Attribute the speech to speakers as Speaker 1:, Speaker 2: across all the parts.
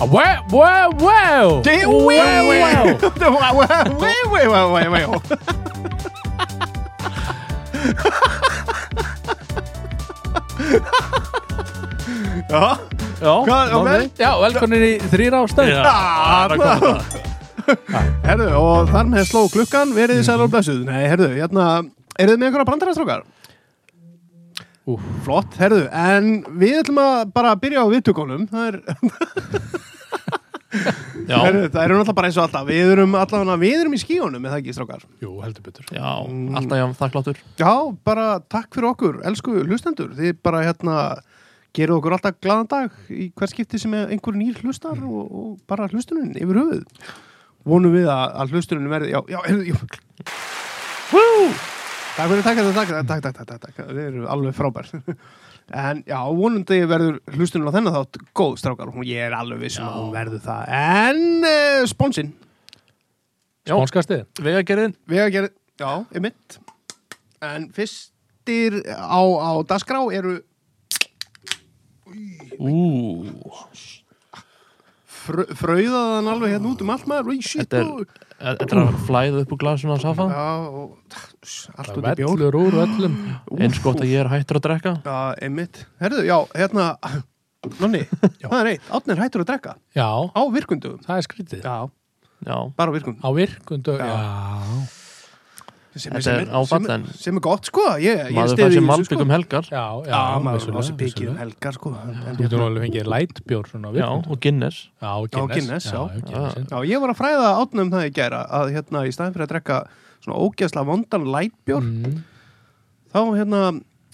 Speaker 1: Wow, wow, wow.
Speaker 2: Det er
Speaker 1: Wow, wow.
Speaker 2: Det var wow, wow, wow, wow, wow. Ja,
Speaker 1: Já,
Speaker 2: Hvað- og vel-
Speaker 1: já, velkomin í þrýra ástæð.
Speaker 3: Já,
Speaker 2: Ah,
Speaker 3: það kom það.
Speaker 2: herðu, og þar með sló klukkan verið þið sæl og blessuð. Nei, herðu, hérna, eru þið með einhverja brandarastrókar?
Speaker 1: Úff.
Speaker 2: Flott, herðu, en við ætlum að bara byrja á viðtökunum. Það er,
Speaker 3: Já,
Speaker 2: herðu, það eru náttúrulega bara eins og alltaf. Við erum allavega, við erum í skíunum, er það ekki, strókar?
Speaker 1: Jú, heldur betur.
Speaker 3: já, alltaf jáfn þakkláttur.
Speaker 2: Já, bara takk fyrir okkur, elsku hlustendur. Þið bara hérna gerir okkur alltaf glaðan dag í hver skipti sem einhver nýr hlustar og, og bara hlustunin yfir höfuð. Vonum við að, að hlustunin verði, já, já, heyrðu, já. Wú! Takk fyrir, takk, takk, takk, takk, takk, takk, takk, þið eru alveg frábær. En já, vonandi verður hlustunin á þennan þátt góð strákar og ég er alveg vissum að hún verður það. En uh, sponsinn,
Speaker 1: Spónskastið.
Speaker 3: Vegagerðin,
Speaker 2: Vegagerð, já, er mitt En fyrstir á, á dagskrá eru
Speaker 3: ú,
Speaker 2: frö, fröðaðan alveg hérna út um allt maður Í shit
Speaker 3: þetta
Speaker 2: og-
Speaker 3: er, þetta er að flæða upp úr glasinu á safa.
Speaker 2: Já, og allt út í bjór
Speaker 1: Vellur úr öllum.
Speaker 3: Eins gott að ég er hættur að drekka.
Speaker 2: Já, einmitt Herðu, já, hérna Nonni, það er eitt, Átnir hættur að drekka
Speaker 1: Já,
Speaker 2: Á virkundum
Speaker 1: það er skrítið.
Speaker 2: Já,
Speaker 3: Já,
Speaker 2: bara á virkundum
Speaker 1: Á virkundu.
Speaker 2: Já.
Speaker 1: Já.
Speaker 2: sem,
Speaker 3: Þetta
Speaker 2: sem
Speaker 3: er áfall,
Speaker 2: sem,
Speaker 3: en-
Speaker 2: sem er gott, sko Ég, ég
Speaker 3: maður
Speaker 2: stiði í
Speaker 3: fær sér
Speaker 2: þessu,
Speaker 3: malbygg
Speaker 2: sko
Speaker 3: um helgar.
Speaker 1: Já, já.
Speaker 2: Já, maður
Speaker 1: vissulega,
Speaker 2: á sér pikið um
Speaker 1: vissulega.
Speaker 2: helga, sko En- en
Speaker 1: Þú getur
Speaker 2: hérna-
Speaker 1: alveg fengið lightbjór svona á
Speaker 3: Já,
Speaker 1: virkundu.
Speaker 3: og Guinness.
Speaker 1: Já, og
Speaker 2: Já,
Speaker 1: Guinness.
Speaker 2: Guinness, já.
Speaker 1: Guinnessin.
Speaker 2: Já, ég var að fræða átna um það í gæra að hérna í staðin fyrir að drekka svona ógeðsla vondan lætbjór
Speaker 1: Mm.
Speaker 2: þá hérna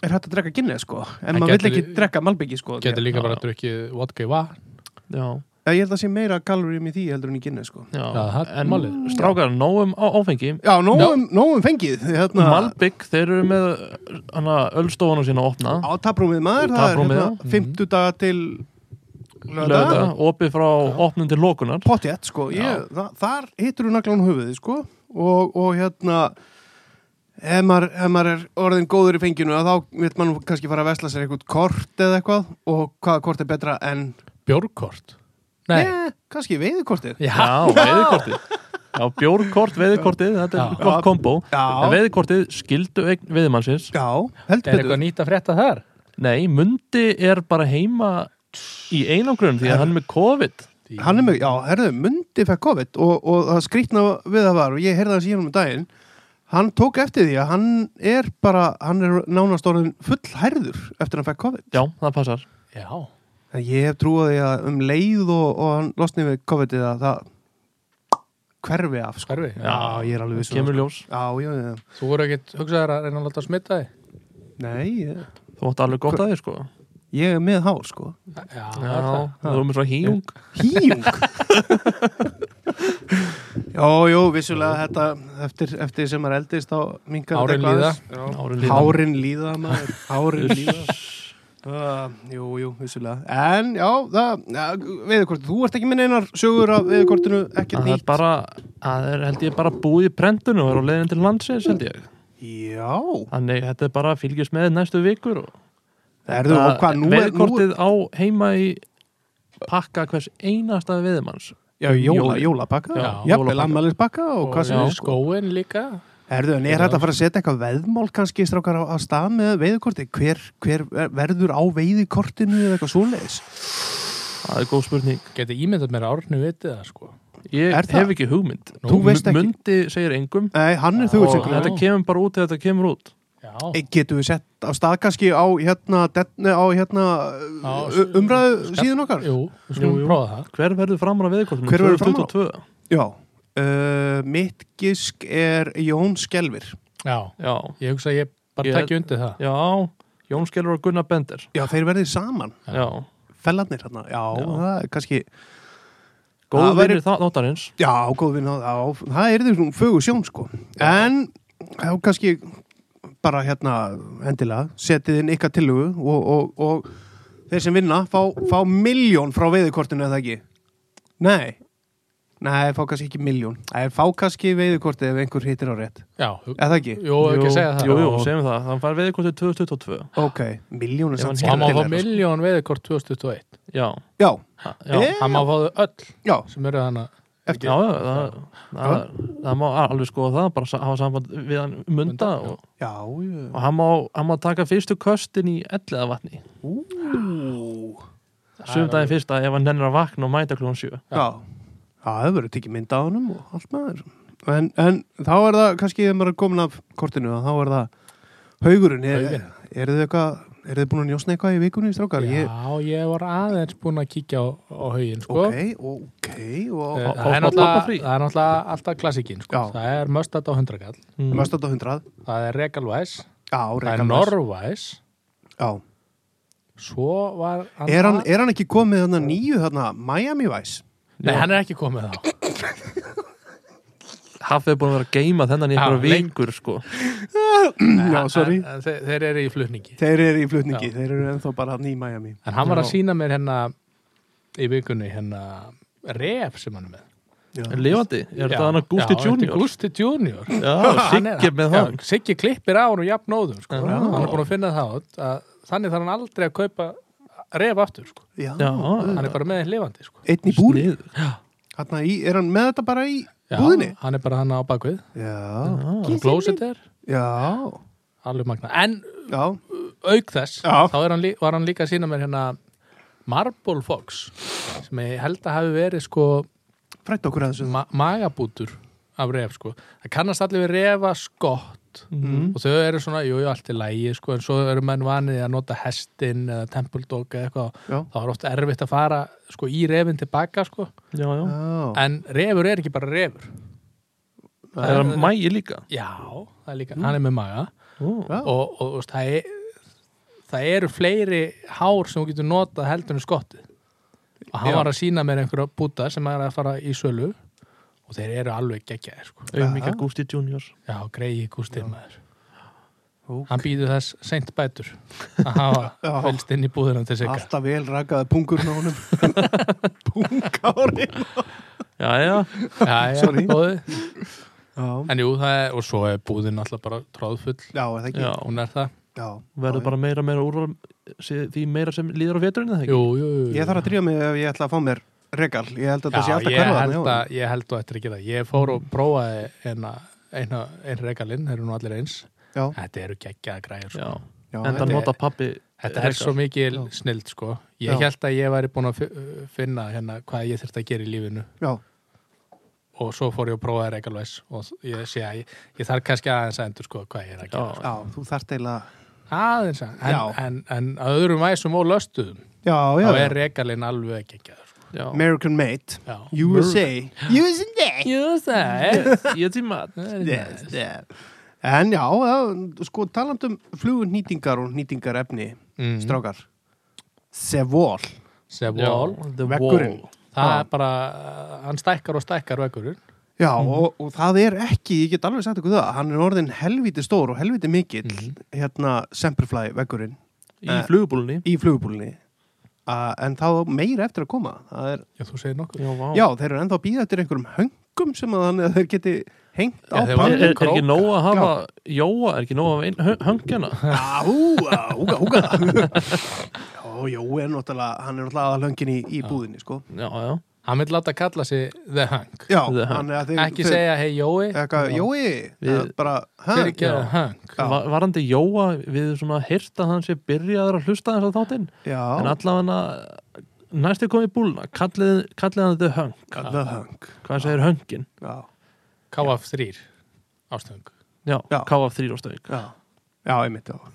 Speaker 2: er hægt að drekka ginnið sko en
Speaker 1: Það
Speaker 2: maður vill
Speaker 1: gæti-
Speaker 2: ekki drekka malbyggi sko
Speaker 1: Getur líka
Speaker 3: Já.
Speaker 1: bara að drukkið vodka í vatn.
Speaker 3: Já,
Speaker 2: Já, ég held að sé meira kaloríum í því heldur en í ginnið sko
Speaker 3: já.
Speaker 1: Já, það er
Speaker 3: En
Speaker 1: málið.
Speaker 3: strákar, nógum á áfengi.
Speaker 2: Já,
Speaker 1: Já.
Speaker 2: nógum, nógum fengið hérna,
Speaker 3: Malbygg, þeir eru með hana, ölstofana sína að opna.
Speaker 2: á taprúmið maður það er
Speaker 3: Taprúmið,
Speaker 2: hérna
Speaker 1: já. Mhm.
Speaker 2: 50 daga til
Speaker 3: Löða,
Speaker 2: lögða
Speaker 3: opið frá opnum til lókunar.
Speaker 2: pottjett sko ég,
Speaker 3: Já.
Speaker 2: þa þar hittur þú naglan höfuðið sko og, og hérna ef maður, ef maður er orðin góður í fenginu að þá vil mann kannski fara að vesla sér eitthvað kort eða eitthvað og hvaða kort er betra en
Speaker 1: Bjórkort. Nei.
Speaker 2: Eh, kannski veiðkortið
Speaker 3: Já, veiðkortið Já, bjórkort, veiðkortið, þetta er
Speaker 1: Já.
Speaker 3: gott kombo
Speaker 2: Já.
Speaker 3: En veiðkortið skildu eign veiðmannsins
Speaker 2: já, heldur
Speaker 1: Er
Speaker 2: betur
Speaker 1: eitthvað nýtt að frétta þar?
Speaker 3: Nei, Mundi er bara heima í einangrun því að hann er með COVID
Speaker 2: hann er með, já, herðu, Mundi fekk COVID og, og það skrýtna við það var og ég heyrði það síðan um daginn hann tók eftir því að hann er bara hann er nánast orðin fullhærður eftir að hann fekk COVID
Speaker 3: Já, það passar
Speaker 1: Já.
Speaker 2: en ég hef trúið því að um leið og, og hann losni við COVID eða það hverfi af sko.
Speaker 1: Skarfi.
Speaker 2: já, ég er alveg viss um
Speaker 3: Kemur
Speaker 2: það,
Speaker 3: ljós,
Speaker 2: sko. já, já, já,
Speaker 1: Þú voru ekkert hugsaður að reyna að láta smitta þig?
Speaker 2: nei ég,
Speaker 3: þú átt alveg gott að þér sko Já,
Speaker 2: ég er með hár sko
Speaker 1: Já, það.
Speaker 3: þú erum svo híung
Speaker 2: Híung Jó, jó, vissulega þetta eftir, eftir sem maður eldist þá mingar
Speaker 1: Árin líða.
Speaker 2: líða
Speaker 3: Árin líða.
Speaker 2: Hárin líða maður Hárin líða uh, Jú, jú, vissulega En já, það, ja, veðurkort Þú ert ekki minn einar sögur af veðurkortinu ekkert
Speaker 3: Það er
Speaker 2: nýtt
Speaker 3: bara, það er held ég bara búið í prentinu og er á leiðin til landsins held ég
Speaker 2: Já,
Speaker 3: Þannig, þetta er bara að fylgjast með næstu vikur og
Speaker 2: erðu og hvað nú er nú,
Speaker 3: Veiðkortið á heima í pakka hvers einasta veiðmanns
Speaker 2: Já, jóla, jólapakka,
Speaker 3: Já,
Speaker 2: jafnvel
Speaker 3: jólapakka.
Speaker 2: ammælispakka og hvað sem
Speaker 1: já,
Speaker 2: er sko
Speaker 1: skóin líka.
Speaker 2: Erðu, en er þetta að fara að setja eitthvað veðmál kannski strákar á, á stað með veiðukorti? Hver, hver verður á veiðukortinu eða eitthvað svoleiðis?
Speaker 3: Það er góð spurning
Speaker 1: Geti ímyndað mér að árnu vitið það, sko.
Speaker 3: Ég
Speaker 2: Er það?
Speaker 3: hef ekki hugmynd
Speaker 1: Nú,
Speaker 2: Þú veist ekki.
Speaker 3: Mundi segir engum
Speaker 2: Nei, hann er
Speaker 3: og
Speaker 2: þugulsingur.
Speaker 3: þetta
Speaker 1: Já.
Speaker 3: kemur bara út þegar þetta kemur út
Speaker 1: Já.
Speaker 2: Getum við sett á stað kannski á hérna, detni, á, hérna
Speaker 1: Á,
Speaker 2: u- umræðu síðan okkar?
Speaker 1: Jú, við skulum
Speaker 3: Jú, jú.
Speaker 1: prófa það.
Speaker 3: Hver verður framar af veðkortinu?
Speaker 2: Hver verður framan á?
Speaker 3: 2022?
Speaker 2: Já. Uh, mitt gisk er Jón Skelvir.
Speaker 1: Já,
Speaker 3: Já,
Speaker 1: ég hugsa að ég bara
Speaker 3: Ég-
Speaker 1: ég... tekja undir það.
Speaker 3: já Jón Skelur og Gunnar Bender
Speaker 2: Já, þeir verðið saman.
Speaker 3: Já,
Speaker 2: Fellarnir hérna. Já,
Speaker 3: Já.
Speaker 2: það er kannski...
Speaker 3: góð
Speaker 2: Það
Speaker 3: það
Speaker 2: væri-
Speaker 3: verið það þáttarins
Speaker 2: Já, góð vinn á það. Það er því svona fögur sjón, sko. En þá kannski bara hérna endilega setið inn ykkar tilhugu og, og, og þeir sem vinna fá, fá miljón frá veiðukortinu eða ekki. Nei. Nei, fá kannski ekki miljón. Nei, fá kannski veiðukortið ef einhver hittir á rétt.
Speaker 1: Já, hug...
Speaker 2: Eða ekki?
Speaker 1: jú, ekki að segja það.
Speaker 3: Jú, jú, segjum það, þannig fær veðkortið 2022
Speaker 2: Ok, miljónu
Speaker 3: Ef hann
Speaker 1: Og
Speaker 2: samt
Speaker 1: hann má fá
Speaker 2: sko. skemmtilega.
Speaker 1: miljón veiðkort 2021.
Speaker 3: já,
Speaker 2: Já,
Speaker 3: ha- já, já,
Speaker 2: Eh?
Speaker 1: Hann má fá þau öll
Speaker 2: já,
Speaker 1: sem eru hana
Speaker 2: eftir
Speaker 3: já það, það, það má alveg skoða það bara sa- hafa samband við hann munda
Speaker 1: Munda, já.
Speaker 3: og,
Speaker 2: Já, já
Speaker 3: og hann, má, hann má taka fyrstu köstin í elliða vatni
Speaker 2: Ú.
Speaker 3: sumdæðin fyrsta ef hann nennir að vakna og mæta klón 7
Speaker 2: Já, Já, það verður tekið mynd á honum og allt með þér en, en þá er það, kannski þegar maður er komin af kortinu að þá er það haugurinn er,
Speaker 1: Haugurinn.
Speaker 2: er þið eitthvað, er þið búin að njósna eitthvað í vikunni, strákar?
Speaker 1: Já,
Speaker 2: Ég,
Speaker 1: ég var aðeins búin að kíkja á, á haugin sko.
Speaker 2: ok, ok og,
Speaker 1: Eh,
Speaker 2: og,
Speaker 1: það,
Speaker 3: á
Speaker 1: er náttúrulega-
Speaker 3: pappafrí.
Speaker 1: það er náttúrulega alltaf klassikin sko.
Speaker 2: Já.
Speaker 1: Það er möstat á hundrakall
Speaker 2: og
Speaker 3: mm.
Speaker 2: mest þetta hundrað
Speaker 1: Það er regalvæs,
Speaker 2: Já,
Speaker 1: það er
Speaker 2: Reykjanes.
Speaker 1: norvæs
Speaker 2: Já,
Speaker 1: Svo var
Speaker 2: er hann, er hann ekki komið þarna nýju þarna Miami Vice?
Speaker 1: Nei, hann er ekki komið þá
Speaker 3: hafið búin að vera að geima þennan í
Speaker 1: Já,
Speaker 3: einhverja
Speaker 1: lengi.
Speaker 3: vikur sko
Speaker 2: Já, sorry
Speaker 1: en, en, þeir, þeir eru í flutningi
Speaker 2: Þeir eru í flutningi, þeir eru ennþá bara hann í Miami
Speaker 1: En hann var að
Speaker 3: Já.
Speaker 1: sína mér hérna í vikunni hérna ref sem hann er með
Speaker 2: Já,
Speaker 3: er lifandi, er
Speaker 1: Já,
Speaker 3: það hann að Gusti
Speaker 1: já, þetta er
Speaker 3: Junior
Speaker 1: Gústi Junior
Speaker 3: já,
Speaker 1: Hann er-
Speaker 3: Siggi með hann
Speaker 1: já, Siggi klippir á hann og jafnóður sko.
Speaker 3: Já.
Speaker 1: Hann er búin að finna það át að þannig þarf hann aldrei að kaupa ref aftur sko.
Speaker 2: já,
Speaker 3: já,
Speaker 2: Mm.
Speaker 1: Hann er bara með þeim lifandi sko.
Speaker 2: Einn í búri,
Speaker 3: snið
Speaker 2: hann er hann með þetta bara í
Speaker 1: Já,
Speaker 2: búðinni? Ah.
Speaker 1: Hann er bara hann á bakvið
Speaker 2: Já,
Speaker 1: Hann glósit er
Speaker 2: já,
Speaker 1: alveg magna En
Speaker 2: já,
Speaker 1: auk þess,
Speaker 2: Já.
Speaker 1: þá er hann, lí- var hann líka að sína mér hérna Marble Fox sem ég held að hafi verið sko
Speaker 2: frætt okkur að þessu.
Speaker 1: ma magabútur af ref sko. Það kannast allir við refa skott
Speaker 2: Mm.
Speaker 3: Mm,
Speaker 1: og þau eru svona, jú, jú, allt í lægi sko, en svo eru menn vanið að nota hestin eða tempeldóka eða eitthvað
Speaker 2: Já.
Speaker 1: þá er oft erfitt að fara sko í refin tilbaka sko,
Speaker 3: já, já,
Speaker 2: Já,
Speaker 1: en refur er ekki bara refur
Speaker 3: það er að mægi líka
Speaker 1: Já, það er
Speaker 2: Mm.
Speaker 1: líka, hann er með maga
Speaker 3: Ó.
Speaker 2: Já.
Speaker 1: og, og, og það, er, það eru fleiri hár sem þú getur notað heldur en skottið og hann
Speaker 2: Já.
Speaker 1: var að sína mér einhverja búta sem er að fara í sölu og þeir eru alveg geggjaðir sko.
Speaker 3: auðvitað Gusti Junior
Speaker 1: já, greiði gústið maður
Speaker 2: Ok.
Speaker 1: hann býður þess seint bætur að hafa
Speaker 2: Já.
Speaker 1: fylst inn í búðunum til sigga
Speaker 2: alltaf vel rakaði pungur með honum. Pungári.
Speaker 3: já, já,
Speaker 1: já, já,
Speaker 2: Sorry.
Speaker 1: góði.
Speaker 2: Já,
Speaker 1: en jú, það er, og svo er búðin alltaf bara tróðfull,
Speaker 2: já, er það ekki.
Speaker 3: já
Speaker 1: hún er það
Speaker 2: Já.
Speaker 3: verður bara meira meira úrval sé- því meira sem líður á veturinn eða ekki
Speaker 1: jú, jú, jú, jú.
Speaker 2: Ég þarf að drífa mig ef ég ætla að fá mér regal. Ég held að það sé
Speaker 1: Já,
Speaker 2: alltaf
Speaker 1: ég
Speaker 2: hverfa
Speaker 1: held að, ég held þú eftir ekki það. Ég fór og prófaði eina, eina, einn regalinn, þeir eru nú allir eins.
Speaker 2: Já,
Speaker 1: Þetta eru geggjaða græður, sko.
Speaker 3: já,
Speaker 2: já,
Speaker 3: en
Speaker 1: þetta
Speaker 3: það
Speaker 1: er-
Speaker 3: nota pappi
Speaker 1: Þetta er svo mikil
Speaker 2: Já.
Speaker 1: snild, sko.
Speaker 2: Já.
Speaker 1: Ég held að ég væri búin að fi- finna hérna hvað ég þurfti að gera í lífinu
Speaker 2: já,
Speaker 1: og svo fór ég að prófaði regalvæs og ég sé að ég, ég þarf kannski aðeins að endur, sko, hvað ég er að gera.
Speaker 2: já, þú þarft eiginlega.
Speaker 1: Aðeins að,
Speaker 2: Já.
Speaker 1: en, en, en að öðrum væsum og löstuðum,
Speaker 2: Já, já,
Speaker 1: þá
Speaker 2: já.
Speaker 1: er regalinn alveg geggjaður, sko.
Speaker 3: já.
Speaker 2: American Made.
Speaker 1: Já.
Speaker 2: USA. USA.
Speaker 1: Jú, það er.
Speaker 3: ég tíma
Speaker 1: það er
Speaker 2: Yes,
Speaker 1: nice.
Speaker 2: yeah. En já, já, sko taland um flugnýtingar og nýtingarefni,
Speaker 1: Mm.
Speaker 2: strákar. Sevol.
Speaker 1: Sevol.
Speaker 3: the
Speaker 2: Veggurinn.
Speaker 3: wall
Speaker 1: Það
Speaker 2: Já.
Speaker 1: er bara, uh, hann stækkar og stækkar vekkurinn.
Speaker 2: Já, og, og það er ekki, ég get alveg sagt ykkur það, hann er orðin helviti stór og helviti mikill, hérna Semperfly veggurinn
Speaker 3: í
Speaker 2: Eh.
Speaker 3: flugbúlunni
Speaker 2: í flugubúlinni. Uh, en þá á meira eftir að koma. Það Er,
Speaker 1: Já, þú segir nokkuð.
Speaker 3: já, vá
Speaker 2: Já, þeir eru ennþá að býða eftir einhverjum höngum sem að, hann, að þeir geti hengt á
Speaker 1: Já, þeir
Speaker 3: Er,
Speaker 1: voru-
Speaker 2: pannum.
Speaker 3: er, er ekki nóg að hafa Jóa, er ekki nóg að hafa ein- hö- hérna? höngjana
Speaker 2: Áúga, úga, úga. Jó, jó, er náttúrulega, hann er náttúrulega aðalöngin í, í búðinni, sko.
Speaker 3: Já, já,
Speaker 1: Hann vil láta kalla sig The Hunk
Speaker 2: Já,
Speaker 3: The
Speaker 2: hann er að þeir...
Speaker 1: Ekki segja hei Jói
Speaker 2: Eitthvað, jói,
Speaker 3: Við-
Speaker 2: bara,
Speaker 1: Fyrir
Speaker 2: hæ?
Speaker 1: ekki The Hunk
Speaker 2: Já.
Speaker 3: Va- varandi Jóa við svona heyrt að hann sé byrjaður að hlusta þess að þáttinn en
Speaker 2: Já,
Speaker 3: allavega næstu komið í búluna kallið, kallið hann þau höng
Speaker 2: the hung.
Speaker 3: hvað segir höngin?
Speaker 2: Já.
Speaker 1: KF3 Ástöng
Speaker 3: Já,
Speaker 2: Já.
Speaker 3: KF3 og stöðing
Speaker 2: Já, já, einmitt já.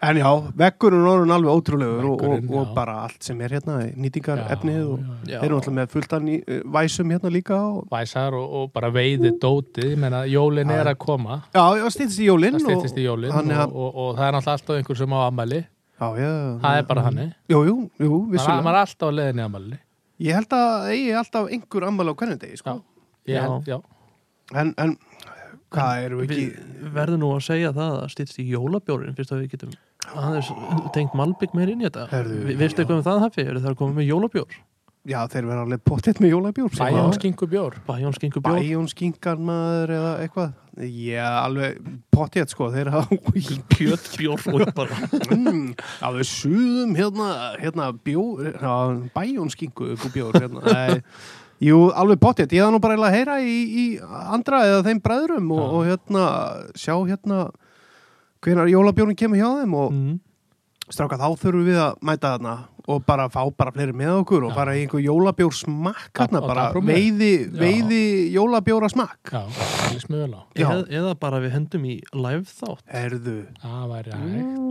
Speaker 2: En já, vekkurinn er orðin alveg ótrúlegur og, og,
Speaker 1: Veggurinn, já.
Speaker 2: og bara allt sem er hérna, nýtingar efnið og
Speaker 3: já.
Speaker 2: þeir eru alltaf með fullt af ný, eh, væsum hérna líka og
Speaker 1: Væsar og, og bara veiði dótið Ég meina, jólin er að koma
Speaker 2: já, já, stýttist í jólinn
Speaker 1: Það stýttist í jólin og,
Speaker 2: Hann,
Speaker 1: og,
Speaker 2: og,
Speaker 1: og, það er náttúrulega alltaf einhver sem á ammæli
Speaker 2: já, já,
Speaker 1: Það er bara hannig
Speaker 2: Jú, jú, jú,
Speaker 1: Það
Speaker 2: vissulega
Speaker 1: er alltaf á leiðinni ammæli
Speaker 2: Ég held að það eigi alltaf einhver ammæli á hvernig degi, sko
Speaker 1: Já, ég held, já
Speaker 2: En, en, hvað erum við ekki
Speaker 3: Við verðum nú að segja það að stýttst í jólabjórin fyrst að við getum aðeins tengt malbygg meir inn í þetta
Speaker 2: Herðu,
Speaker 3: Vi- Veistu eitthvað um það hafi? Eru það að koma með jólabjór?
Speaker 2: já, þeir verða alveg pottitt með jólabjór sko.
Speaker 1: Bæjón skingu um bjór
Speaker 3: Bæjóns gengur bjór
Speaker 2: Bæjónskingan maður eða eitthvað Já, alveg pottitt sko Þeir hafa
Speaker 3: Kjöt bjór og bara
Speaker 2: mm, alveg suðum hérna, hérna bjór Bæjónskingu bjór hérna. Nei, Jú, alveg pottitt Ég það nú bara eiginlega að heyra í, í andra eða þeim bræðrum og,
Speaker 1: Já.
Speaker 2: og hérna sjá hérna hvenar jólabjórn kemur hjá þeim og
Speaker 3: mm.
Speaker 2: stráka þá þurfum við að mæta þarna og bara fá bara fleiri með okkur og
Speaker 1: Já.
Speaker 2: fara í einhver jólabjór smakk
Speaker 1: Á-
Speaker 2: hérna,
Speaker 1: á
Speaker 2: bara
Speaker 1: dagskránni.
Speaker 2: veiði,
Speaker 1: Já.
Speaker 2: veiði jólabjóra smakk
Speaker 1: Já, það lýst mjög vel á
Speaker 2: Já.
Speaker 3: eða, eða bara við hendum í live þátt
Speaker 2: Herðu
Speaker 1: Það væri hægt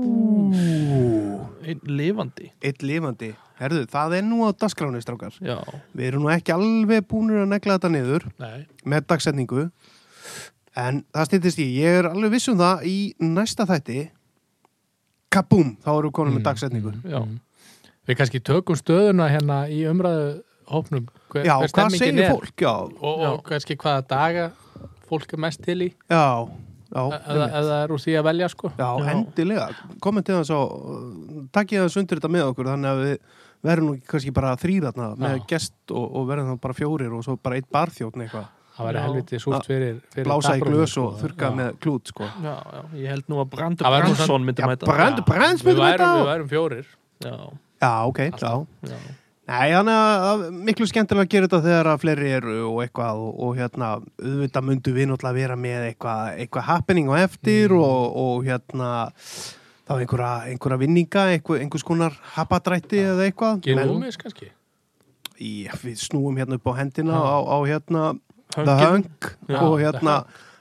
Speaker 2: Mm.
Speaker 3: einn lifandi
Speaker 2: Eitt lifandi Herðu, það er nú á dagskráni strákar
Speaker 3: Já,
Speaker 2: Við erum nú ekki alveg búinir að negla þetta niður
Speaker 1: Nei,
Speaker 2: með dagsetningu en það stýttist ég, ég er alveg viss um það í næsta þætti kabúm, þá erum við konum með dagsetningu
Speaker 1: Mm.
Speaker 3: já
Speaker 1: Við kannski tökum stöðuna hérna í umræðu hópnum hver,
Speaker 2: Já,
Speaker 1: hver
Speaker 2: hvað
Speaker 1: stemmingin
Speaker 2: segir
Speaker 1: er
Speaker 2: fólk? Já,
Speaker 1: Og, og kannski hvaða daga fólk er mest til í
Speaker 2: já, já
Speaker 1: eða
Speaker 2: einmitt.
Speaker 1: eða það er úr því að velja sko
Speaker 2: Já,
Speaker 3: Já.
Speaker 2: endilega, kommentið hans á takkið hans undir þetta með okkur þannig að við verðum nú kannski bara þrýratna með
Speaker 1: Já.
Speaker 2: gest og, og verðum þá bara fjórir og svo bara eitt barþjóðn eitthvað
Speaker 1: Það væri
Speaker 3: Já.
Speaker 1: helviti súrt fyrir, fyrir
Speaker 2: blása í
Speaker 1: dapurinn,
Speaker 2: glös
Speaker 1: sko.
Speaker 2: og þurka
Speaker 1: Já.
Speaker 2: með klút sko.
Speaker 3: Já, já, ég held nú að Brandur
Speaker 1: Það væri nú
Speaker 3: Brandsson myndi
Speaker 2: Já,
Speaker 3: mæta
Speaker 2: Brand-
Speaker 1: Já,
Speaker 2: Brands myndi
Speaker 1: við værum-
Speaker 2: mæta á.
Speaker 1: Við værum fjórir
Speaker 3: Já,
Speaker 2: Já, ok,
Speaker 1: Alltaf.
Speaker 2: já
Speaker 3: já,
Speaker 2: Nei, þannig að að miklu skemmtilega að gera þetta þegar að fleiri eru og eitthvað og, og hérna, auðvitað myndu við náttúrulega vera með eitthvað, eitthvað happening á eftir og, og hérna þá einhverja, einhverja vinninga einhver, einhvers konar hapadrætti eða eitthvað
Speaker 1: Gilum við kannski
Speaker 2: Já, við snúum hérna upp á hendina
Speaker 1: Já.
Speaker 2: á, á hérna The
Speaker 3: Höngin.
Speaker 2: Hunk
Speaker 3: Já,
Speaker 2: og
Speaker 1: The
Speaker 2: hérna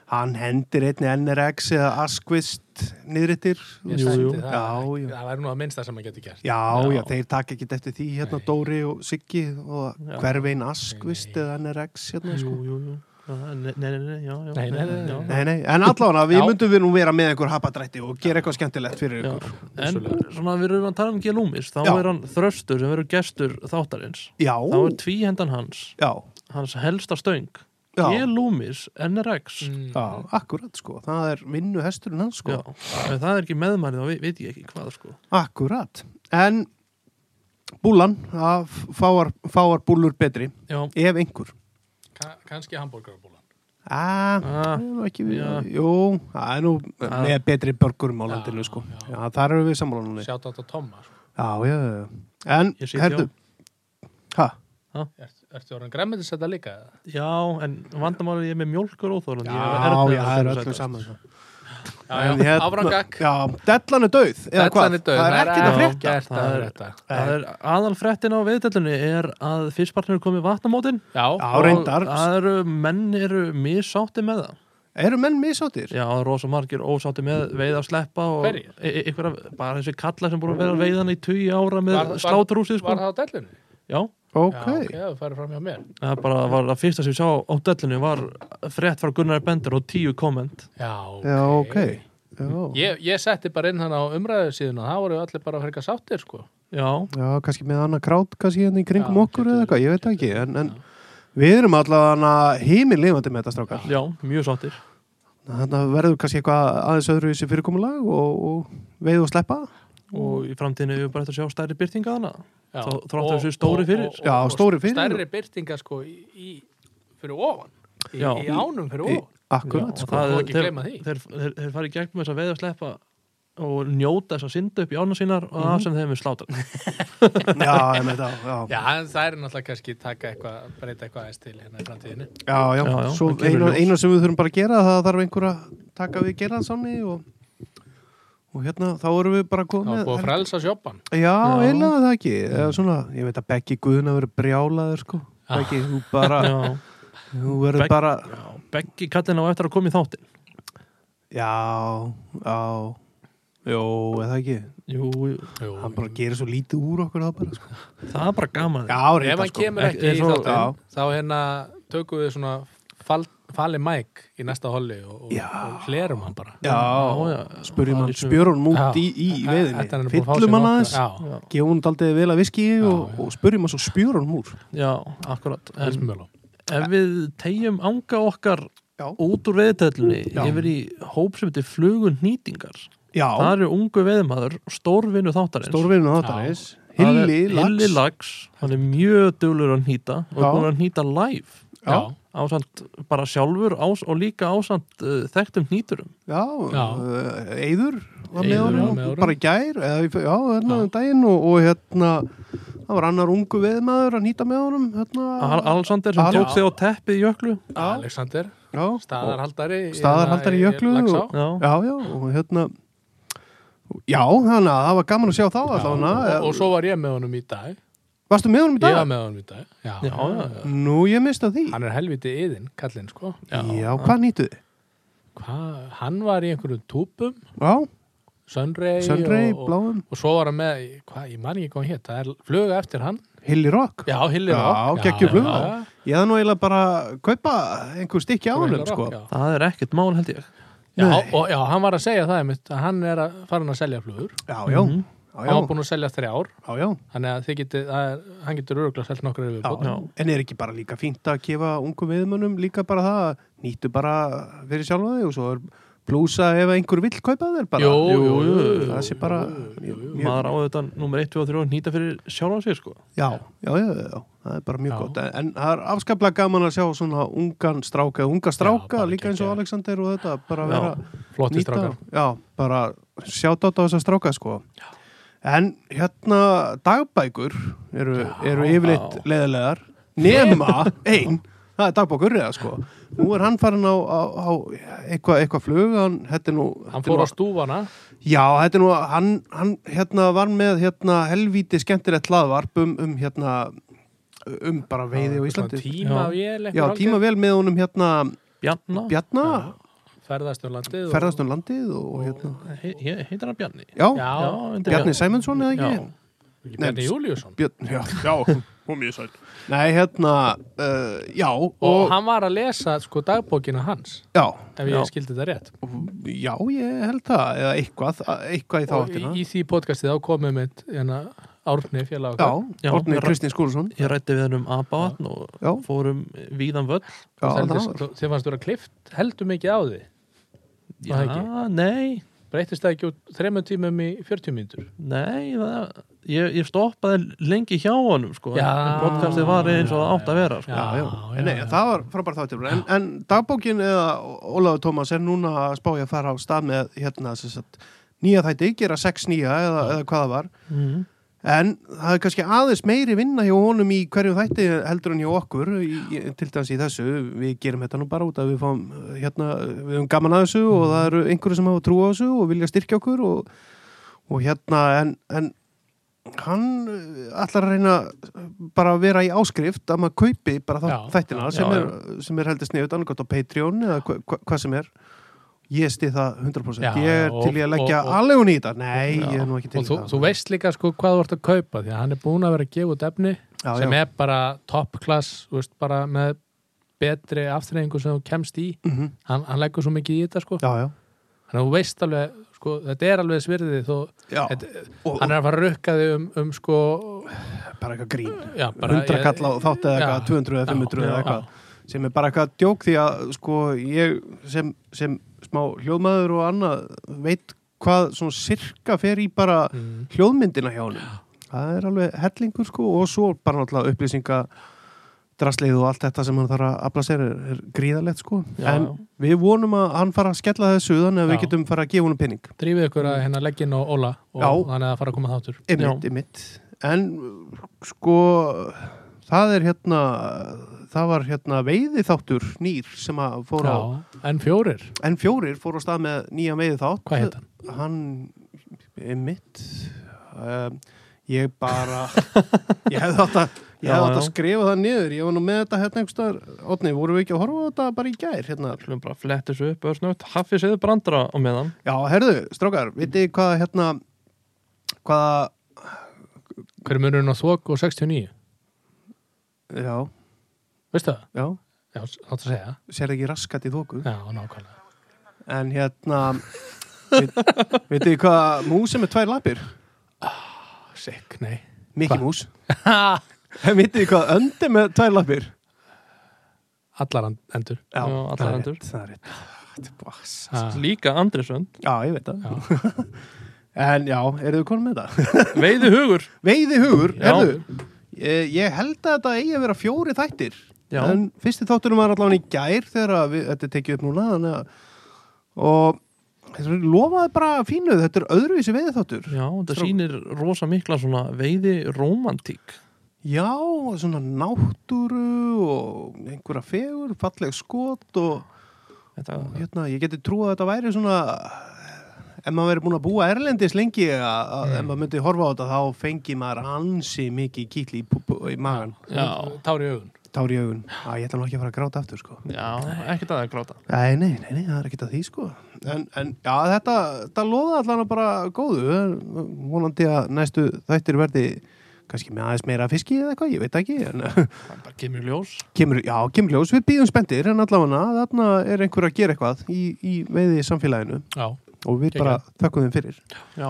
Speaker 2: hann hendir einni NRX eða Askvist niðrittir
Speaker 1: Ég
Speaker 3: Jú,
Speaker 1: sætti
Speaker 3: jú.
Speaker 1: það.
Speaker 2: Já, já.
Speaker 1: Það væri nú að minnsta sem maður getur gert
Speaker 2: Já,
Speaker 3: Já.
Speaker 2: já, þeir taka ekki eftir því hérna
Speaker 1: Nei.
Speaker 2: Dóri og Siggi og
Speaker 3: Já.
Speaker 2: hverfein Askvist
Speaker 1: Nei.
Speaker 2: eða NRX hérna
Speaker 3: jú,
Speaker 2: sko
Speaker 3: jú, jú Já, Nei, nei, nei, nei, já, já
Speaker 1: Nei, nei, nei, nei.
Speaker 2: Nei, nei, en allavega við
Speaker 1: Já.
Speaker 2: myndum við nú vera með einhver hapadrætti og gera eitthvað skemmtilegt fyrir
Speaker 3: Já,
Speaker 2: ykkur
Speaker 3: en
Speaker 1: Vissulega.
Speaker 3: svona við erum að tala um Gelúmis þá
Speaker 2: Já.
Speaker 3: er hann þröstur sem verður gestur þáttarins
Speaker 2: Já,
Speaker 3: þá er tvíhendan hans,
Speaker 2: já,
Speaker 3: hans helsta stöng
Speaker 2: Já.
Speaker 3: Gelúmis NRX
Speaker 1: Mm.
Speaker 2: já, akkurat sko það er vinnu hesturinn hans sko
Speaker 3: Já, ef það er ekki meðmælið þá ve- veit ég ekki hvað sko
Speaker 2: Akkurat, en búlan, það fáar, fáar búlur betri,
Speaker 3: Já,
Speaker 2: ef einhver
Speaker 1: Ka kannski hambúrgarabúlan
Speaker 2: Ah,
Speaker 3: Ah,
Speaker 2: það er nú ekki við
Speaker 3: já.
Speaker 2: Jú, það er nú
Speaker 3: Ah.
Speaker 2: með betri börgurum á
Speaker 1: Já,
Speaker 2: landinu sko
Speaker 1: já.
Speaker 2: Já, þar eru við sammála núni Já,
Speaker 1: Sjátt átt á Tomma sko.
Speaker 2: já, já En,
Speaker 3: Ég sit
Speaker 2: herðu Hæ?
Speaker 1: Ert, Ertu orðin græmmetis þetta líka? eða?
Speaker 3: já, en vandamálið ég er með mjólkur óþólandi
Speaker 2: Já,
Speaker 3: ég hef erfitt með
Speaker 2: já,
Speaker 3: að
Speaker 2: það er
Speaker 3: sætast.
Speaker 2: öllu saman sko.
Speaker 1: Já,
Speaker 2: En
Speaker 1: já,
Speaker 2: hérna-
Speaker 1: áframgakk
Speaker 2: Já, dellan er dauð eða hvað?
Speaker 1: Dellan er dauð,
Speaker 2: Það er ekkert
Speaker 3: er-
Speaker 2: að frétta
Speaker 1: ekkert að
Speaker 3: Það er-
Speaker 1: frétta.
Speaker 3: Það er aðal fréttin á viðdælunni er að fyrstpartnir komið vatnamótin
Speaker 1: Já,
Speaker 2: Já,
Speaker 1: og-
Speaker 2: reyndar. Þar-
Speaker 3: Það eru, menn eru misátti með það
Speaker 2: Eru menn misáttir?
Speaker 3: Já, rosa margir ósátti með veið að sleppa og
Speaker 1: Hverjir?
Speaker 3: e- e- einhverja, bara þessi kalla sem búin að vera að veiðan í 20 ára
Speaker 1: Var-
Speaker 3: með
Speaker 1: var-
Speaker 3: sláturhúsið sko
Speaker 1: Var það á dellunni?
Speaker 3: Já,
Speaker 2: Ok,
Speaker 1: Já, ok, það færi fram hjá mér
Speaker 3: það er bara var það fyrsta sem ég sá á dellinu var frétt frá Gunnar Bender og 10 komment
Speaker 1: Já,
Speaker 2: já, ok Já,
Speaker 1: Ég, ég setti bara inn hann á umræðu síðan og það voru allir bara að ferka sáttir sko
Speaker 3: Já,
Speaker 2: já kannski með annað krát kannski hérna í kringum
Speaker 1: Já,
Speaker 2: okkur
Speaker 1: getur
Speaker 2: eða eitthvað, ég veit það ekki en, en við erum allavega heiminn lifandi með þetta strákar
Speaker 3: já, mjög sáttir
Speaker 2: Þannig að verður kannski eitthvað aðeins öðru í þessi fyrirkomulag og, og veið og sleppa
Speaker 3: og í framtíðinu hefur bara eftir að sjá stærri byrtinga þarna
Speaker 1: Já.
Speaker 3: Þó- þrátt
Speaker 1: Og-
Speaker 3: þessu stóri
Speaker 1: og-
Speaker 3: fyrir.
Speaker 1: og- og-
Speaker 2: Já,
Speaker 1: og
Speaker 2: stóri fyrir.
Speaker 1: Stærri byrtinga sko í, í, fyrir ofan í,
Speaker 3: Já.
Speaker 1: í ánum fyrir ofan
Speaker 2: Akkurat,
Speaker 3: Já,
Speaker 2: sko
Speaker 3: og það-
Speaker 1: Má ekki
Speaker 3: þeir-
Speaker 1: gleyma því.
Speaker 3: þeir, þeir, þeir fara í gegn með þess að veið að sleppa og njóta þess að synda upp í ána sínar og
Speaker 1: Mhm.
Speaker 3: það sem þeim er slátan
Speaker 2: Já, ég með það, já
Speaker 1: Já, en það er náttúrulega kannski taka eitthvað, breyta eitthvað aðeins til hérna í framtíðinni.
Speaker 2: Já, já,
Speaker 3: Já, já,
Speaker 2: svo
Speaker 3: það kemur
Speaker 2: eina,
Speaker 3: ljós.
Speaker 2: eina sem við þurfum bara að gera það þarf einhver að taka við gerðansánni og, og hérna, þá erum við bara
Speaker 1: Það
Speaker 2: komið
Speaker 1: var búið að frelsa sjoppan.
Speaker 2: Já, já.
Speaker 3: Já. Ah.
Speaker 2: eiginlega það ekki Eða svona, ég veit að Beggi Guðna verður brjálaður sko Beggi, þú bara
Speaker 3: Já,
Speaker 2: þú verður
Speaker 3: Begg-
Speaker 2: bara,
Speaker 3: já, beggi kallin á eftir að koma í þáttin
Speaker 2: já, já Jó, eða ekki
Speaker 3: Jú, jú,
Speaker 1: Jú,
Speaker 2: Hann bara gerir svo lítið úr okkur það bara sko
Speaker 3: það er bara gaman
Speaker 2: Já,
Speaker 1: ef
Speaker 2: reynda
Speaker 1: hann
Speaker 2: sko
Speaker 1: kemur ekki
Speaker 3: Ekki-
Speaker 1: í
Speaker 3: svo-
Speaker 1: þáttinn, þá hérna tökum við svona fal, fali mæk í næsta holli og, og,
Speaker 2: Já.
Speaker 1: og hlerum hann bara.
Speaker 2: Já,
Speaker 3: já,
Speaker 2: spurjum
Speaker 3: það
Speaker 2: hann,
Speaker 3: lýsum-
Speaker 1: Já.
Speaker 2: spjörum út í, í
Speaker 1: Þetta- þetta er hann búinn að
Speaker 2: veðinni,
Speaker 1: fá sér
Speaker 2: fyllum hann
Speaker 1: nokkra-
Speaker 2: aðeins
Speaker 1: Já,
Speaker 3: Já,
Speaker 2: gefum hann aldrei vel að viski og, og spurjum hann svo spjörum úr
Speaker 3: já akkurat
Speaker 1: það er
Speaker 3: en,
Speaker 1: smjölu.
Speaker 3: Ef við tegjum anga okkar
Speaker 2: Já.
Speaker 3: út úr veiðtællunni
Speaker 2: Já.
Speaker 3: yfir í hóp sem heitir flugun nýtingar
Speaker 2: Já,
Speaker 3: Það eru ungu veiðmaður, stór vinnu þáttarins
Speaker 2: stórvinnu
Speaker 1: Já.
Speaker 2: þáttarins
Speaker 3: Það er
Speaker 2: Hilli lax.
Speaker 3: Hilli lags, hann er mjög duglur að nýta og
Speaker 2: Já.
Speaker 3: er búin að nýta live
Speaker 2: Já.
Speaker 1: já,
Speaker 3: ásamt bara sjálfur ás, og líka ásamt uh, þekktum nýturum
Speaker 2: Já,
Speaker 1: Já.
Speaker 2: uh, Eyður var með
Speaker 1: Eiður
Speaker 2: honum,
Speaker 1: var með honum.
Speaker 2: bara í gær eða, í- já, hérna
Speaker 1: Já.
Speaker 2: um daginn og, og hérna það var annar ungu veðmaður að nýta með honum
Speaker 3: Al
Speaker 2: hérna,
Speaker 3: Alexander sem
Speaker 2: Al-
Speaker 3: tók
Speaker 1: Já.
Speaker 3: þig á teppið í jöklu
Speaker 1: Alexander
Speaker 2: já,
Speaker 1: staðarhaldari í-
Speaker 2: Staðarhaldari í
Speaker 1: hérna
Speaker 2: Jöklu
Speaker 1: Laxá.
Speaker 2: og-
Speaker 3: Já,
Speaker 2: já, já, og hérna já, þannig að það var gaman að sjá þá
Speaker 1: Já,
Speaker 2: allavega
Speaker 1: og, og svo var ég með honum í dag
Speaker 2: varstu með honum í
Speaker 1: ég
Speaker 2: dag?
Speaker 1: var með honum í dag já,
Speaker 3: Já, já,
Speaker 2: Nú, ég mista því
Speaker 1: hann er helviti yðin, kallinn sko
Speaker 2: Já, hvað nýtuði?
Speaker 1: Hva, hann var í einhverjum túpum
Speaker 2: Já,
Speaker 1: Sunray,
Speaker 2: Sönrei,
Speaker 1: og, og,
Speaker 2: Bláum,
Speaker 1: og svo var hann með hvað, ég man ekki hvað hann hétt, það er fluga eftir hann
Speaker 2: Hilli Rock
Speaker 1: já, Hilli
Speaker 2: Já,
Speaker 1: Rock.
Speaker 2: geggjuð fluga.
Speaker 1: já, já.
Speaker 2: Ég það nú eiginlega bara að kaupa einhver stykki á honum,
Speaker 1: Hilli Rock,
Speaker 2: sko
Speaker 1: já.
Speaker 3: það er ekkert mál held ég
Speaker 1: Já,
Speaker 2: Nei.
Speaker 1: og, já, hann var að segja það einmitt að hann er að farin að selja flugur
Speaker 2: Já, já,
Speaker 3: Mhm.
Speaker 2: já,
Speaker 1: hann
Speaker 2: já,
Speaker 1: var búin að selja þrjár
Speaker 2: já, já.
Speaker 1: þannig að þið geti, að, hann getur öruglega selt nokkra yfir
Speaker 2: Já,
Speaker 1: bótt
Speaker 3: Já.
Speaker 2: en er ekki bara líka fínt að gefa ungum viðmönnum líka bara það að nýttu bara fyrir sjálfa þig og svo er blúsa ef einhver vill kaupa þér bara það sé bara mjög, mjög,
Speaker 3: maður á þetta nummer 1, 2 og 3 að nýta fyrir sjálfan sér sko
Speaker 2: já, já, já, já, já, það er bara mjög
Speaker 1: Já.
Speaker 2: gott en, en það er afskaplega gaman að sjá svona ungan stráka, unga stráka
Speaker 1: bara
Speaker 2: líka eins og
Speaker 1: geggjað.
Speaker 2: Alexander og þetta bara
Speaker 3: Já.
Speaker 2: vera
Speaker 1: flotti
Speaker 2: nýta,
Speaker 1: strákar
Speaker 2: já, bara sjátt á þessa stráka sko en hérna dagbækur eru, eru yfirleitt leðilegar nema ein það er dagbækur reyða sko nú er hann farin á, á, á eitthvað eitthva flug hann, þetta er nú,
Speaker 1: hann
Speaker 2: þetta er
Speaker 1: fór á
Speaker 2: nú,
Speaker 1: stúfana
Speaker 2: já, þetta er nú hann, hann hérna var með hérna helvíti skemmtilegt hlaðvarp um, um hérna um bara veiði á Íslandi
Speaker 1: tíma
Speaker 3: Já.
Speaker 1: vél
Speaker 2: já, tíma vel með honum hérna
Speaker 3: Bjarna,
Speaker 2: Bjarna,
Speaker 1: ferðast um landið og-
Speaker 2: ferðast um landið og, og hérna,
Speaker 3: he, he, heitir hann Bjarni
Speaker 2: já,
Speaker 1: já,
Speaker 3: Já, undir
Speaker 2: Bjarni Sæmundsson eða ekki?
Speaker 3: Já.
Speaker 1: ekki
Speaker 2: Nei,
Speaker 1: Bjarni Júliusson
Speaker 2: Bjarni, já. Já, hún mjög sæl. Nei, hérna, uh, já, og,
Speaker 1: og, hann var að lesa sko dagbókina hans
Speaker 2: já,
Speaker 1: ef ég
Speaker 3: Já.
Speaker 1: skildi þetta rétt
Speaker 2: já, ég held það, eða eitthvað, eitthvað í þá
Speaker 1: og í,
Speaker 2: áttina.
Speaker 1: í því podcastið þá komum mitt hérna, Árni félag
Speaker 2: Já,
Speaker 1: okkar
Speaker 3: Já,
Speaker 2: Ornir
Speaker 3: bara-
Speaker 2: Kristins Skúlusson.
Speaker 3: Ég rætti við hann um Abavatn og
Speaker 2: Já.
Speaker 3: fórum víðan völl.
Speaker 2: Já,
Speaker 1: Þú
Speaker 2: það
Speaker 1: seldist-
Speaker 2: var.
Speaker 1: þú- þið fannst þú vera klift heldur mikið á því
Speaker 3: Já,
Speaker 1: það ekki?
Speaker 3: nei,
Speaker 1: breytist það ekki úr þremmu tímum í 40 mínútur
Speaker 3: nei, það, ég, ég stoppaði lengi hjá honum, sko.
Speaker 1: Já.
Speaker 3: En Podcastið var eins og það átt að vera, sko.
Speaker 2: Já, já,
Speaker 1: já,
Speaker 2: Nei,
Speaker 1: já.
Speaker 2: það var frábær þáttur. En, en dagbókin eða Ólaður Tómas er núna að spája að fara á stað með, hérna, sem sagt, nýja þætti, gera sex nýja eða, eða hvað það var.
Speaker 3: Mhm.
Speaker 2: En það er kannski aðeins meiri vinna hjá honum í hverjum þætti heldur en hjá okkur í, í, til dæmis í þessu, við gerum þetta nú bara út að við fáum uh, hérna, við höfum gaman að þessu og það eru einhverju sem hafa trú á þessu og vilja styrkja okkur og, og hérna en, en hann uh, ætlar að reyna uh, bara að vera í áskrift að maður kaupi bara þá,
Speaker 1: Já,
Speaker 2: þættina
Speaker 1: já,
Speaker 2: sem,
Speaker 3: já,
Speaker 2: Er, sem er heldur sniðut annarkot á Patreon eða hva, hva, hvað sem er ég stið það 100%
Speaker 1: Já,
Speaker 2: ég er
Speaker 1: já, og-
Speaker 2: til ég að leggja
Speaker 1: og- og-
Speaker 2: alveg hún í þetta nei, ég er nú ekki til
Speaker 1: og þú,
Speaker 2: í það
Speaker 1: þú veist líka sko hvað þú ert að kaupa því að hann er búin að vera að gefa út efni
Speaker 2: Já,
Speaker 1: sem
Speaker 2: já.
Speaker 1: er bara top class þú veist, bara með betri aftreyingu sem þú kemst í
Speaker 2: Mhm.
Speaker 1: hann, hann leggur svo mikið í þetta sko
Speaker 2: já, já
Speaker 1: þannig að þú veist alveg sko, þetta er alveg svirðið þó,
Speaker 2: Já,
Speaker 1: þetta,
Speaker 2: og,
Speaker 1: hann er að fara að rukka þig um, um sko
Speaker 2: bara eitthvað grín
Speaker 1: já, bara,
Speaker 2: 100 kall á þátt eða
Speaker 1: Já.
Speaker 2: eitthvað 200 eða 500 eða
Speaker 1: Já.
Speaker 2: eitthvað sem er bara eitthvað djók því að sko ég sem, sem smá hljóðmaður og annað veit hvað svona sirka fer í bara
Speaker 1: Mm.
Speaker 2: hljóðmyndina hjá honum það er alveg hellingur sko og svo bara náttúrulega upplýsinga draslið og allt þetta sem hann þarf að afla sér er, er gríðalegt sko
Speaker 3: Já,
Speaker 2: en
Speaker 3: já.
Speaker 2: við vonum að hann fara að skella þessu þannig að við
Speaker 1: Já.
Speaker 2: getum fara að gefa honum pinning
Speaker 1: drífið ykkur að hérna leggja inn á Óla og
Speaker 2: Já.
Speaker 1: hann er að fara að koma þáttur
Speaker 2: Ymmit, ymmit. En uh, sko, það er hérna, það var hérna veiði þáttur nýr sem að fór á,
Speaker 1: já, en fjórir,
Speaker 2: en fjórir fór á stað með nýja veiði þátt.
Speaker 1: hvað heit hann?
Speaker 2: Hann, ymmit, um, ég bara, ég hefði átt að, ég
Speaker 3: Já,
Speaker 2: hefði átt
Speaker 3: já.
Speaker 2: að skrifa það niður. Ég var nú með þetta hérna einhverstaðar, Otni, vorum við ekki að horfa á þetta bara í gær hérna?
Speaker 3: Við skulum bara fletta þessu upp, örsnögt. Hafið séðu brandara á meðan.
Speaker 2: Já, herðu, strákar, vitið þið hvað hérna, hvaða,
Speaker 1: hver er munurinn á þvok og 69?
Speaker 2: já,
Speaker 1: veistu það?
Speaker 2: já,
Speaker 1: já, þátt að segja
Speaker 2: sér ekki raskat í þóku?
Speaker 1: já, nákvæmlega
Speaker 2: En hérna veit, Vitið þið hvað mús sem er tvær lapir?
Speaker 1: sick, nei
Speaker 2: Mikki
Speaker 1: Hvað?
Speaker 2: mús En vitið þið hvað öndi með tvær lapir?
Speaker 1: allar and- endur
Speaker 3: Já, allar
Speaker 2: það er Ah,
Speaker 3: hendur.
Speaker 2: rétt, Það er rétt Þetta er bara-
Speaker 1: Ha.
Speaker 3: Líka Andrisönd.
Speaker 2: Já, ég veit það
Speaker 1: Já.
Speaker 2: En já, eru þið konum með þetta?
Speaker 1: Veiði hugur
Speaker 2: Veiði hugur,
Speaker 3: Já.
Speaker 2: erðu Ég ég held að þetta eigi að vera fjóri þættir
Speaker 3: Já.
Speaker 2: En fyrsti þátturum var allavega í gær þegar að við, þetta er tekið upp núna þannig að, og þetta lofaði bara fínu, þetta er öðruvísi veiði þáttur
Speaker 3: Já, þetta
Speaker 2: Strák-
Speaker 3: sýnir rosa mikla svona veiði rómantík
Speaker 2: Já, svona náttúru og einhverja fegur, falleg skot og
Speaker 3: Þetta,
Speaker 2: hérna, ég geti trúið að þetta væri svona ef maður verið búin að búa erlendis lengi að, að ef maður myndi horfa á þetta þá fengi maður ansi mikið kýtli í, pú- pú- í magan
Speaker 1: Já, tár í augun
Speaker 2: tár í augun að ég ætla nú ekki að fara að gráta aftur sko
Speaker 3: Já, ekkert að það gráta
Speaker 2: nei, nei, nei, nei, það er ekki að því sko en, en já, þetta, þetta loða allan að bara góðu vonandi að næstu þættir verði kannski með aðeins meira fiski eða eitthvað, ég veit ekki en
Speaker 3: Það er bara kemur í ljós
Speaker 2: kemur, já, kemur ljós, við býðum spendir en allavega þarna er einhver að gera eitthvað í, í veiði samfélaginu
Speaker 1: Já,
Speaker 2: og við bara þökkum þeim fyrir
Speaker 3: Já,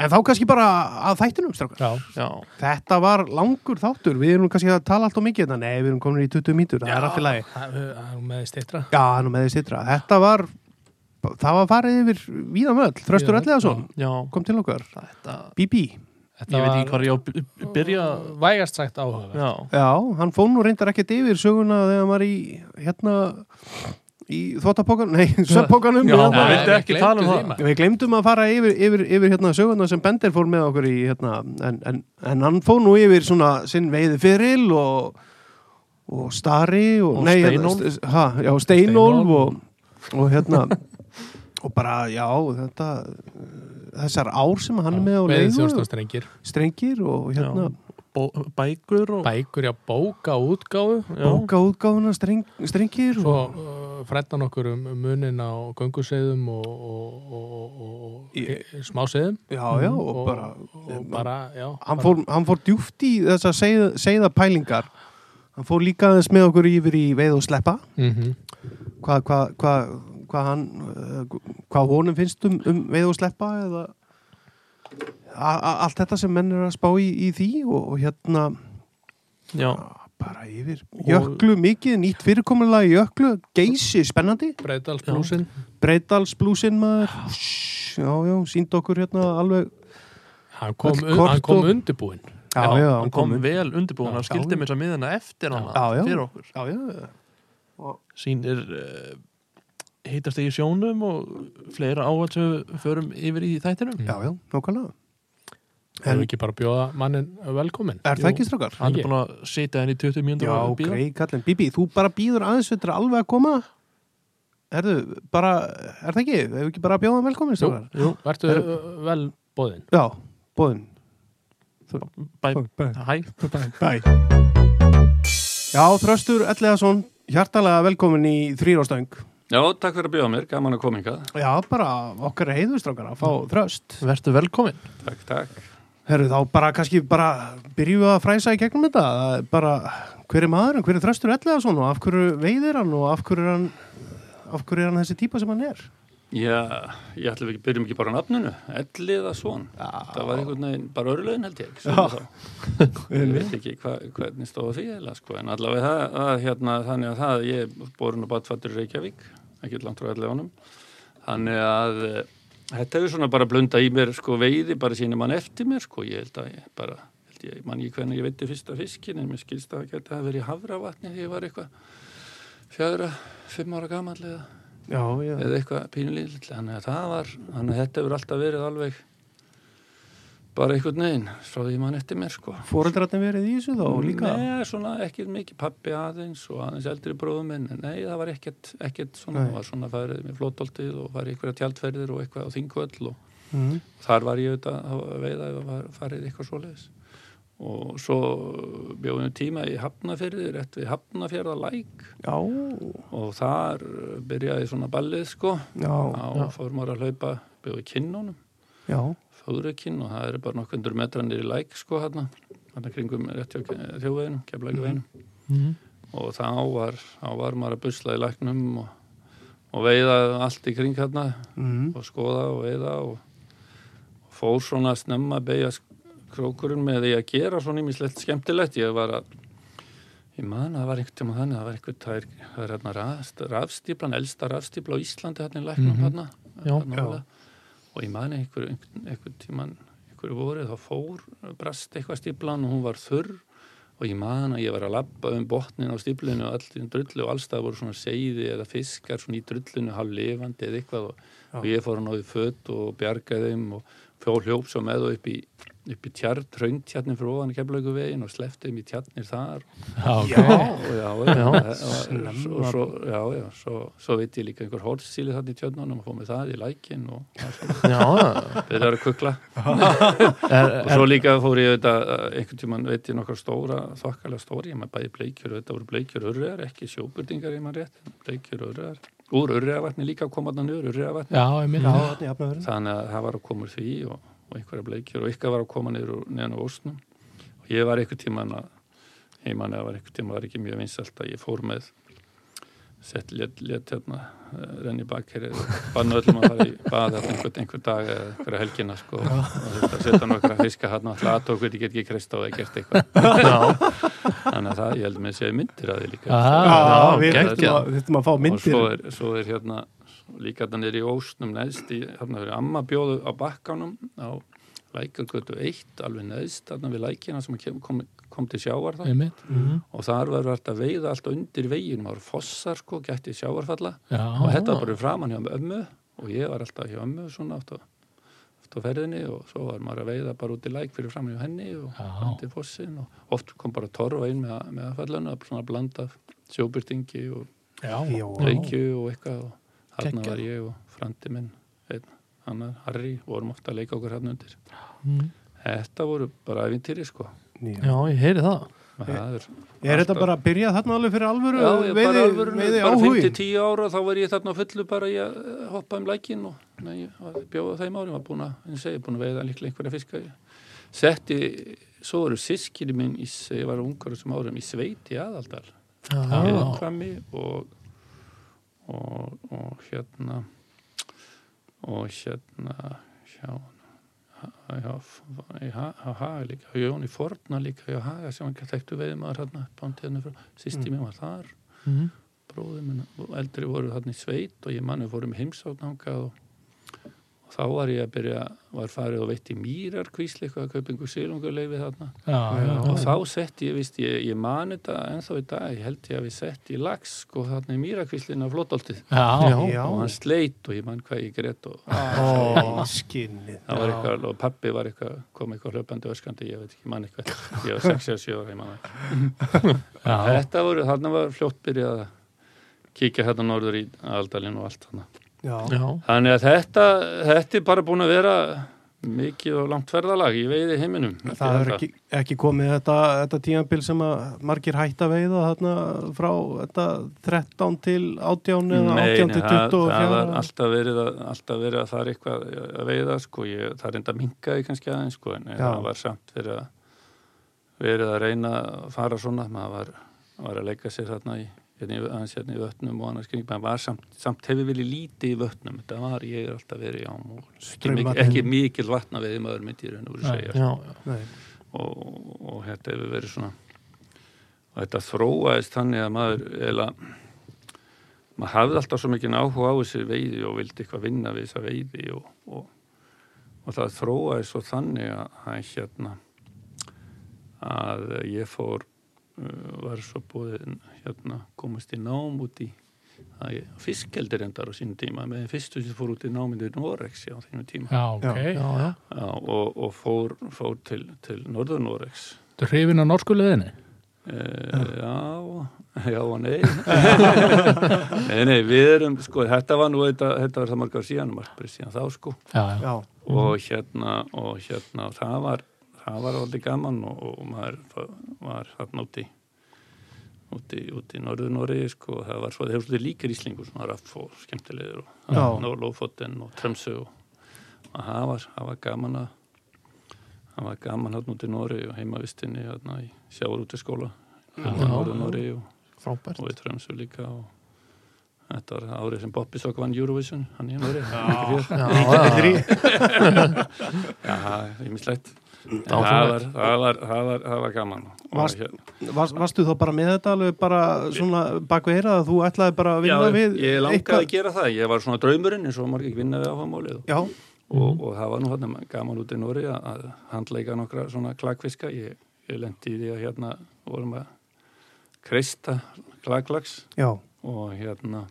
Speaker 2: en þá kannski bara að þættinum strákar
Speaker 1: já
Speaker 3: já
Speaker 2: þetta var langur þáttur, við erum kannski að tala allt og mikið, þetta. nei, við erum komin í 20 mítur það er allt í lagi
Speaker 1: Það það er með stittra
Speaker 2: Já, hann er með því sittra. Þetta var, það var farið yfir Víðamöll,
Speaker 1: Víða
Speaker 2: Þröstur
Speaker 1: Möll,
Speaker 2: Elliðarsson,
Speaker 3: Já,
Speaker 2: kom til okkar.
Speaker 3: þetta
Speaker 2: BB.
Speaker 1: Þetta
Speaker 3: Ég veit
Speaker 1: var
Speaker 3: ekki hvað ég á að by- byrja
Speaker 1: Vægast sagt áhuga
Speaker 3: Já,
Speaker 2: Já, hann fór nú reyndar ekkert yfir söguna þegar hann var í, hérna, í þvóttapokan, nei, söppokanum.
Speaker 3: Já,
Speaker 2: Hérna.
Speaker 3: maður vildi ekki tala um það.
Speaker 2: Við glemdum að fara yfir, yfir, yfir hérna, söguna sem Bender fór með okkur í, hérna, en, en, en hann fór nú yfir svona sinn veiði fyril og, og Stari og,
Speaker 3: Og
Speaker 2: nei, hérna,
Speaker 3: Steinólf.
Speaker 2: st- ha, já, Steinólf og, og hérna, og bara, já, þetta, þessar ár sem hann er með á
Speaker 1: Veiði
Speaker 2: leiðu,
Speaker 1: þjóðstofstrengir
Speaker 2: strengir og hérna,
Speaker 3: bó- bækur og
Speaker 1: Bækur, já, bóka, útgáfu
Speaker 3: Já,
Speaker 2: bókaútgáfuna, streng, strengir
Speaker 1: Svo
Speaker 2: og...
Speaker 1: uh, freddan okkur um um munin á gönguseiðum og, og, og, og, og
Speaker 2: Í-
Speaker 1: e- smáseiðum
Speaker 2: Já, já, og, bara,
Speaker 1: og bara, já
Speaker 2: hann
Speaker 1: bara-
Speaker 2: fór, hann fór djúft í þessar segð, segða pælingar hann fór líka aðeins með okkur yfir í veið og sleppa
Speaker 1: Mhm.
Speaker 2: hvað hva, hva, hva hann eh, hvað honum finnst um, um veið og sleppa eða a, a, allt þetta sem menn eru að spá í, í því og, og hérna
Speaker 3: já,
Speaker 2: bara yfir jöklu mikið, nýtt fyrirkomulega jöklu geysi spennandi,
Speaker 1: Breiðdalsblúsin
Speaker 2: breytalsblúsin maður já, já, sínd okkur hérna alveg
Speaker 1: Hann kom,
Speaker 2: Öll kort
Speaker 1: hann kom
Speaker 2: og-
Speaker 1: undirbúin
Speaker 2: já, já,
Speaker 3: hann kom
Speaker 2: inn.
Speaker 3: vel undirbúin hann
Speaker 2: Já,
Speaker 3: skildi
Speaker 2: já.
Speaker 3: mér svo miðina eftir hann
Speaker 2: Já, já.
Speaker 3: fyrir okkur
Speaker 2: já, já,
Speaker 3: sýnir uh, heitast í sjónum og fleira áhald sem við förum yfir í þættinum
Speaker 2: já, já, nákvæmlega
Speaker 1: Það er ekki bara að bjóða mannin velkomin
Speaker 2: Er það ekki strákar?
Speaker 3: hann er búin að sitja henni í 20 mjöndur
Speaker 2: Já, grei kallin. Bibi, þú bara býður aðeins þetta er alveg að koma. Herðu, bara, er það ekki? Hefur ekki bara að bjóða hann velkomin
Speaker 1: Jú,
Speaker 2: strákar?
Speaker 1: jú, vertu vel bóðin
Speaker 2: Já, bóðin.
Speaker 3: bæ,
Speaker 2: Bæ.
Speaker 3: hæ,
Speaker 2: Bæ. Já, Þröstur Elliðarsson, hjartalega velkomin í þrýróstöng.
Speaker 4: Já, takk fyrir að bjóða mér, gaman að koma hingað.
Speaker 2: Já, bara okkar heiður strákar að fá Þröst.
Speaker 3: verður velkomin
Speaker 4: Takk, takk.
Speaker 2: Herru, þá bara kannski bara byrjum við að fræsa í gegnum þetta. Það er Bara, hver er maðurinn, hver er Þröstur Elliðarsson og af hverju veiðir hann og af hverju er hann, af hverju er hann þessi típa sem hann er?
Speaker 4: Já, ég ætlum ekki, byrjum ekki bara á nafninu, Elliða Svon. Það var einhvern veginn, bara örlöðin held ég. Já. Ég veit ekki hva, hvernig stóða því eða, sko, en allavega það, það, hérna, þannig að það, ég er borun og batfattur í Reykjavík, ekki langt frá Elliðanum. Þannig að eh, þetta hefur svona bara blunda í mér, sko, veiði, bara síni mann eftir mér, sko, ég held að ég bara, held ég, man ég hvernig ég veitti fyrsta fiskin, en mér skilst að það geti að verið í Hafravatni þegar ég var eitthvað fjögra, fimm ára gamall eða
Speaker 2: Já, já.
Speaker 4: eða eitthvað pínulítill þannig að það var, þannig að þetta hefur alltaf verið alveg bara einhvern veginn frá því mann eftir mér sko
Speaker 2: Fóreldrarnir verið í þessu þá líka?
Speaker 4: Nei, svona ekki mikið pappi aðeins og aðeins eldri bróðum minn en nei, það var ekkert, ekkert svona,
Speaker 2: Nei.
Speaker 4: það var svona farið með flótoltið og farið einhverja tjaldferðir og eitthvað á þingvöll og
Speaker 2: Mm.
Speaker 4: þar var ég auðvitað að veiða ef það var farið eitthvað svoleiðis og svo bjóðum við tíma í Hafnafyrði, rétt við Hafnafjörða læk
Speaker 2: Já,
Speaker 4: og þar eh, byrjaði svona ballið sko
Speaker 2: já,
Speaker 4: Já, fór maður að hlaupa bjóði kinnunum,
Speaker 2: já,
Speaker 4: fóðra kinn og það eru bara nokkundur metrar niður í læk sko hérna, hérna kringum rétt hjá þjóðveginum, keflæku veginum
Speaker 3: Mhm.
Speaker 4: og þá var, þá var maður að busla í læknum og, og veiða allt í kring hérna
Speaker 2: mm.
Speaker 4: og skoða og veiða og, og fór svona að snemma að beigja krókurinn með því að gera svona ímislegt skemmtilegt, ég var að ég man að það var einhvern tíma þannig það var einhvern, það er, það er hérna rafst, rafstíplan elsta rafstípla á Íslandi hérna í læknum
Speaker 1: Mhm.
Speaker 4: hérna
Speaker 3: Já.
Speaker 4: Norðurlega. og og ég man einhver, einhver, einhver tíman einhverju vorið þá fór eh, brast eitthvað stíplan og hún var þurr og ég man að ég var að labba um botnin á stíplinu og allir drullu og allstað voru svona seiði eða fiskar svona í drullinu halvlifandi eða eitthvað og, og ég fór að náði fött og bjargaði þeim og fjóð hljóps og með og upp í upp í tjarn, tröngtjarnir frá ofan kemlaugu veginn og sleftið mér tjarnir þar
Speaker 1: Já,
Speaker 4: og já, já, já,
Speaker 2: snemma.
Speaker 4: og svo, já, já svo, svo veit ég líka einhver hórsýli þarna í tjörnunum og fóð með það í lækin og
Speaker 3: já,
Speaker 4: byrjar að kukla
Speaker 3: er,
Speaker 4: og
Speaker 3: er,
Speaker 4: svo líka fór ég auðvitað eh, einhvern tímann veit ég nokkar stóra, þokkalega stóri ég maður bæði bleikjur, auðvitað voru bleikjur urriðar ekki sjóburdingar ég maður rétt, bleikjur urriðar úr urriðavatni líka koma þarna niður urriðavatni,
Speaker 1: já, ég minn
Speaker 2: Já, þarna í afnæðurinn.
Speaker 4: þannig að það var að koma úr því og, og einhverja bleikjur og ykkar var að koma niður úr- neðan á ósnum og ég var einhvern tímann að heimann eða var einhvern tímann var ekki mjög vinsalt að ég fór með sett létt, létt hérna eh, renni bakkeri og banna öllum að fara í bað hérna einhvern, einhver dag eða einhverja helgina sko og þetta setja nokkra fiska hérna alltaf að okkur, ég get ekki kreist á það gert eitthvað
Speaker 3: já,
Speaker 4: þannig að það, ég held með séu myndir að því líka
Speaker 1: Já,
Speaker 2: Já, við
Speaker 4: Ah, geggjað.
Speaker 2: þurftum að- þurftum að fá
Speaker 4: og svo
Speaker 2: myndir
Speaker 4: er, svo er hérna líka þannig er í ósnum neðst í, hérna fyrir amma bjóðu á bakkanum á lækagötu 1 alveg neðst þarna við lækina sem kem, kom, kom til sjávar þá
Speaker 1: ég minn
Speaker 4: og þar verður alltaf að veiða allt undir veginum það voru fossar sko, gætti sjávarfalla
Speaker 1: Já,
Speaker 4: og þetta var bara framann hjá ömmu og ég var alltaf hjá ömmu svona átt á, átt á ferðinni og svo var maður að veiða bara út í læk fyrir framann hjá henni og
Speaker 1: Já.
Speaker 4: undir fossin og oft kom bara torfa inn með, með aðfallinu svona blanda af sjóbyrtingi og
Speaker 1: já,
Speaker 4: Reykju og eitthvað og þarna
Speaker 1: Geggjað.
Speaker 4: var ég og frandi minn einn, annar, Harry, vorum ofta að leika okkur hann undir. Þetta voru bara æfintýri sko.
Speaker 2: Já.
Speaker 3: já, ég heyri það
Speaker 4: Það er,
Speaker 2: Er þetta bara að byrja þarna alveg fyrir alvöru
Speaker 4: já, ég bara alvöru,
Speaker 2: veiði
Speaker 4: bara
Speaker 2: áhugi?
Speaker 4: 5-10 ára þá var ég þarna á fullu bara ég hoppa um lækin og nei, ég var- bjóða þeim árum að búin að, eins og ég búin að veiða líklega einhverja fiska. Ég Setti, svo eru sískinni minn, í, s- ég var ungar sem árum í sveit í aðaldal.
Speaker 3: já,
Speaker 4: viðkvæmi og, og, og hérna og hérna hjá hjá, hjá, hjá Haga líka hjá Jóni Forna líka hjá Haga sem hann þekktu veiðmaður hérna bántíðinu frá sýsti mér var þar
Speaker 3: Mhm.
Speaker 4: bróðum minn og eldri voru þarna í sveit og ég manni fórum heimsátnákað og, og þá var ég að byrja var farið og veitt í mýrar kvísli eitthvað að kaupa einhver silunguleifi þarna og
Speaker 1: já,
Speaker 4: þá setti ég, víst, ég, ég mani þetta ennþá í dag, ég held ég að við setti í lags sko þarna í mýrakvíslinu af flótoltið
Speaker 1: já, já,
Speaker 2: Já,
Speaker 4: og hann sleit og ég man hvað ég grét og
Speaker 2: Ó, skinnið.
Speaker 4: það var eitthvað, og pabbi var eitthvað, kom eitthvað hlöpandi og öskandi, ég veit ekki, ég man eitthvað ég var 6 eða 7 ára, ég man það
Speaker 1: já,
Speaker 4: ekki. þetta voru, þarna var fljótt byrjað að kíkja hérna norður í aldalinn og allt þarna
Speaker 2: Já.
Speaker 3: já,
Speaker 4: þannig að þetta, þetta er bara búin að vera mikið og langt ferðalag ég veiði heiminum
Speaker 2: Það er ekki, ekki komið þetta, þetta tímabil sem að margir hætta veiða þarna frá þetta 13 til 18 eða 18 til
Speaker 4: það,
Speaker 2: 24
Speaker 4: það var alltaf verið að, alltaf verið að það er eitthvað að veiða sko, ég, það reynda minkaði kannski aðeins sko, en
Speaker 2: Já.
Speaker 4: það var samt verið að, verið að reyna að fara svona, maður var, var að leika sér þarna í, hérna í, aðeins hérna í vötnum og annars kring, maður var samt, samt hefur verið lítið í vötnum, þetta var ég er alltaf verið já, ekki,
Speaker 2: Straumvatn.
Speaker 4: mikil, ekki mikil vatna veiði maður myndi í raun og voru
Speaker 1: Nei,
Speaker 4: segja
Speaker 3: já,
Speaker 2: Nei.
Speaker 4: og, og þetta hefur verið svona og þetta þróaðist þannig að maður eða maður hafði alltaf svo mikið áhuga á þessi veiði og vildi eitthvað vinna við þessa veiði og, og, og það þróaðist svo þannig að, að hérna að ég fór uh, var svo búin hérna komast í nám út í að ég- fiskeldir endar á sínum tíma með fyrstu sem fór út í námið í Norex á þínum tíma
Speaker 1: já, ok
Speaker 3: já, já.
Speaker 4: Já, og, og fór, fór til, til Norður Noregs
Speaker 1: Þú er hrifin á norsku leðinni?
Speaker 4: Eh, Já, já og nei Nei, nei, við erum sko, þetta var nú, þetta, þetta var það margar síðan margt bara síðan þá sko
Speaker 1: Já, já,
Speaker 2: Já.
Speaker 4: og hérna, og hérna það var, það var aldrei gaman og, og maður fa- var þarna úti úti, úti í norður Noregi sko, og það var svo, það hefur svolítið líkir íslingur svona raff og
Speaker 2: Já.
Speaker 4: skemmtilegur og hérna, Nó- Lófoten og Trömsö og, og það var, það var gaman að það var gaman hann úti í Noregi og heimavistinni hérna í sjáurútiskóla í norður Noregi og
Speaker 3: frábært
Speaker 4: og við Trömsu líka og þetta var árið sem Bobby Sock vann Eurovision hann í Norri
Speaker 3: já,
Speaker 4: já,
Speaker 3: já, já,
Speaker 4: það er mislegt það var,
Speaker 3: Dásamlegt.
Speaker 4: það, var, það, var, það var hérna. gaman Og
Speaker 2: Mm. Varst-
Speaker 4: hér-
Speaker 2: Var, varstu þá bara með þetta alveg bara svona bakveira að þú ætlaði bara að vinna
Speaker 4: Já,
Speaker 2: við
Speaker 4: ég langaði að gera það ég var svona draumurinn eins og margir ekki vinnaði áfamálið
Speaker 2: Já,
Speaker 4: og, og það var nú hérna gaman út í Nóri að, að handleika nokkra svona klagfiska ég, ég lendi í því að hérna vorum að kreista klaglags
Speaker 2: já,
Speaker 4: og hérna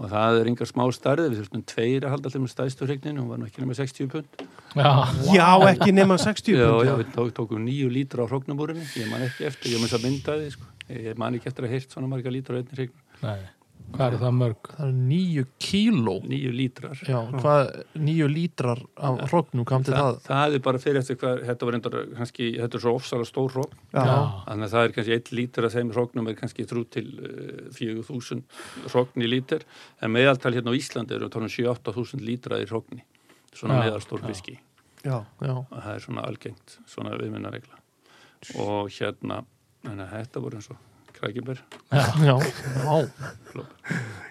Speaker 4: og það er yngar smá starði við þurftum tveir að halda allir með stæðstu hrygninu hún var nú ekki nema 60 pund
Speaker 1: já,
Speaker 2: já ekki nema 60
Speaker 4: já,
Speaker 2: pund,
Speaker 4: já, við tók, tókum nýju lítra á hróknabúrinu ég man ekki eftir, ég mun svo myndaði sko. ég man ekki eftir að heyrt svona marga lítra á einni hrygnu,
Speaker 1: nei hvað eru það mörg?
Speaker 3: það er nýju kíló
Speaker 4: nýju lítrar
Speaker 3: já, hvað nýju lítrar af hrognum kam til
Speaker 4: það,
Speaker 3: það
Speaker 4: það er bara fyrir eftir hvað þetta var reyndar, kannski, þetta er svo ofsala stór hrókn
Speaker 2: já,
Speaker 1: Já.
Speaker 4: þannig að það er kannski 1 lítur af þeim hróknum er kannski 3 til eh, 4.000 hrókn í lítur en meðaltal hérna á Íslandi eru tónum 7-8.000 lítra í hrókni svona
Speaker 1: Já,
Speaker 4: meðalstór viski
Speaker 2: já,
Speaker 3: já,
Speaker 4: og það er svona algengt, svona viðminnaregla og hérna þannig að þetta voru eins og krækjumber
Speaker 3: já, já.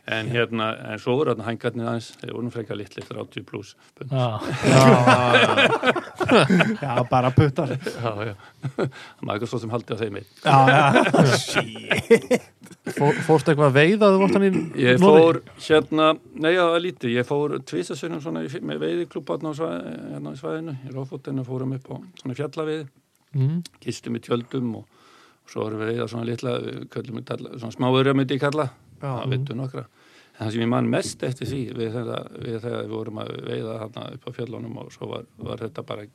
Speaker 4: en hérna, en svo voru hérna hængarnir aðeins þeir voru nú frekar litli 30 pluss
Speaker 1: Já.
Speaker 2: já, bara puttar já,
Speaker 4: já, já, maður eitthvað svo sem haldi á þeim einn
Speaker 2: já, shit
Speaker 3: Fór, fórst eitthvað að veiða þegar þú vart hann í
Speaker 4: Ég
Speaker 3: Noregi?
Speaker 4: fór hérna, nei já, það er lítið, ég fór tvisasunum svona í- með veiðiklúpa hérna á svæ- hérna í svæðinu, í ráfótinu fórum upp á svona fjallaveiði,
Speaker 3: mm,
Speaker 4: gistum í tjöldum og, og svo erum við veiða svona litla, við köllum við talla, svona smáurja myndi ég kalla, það vittu nokkra. En það sem ég man mest eftir því við, þetta, við þegar við vorum að veiða hérna upp á fjallunum og svo var, var þetta bara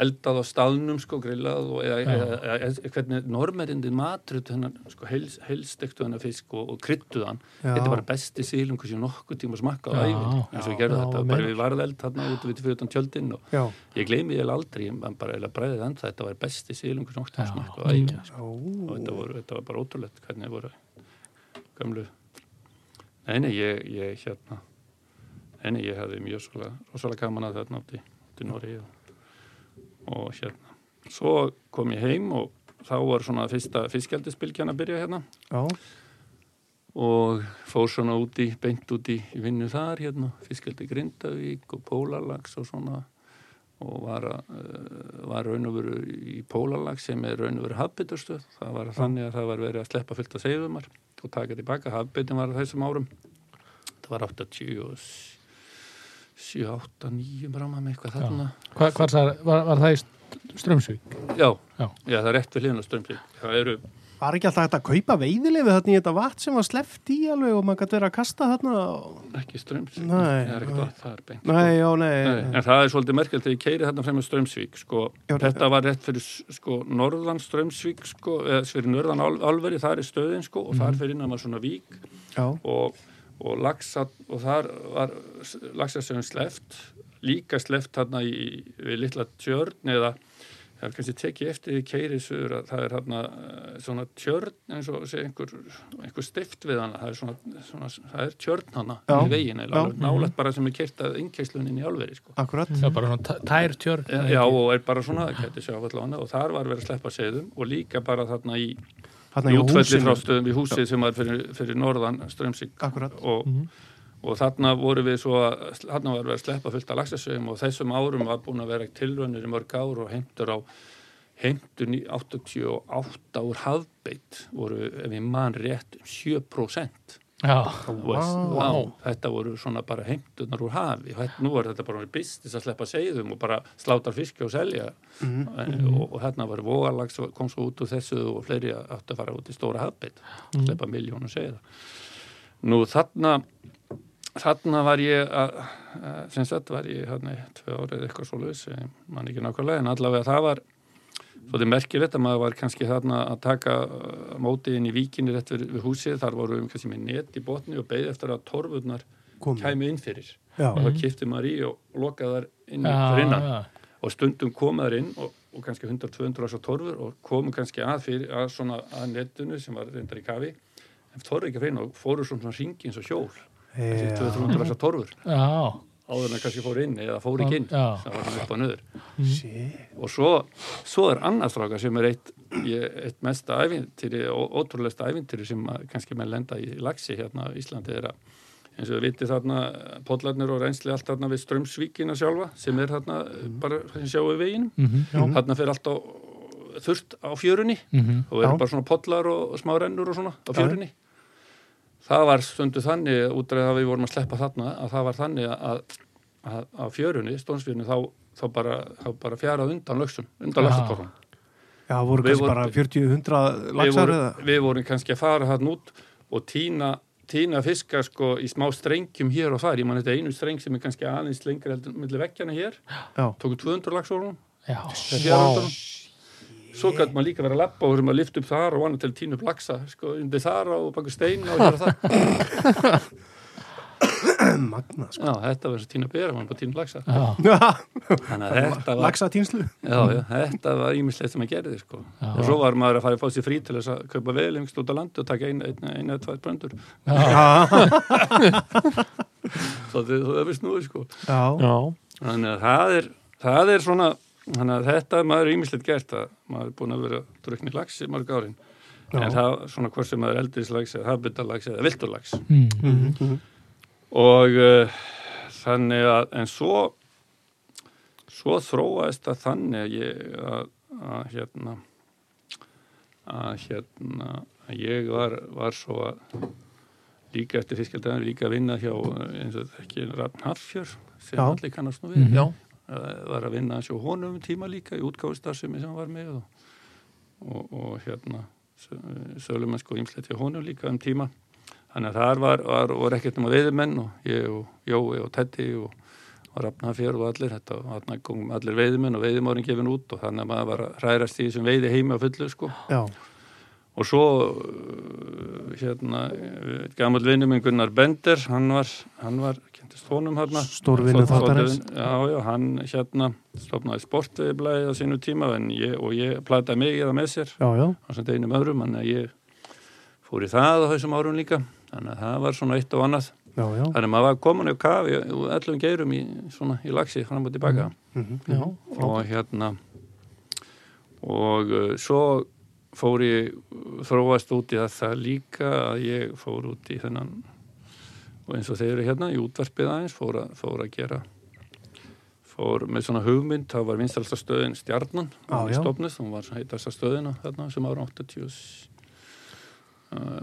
Speaker 4: eldað á staðnum sko grillað og eða,
Speaker 1: Já.
Speaker 4: eða, eða, eða hvernig normerindin matrut hennar sko heils, heilstektu hennar fisk og, og kryttuð hann
Speaker 2: Já.
Speaker 4: þetta er bara besti sílum hversu nokkuð tíma smakka á
Speaker 1: Já.
Speaker 4: ævinn eins og
Speaker 3: Já,
Speaker 4: ég gerði þetta,
Speaker 3: já,
Speaker 4: bara
Speaker 3: meinar.
Speaker 4: við varð eld þarna út við fyrir utan tjöldin og
Speaker 2: já,
Speaker 4: ég gleymi ég aldrei, ég man bara eða bræðið enda þetta var besti sílum hversu nokkuð tíma
Speaker 1: Já.
Speaker 4: smakka á ævinn
Speaker 1: sko.
Speaker 2: já,
Speaker 4: sko, og þetta, voru, þetta var bara ótrúlegt hvernig þið voru gamlu nei, nei, ég, ég hérna nei, nei, ég hefði mjög svolga rosalega gaman að þarna átti í Nóri og, og hérna svo kom ég heim og þá var svona fyrsta fiskjaldisbylgjan að byrja hérna
Speaker 2: já,
Speaker 4: og fór svona út í, beint út í í vinnu þar hérna, fiskaldi Grindavík og Pólalags og svona og var, uh, var raun og veru í Pólalags sem er raun og veru hafbyttarstöð, það var þannig að það var verið að sleppa fullt af seifumar og taka tilbaka, hafbyttin var á þessum árum það var 80 og 7, 8, 9 bráma með eitthvað þarna
Speaker 1: Hva, hvað sær, var, var það í St- Straumsvík?
Speaker 4: já.
Speaker 1: Já.
Speaker 4: Já. það er rétt við hliðin á strömsvík það eru
Speaker 2: var ekki alltaf hægt að kaupa veiðilefi þarna í þetta vatn sem var sleft í alveg og maður gæti verið að kasta þarna á-
Speaker 4: ekki strömsvík
Speaker 2: Nei,
Speaker 4: það er
Speaker 2: nei.
Speaker 4: ekkert vatn, það er beint
Speaker 2: nei, já,
Speaker 4: Nei,
Speaker 2: nei,
Speaker 4: en það er svolítið merkjöld þegar ég keiri þarna fremur Strömsvík sko.
Speaker 2: Já,
Speaker 4: þetta var rétt fyrir sko, norðan Strömsvík sko, eða fyrir norðan Ál- álveri, þar er stöðin sko, og
Speaker 2: Mhm.
Speaker 4: þar fyrir innan var svona vík
Speaker 2: já,
Speaker 4: og, og, laxa, og þar var laxastöðin sleft líka sleft þarna í, við litla tjörn eða það er kannski tekið eftir því keirið sögur að það er þarna eh, svona tjörn eins og sé einhver, einhver stift við hana það er, svona, svona, það er tjörn hana
Speaker 2: Já.
Speaker 4: í veginn,
Speaker 2: Já.
Speaker 4: nálægt bara sem er keirt að innkeirslunin í álveri sko.
Speaker 2: akkurat
Speaker 1: Já, bara svona tæ- tær tjörn
Speaker 4: Já, já, og er bara svona, það gæti sjá allan og þar var verið að sleppa segðum og líka bara þarna í,
Speaker 2: þarna
Speaker 4: í
Speaker 2: í
Speaker 4: útfelli
Speaker 2: húsinu.
Speaker 4: frá stöðum í húsið sem var fyrir, fyrir norðan strömsík
Speaker 2: Akkurat. Mhm.
Speaker 4: og, og þarna voru við svo að, þarna var verið að sleppa fullt af laxasögum og þessum árum var búin að vera tilraunir í mörg ár og heimtur á heimtur í 88 úr hafbeitt voru, ef ég man rétt, 7%
Speaker 1: já,
Speaker 4: Wow.
Speaker 1: Vá.
Speaker 4: Þetta voru svona bara heimtunar úr hafi. Þetta, nú er þetta bara með business að sleppa seiðum og bara slátar fiski og selja.
Speaker 2: Mm,
Speaker 4: En, og, og hérna var vogalags og kom svo út úr þessu og fleiri áttu að fara út í stóra hafbeitt. Sleppa miljónu seiða. Nú þarna þarna var ég að að- sem sagt var ég hérna í tvö árið eitthvað svo laus, mann ekki nákvæmlega en allavega það var Svolítið merkilegt að maður var kannski þarna að taka uh, mótið inn í víkinni rétt við, við húsið, þar voru við kannski með net í botni og beigði eftir að torfurnar
Speaker 2: Komu.
Speaker 4: kæmi inn fyrir.
Speaker 2: Já.
Speaker 4: Og þá kipti maður í og lokaði þar inn í
Speaker 1: já,
Speaker 4: fyrir innan.
Speaker 1: já.
Speaker 4: Og stundum komaði þar inn og, og kannski 100-200 ás á torfur og komu kannski að fyrir að svona að netinu sem var reyndar í kafi. En þorði ekki að fyrir inn og fóru svona, svona ringi eins og hjól. Þessi
Speaker 2: Já.
Speaker 4: 200-300 ás á torfur.
Speaker 1: já.
Speaker 4: Áður en að kannski fóru inn eða fóru ekki inn.
Speaker 1: Já.
Speaker 4: Það var svona upp og nöður.
Speaker 2: Shit.
Speaker 4: og svo, svo er annars ráka sem er eitt, ég, eitt mesta ævintýri og ótrúlegsta ævintýri sem að, kannski menn lenda í lagsi hérna á Íslandi er að eins og við vitið þarna podlarnir og reynsli allt þarna við strömsvíkina sjálfa sem er þarna bara sem sjáum við veginn þarna fyrir allt á þurft á fjörunni
Speaker 2: Já.
Speaker 4: og eru bara svona podlar og smá rennur og svona á fjörunni það var stundu þannig út af að við vorum að sleppa þarna að það var þannig að að, á fjörunni, stónsfjörunni þá, þá, bara, þá bara fjarað undan lögsum
Speaker 1: Já.
Speaker 4: undan lögsatorrum
Speaker 2: Já, voru
Speaker 4: Við
Speaker 2: kannski
Speaker 4: vorum-
Speaker 2: bara 40-100
Speaker 4: við,
Speaker 2: laxar
Speaker 4: vorum-
Speaker 2: eða
Speaker 4: við vorum kannski að fara hann út og týna, týna fiska sko í smá strengjum hér og þar ég man þetta einu streng sem er kannski aðeins lengra heldur millir vekkjana hér,
Speaker 2: Já.
Speaker 4: tókum 200 laxorunum
Speaker 1: já,
Speaker 4: Wow. Svo gæti maður líka verið að lappa og verið maður að lyfta upp þar og annað til að týna upp laxa, sko, undir þar og baku steina og hér og það.
Speaker 2: Magna, sko.
Speaker 4: Já, þetta verið að týna bera, maður bara týna upp laxa.
Speaker 1: já,
Speaker 4: Þannig að þetta var,
Speaker 2: Laxa tínslu
Speaker 4: já, já, þetta var ímislegt sem að gerði, sko.
Speaker 1: Já.
Speaker 4: Og svo var maður að fara að fá sér frí til þess að kaupa vel yngst út á landi og taka eina, eina, eina eða tvær bröndur.
Speaker 1: já,
Speaker 4: Svo þið- það er snúið, sko.
Speaker 2: Já,
Speaker 3: Já,
Speaker 4: Þannig að það er, það er svona, þannig að þetta maður er ímislegt gert að maður er búin að vera drukni laxi mörg árin.
Speaker 2: Já.
Speaker 4: En það, svona hvort sem maður er eldislags eða habitalaks eða viltulags.
Speaker 1: Mm.
Speaker 4: og uh, þannig að en svo svo þróaðist það þannig að ég að, að hérna að hérna að ég var, var svo að líka eftir fiskjaldæðan líka að vinna hjá eh, eins og ekki Rafn Hafjör sem
Speaker 2: Já.
Speaker 4: allir kannast nú við
Speaker 1: Mhm.
Speaker 3: já,
Speaker 4: Eh, var að vinna sjó honum um tíma líka í útgáfustarfsemi sem hann var með og, og, og hérna sölum sko ímslegt hjá honum líka um tíma þannig að þar var, var, var ekkert um að veiðimenn og ég og Jói og Teddy og, og Rafnafjör og allir þetta og þarna komum allir veiðimenn og veiðimárin gefin út og þannig að maður var að hrærast í þessum veiði heimi á fullu sko
Speaker 2: já,
Speaker 4: og svo uh, hérna eh, gamall vinnu minn Gunnar Bender hann var, hann var, kynntist honum hérna
Speaker 2: Stór vinur
Speaker 4: Stofn-
Speaker 2: þáttarins.
Speaker 4: stofnvin- já, já, hann hérna stofnaði sportveiblaði á sínu tíma en ég, og ég plataði mig í það með sér
Speaker 2: já, já.
Speaker 4: á sem deginum öðrum, þannig að ég fór í það á þessum árum líka þannig að það var svona eitt og annað
Speaker 2: já, já.
Speaker 4: þannig að maður var komin á kafi og allum geirum í, svona, í laxi fram og tilbaka
Speaker 2: Mhm.
Speaker 3: já,
Speaker 4: og hérna og uh, svo fór ég uh, þróast út í þetta líka að ég fór út í þennan og eins og þeir eru hérna í útvarpið aðeins fór að, fór að gera fór með svona hugmynd þá var vinstalsta stöðin Stjarnan
Speaker 2: Já,
Speaker 4: hún var
Speaker 2: já.
Speaker 4: stofnuð, hún var heitasta stöðina þarna sem ára 80 uh,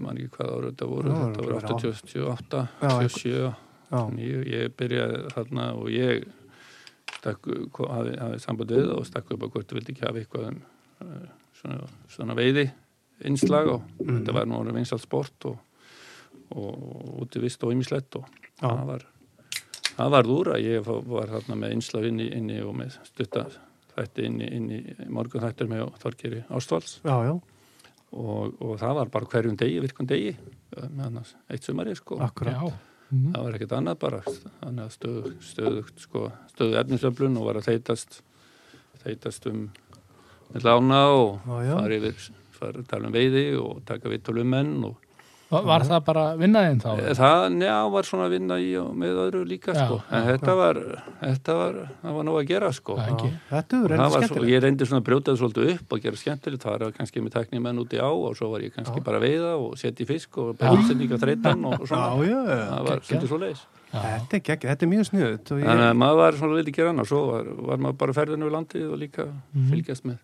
Speaker 4: man ekki hvað ára þetta voru
Speaker 2: Já,
Speaker 4: þetta voru
Speaker 2: örugglega
Speaker 4: 88,
Speaker 2: Já,
Speaker 4: 87
Speaker 2: já.
Speaker 4: Ég, ég byrjaði þarna og ég stakk, ko- hafði, hafði samband við það og stakk upp að hvort þú vildi ekki hafa eitthvað um, eh, svona, svona veiði innslag og
Speaker 2: Mhm.
Speaker 4: þetta var nú orðið vinsalt sport og, og úti vist og ýmislegt og
Speaker 2: Já.
Speaker 4: það var það var úr að ég fó- var þarna með innslag inni, inni og með stutta þætti inni, inni morgun þættir með Þorgeri Ástvalds
Speaker 2: Já, já,
Speaker 4: og, og það var bara hverjum degi, virkun degi eh, með annars eitt sumari sko
Speaker 2: akkurat.
Speaker 1: já. Mhm.
Speaker 4: það var ekkert annað bara þannig að stöðu, stöðu, sko, stöðu efnisöflun og var að þeitast þeitast um með lána og
Speaker 2: Já, já.
Speaker 4: fara yfir fara að tala um veiði og taka vitulum menn og
Speaker 1: Var- var það bara vinnaðinn þá
Speaker 4: e, það njá, var svona að vinna í og með öðru líka
Speaker 1: Já,
Speaker 4: sko. en þetta var, þetta var það var nóg að gera sko
Speaker 1: Já,
Speaker 2: Já.
Speaker 1: ekki.
Speaker 2: Þetta
Speaker 4: Og
Speaker 2: er
Speaker 4: það
Speaker 2: reynda
Speaker 4: var svo,
Speaker 2: skemmtilega.
Speaker 4: ég reyndi svona að brjóta það svolítið upp og gera skemmtilegt, það var kannski með tækni menn út í á og svo var ég kannski
Speaker 2: Já.
Speaker 4: bara að veiða og setja í fisk og bara útsendinga þreytan og svona,
Speaker 2: Já, já, já.
Speaker 4: það var svolítið svo leiðis
Speaker 1: Já.
Speaker 2: Þetta er gegg, þetta er mjög sniðut og
Speaker 4: Þannig að
Speaker 2: ég,
Speaker 4: maður var svona vildi gera annars, svo var, var maður bara ferðinu við landið og líka
Speaker 2: Mhm.
Speaker 4: fylgjast með,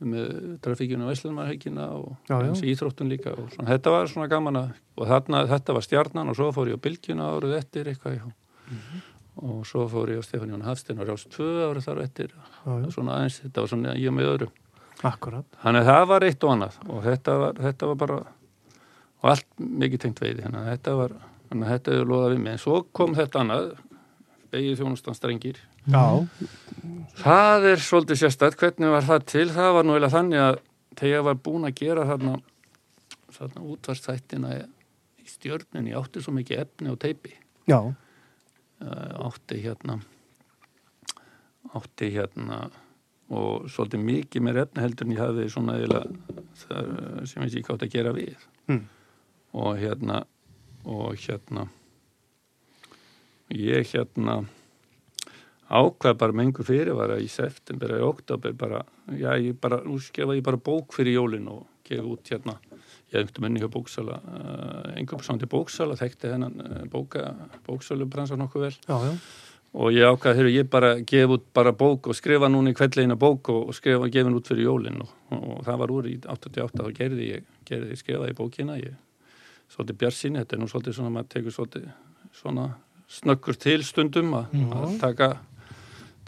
Speaker 4: með trafíkjunum og Veslumarhekina og
Speaker 2: Já, já.
Speaker 4: eins íþróttun líka og svona, þetta var svona gaman að, og þarna, þetta var stjarnan og svo fór ég á Bilgjuna árið eftir eitthvað mm
Speaker 2: Mhm.
Speaker 4: og svo fór ég á Stefán Jón Hafstein og Rás 2 árið þar á eftir
Speaker 2: já, já,
Speaker 4: svona aðeins, þetta var svona ég með öðru
Speaker 2: akkurat.
Speaker 4: þannig að það var eitt og annað og þetta var, þetta var bara og allt mikið tengt veiði þannig að þetta var, þannig að þetta er loðað við mig en svo kom þetta annað vegið þjónustan strengir
Speaker 3: Mhm.
Speaker 2: Já,
Speaker 4: Það er svolítið sérstætt, hvernig var það til? Það var nú eiginlega þannig að þegar ég var búin að gera þarna, þarna útvarstættina í stjörnunni, ég átti svo mikið efni og teipi.
Speaker 2: já,
Speaker 4: Uh, átti hérna, átti hérna og svolítið mikið meir efni heldur en ég hafði svona eiginlega þar, eh, sem ég ekki átti að gera við.
Speaker 2: Mm.
Speaker 4: Og hérna, og hérna, ég hérna, ákvað bara með einhver fyrirvara í september eða í oktober bara, já, ég bara, nú skrifa ég bara bók fyrir jólin og gefa út hérna, ég hef einhvern menni hjá bóksala, uh, einhver samt í bóksala, þekkti hennan uh, bóka, bóksölu bransar nokkuð vel
Speaker 2: já, já.
Speaker 4: og ég ákvað, heyrðu, ég bara gefa út bara bók og skrifa núna í kveldleina bók og, og skrifa, gefa henn út fyrir jólin og, og það var úr í 88 og gerði ég, gerði, skrifaði ég bókina, ég svolítið bjarsinni, þetta er nú svolítið svona, maður tekur svolítið svona snöggur til stundum að að taka,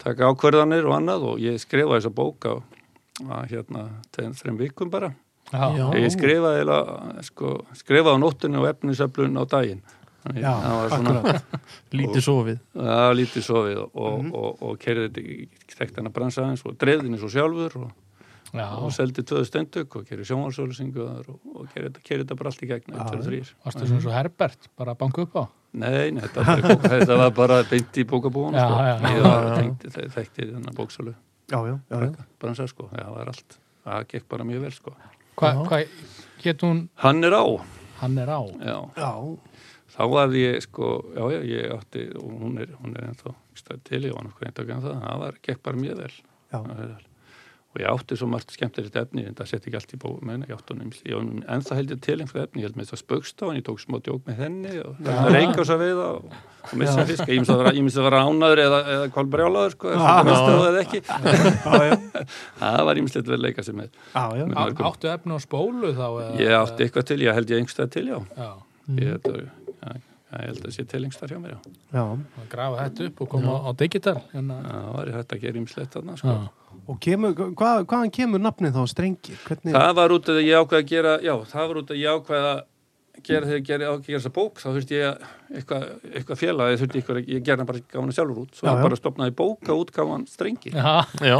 Speaker 4: taka ákverðanir og annað og ég skrifa þessa bók á að, hérna, tegum þreim vikum bara
Speaker 1: já,
Speaker 4: ég skrifaði eiginlega, sko, skrifaði á nóttinu og efnisöflun á daginn Þannig,
Speaker 2: Já,
Speaker 4: það var svona,
Speaker 3: lítið sofið
Speaker 4: það var lítið sofið og,
Speaker 1: Mhm.
Speaker 4: og, og, og kerði þetta í tektana bransa aðeins og dreifðinni svo sjálfur og,
Speaker 1: já.
Speaker 4: og seldi tvöðu stendök og kerði sjónvarsólusingu og, og kerði þetta, kerði þetta bara allt í gegn eitt, tveir og þrír.
Speaker 1: varstu svona svo Herbert, bara að banka upp á
Speaker 4: Nei, nei þetta, var bara- þetta var bara beint í bókabúan
Speaker 1: Já,
Speaker 4: sko.
Speaker 1: já, já.
Speaker 4: ég var tengt, þekkti þennan bóksölu
Speaker 2: já, já, já, já.
Speaker 4: bransa sko, já, það var allt það gekk bara mjög vel sko
Speaker 1: hvað hva, get hún,
Speaker 4: Hann er á,
Speaker 1: hann er á
Speaker 4: já
Speaker 2: já.
Speaker 4: þá hafði ég sko, já já, ég átti og hún er, hún er ennþá stæð til sko, ég var nokkuð eintökan það, það var, gekk bara mjög vel
Speaker 2: Já.
Speaker 4: Það var vel. og ég átti svo margt skemmtilegt efni, en það sett ekki allt í bó menn, ég átti hún, ég var nú- en það held ég til einhver efni, ég held með það spaukstofan, ég tók smá djók með henni og reyka svo veiða og, og missa fisk, ég misst að vera- ég misst að vera ánaður eða, eða kolbrjálaður sko, það misst það eða ekki það var ímislegt vel leika sem með
Speaker 2: já, já.
Speaker 4: Með
Speaker 1: Á-
Speaker 4: mörgum.
Speaker 1: áttu efni á spólu þá eða,
Speaker 4: ég átti eitthvað til, ég held ég einhverstað til, já
Speaker 1: já,
Speaker 4: ég, þetta, já, ég held að sé til einhverstað hjá mér, já
Speaker 2: já.
Speaker 1: að grafa þetta upp og koma á, á digital hérna.
Speaker 4: Já, Það var hægt að gera ímslegt þarna sko.
Speaker 1: já.
Speaker 2: og kemur, hva, hvaðan kemur nafnið þá strengir? Hvernig,
Speaker 4: Það var út að ég ákveða að gera Já, það var út að ég ákveða að gera þegar ég gera, ákveða að gera þessa bók þá þurfti ég að- eitthvað eitthva félag ég þurfti eitthvað, ég gerna bara gána sjálfur út svo
Speaker 2: Já,
Speaker 4: já,
Speaker 2: já.
Speaker 4: bara stopnaði bóka útgáfan strengi Já,
Speaker 1: Já.
Speaker 3: já,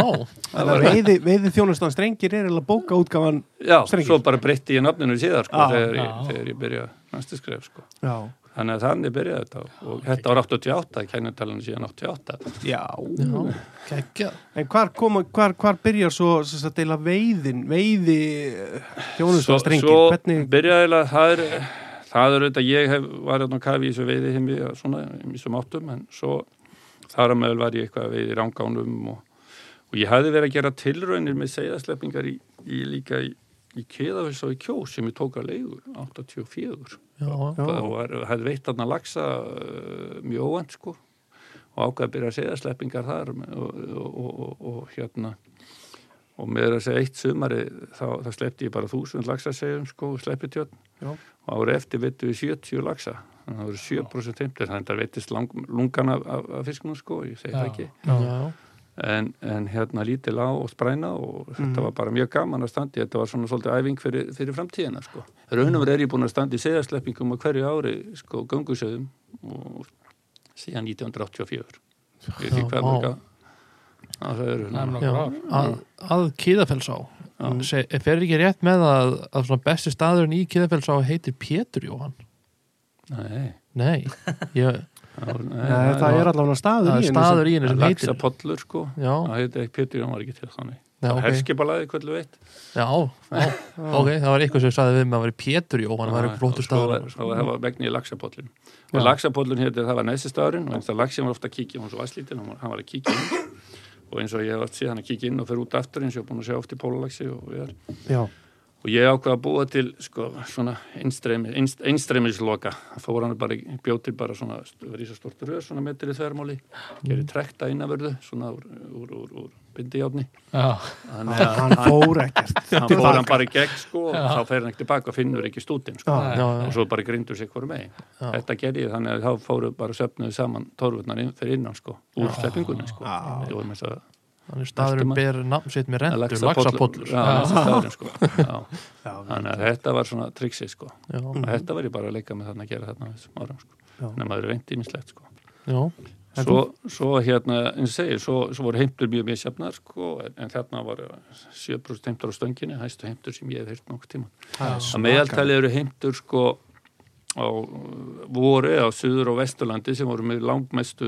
Speaker 2: það var veiði, veiði þjónustan strengir er eða bóka útgáfan Strengir.
Speaker 4: svo bara breytti ég nafninu síðar sko,
Speaker 2: Já,
Speaker 4: þegar, ég,
Speaker 1: já.
Speaker 4: þegar ég byrja næstu skref sko.
Speaker 2: já,
Speaker 4: Þannig að þannig byrjaði þetta og þetta var 88, kænutalan síðan 88
Speaker 2: já.
Speaker 3: kekkja
Speaker 2: en hvar, koma, hvar, hvar byrjar svo þess að deila veiðin veiði
Speaker 4: Svo,
Speaker 2: þjónustan strengir?
Speaker 4: svo
Speaker 2: Hvernig,
Speaker 4: byrjaði eiginlega- það er, það er auðvitað ég hef, var hérna á kafi í þessu veiði heimi og svona, í þessum áttum en svo þar að meðal var ég eitthvað að veiði í rangánum og, og ég hafði verið að gera tilraunir með segðasleppingar í, í líka í, í keðafels og í kjós sem ég tók að leigur 84
Speaker 3: já,
Speaker 2: Já.
Speaker 4: og var, hafði veitt þarna laxa uh, mjög óvænt sko og ákvað að byrja að segja sleppingar þar og, og, og, og, og hérna og með að segja eitt sumari þá, þá sleppti ég bara þúsund laxa segjum sko og sleppi tjörn
Speaker 2: Já.
Speaker 4: og ári eftir veittu við 70 laxa þannig að það voru 7% heimtir þannig að það veittist lang, lungan af, af, af fiskunum sko ég segi það
Speaker 1: Já.
Speaker 4: ekki
Speaker 3: já,
Speaker 4: en, en hérna lítið lág og spræna og
Speaker 3: Mhm.
Speaker 4: þetta var bara mjög gaman að standi þetta var svona svolítið æfing fyrir, fyrir framtíðina sko. raunumur er ég búin að standi segjarsleppingum á hverju ári sko göngusöðum og síðan 1984 ég veit ekki
Speaker 3: Já,
Speaker 4: hvað
Speaker 3: vá.
Speaker 4: mörga að það eru
Speaker 1: Það er
Speaker 4: hérna.
Speaker 1: nokkur ár.
Speaker 3: að, að Kíðafellsá Se- fer ekki rétt með að, að svona besti staðurinn í Kíðafellsá heitir Pétur Jóhann
Speaker 4: Nei,
Speaker 3: nei, ég,
Speaker 4: það voru- nei,
Speaker 2: Nei, það er allavega staður
Speaker 3: það er
Speaker 2: í henni
Speaker 3: staður í henni sem heitir
Speaker 4: Laxapollur sko
Speaker 3: já,
Speaker 4: það heitir ekki Pétur Jón var ekki til þannig
Speaker 3: já,
Speaker 4: okay.
Speaker 3: ok
Speaker 4: herskipalaði hvernig veit
Speaker 3: Já, já, ok, það var eitthvað sem sagði við mig að það væri Pétur Jóhann, það var eitthvað flottur staður
Speaker 4: og það var vegni í laxapollin
Speaker 2: Mm. Já.
Speaker 4: og laxapollin hétir, það var næsti staðurinn og eins og laxin var ofta að kíkja, hún var svo væslítin hann var- hann var að kíkja inn og eins og ég var síðan að kíkja inn og fer út aftur eins og ég er búin að sjá oft í pólalaxi og við erum
Speaker 2: Já,
Speaker 4: og ég ákvað að búa til sko, svona einstreymi, einst, einstreymisloka það fór hann bara, í- bjó til bara svona verið svo stort röð, svona metri þvermáli
Speaker 2: Mm.
Speaker 4: gerir trekta innavörðu svona úr, úr, úr, úr bindijáfni
Speaker 1: Já.
Speaker 4: þannig að
Speaker 2: hann fór ekkert
Speaker 4: hann fór hann bara í gegn sko og þá fer hann ekki tilbaka og finnur ekki stútin sko
Speaker 2: Já,
Speaker 3: Já,
Speaker 4: og
Speaker 3: já,
Speaker 4: svo bara grindur sér hverju megin
Speaker 3: Já.
Speaker 4: þetta gerði ég þannig að þá fóru bara söfnuðu saman torfurnar inn, fyrir innan sko úr sleppingunni sko
Speaker 2: Já.
Speaker 4: Ég var með þess að-
Speaker 3: þannig staðurinn ber nafn sitt með
Speaker 4: að
Speaker 3: rentu,
Speaker 4: laxa
Speaker 3: laxapollur
Speaker 4: pollur. Já, þessi staðurinn, sko. Já.
Speaker 2: já,
Speaker 4: þannig að þetta var svona triksi sko
Speaker 3: Já,
Speaker 4: og þetta var ég bara að leika með þarna að gera þarna á þessum árum sko
Speaker 2: Já.
Speaker 4: þannig að maður er reynd ímislegt sko
Speaker 3: já,
Speaker 4: svo, svo hérna, eins og segir svo, svo voru heimtur mjög misjafnar sko en, en þarna var 7% heimtur á stönginni hæstu heimtur sem ég hef heyrt nokkuð tíma
Speaker 2: það er
Speaker 4: að meðaltali eru heimtur sko á voru á Suður og Vesturlandi sem voru með langmestu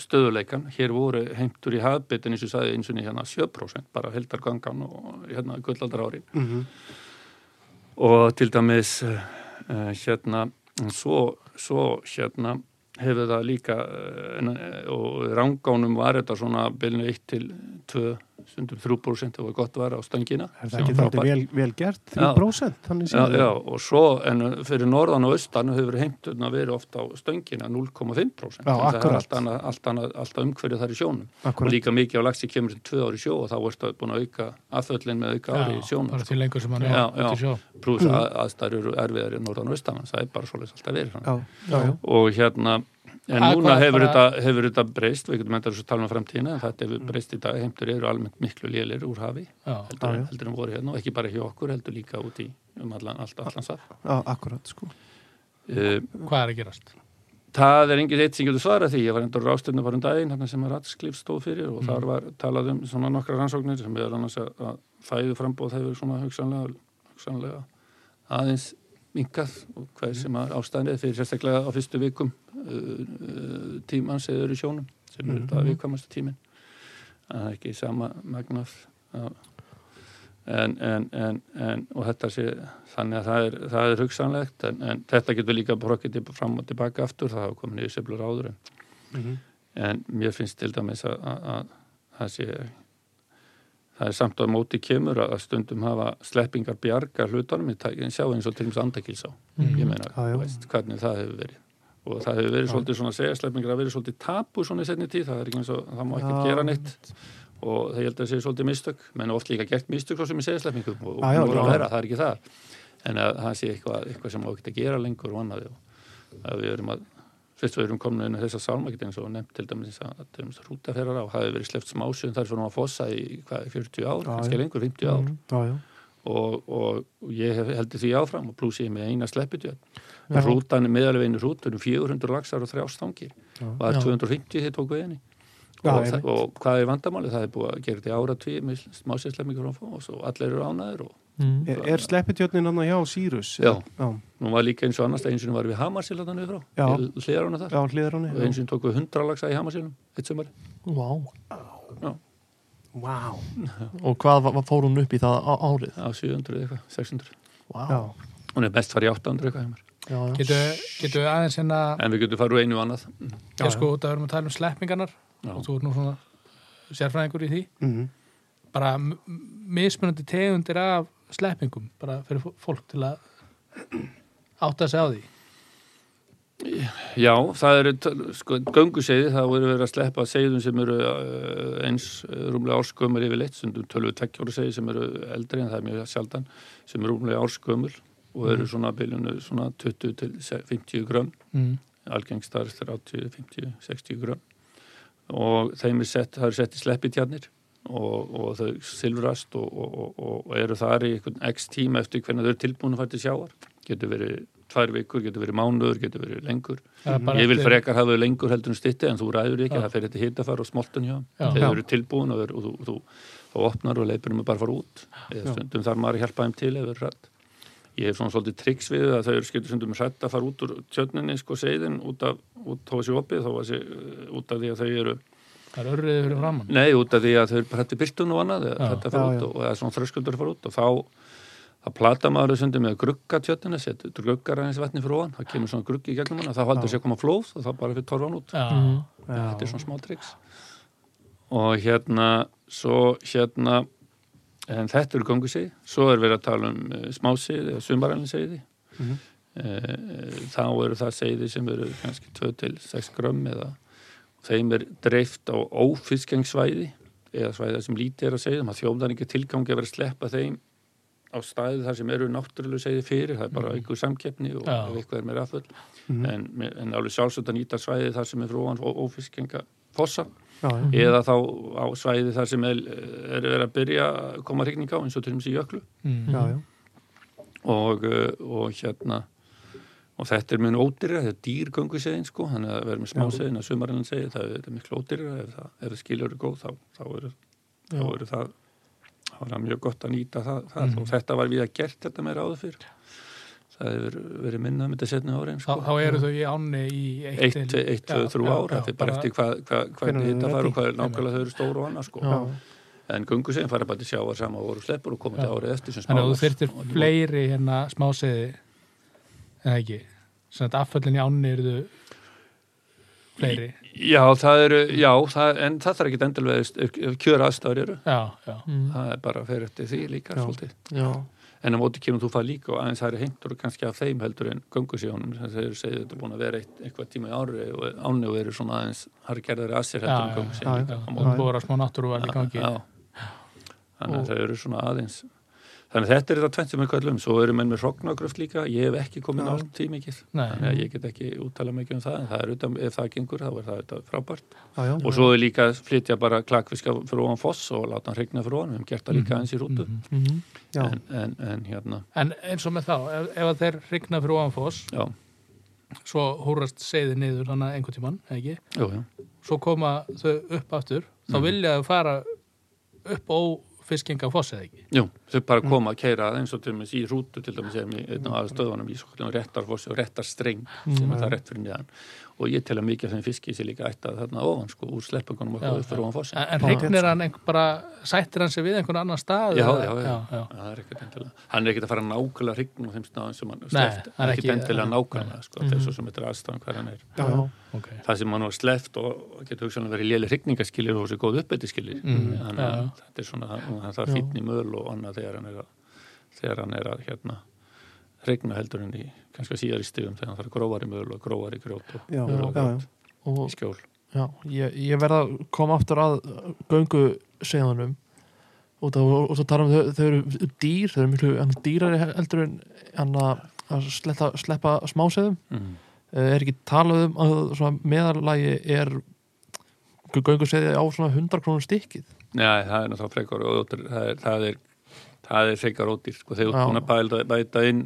Speaker 4: stöðuleikan hér voru heimtur í hafbytin eins og sagði eins og niður hérna 7% bara heldargangan og hérna gullaldar ári
Speaker 2: Mhm.
Speaker 4: og til dæmis uh, hérna svo, svo hérna hefur það líka eh, en, eh, og í rangánum var þetta svona bylnu 1 til 2 stundum 3% það var gott að vera á stöngina
Speaker 2: Er það
Speaker 4: sem
Speaker 2: ekki
Speaker 4: var
Speaker 2: þetta
Speaker 4: frábært.
Speaker 2: vel, vel gert? 3% þannig
Speaker 4: Já,
Speaker 2: séð.
Speaker 4: já, og svo, en uh, fyrir norðan og austan hefur heimturna verið oft á stöngina 0,5%.
Speaker 2: Já,
Speaker 4: Það er
Speaker 2: akkurat.
Speaker 4: allt annað, allt annað, allt annað umhverju þar í sjónum.
Speaker 2: Akkúrat.
Speaker 4: Og líka mikið á laxi kemur til tvö ári sjó og þá ertu búin að auka aðföllin með auka ári í sjónum. sko.
Speaker 1: bara því lengur sem hann
Speaker 4: Já,
Speaker 1: er
Speaker 4: já,
Speaker 1: út í sjó
Speaker 2: Mm.
Speaker 4: Plús að aðstæður eru erfiðar í norðan og austan, það er bara svolítið alltaf verið. þannig.
Speaker 2: já, já, já.
Speaker 4: Og hérna, En
Speaker 1: Að
Speaker 4: núna
Speaker 1: hvað
Speaker 4: hefur,
Speaker 1: bara-
Speaker 4: þetta, hefur þetta breyst, við getum endað þessu að tala um framtíðina, en þetta hefur breyst í dag, heimtur eru almennt miklu lélir úr hafi,
Speaker 1: já,
Speaker 4: heldur,
Speaker 2: Já, já.
Speaker 4: heldur en voru hérna og ekki bara hjá okkur, heldur líka út í um allan, allt, allan svar.
Speaker 2: Já, akkurat, sko.
Speaker 4: Uh,
Speaker 1: hvað er að gerast?
Speaker 4: það er engin eitt sem getur svarað því, ég var endur rástöfnu bara um daginn, hérna sem að Ratsklif stóð fyrir og þar var talað um svona nokkra rannsóknir sem er annars að, að fæðu frambóð hefur svona hugsanlega, hugsanlega aðeins minkað og hver sem að ástæðan er fyrir sérstaklega á fyrstu vikum uh, uh, tímans eða eru sjónum sem
Speaker 2: Mhm.
Speaker 4: eru þetta viðkvæmastu tímin en það er ekki sama magnað af- en, en, en, en og þetta sé þannig að það er, það er hugsanlegt en, en þetta getur líka brokkið til- fram og tilbaka aftur það hafa komin yfir seflur áður en,
Speaker 2: Mhm.
Speaker 4: en mér finnst til dæmis að, að, að það sé það er samt að móti kemur að að stundum hafa sleppingar bjarga hlutunum í tækinn sjá eins og til þess andakilsá
Speaker 1: Mhm.
Speaker 4: ég meina,
Speaker 2: Já, já.
Speaker 4: veist hvernig það hefur verið og það hefur verið svolítið svona segja sleppingar að verið svolítið tapu svona í setni tíð það er ekki eins og það má ekki
Speaker 2: Já.
Speaker 4: gera neitt og það ég held að það sé svolítið mistök menn oft líka gert mistök svo sem ég segja sleppingum og,
Speaker 2: Já, já,
Speaker 4: og nú er að
Speaker 2: já.
Speaker 4: læra, það er ekki það en að það sé eitthvað, eitthvað sem má ekki að gera lengur og annaði og að við erum að fyrst við erum komin inn að þessa sálmakitt eins og nefnt til dæmis að til dæmis rútaferrar á hafi verið sleppt smásu en það er svona að fossa í hvað, 40 ár,
Speaker 2: Já,
Speaker 4: kannski
Speaker 2: já.
Speaker 4: lengur 50 ár
Speaker 2: Já, já.
Speaker 4: og, og, ég hef heldur því áfram og pluss ég með eina sleppitjöð
Speaker 2: Já.
Speaker 4: rútan er meðalveginu rútan um 400 laxar og þrjástangir
Speaker 2: Já.
Speaker 4: og það
Speaker 1: Já.
Speaker 4: er 250 þegar tók veginni
Speaker 2: Já,
Speaker 4: og,
Speaker 2: einmitt.
Speaker 4: það- og hvað er vandamáli það er búið að gera þetta í ára tvið með smásinslemmingur frá og svo allir eru ánæður og
Speaker 3: Mm.
Speaker 2: Er, er sleppitjörnin hann hjá Sýrus?
Speaker 4: Já.
Speaker 2: Já,
Speaker 4: nú var líka eins og annars eins og var við Hamarsil þarna niður
Speaker 2: Já.
Speaker 4: frá, hliðar hana þar
Speaker 2: já hlýðar hann.
Speaker 4: og eins og tók við 100 laxa í Hamarsilum eitt sumari
Speaker 3: Vá.
Speaker 2: Vá.
Speaker 3: Og hvað var- var- fór hún upp í það á, árið?
Speaker 4: á 700 eitthvað, 600
Speaker 3: Vá.
Speaker 2: Já.
Speaker 4: hún er mest farið í 800 eitthvað hjá mér.
Speaker 3: Já, já.
Speaker 1: Getur getu við aðeins hérna,
Speaker 4: en við getum farið úr einu og annað
Speaker 1: ég sko út að við erum að tala um sleppingarnar
Speaker 4: Já.
Speaker 1: og þú ert nú svona sérfræðingur í því
Speaker 2: Mhm.
Speaker 1: bara m- m- mismunandi tegundir af sleppingum bara fyrir fó- fólk til að átta sig á því
Speaker 4: Já, það eru töl- sko, gönguseiði, það voru verið að sleppa seiðum sem eru uh, eins uh, rúmlega árskömmur yfirleitt, sem tölvu tekjóra seiði sem eru eldri en það er mjög sjaldan, sem eru rúmlega árskömmur og eru svona byljunu svona 20 til se- 50 grömm,
Speaker 1: mm.
Speaker 4: algengstar 30, 50, 60 grömm og þeim er sett, það er sett í sleppitjarnir og, og þau silfrast og, og, og, og eru þar í einhvern x tíma eftir hvernig þau eru tilbúin að fara til sjáar getur verið tvær vikur, getur verið mánuður, getur verið lengur
Speaker 1: Það er bara
Speaker 4: Ég vil
Speaker 1: eftir-
Speaker 4: frekar hafa þau lengur heldur en stytti en þú ræður ekki,
Speaker 1: Já.
Speaker 4: það fer þetta hitafar og smoltun hjá þeim.
Speaker 1: Já.
Speaker 4: þeir
Speaker 2: Já.
Speaker 4: eru tilbúin og, og, og, þú- þú þá opnar og leipur um að bara fara út eða stundum þarf maður að hjálpa þeim til ef þau eru hrætt ég hef svona svolítið triks við að þau eru skilur stundum hrætt að fara út úr tjörninni sko seiðin út af, út, þó að sé opið þó að sé uh, út af því að þau eru
Speaker 1: það er örriðið fyrir framann
Speaker 4: Nei, út af því að þau eru bara hætti byrtun og annað
Speaker 1: Já.
Speaker 4: þetta fara
Speaker 2: Já,
Speaker 4: út
Speaker 2: já.
Speaker 4: og, og það er svona þröskuldur að fara út og þá þá plata maður þau sundum með að grugga tjöttina setur gruggar aðeins vatni fyrir ofan þá kemur svona gruggi í gegnum hana, þá haldur
Speaker 2: Já.
Speaker 4: sér að koma flóð og þá bara fyrir torfan út
Speaker 1: Já, Mm.
Speaker 3: Mhm.
Speaker 2: Já.
Speaker 4: þetta er svona smá triks og hérna svo hérna en þetta eru göngusegi, svo er verið að tala um uh, smásegi eða sumarælin segiði
Speaker 2: Mhm.
Speaker 4: þá eru það segiði sem eru kannski 2 til 6 grömm eða þeim er dreift á ófiskengssvæði eða svæða sem lítið er að segja maður þjóðan ekki tilgangi að vera að sleppa þeim á staði þar sem eru náttúrulega segið fyrir, það er bara einhver samkeppni og
Speaker 1: Já.
Speaker 4: ef eitthvað er meira aðföll
Speaker 2: Mhm.
Speaker 4: en, en alveg sjálfsögð að nýta svæði þar sem er fróan ófiskenga fossa
Speaker 2: Já, já.
Speaker 4: eða þá á svæði þar sem er, er verið að byrja að koma hrigning á eins og til dæmis í jöklu
Speaker 1: mm.
Speaker 2: Já, já.
Speaker 4: og, uh, og hérna og þetta er mjög ódýrra, þetta er dýrgöngu segin sko, þannig að vera með smá
Speaker 2: Já.
Speaker 4: segin að sumarinn segin, það er miklu ódýrra ef það, ef það skilur eru góð, þá, þá eru þá
Speaker 3: Já.
Speaker 4: eru það þá er það mjög gott að nýta það, það
Speaker 1: Mhm.
Speaker 4: og þetta var við að gert þetta meira áður fyrr það hefur verið minnað með þetta setna árein
Speaker 1: þá,
Speaker 4: sko.
Speaker 1: þá eru þau í ánni í
Speaker 4: eitt, eitt,
Speaker 1: Já,
Speaker 4: tvö, þrjú
Speaker 1: já,
Speaker 4: ára
Speaker 1: já,
Speaker 4: þetta er bara
Speaker 1: bara-
Speaker 4: eftir hvað, hvað,
Speaker 2: Hvenær
Speaker 4: hvernig
Speaker 2: þau eru
Speaker 4: þetta fara og
Speaker 2: ready.
Speaker 4: hvað er nákvæmlega þau eru stóru og annað sko.
Speaker 3: Já.
Speaker 4: en gungu segin fara bara til sjáar sama og voru sleppur og komið
Speaker 1: Já.
Speaker 4: þetta árið eftir sem
Speaker 1: þannig að þú
Speaker 4: smáar.
Speaker 1: þyrtir fleiri hérna smáseði en það ekki sem þetta afföllin í ánni eru þau fleiri
Speaker 4: já, það eru, já, það, en það þarf ekki endilega ef, ef kjör aðstæður eru
Speaker 1: já, já,
Speaker 3: Mm.
Speaker 4: það er bara að fer eftir því líka
Speaker 2: Já.
Speaker 4: svolítið
Speaker 3: Já.
Speaker 4: en á móti kemur þú það líka og aðeins það eru heimtur og kannski af þeim heldur en göngusíðunum sem þeir segja þetta er búin að vera eitt, eitthvað tíma í ári og áni og eru svona aðeins hargerðari að sér
Speaker 1: já,
Speaker 4: heldur en
Speaker 1: já,
Speaker 4: göngusíðunum
Speaker 1: já,
Speaker 4: líka á
Speaker 1: já.
Speaker 4: móti.
Speaker 1: og búið að smá náttúruvæl í gangi
Speaker 4: Já. þannig að þau eru svona aðeins Þannig að þetta er þetta tvennt sem við kallum, svo eru menn með hrognagruft líka, ég hef ekki komið
Speaker 2: Já.
Speaker 4: nátt því mikið,
Speaker 1: Nei.
Speaker 4: þannig að ég get ekki úttala mikið um það, en það er utan, ef það gengur þá er það auðvitað frábært.
Speaker 2: já, já.
Speaker 4: Og svo er líka að flytja bara klakfiska fyrir ofan foss og láta hann regna fyrir ofan, við hefum gert það líka
Speaker 1: Mhm.
Speaker 4: eins í rútu,
Speaker 1: Mhm.
Speaker 3: Mhm.
Speaker 2: Já.
Speaker 4: en, en, en hérna,
Speaker 1: En eins og með þá, ef, ef að þeir rigna fyrir ofanfoss,
Speaker 4: já,
Speaker 1: svo húrast seiði niður hana einhvern tímann, eða ekki?
Speaker 4: jú, jú,
Speaker 1: Svo koma þau upp aftur, þá
Speaker 4: Mhm.
Speaker 1: vilja þau fara upp á fiskingafoss, eða ekki?
Speaker 4: jú, þau bara koma að keira eins og til dæmis í rútu til dæmis erum í einn af stöðunum í svolítið réttarfossi og réttarstreng sem
Speaker 1: Mm.
Speaker 4: er það rétt fyrir niðan og ég tel að mikið af þeim fiski sem líka ættað þarna ofan sko úr
Speaker 1: Já,
Speaker 4: sleppungunum okkar upp fyrir ofan fossin.
Speaker 1: En, en
Speaker 2: Bara-
Speaker 1: rignir hann einhver bara, sættir hann sig við einhvern annan stað?
Speaker 4: Já,
Speaker 1: eða-
Speaker 4: já,
Speaker 1: já,
Speaker 4: já. Já, það er ekkert endilega. Hann er ekkert að fara nákvæmlega að hryggnum á þeim staðum sem hann
Speaker 1: Nei, það
Speaker 4: sleft.
Speaker 1: er
Speaker 4: ekkert
Speaker 1: ekki-
Speaker 4: endilega
Speaker 1: nei, Mhm.
Speaker 4: nákvæmlega, sko, mm -hmm. þessu sem þetta er aðstæðan hver hann er.
Speaker 2: Já, já.
Speaker 1: ok.
Speaker 4: Það sem hann var sleft og um getur hugsanlega verið léli hryggningaskilir og þessi góð
Speaker 2: Mm.
Speaker 4: uppbyttiskilir.
Speaker 1: Mhm,
Speaker 4: Þannig að
Speaker 1: já, já.
Speaker 4: þetta er svona, hann, hann þarf fýtni möl og annað þegar hann er að, þegar hann er að hérna, hrygna heldur en í, kannski að síðar í stigum þegar hann þarf grófari möl og grófari grjót og
Speaker 2: Já,
Speaker 4: möl
Speaker 2: já,
Speaker 4: og
Speaker 2: já.
Speaker 4: grjót í
Speaker 3: og
Speaker 4: skjól.
Speaker 3: já, ég, ég verða að koma aftur að göngu segðanum og, það, og svo tala um þau, þau eru dýr, þau eru miklu hann, dýrari heldur en hann að að sleppa, sleppa smásegðum
Speaker 4: Mm.
Speaker 3: Eh, er ekki talað um að svona meðalagi er göngu segði á svona 100 krónum stikkið
Speaker 4: Nei, það er náttúrulega frekar og ódýr- það er, það er, það er frekar ódýr sko, þegar þú
Speaker 3: Já.
Speaker 4: ert búin að bæla, bæta inn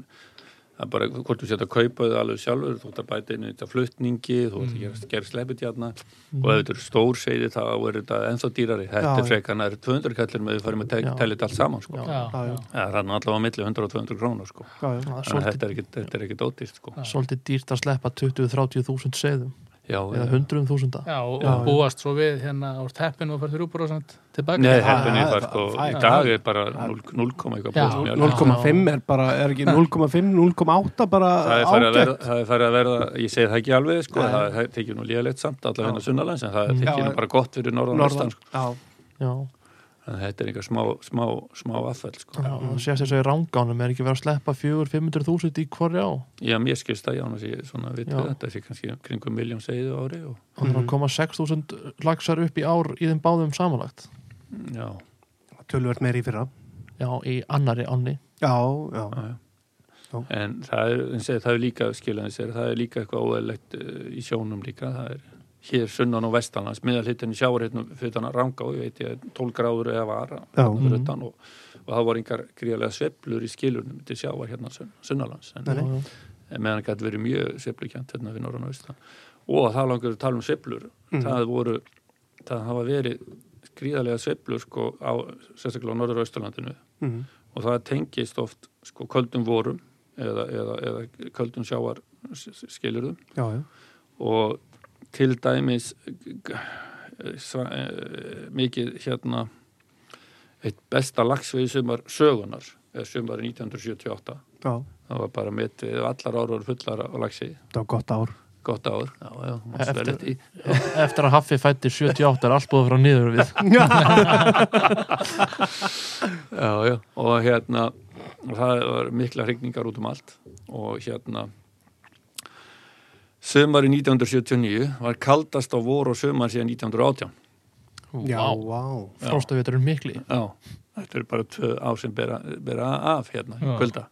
Speaker 4: það er bara hvort þú sétt að kaupa þau alveg sjálfur, þú ert að bæta inn í þetta flutningi, þú ert að gera, gera sleppitjarna og ef þetta eru stór segði þá er þetta ennþá dýrari, þetta
Speaker 2: Já,
Speaker 4: er
Speaker 2: já.
Speaker 4: frekar nær 200 kallir með við farum
Speaker 3: Já.
Speaker 4: að te- telja þetta allt saman sko.
Speaker 3: Já.
Speaker 1: Já,
Speaker 2: Já, já.
Speaker 1: já.
Speaker 4: Ja, það er nú allavega á milli 100 og 200 krónur sko.
Speaker 2: já, já.
Speaker 3: Það er
Speaker 4: þannig að þetta
Speaker 3: svolítið,
Speaker 4: er ekkit- þetta er ekkit ódýrt sko.
Speaker 1: Já.
Speaker 3: svolítið dýrt að sleppa 20-30 þúsund segðum
Speaker 4: Já,
Speaker 3: eða
Speaker 4: já.
Speaker 3: 100 þúsunda
Speaker 1: Já, og,
Speaker 2: Já,
Speaker 1: og
Speaker 2: já.
Speaker 1: búast svo við hérna á teppinu og fyrir 3% tilbaka.
Speaker 4: Nei,
Speaker 2: það-
Speaker 4: heppinni
Speaker 2: það-
Speaker 4: það sko,
Speaker 2: það-
Speaker 4: í
Speaker 2: það-
Speaker 4: dag er bara 0,1 eitthvað
Speaker 1: Já.
Speaker 4: prósent í öllu.
Speaker 2: 0,5 er bara, er ekki 0,5, 0,8 bara
Speaker 4: það er farið að verða,
Speaker 2: ágætt
Speaker 4: það er farið að verða ég segi það ekki alveg sko,
Speaker 2: Nei.
Speaker 4: það, það tekið nú líðalegt samt allavega hérna sunnalands en það
Speaker 3: Mm.
Speaker 4: tekið
Speaker 2: Já,
Speaker 4: nú
Speaker 2: en-
Speaker 4: bara gott fyrir norðan
Speaker 2: Norðan,
Speaker 4: vestan sko.
Speaker 2: já,
Speaker 3: Já,
Speaker 4: en þetta er einhver smá, smá, smá affell sko.
Speaker 3: já það sést þess að í rángánum er ekki verið að sleppa 400-500 þúsund í hverja á
Speaker 4: já, mér skilst það, já, annars ég svona vit
Speaker 3: Já.
Speaker 4: við þetta sé kannski kringum miljón segiðu ári og,
Speaker 3: þannig að koma 6.000 laxar upp í ár í þeim báðum samanlagt
Speaker 4: já,
Speaker 2: tölvöld meir í fyrra
Speaker 3: já, í annari ánni
Speaker 2: Já, já,
Speaker 4: já, já
Speaker 2: Já.
Speaker 4: en það er, en segi, það er líka skilaði sér, það er líka eitthvað óæðlegt í sjónum líka, það er hér sunnan og vestanlands, miðalhittin í sjáarhittin fyrir þannig að ranga og ég veit ég 12 gráður eða vara
Speaker 2: já,
Speaker 4: fyrir
Speaker 3: Mhm.
Speaker 4: utan og, og það voru einhver gríðlega sveplur í skilunum til sjávar hérna sun, sunnalands en,
Speaker 2: Nei, nei.
Speaker 3: Já,
Speaker 4: en meðan gæti verið mjög sveplukjönt hérna við norðan og austan og það langur að tala um sveplur
Speaker 2: Mhm.
Speaker 4: það voru, það hafa verið gríðarlega sveplur sko á sérstaklega á norður og austurlandinu
Speaker 2: Mhm.
Speaker 4: og það tengist oft sko köldum vorum eða, eða, eða köldum sjávar skilurðum
Speaker 2: já, já,
Speaker 4: og til dæmis g- g- sva, eh, mikið hérna eitt besta lagsveið sumar eh, sögunar eða sumar 1978
Speaker 2: já,
Speaker 4: það var bara mitt við allar árur fullar á lagsi,
Speaker 2: það var gott ár
Speaker 4: gott ár já, já,
Speaker 3: Eftir-
Speaker 4: manstu vel eftir því.
Speaker 3: já. eftir að Haffi fætti 78 er allt búið frá niður við
Speaker 4: já, já. og hérna og það var mikla hrygningar út um allt og hérna sumari 1979 var kaldast á vor og sumar síðan 1918
Speaker 2: Já,
Speaker 3: Vá.
Speaker 2: vá
Speaker 3: frostaviturinn mikli
Speaker 4: Já, þetta eru bara tvö ár sem bera, bera af hérna,
Speaker 1: Já.
Speaker 4: kvölda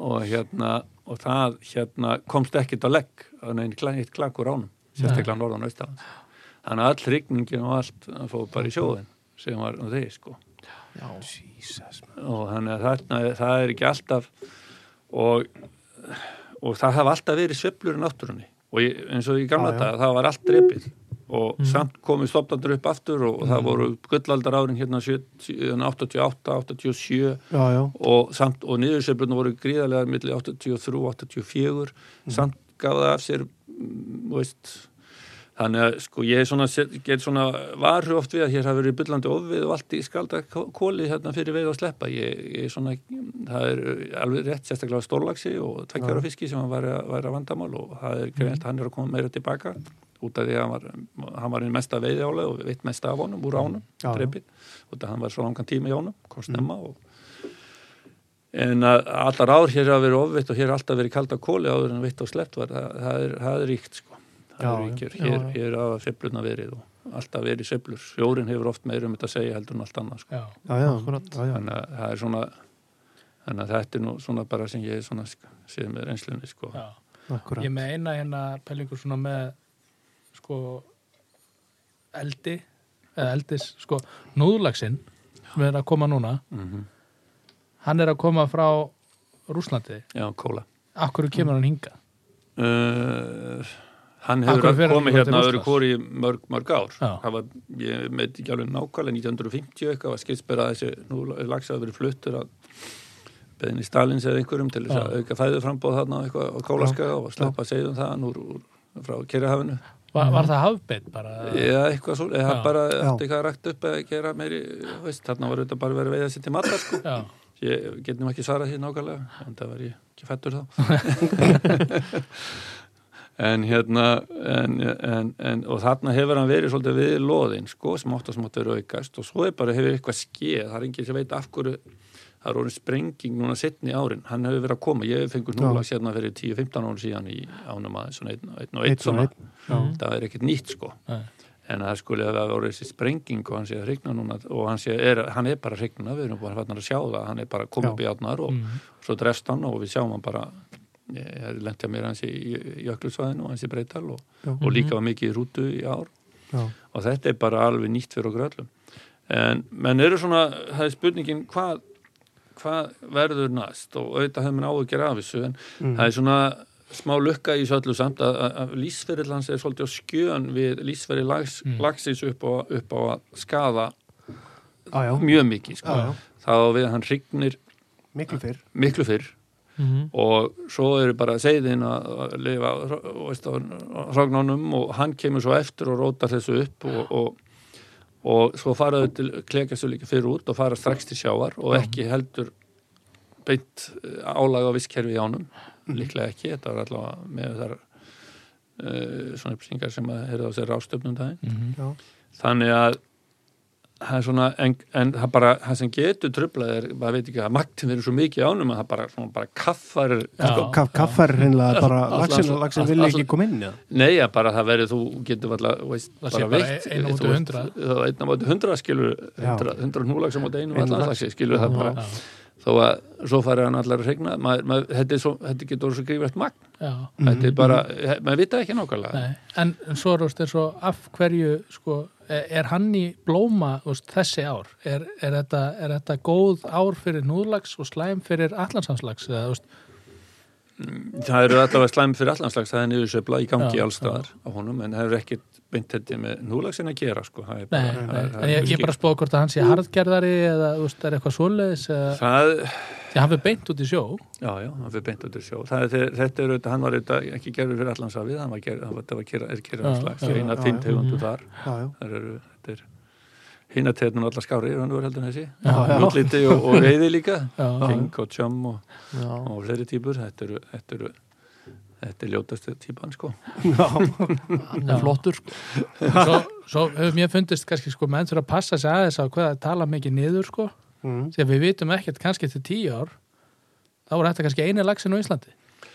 Speaker 4: og hérna og það hérna komst ekkert á legg að neinn kla- eitt klakur ánum sérstaklega norðan austalands þannig að all rigningin og allt hann fóð bara í sjóðin sem var um þeir sko
Speaker 3: já,
Speaker 2: Jesus, man.
Speaker 4: og þannig að þarna, það er ekki alltaf og, og það hafa alltaf verið sveplur í náttúrunni og ég, eins og í
Speaker 2: Já,
Speaker 4: gamla
Speaker 2: Mm. já.
Speaker 4: daga það var allt drepið og samt komið stopnandur upp aftur og,
Speaker 2: Mm.
Speaker 4: það voru gullaldar árin hérna 70, 88, 87
Speaker 2: já, já,
Speaker 4: og, samt, og niðursveiflunum voru gríðarlega millir 83 84 samt gaf það af sér mm, þú veist þannig að sko ég er svona, get svona varu oft við að hér hafi verið byllandi ofvið og allt í skalda kóli hérna fyrir veið og sleppa ég, ég er svona, það er alveg rétt sérstaklega stórlaxi og tvekkjara fiski sem hann var, að- var að vandamál og það er greint hann er að koma meira tilbaka út af því að hann var, hann var einn mesta veiði álega og veitt mesta af honum úr ánum,
Speaker 2: Já, Mm. já.
Speaker 4: dreipið og það hann var svo langan tíma í ánum, kom snemma og en að allar ár hér hafa verið ofvitt og hér hafa alltaf verið kalda kóli áður en vitt og sleppt var það, það, er, það er ríkt sko
Speaker 2: Já,
Speaker 4: það er
Speaker 2: já.
Speaker 4: ríkjur,
Speaker 3: Já,
Speaker 4: hér,
Speaker 3: já.
Speaker 4: hér hafa sveifluna verið og alltaf verið sveiflur, sjórin hefur oft meira um þetta að segja heldur en allt annað sko.
Speaker 1: Já,
Speaker 2: já, já,
Speaker 3: Akkúrat.
Speaker 2: já, já.
Speaker 4: þannig að það er svona þannig að þetta er nú svona bara sem ég svona sk- séð með reynslunni sko.
Speaker 1: Já.
Speaker 2: Akkurat.
Speaker 1: Ég er með eina hérna pælingu svona með sko eldi eða eldis sko núðlagsinn sem er að koma núna
Speaker 4: mm
Speaker 1: hann er að koma frá Rúslandi
Speaker 4: Já, kóla
Speaker 1: Akkur kemur hann hinga
Speaker 4: uh, Hann
Speaker 1: Af hverju fer
Speaker 4: hefur
Speaker 1: hann
Speaker 4: komið
Speaker 1: ekki til
Speaker 4: hérna öðru
Speaker 1: Rússlands?
Speaker 4: kóri mörg, mörg ár
Speaker 1: Já.
Speaker 4: Það var, ég veit ekki alveg nákvæmlega 1950 eitthvað var skilsbyrða þessi nú lagsaði verið fluttur að beðinni Stalins eða einhverjum til þess að
Speaker 1: Já.
Speaker 4: auka fæðu frambóð þarna á eitthvað á kólaskaga og sleppa segðum þaðan úr, úr frá Kerrahafinu
Speaker 1: Var,
Speaker 4: Mhm.
Speaker 1: var það hafbeitt bara?
Speaker 4: eða eitthvað svo, eða
Speaker 1: Já.
Speaker 4: bara
Speaker 2: Já.
Speaker 4: eftir eitthvað rakt upp eða gera meiri, þú veist, þarna var þetta bara verið að veiða sér til matar sko
Speaker 1: Já.
Speaker 4: ég getum ekki svarað því nákvæmlega en það var ég ekki fættur þá en hérna en, en, en, og þarna hefur hann verið svolítið við loðin sko, smátt og smátt verið aukast og svo er bara hefur eitthvað skeð, það er enginn sem veit af hverju það er orðin sprenging núna setni árin, hann hefur verið að koma, ég fengur núla sérna fyrir 10-15 árin síðan í ánum aðeins svona einn, og einn og einn svona það er ekkert nýtt sko
Speaker 1: Nei.
Speaker 4: en það skulle hafa orðið þessi sprenging og hann sé að hrygna núna og hann, sé, er, hann er bara að hrygna, við erum bara farnar að sjá það hann er bara að koma upp í átnar og
Speaker 1: Mm.
Speaker 4: svo drefst hann og við sjáum hann bara ég lenti að mér hans í jöklusvæðinu og hans í breytal og,
Speaker 2: Já.
Speaker 4: og líka var mikið í rútu í ár
Speaker 2: Já.
Speaker 4: og þetta er bara alveg nýtt fyrir okkur öllum en menn eru svona, það er spurningin hvað, hvað verður næst og auðvitað hefur mann áhugir af þessu en
Speaker 2: Mm.
Speaker 4: það er svona smá lukka í þessu öllu samt að, að, að lísferðil hans er svolítið á skjön við lísferðil lags,
Speaker 1: Mm.
Speaker 4: lagsins upp á, upp á að skaða
Speaker 2: Já, já.
Speaker 4: mjög mikið sko.
Speaker 2: Já, já.
Speaker 4: þá við að hann hrygnir
Speaker 2: Miklu fyrr.
Speaker 4: miklu fyrr
Speaker 3: Mhm.
Speaker 4: og svo eru bara seiðin að að lifa á hró- veist, á hrógnónum og hann kemur svo eftir og rótar þessu upp og, og, og svo faraðu til klekast líka fyrir út og fara strax til sjávar og ekki heldur beint álaga á visskerfi í ánum líklega ekki, þetta var allavega með þar uh, svona upplýsingar sem að herða á sér rástöfnum daginn
Speaker 1: Mhm.
Speaker 2: Já.
Speaker 4: þannig að það er svona, en, en það bara það sem getur tröflað er, maður veit ekki að maktin verið svo mikið ánum að það bara, svona, bara kaffar sko,
Speaker 1: Já.
Speaker 2: Ka kaffar er hreinlega bara,
Speaker 4: Allan-
Speaker 2: laxinn laxin vil
Speaker 4: allan-
Speaker 2: ekki koma inn, já.
Speaker 4: nei að bara það verið þú getur varla, veist,
Speaker 1: Það sé bara ein- ein á móti
Speaker 4: þú veist,
Speaker 1: 100.
Speaker 4: það var einn á móti hundra skilur
Speaker 2: Já.
Speaker 4: hundra, hundra núlag sem á einu
Speaker 2: Einu
Speaker 4: allan
Speaker 2: laxi.
Speaker 4: laxi skilur það
Speaker 1: Já.
Speaker 4: bara þó að svo farið hann allar að hregna maður, maður, þetta, er svo, þetta getur orðið svo grífært magn
Speaker 1: Já.
Speaker 4: þetta er bara, maður vita ekki nákvæmlega
Speaker 1: Mhm. Nei. En, en svo rúst er svo af hverju sko, er er hann í blóma úst, þessi ár? Er, er, þetta, er þetta góð ár fyrir núðlags og slæm fyrir allansanslags? Eða, úst,
Speaker 4: það eru allavega slæm fyrir allanslags það er niður söfla í gangi
Speaker 1: Já,
Speaker 4: alls staðar á honum en það eru ekkert beint þetta með núlagsin að gera sko. það er bara,
Speaker 1: Nei,
Speaker 4: það,
Speaker 1: nei,
Speaker 4: það
Speaker 1: en ég, ég bara spóð hvort að
Speaker 4: Mm.
Speaker 1: hann sé harðgerðari eða þú veist, er eitthvað svoleiðis eða,
Speaker 4: það,
Speaker 1: því hann fyrir beint út í sjó
Speaker 4: já, já, hann fyrir beint út í sjó það, er, þe- þetta er auðvitað, hann var auðvitað ekki gerður fyrir allansafið, hann var gerður, það var, það var kera, er
Speaker 1: Já,
Speaker 4: kera slags,
Speaker 1: já, Mhm.
Speaker 4: eina
Speaker 2: já,
Speaker 4: fimm
Speaker 2: já.
Speaker 4: tegundu þar
Speaker 2: Já, já.
Speaker 4: það eru, þetta er hinna tegundu allar skári, hann verður heldur en þessi
Speaker 2: Já.
Speaker 4: útliti og, og reyði líka
Speaker 1: Já.
Speaker 4: king og tjömm og,
Speaker 3: Já.
Speaker 4: og fleiri típur, þetta eru þetta eru Þetta er ljótastu típan, sko.
Speaker 2: Já,
Speaker 3: hann er flottur sko.
Speaker 1: svo, svo hefur mér fundist kannski sko menn þurfa að passa sig aðeins á hvað að tala mikið niður sko,
Speaker 2: Mm.
Speaker 1: því að við vitum ekkert kannski til tíu ár þá er þetta kannski eini lagsin á Íslandi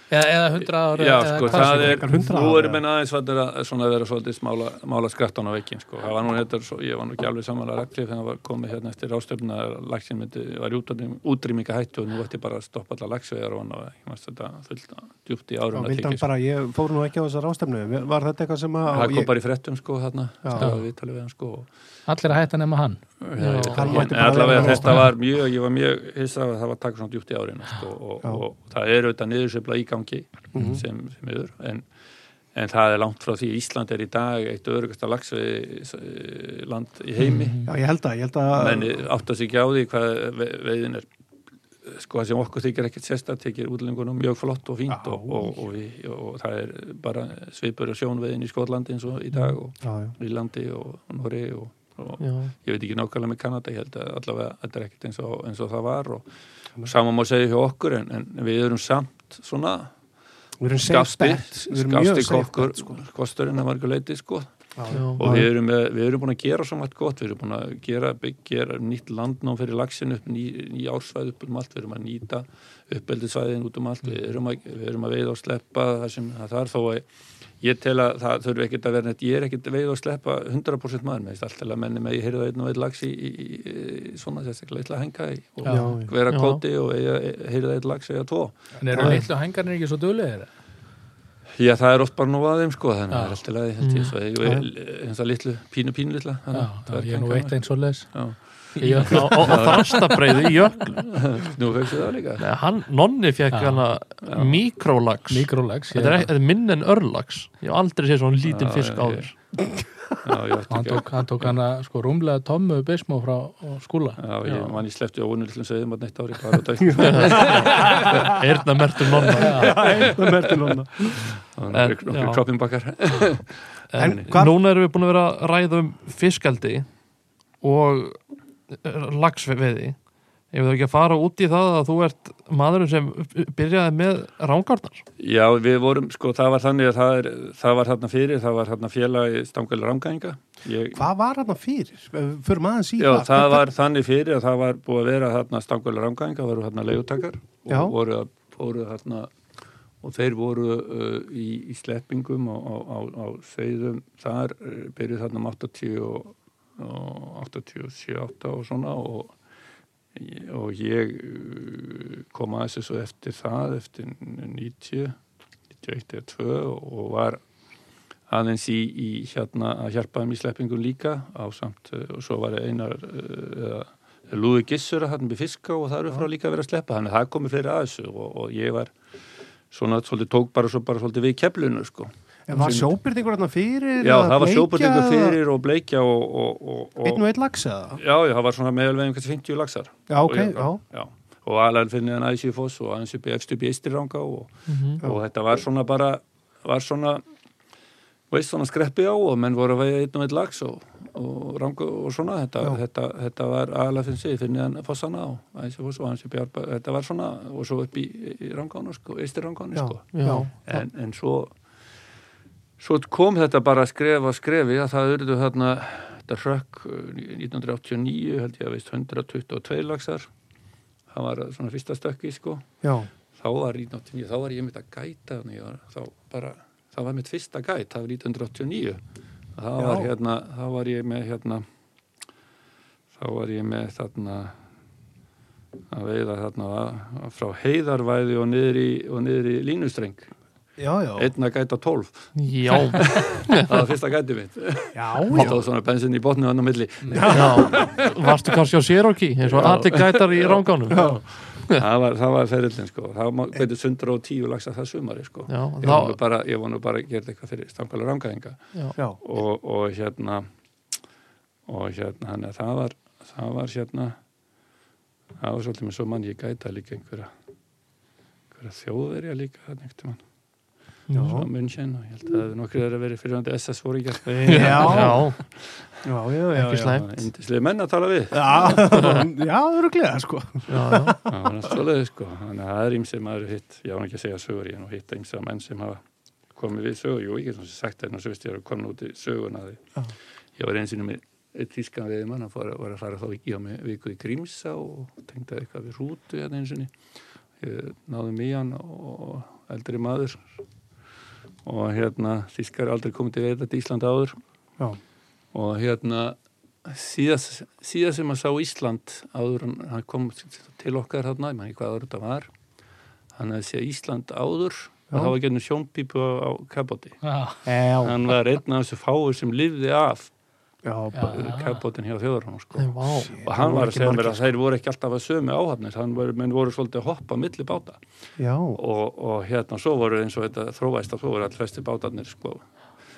Speaker 1: eða, eða hundra ár
Speaker 4: Já,
Speaker 1: eða
Speaker 4: sko,
Speaker 1: hvað
Speaker 4: það
Speaker 1: sem
Speaker 4: er,
Speaker 2: frekar 100
Speaker 4: nú
Speaker 2: eða?
Speaker 4: erum enn aðeins vandir að svona vera svolítið mála, mála skrattan á veikin, sko. Það var nú þetta, svo, ég var nú ekki alveg samanlega rætti þegar það var komið hérna eftir ástöfna að lagsin myndi, var í útrýminga hættu og nú ætti bara að stoppa alla lagsvegar og hann og ég varst þetta fullt djúpt í
Speaker 2: Já,
Speaker 4: árun að
Speaker 2: vildi hann
Speaker 4: tekja, sko.
Speaker 2: bara, ég fór nú ekki á þessar ástefnu. Var þetta eitthvað sem að...
Speaker 4: Það
Speaker 2: ég-
Speaker 4: kom bara í frettum, sko, þarna,
Speaker 2: Já.
Speaker 4: stáði við talið við hann, sko. og-
Speaker 1: allir að hætta nema hann
Speaker 4: Já, ég veit
Speaker 2: hann
Speaker 4: ekki,
Speaker 2: mætti
Speaker 4: en
Speaker 2: bara
Speaker 4: allavega
Speaker 2: vera
Speaker 4: þetta
Speaker 2: ástæðan.
Speaker 4: var mjög, ég var mjög hissa að það var takk svona djúpt í árin sko, og,
Speaker 2: Já. Mhm.
Speaker 4: og, það er auðvitað niðursveifla í gangi sem, sem yfir en, en það er langt frá því Ísland er í dag eitt örugasta lagsvei land í heimi
Speaker 2: Já, ég held að, ég held að...
Speaker 4: menn átt að sig ekki á því hvað ve veiðin er sko það sem okkur þykir ekkert sérstætt þykir útlengunum mjög flott og fínt
Speaker 2: Já.
Speaker 4: og, og, og, við, og það er bara svipur og sjónveiðin í Skotlandi eins og í dag og
Speaker 2: Já, já.
Speaker 4: Írlandi og Norri og, og
Speaker 3: Já.
Speaker 4: ég veit ekki nákvæmlega með Kanada, ég held að allavega þetta er ekkert eins og, eins og það var og sama má segja hjá okkur en, en við erum samt svona
Speaker 2: Við erum safe
Speaker 4: skafstir,
Speaker 2: bet. Við erum mjög
Speaker 4: skafstir
Speaker 2: safe
Speaker 4: kokkur
Speaker 2: bet, sko.
Speaker 4: kosturinn að margur leiti sko og við erum, með, við erum búin að gera svo mætt gott, við erum búin að gera, gera ný- nýtt landnám fyrir laxin upp ný, ný ársvæð upp um allt, við erum að nýta uppeldisvæðin út um allt, við erum að, við erum að veiða og sleppa það sem það er þó að ég tel að það þurfi ekkert að vera neitt, ég er ekkert að veiða og sleppa 100% maður, með allt til að menni með ég heyrði að einn og einn lax í, í, í, í svona sérstaklega eitthvað að henga í og
Speaker 1: Já.
Speaker 4: vera
Speaker 3: Já.
Speaker 4: kóti og eiga- heyrði að einn lax eða tvo.
Speaker 1: En eru litlu hengarnir ekki svo duglegir?
Speaker 4: Já, það er oft bara nú að þeim sko,
Speaker 1: Já.
Speaker 4: þannig að það er alltaf leið, held ég,
Speaker 3: Mm.
Speaker 4: svo ég, ég, eins og litlu, pínu, pínu litla.
Speaker 1: Já,
Speaker 4: þannig að
Speaker 1: já,
Speaker 4: það er
Speaker 1: ég er nú
Speaker 4: kankan-
Speaker 1: veit eins og leis.
Speaker 4: Já,
Speaker 1: Já,
Speaker 3: á, á, á þrastabreiði í jöklu
Speaker 4: nú fegstu það líka.
Speaker 3: Nei, hann, Nonni fekk
Speaker 1: Já.
Speaker 3: hana mikrolags
Speaker 1: mikrólegs.
Speaker 3: þetta er, ekki- þetta er minn en örlags ég hef aldrei séð svona lítinn
Speaker 4: Já,
Speaker 3: fisk
Speaker 4: já,
Speaker 3: áður
Speaker 4: Já, ég átti
Speaker 1: Hann
Speaker 4: ekki að...
Speaker 1: tók, hann tók hana sko rúmlega tommu bismó frá skúla.
Speaker 4: Já,
Speaker 3: Já.
Speaker 4: ég man ég sleppti á unulillum sveðum að neitt ári bara út af
Speaker 3: Erna mertur Nonna
Speaker 2: það mertir núna
Speaker 3: En-
Speaker 4: okkur
Speaker 3: já.
Speaker 4: kroppin bakkar.
Speaker 3: en
Speaker 2: En hvar-
Speaker 3: núna erum við búin að vera að ræða um fiskaldi og eh, lagsveiði ég veit ekki að fara út í það að þú ert maðurinn sem byrjaði með rángárnar
Speaker 4: Já, við vorum, sko, það var þannig að það, er, það var þarna fyrir, það var þarna félagi stangali ramgænga. Ég,
Speaker 2: Hvað var hann fyrir? Fyrir maður síðan
Speaker 4: Já, það var þannig fyrir að það var búið að vera þarna stangulega rámgæðinga, það voru þarna leiðutakar
Speaker 2: Já.
Speaker 4: og voru, að- voru þarna og þeir voru uh, í, í sleppingum á, á, á, á sveiðum þar, uh, byrjuð þarna um 80 og, og 87 8 og svona og, og ég uh, kom að þessu svo eftir það, eftir 90 91 eða 2 og var aðeins í, í hérna að hjálpa þeim í sleppingum líka á samt eh, og svo var einar uh, Lúði Gissur að hann með fiska og það eru frá líka að vera að sleppa þannig að það komið fleiri að þessu og, og ég var svona svolítið tók bara svo bara svolítið við keflunu sko.
Speaker 2: En var sjóbyrningur hann fyrir?
Speaker 4: Já,
Speaker 2: eða
Speaker 4: það var
Speaker 2: bleikja
Speaker 4: sjóbyrningu
Speaker 2: eða
Speaker 4: fyrir og bleikja og, og, og,
Speaker 2: Einn
Speaker 4: og
Speaker 2: og einn lags eða?
Speaker 4: já, já, það var svona meðalveg einhvers 50 laxar
Speaker 2: Já, ok,
Speaker 4: Og ég-
Speaker 2: já.
Speaker 4: já. og alveg finnir hann aðeins í foss og aðeins upp í efstu upp í eistiranga og, og þetta var svona bara var svona veist svona skreppi á og menn voru að veiða einn og einn lags og, og rangu og svona þetta, þetta, þetta var alveg finnst ég finnir hann fossana og aðeins í foss og aðeins upp í arba þetta var svona og svo upp í, í rangána sko, eistirangana
Speaker 2: Já.
Speaker 4: sko
Speaker 3: já,
Speaker 4: en, en svo svo kom þetta bara að skref að skrefi að það urðu þarna þetta hrökk eh, 1989 held ég að veist 122 lagsar það var svona fyrsta stökki sko
Speaker 2: Já,
Speaker 4: þá var 1989, þá var ég mitt að gæta þannig að þá bara það var mitt fyrsta gæt, það var 1989 það
Speaker 2: Já.
Speaker 4: var hérna, þá var ég með hérna þá var ég með þarna að veiða þarna að- frá heiðarvæði og niður í, og niður í línustreng
Speaker 2: já, já.
Speaker 4: einn að gæta 12,
Speaker 3: já,
Speaker 4: það var fyrsta gæti mitt
Speaker 2: Já,
Speaker 4: þá
Speaker 2: já. Mm.
Speaker 4: var svona bensin í botnið hann á milli
Speaker 3: já. varstu kannski á Séróki eins og allir gætar í rángánum já,
Speaker 4: það var, það var ferillin sko það
Speaker 2: Eh.
Speaker 4: gæti 110 lagsa það sumari sko
Speaker 3: já,
Speaker 4: ég var nú
Speaker 3: þá,
Speaker 4: bara, ég var nú bara að gera eitthvað fyrir stangalega rangæðinga
Speaker 2: Já,
Speaker 4: og, og hérna og hérna hann það var það var hérna það var svolítið með svo mann ég gæta líka einhverja einhverja þjóðverja líka þannig einhvern mann
Speaker 3: Já.
Speaker 4: svo munnsinn og ég held að það hefði nokkrið þeirra verið fyrirvændi SS voru ekki
Speaker 2: já, já,
Speaker 3: já,
Speaker 2: já, já, já.
Speaker 3: Ekki slæmt.
Speaker 4: indislega menn að tala við
Speaker 2: Já, já, öruglega, sko.
Speaker 3: já, já.
Speaker 4: það var náttúrulega svoleiðis, sko þannig að það er ímsið maður hitt ég án ekki að segja sögur ég er nú hitt ímsið menn sem hafa komið við sögur jú, ég get svona sagt það en svo veist ég er að koma út í söguna af því ég var einsinni með einn tískan við mann að fara, var að fara þá í á mig viku í Grímsa og tengda eitthvað við rútu hérna einsinni ég náði mig í hann og eldri maður og hérna þískar aldrei komið til veiða til Ísland áður
Speaker 2: Já.
Speaker 4: og hérna síðast, síðast sem að sá Ísland áður en hann kom til okkar þarna, ég maður ekki hvað áður þetta var hann hefði séð Ísland áður og það var gennum sjónpípu á, á kabóti
Speaker 1: Já,
Speaker 2: Já,
Speaker 4: hann var einn af þessu fáur sem lifði af
Speaker 2: já,
Speaker 1: já.
Speaker 4: kabótin hjá þjóðarhóna sko.
Speaker 3: Nei, vá.
Speaker 4: og hann
Speaker 3: Voru
Speaker 4: var að
Speaker 3: ekki
Speaker 4: segja mér
Speaker 3: margir.
Speaker 4: að þeir voru ekki alltaf að sömu áhafnir, hann var, menn voru svolítið að hoppa á milli báta
Speaker 2: já.
Speaker 4: og, og hérna svo voru eins og þetta þróvæst að svo voru allir flesti bátarnir sko,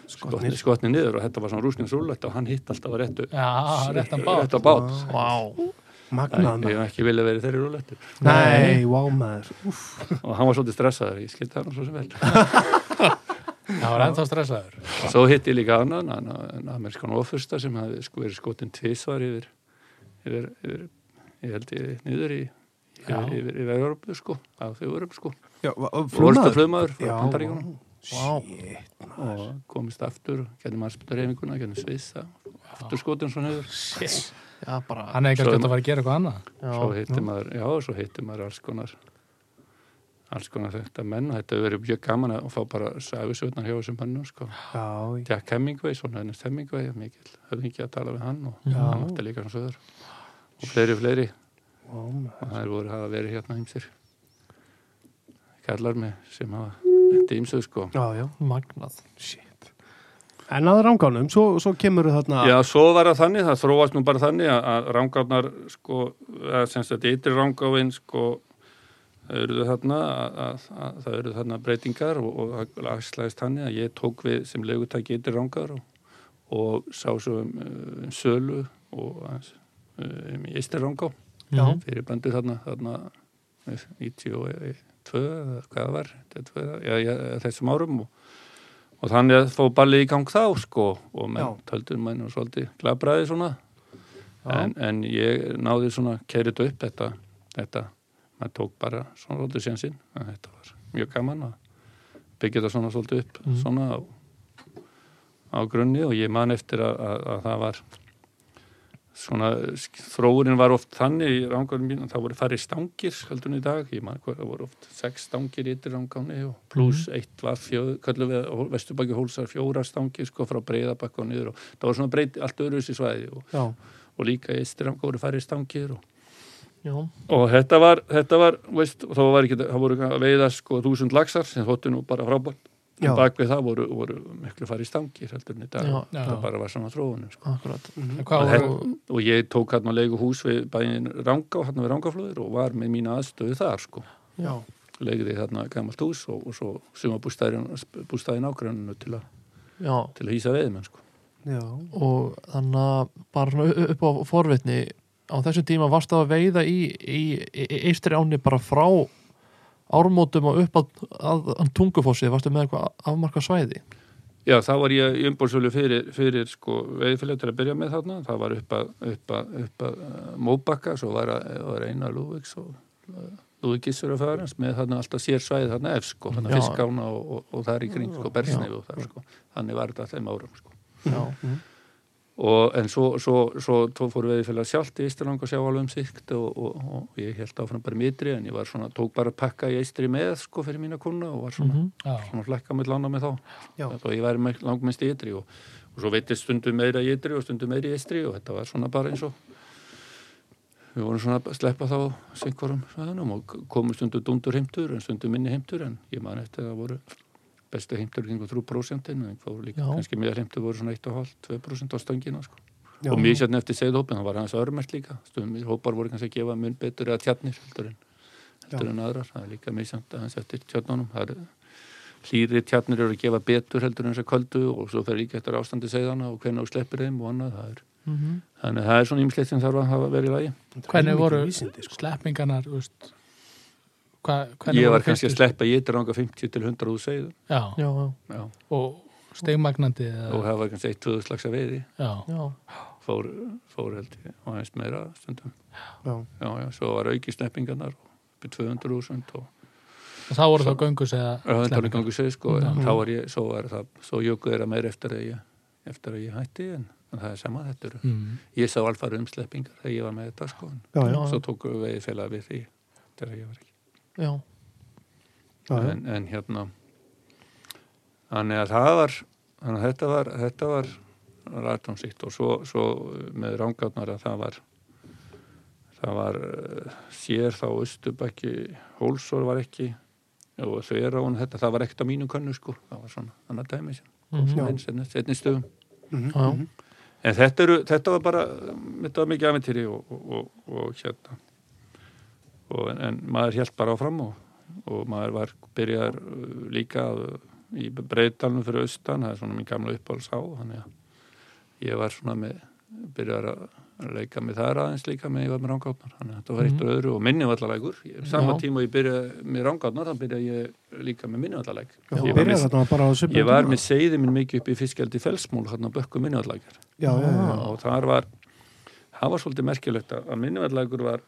Speaker 4: skotni,
Speaker 2: Skotnir.
Speaker 4: skotni niður og þetta var svona rúskins rúllegt og hann hitt alltaf að réttu
Speaker 1: Já, Ah, réttan
Speaker 4: rétt
Speaker 1: bát.
Speaker 4: á bát
Speaker 3: Vá.
Speaker 2: Magnaðan.
Speaker 4: Nei, ég hef ekki vilja verið þeirri rúllettu
Speaker 2: Nei, vá maður. Úff.
Speaker 4: og hann var svolítið stressaður, ég skildi hann svo sem vel
Speaker 1: Það var ennþá stressaður.
Speaker 4: svo hitti ég líka annan hann- hann amerskan ofursta sem hafði sko verið skotin tvísvar yfir, yfir, yfir ég held ég niður í yfir,
Speaker 1: Já.
Speaker 4: yfir, yfir Európu sko, á þjóðurum sko
Speaker 2: Já, va- flugmaður.
Speaker 4: Flugmaður? Flugmaður frá
Speaker 2: Já,
Speaker 4: Bandaríkunum
Speaker 3: Vá.
Speaker 4: og komist aftur, gæti marsbytturreifinguna, gæti svissa, aftur skotin svona hefur.
Speaker 3: já, bara
Speaker 1: Hann er
Speaker 4: Svo- Mm.
Speaker 1: kannski að fara að gera eitthvað annað.
Speaker 3: já,
Speaker 4: svo heitir maður, já, svo heitir maður alls konar alls konar þetta menn og þetta hefur verið mjög gaman að fá bara sæfisögnar hjá þessum mönnum sko.
Speaker 2: Já,
Speaker 4: Jack Hemingway, svona hennist Hemingway mikill, höfði ekki að tala við hann og
Speaker 3: Já.
Speaker 4: hann átti líka hans öður og fleiri og fleiri
Speaker 2: já,
Speaker 4: og það er voru að vera hérna ímsir kallar mig sem hafa þetta ímsuð sko
Speaker 2: já, já,
Speaker 3: magnað
Speaker 2: shit En að rangánum, svo, svo kemur þarna
Speaker 4: Já, svo var það þannig, það þróast nú bara þannig að- að rángáðnar, sko, eða sem sagt ytri rángáðin, sko, það eruðu þarna, að, að, að það eruðu þarna breytingar og, og það aðslæðist þannig að ég tók við sem legutæki ytri rángáðar og, og sá svo um, eh, um sölu og aðeins, eh, um ytri rángáð
Speaker 3: já,
Speaker 4: fyrir bændu þarna, þarna eh, 92 eða hvað það var 92, já, já, þessum árum og, og þannig að fóð ballið í gang þá sko og menn
Speaker 2: Já.
Speaker 4: töldur menn og svolítið glabraði svona en, en ég náði svona kerið upp þetta, þetta maður tók bara svona svolítið síðan sinn að þetta var mjög gaman að byggja þetta svona svolítið upp
Speaker 3: Mhm.
Speaker 4: svona á, á grunni og ég man eftir að, að, að það var svona sk- þróunin var oft þannig í rángarnum mín að það voru farið stangir höldun í dag, ég man hvað það voru oft sex stangir í yttir rángarni og pluss eitt var fjöð, kallum við vesturbakki hólsar fjóra stangir sko frá breyðabakka og niður og það var svona breyt allt öðruðs í svæði og,
Speaker 3: já,
Speaker 4: og líka í yttir rángar voru farið stangir og
Speaker 3: já,
Speaker 4: og þetta var, þetta var veist, og þá var ekki, það voru að veiða sko þúsund laxar sem þóttu nú bara frábært
Speaker 2: Já.
Speaker 4: en bak við það voru, voru miklu farið stangir heldur en í dag,
Speaker 3: Já,
Speaker 1: já.
Speaker 4: það bara var svona þróunum sko.
Speaker 3: akkurat
Speaker 1: En Hvað
Speaker 4: Þetta-
Speaker 1: voru,
Speaker 4: og ég tók hann að leiku hús við bæinn Rangá, hann við Rangaflóður og var með mína aðstöðu þar sko
Speaker 3: já,
Speaker 4: legði þarna gamalt hús og, og svo sumabústæðin ágræninu til, að-
Speaker 3: já
Speaker 4: til að hýsa veiðmenn sko.
Speaker 2: já,
Speaker 3: og þannig að bara svona upp á forvitni á þessum tíma varst það að veiða í, í, í, í eistri áni bara frá ármótum og upp að, að, að tungufossi, varstu með eitthvað afmarka svæði
Speaker 4: Já, þá var ég í umbólsölu fyrir, fyrir sko, veiðfélag til að byrja með þarna. Það var upp að, upp að, upp að uh, Móbakka, svo var, að, var eina Lúvíks og uh, Lúvík Gissur að fara hans með þarna alltaf sér svæði þarna ef sko, þarna
Speaker 3: Já.
Speaker 4: fiskána og, og, og þar í kring sko, Bersnef og þar sko. Þannig var þetta þeim árum sko.
Speaker 3: já,
Speaker 4: Og, en svo, svo, svo, svo fór veiðfélag sjálft í Ísturlang og sjá alveg um sikt og, og, og ég held áfram bara mitri en ég var svona, tók bara pakka í Ístri með sko fyrir mína kuna og var svona
Speaker 3: Mhm.
Speaker 1: já,
Speaker 4: svona flekka með lána með þá
Speaker 2: Já.
Speaker 4: og ég væri með- langmest í ytri og, og svo veitir stundum meira í ytri og stundum meira í eistri og þetta var svona bara eins og við vorum svona að sleppa þá sinkvarum svæðanum og komum stundum dundur heimtur en stundum minni heimtur en ég man eftir að það voru bestu heimtur í einhver 3% en það voru líka
Speaker 3: Já.
Speaker 4: kannski meðal heimtur voru svona 1,5-2% á stöngina sko.
Speaker 2: já.
Speaker 4: og mjög sérna eftir segðhópin það var aðeins örmert líka stundum hópar voru kannski að gefa mun betur eða tjarnir heldur en, heldur
Speaker 2: Já.
Speaker 4: en aðrar það er líka mjög sérna aðeins eftir tjarnunum það er hlýri tjarnir eru að gefa betur heldur en þess að köldu og svo fer líka eftir ástandi segðana og hvernig þú sleppir þeim og annað það er,
Speaker 3: Mhm.
Speaker 4: þannig að það er svona ýmislegt sem þarf að hafa verið í lagi
Speaker 1: hvernig voru
Speaker 2: Vísindi, sko.
Speaker 1: sleppingarnar, þú veist, hvað, hvernig
Speaker 4: ég
Speaker 1: voru
Speaker 4: var kannski að
Speaker 1: fyrstu-
Speaker 4: sleppa ég dranga 50 til 100 úr segðu
Speaker 1: Já,
Speaker 3: já, já,
Speaker 4: já.
Speaker 1: og stegmagnandi
Speaker 4: og
Speaker 1: eða,
Speaker 4: það var kannski 1-2 slags að veiði
Speaker 1: já,
Speaker 3: já,
Speaker 4: fór, fór held ég og aðeins meira stundum
Speaker 2: Já.
Speaker 4: já, já, svo var auki sleppingarnar upp í 200.000 og
Speaker 1: og það voru þá göngus eða
Speaker 4: Já, þetta var í
Speaker 1: sleppingar.
Speaker 4: gangi sig sko, en þá var ég, svo var það, svo jökuð þeirra meir eftir að ég, eftir að ég hætti, en, en það er sama þetta eru.
Speaker 1: Mm.
Speaker 4: Ég sá alfarið um sleppingar þegar ég var með þetta sko, en
Speaker 2: Já, já,
Speaker 3: Já.
Speaker 4: svo tók við félag við því, þegar ég var ekki.
Speaker 3: já,
Speaker 2: já, já.
Speaker 4: En, en hérna, þannig að það var, þannig að þetta var, þetta var rættum sitt og svo, svo með rángarnar að það var, það var eh, sér þá austubækki hólsor var ekki og þverá hún þetta, það var ekkert á mínu könnu sko, það var svona annað dæmi sem
Speaker 3: Mhm.
Speaker 4: mm -hmm. setni stöðum
Speaker 2: Mhm,
Speaker 3: Já.
Speaker 2: mhm.
Speaker 4: en þetta, eru, þetta var bara um, þetta var mikið aventýri og, og, og, og hérna og, en, en maður held bara áfram og, og maður var byrjaðar uh, líka að, í breytalunum fyrir austan, það er svona mín gamla uppáhalds á þannig að ég var svona með byrjaðar að leika með þar aðeins líka með ég var með rángátnar þannig að þetta var
Speaker 2: Mhm.
Speaker 4: eitt og öðru og minnivallalægur Ég- sama
Speaker 3: Já.
Speaker 4: tíma og ég byrjaði með rángátnar þannig byrjaði ég líka með minnivallalæg
Speaker 2: Já, þú
Speaker 4: Ég var með-
Speaker 2: byrjar þarna bara á svipum
Speaker 4: Ég var
Speaker 2: tíma.
Speaker 4: með seiði minn mikið upp í fiskjaldi felsmúl hann á Bökku minnivallækjar
Speaker 2: Já, já, já,
Speaker 4: og þar var, það var svolítið merkilegt að minnivallækur var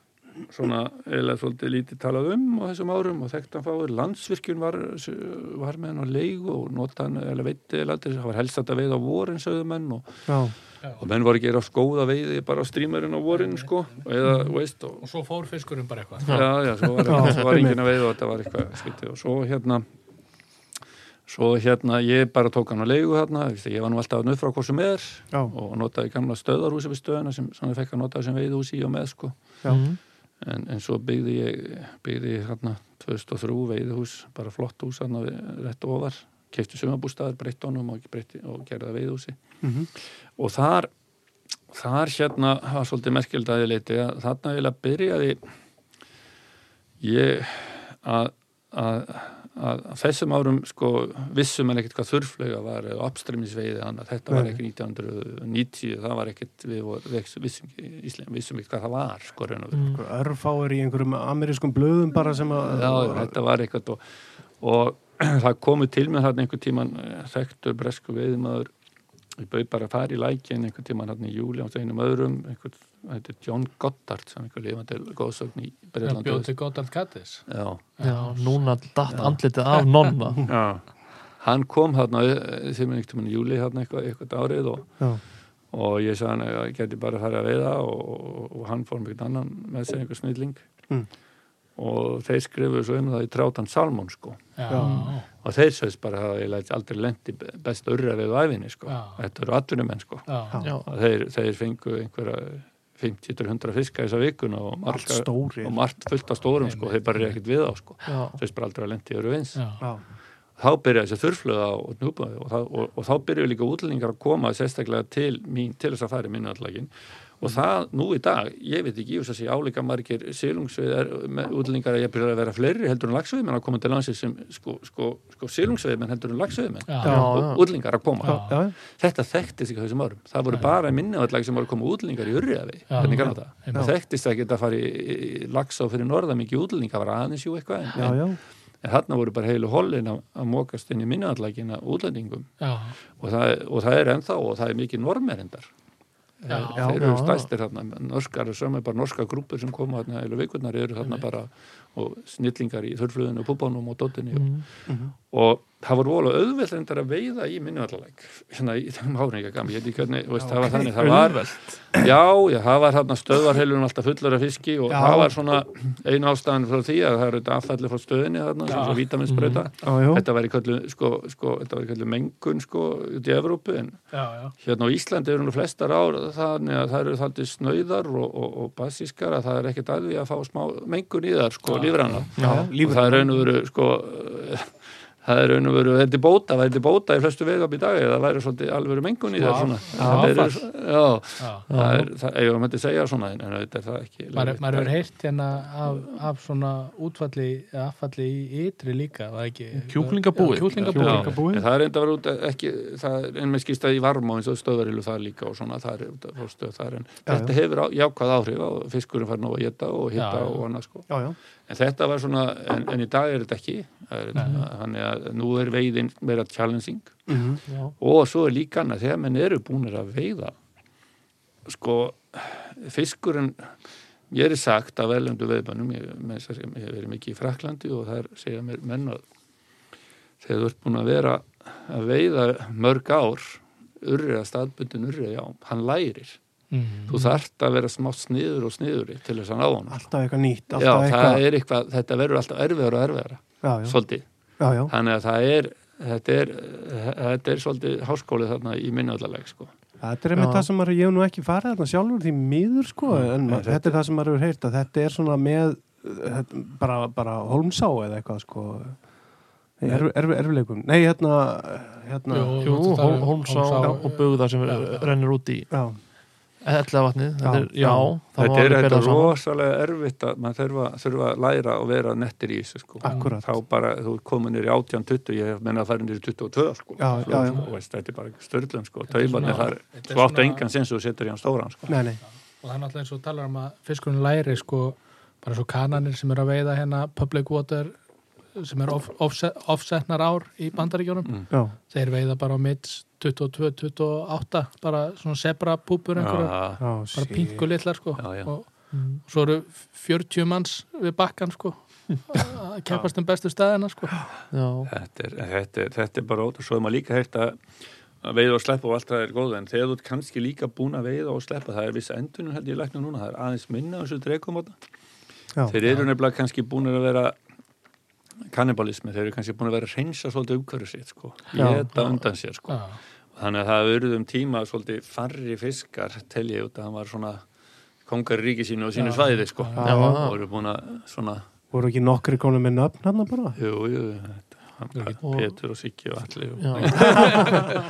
Speaker 4: svona eða svolítið lítið talað um á þessum árum og þekktan fáir landsvirkjun var, var með hann á leigu og notan eða veitti eða það var helst að veið á vorin sögðu menn og,
Speaker 3: já,
Speaker 4: og menn var ekki að skóða veiði bara á strímurinn á vorin sko eða veist og
Speaker 1: og svo fór fiskurinn bara eitthvað
Speaker 4: já, já, svo var,
Speaker 3: Já,
Speaker 4: svo var enginn að veiða og þetta var eitthvað skrítið og svo hérna svo hérna, ég bara tók hann á leigu hérna, því ég var nú alltaf að nöfra hvað sem er
Speaker 2: Já.
Speaker 4: og notaði gamla stöðarhúsi við stöðuna sem, sem ég fekk að nota sem veiðhúsi í og með sko
Speaker 2: Já.
Speaker 3: Mhm.
Speaker 4: en, en svo byggði ég byggði ég hérna 2003 veiðhús, bara flott hús hérna við- rétt ofar, keifti sumabústaðar breytt honum og, breytti, og gerði það veiðhúsi
Speaker 2: Mhm.
Speaker 4: og þar þar hérna var svolítið merkild að ég leiti að þarna eiginlega byrjaði ég að, að, að að þessum árum sko vissum en ekkert hvað þurflega var eða uppstreymisveiði annað, þetta var
Speaker 2: Nei.
Speaker 4: ekki 1990, það var ekkert við vor, vissum, Ísland, vissum ekki hvað það var sko raun og veru
Speaker 3: Mm.
Speaker 2: örfáir í einhverjum amerískum blöðum bara sem að
Speaker 4: Já, þetta var eitthvað og, og það komu til með þarna einhver tíman þekktur bresku veiðmaður ég bauð bara að fara í lækin einhver tíman þarna í júli á einum öðrum einhver, þetta er John Goddard sem einhver lifandi góðsögn í
Speaker 1: það
Speaker 4: Breitlandi
Speaker 1: bjóti Goddard Kattis
Speaker 4: Já,
Speaker 3: já, núna datt andlitið af nonna
Speaker 4: já Hann kom þarna eh, sem einhvern tíman í júli þarna eitthvað, eitthvað árið og,
Speaker 2: Já.
Speaker 4: og ég sagði hann að ég geti bara að fara að veiða og, og, og hann fór mjög annan með sér einhver snilling
Speaker 2: Mm.
Speaker 4: og þeir skrifuðu svo um það í Trátan Salmón sko
Speaker 1: já,
Speaker 2: Já.
Speaker 4: og þeir sögst bara að ég læt aldrei lendi best urra við æfinni sko.
Speaker 1: Já.
Speaker 4: þetta eru atvinnumenn sko.
Speaker 1: já.
Speaker 3: já,
Speaker 4: Og þeir, þeir fengu einhverja 50-100 fiska þessa vikuna og
Speaker 2: allt
Speaker 4: margt,
Speaker 2: stóri
Speaker 4: og margt fullt af stórum sko. þeir bara er ekkert við á sko.
Speaker 3: já,
Speaker 4: þeir sögst bara aldrei að lendi öru vins
Speaker 1: já.
Speaker 2: Já.
Speaker 4: þá byrja þessi þurflöða og núpaði og, þá- og, og þá byrju líka útlendingar að koma sérstaklega til, mín, til þess að fara í minnallakin
Speaker 1: Mm.
Speaker 4: og það nú í dag, ég veit ekki, ég þess að sé álíka margir sílungsveið útlendingar að ég byrja að vera fleiri heldur en lagsveiðmenn að koma til landsins sem sko, sko, sko sílungsveiðmenn heldur en lagsveiðmenn
Speaker 1: Já.
Speaker 3: Já.
Speaker 4: og útlendingar að koma.
Speaker 1: Já.
Speaker 2: Já,
Speaker 4: Þetta þekktist ekki á þessum árum. Það voru bara minnavallag sem voru að koma útlendingar í urriðavi,
Speaker 1: Já.
Speaker 4: hvernig kannar það?
Speaker 1: Einmitt.
Speaker 4: Það þekktist ekki að fara í, í, í lagsá fyrir norða mikið útlendingar var aðeins jú eitthvað en,
Speaker 2: já, já,
Speaker 4: en þarna voru bara heilu hollin að, að mókast inn í minnaðallagina útlendingum
Speaker 1: já.
Speaker 4: og það, og það er ennþá og það er mikið normerendar
Speaker 1: Já.
Speaker 4: þeir eru
Speaker 3: já, já.
Speaker 4: stæstir þarna norskar er saman bara norska grúpur sem koma þarna eilu vikurnar eru þarna bara og snillingar í þurflöðinu og púbánum og dóttinni og, og það voru vola auðveld reyndar að veiða í minnaðallag svona í þeim háringagamli ég veit ekki hvernig, þú veist, það var þannig það var, já, já, það var þarna stöðvarheilun alltaf fullur af fiski og
Speaker 2: Já.
Speaker 4: það var svona einu ástæðan frá því að það eru þetta affallið frá stöðinni þarna, sem
Speaker 1: Já.
Speaker 4: svo vítaminsbreyta
Speaker 2: já, já.
Speaker 4: þetta væri kallu, sko, sko, þetta væri kallu mengun sko, út í Evrópu en
Speaker 1: já, já.
Speaker 4: hérna á Íslandi eru nú flestar ár þannig að það eru þaldið snauðar og, og, og basískar að það er ekkert að við að fá smá mengun í þar sko, lífrana
Speaker 2: Já,
Speaker 4: og það er raun og veru sko, eh, það er raun og veru þetta er bóta, það er til bóta í flestu vegab í dag eða það væri svolítið alveg mengun í
Speaker 1: Smá
Speaker 4: þar svona.
Speaker 1: áfall.
Speaker 4: Það eru- já,
Speaker 1: já.
Speaker 4: það er, það, ef ég mætti segja svona en þetta er það ekki
Speaker 1: maður
Speaker 4: leyfilegt.
Speaker 1: maður hefur heyrt hérna af, af svona útfalli eða affalli í ytri líka var það ekki,
Speaker 3: Kjúklingabúið.
Speaker 1: Já, kjúklingabúið.
Speaker 4: Já,
Speaker 2: Líka búið.
Speaker 4: en það er enda að vera út ekki, það er en mér skýrst að í varma og eins og stöðverilu það líka og svona það er út að fá stöð þar en þetta hefur á, jákvæð áhrif og fiskurinn fær nóg að geta og hitta
Speaker 1: Já, já.
Speaker 4: og annað sko.
Speaker 2: já, já.
Speaker 4: En þetta var svona, en, en í dag er þetta ekki, Það er, þannig að nú er veiðin meira challenging
Speaker 2: Mhm.
Speaker 3: já,
Speaker 4: og svo er líka annað þegar menn eru búinir að veiða sko fiskurinn ég er sagt af erlendu veiðbannum ég, með þess að segja, ég hef verið mikið í Fraklandi og þar segja mér menn að þegar þú ert búin að vera að veiða mörg ár urriða, staðbundin urriða, já, hann lærir
Speaker 1: Mhm.
Speaker 4: þú þarft að vera smátt sniður og sniðuri til þess að ná hann
Speaker 2: alltaf eitthvað nýtt
Speaker 4: já,
Speaker 2: alltaf
Speaker 4: það
Speaker 2: eitthvað
Speaker 4: er eitthvað, þetta verður alltaf erfiðar og erfiðara,
Speaker 2: já, já,
Speaker 4: svolítið
Speaker 2: já, já.
Speaker 4: þannig að það er þetta er, þetta er svolítið háskólið þarna í minnaðaleg sko.
Speaker 2: þetta er einmitt
Speaker 3: Já.
Speaker 2: það sem maður ég hef nú ekki farið þarna sjálfur því miður sko en maður, þetta er það sem maður hefur heyrt að þetta er svona með uh, þetta, bara, bara holmsá eða eitthvað sko erf, erf, erfileikum nei hérna, hérna
Speaker 1: Jú,
Speaker 3: jú,
Speaker 1: þú talar um
Speaker 3: Holmsá
Speaker 1: Hólmsá.
Speaker 3: og Bugða sem
Speaker 1: Já, já.
Speaker 3: rennir út í
Speaker 2: já,
Speaker 3: Ellavatnið, þetta er,
Speaker 2: Já.
Speaker 3: já það má
Speaker 4: þetta
Speaker 3: alveg
Speaker 4: er
Speaker 3: bera
Speaker 4: þetta
Speaker 3: það saman.
Speaker 4: rosalega erfitt að maður þurfa, þurfa að læra og vera nettir í þessu sko.
Speaker 2: Akkúrat.
Speaker 4: þá bara, þú er komin nýri 18-20 ég hef mennað að fara nýri 22 sko.
Speaker 2: Já,
Speaker 4: Svo,
Speaker 2: já, já.
Speaker 4: sko, Veist, þetta er bara störlum sko.
Speaker 1: er
Speaker 4: taumarnir
Speaker 1: svona-
Speaker 4: þar,
Speaker 1: þetta er
Speaker 4: svo áttu
Speaker 1: svona-
Speaker 4: engan sinn sem þú setur í hann stóran sko.
Speaker 2: nei, nei,
Speaker 1: og það er náttúrulega eins og þú talar um að fiskurinn læri sko bara svo kananir sem eru að veiða hérna public water sem eru off, offset, offsetnar ár í bandaríkjónum
Speaker 4: Mm.
Speaker 2: já,
Speaker 1: þeir veiða bara á mitt 22-28 bara svona zebra púpur einhverja
Speaker 4: Já,
Speaker 2: já,
Speaker 1: bara
Speaker 2: sí.
Speaker 1: pingu litlar sko
Speaker 4: Já, já.
Speaker 1: Og,
Speaker 3: Mm.
Speaker 1: og svo eru 40 manns við bakkan sko að keppast um bestu staðina sko
Speaker 3: Já,
Speaker 4: þetta er, þetta, er, þetta er bara ótrú svo er maður líka heyrt að að veiða og sleppa og allt það er góð en þegar þú ert kannski líka búin að veiða og sleppa það er viss endunum held ég læknum núna það er aðeins minna á þessu dreikumóta
Speaker 2: Já.
Speaker 4: þeir eru nefnilega kannski búin að vera kannibalismi, þeir eru kannski búin að vera að reynsa svolítið umhverju sitt sko
Speaker 3: Já.
Speaker 4: geta undan sér sko
Speaker 1: Já.
Speaker 4: þannig að það urðum tíma svolítið farri fiskar tel ég út að hann var svona kongar í ríki sínu og sínu
Speaker 1: Já.
Speaker 4: svæði sko
Speaker 3: Já.
Speaker 4: og eru búin að svona
Speaker 2: voru ekki nokkri konum með nöfn hann bara
Speaker 4: jú, jú, þetta, hann,
Speaker 3: Og-
Speaker 4: Petur og Siggi og allir og,
Speaker 3: já,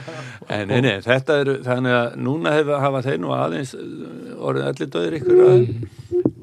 Speaker 4: En nei, nei, þetta eru, þannig að núna hef, hafa þeir nú aðeins uh, orðið allir döðir ykkur að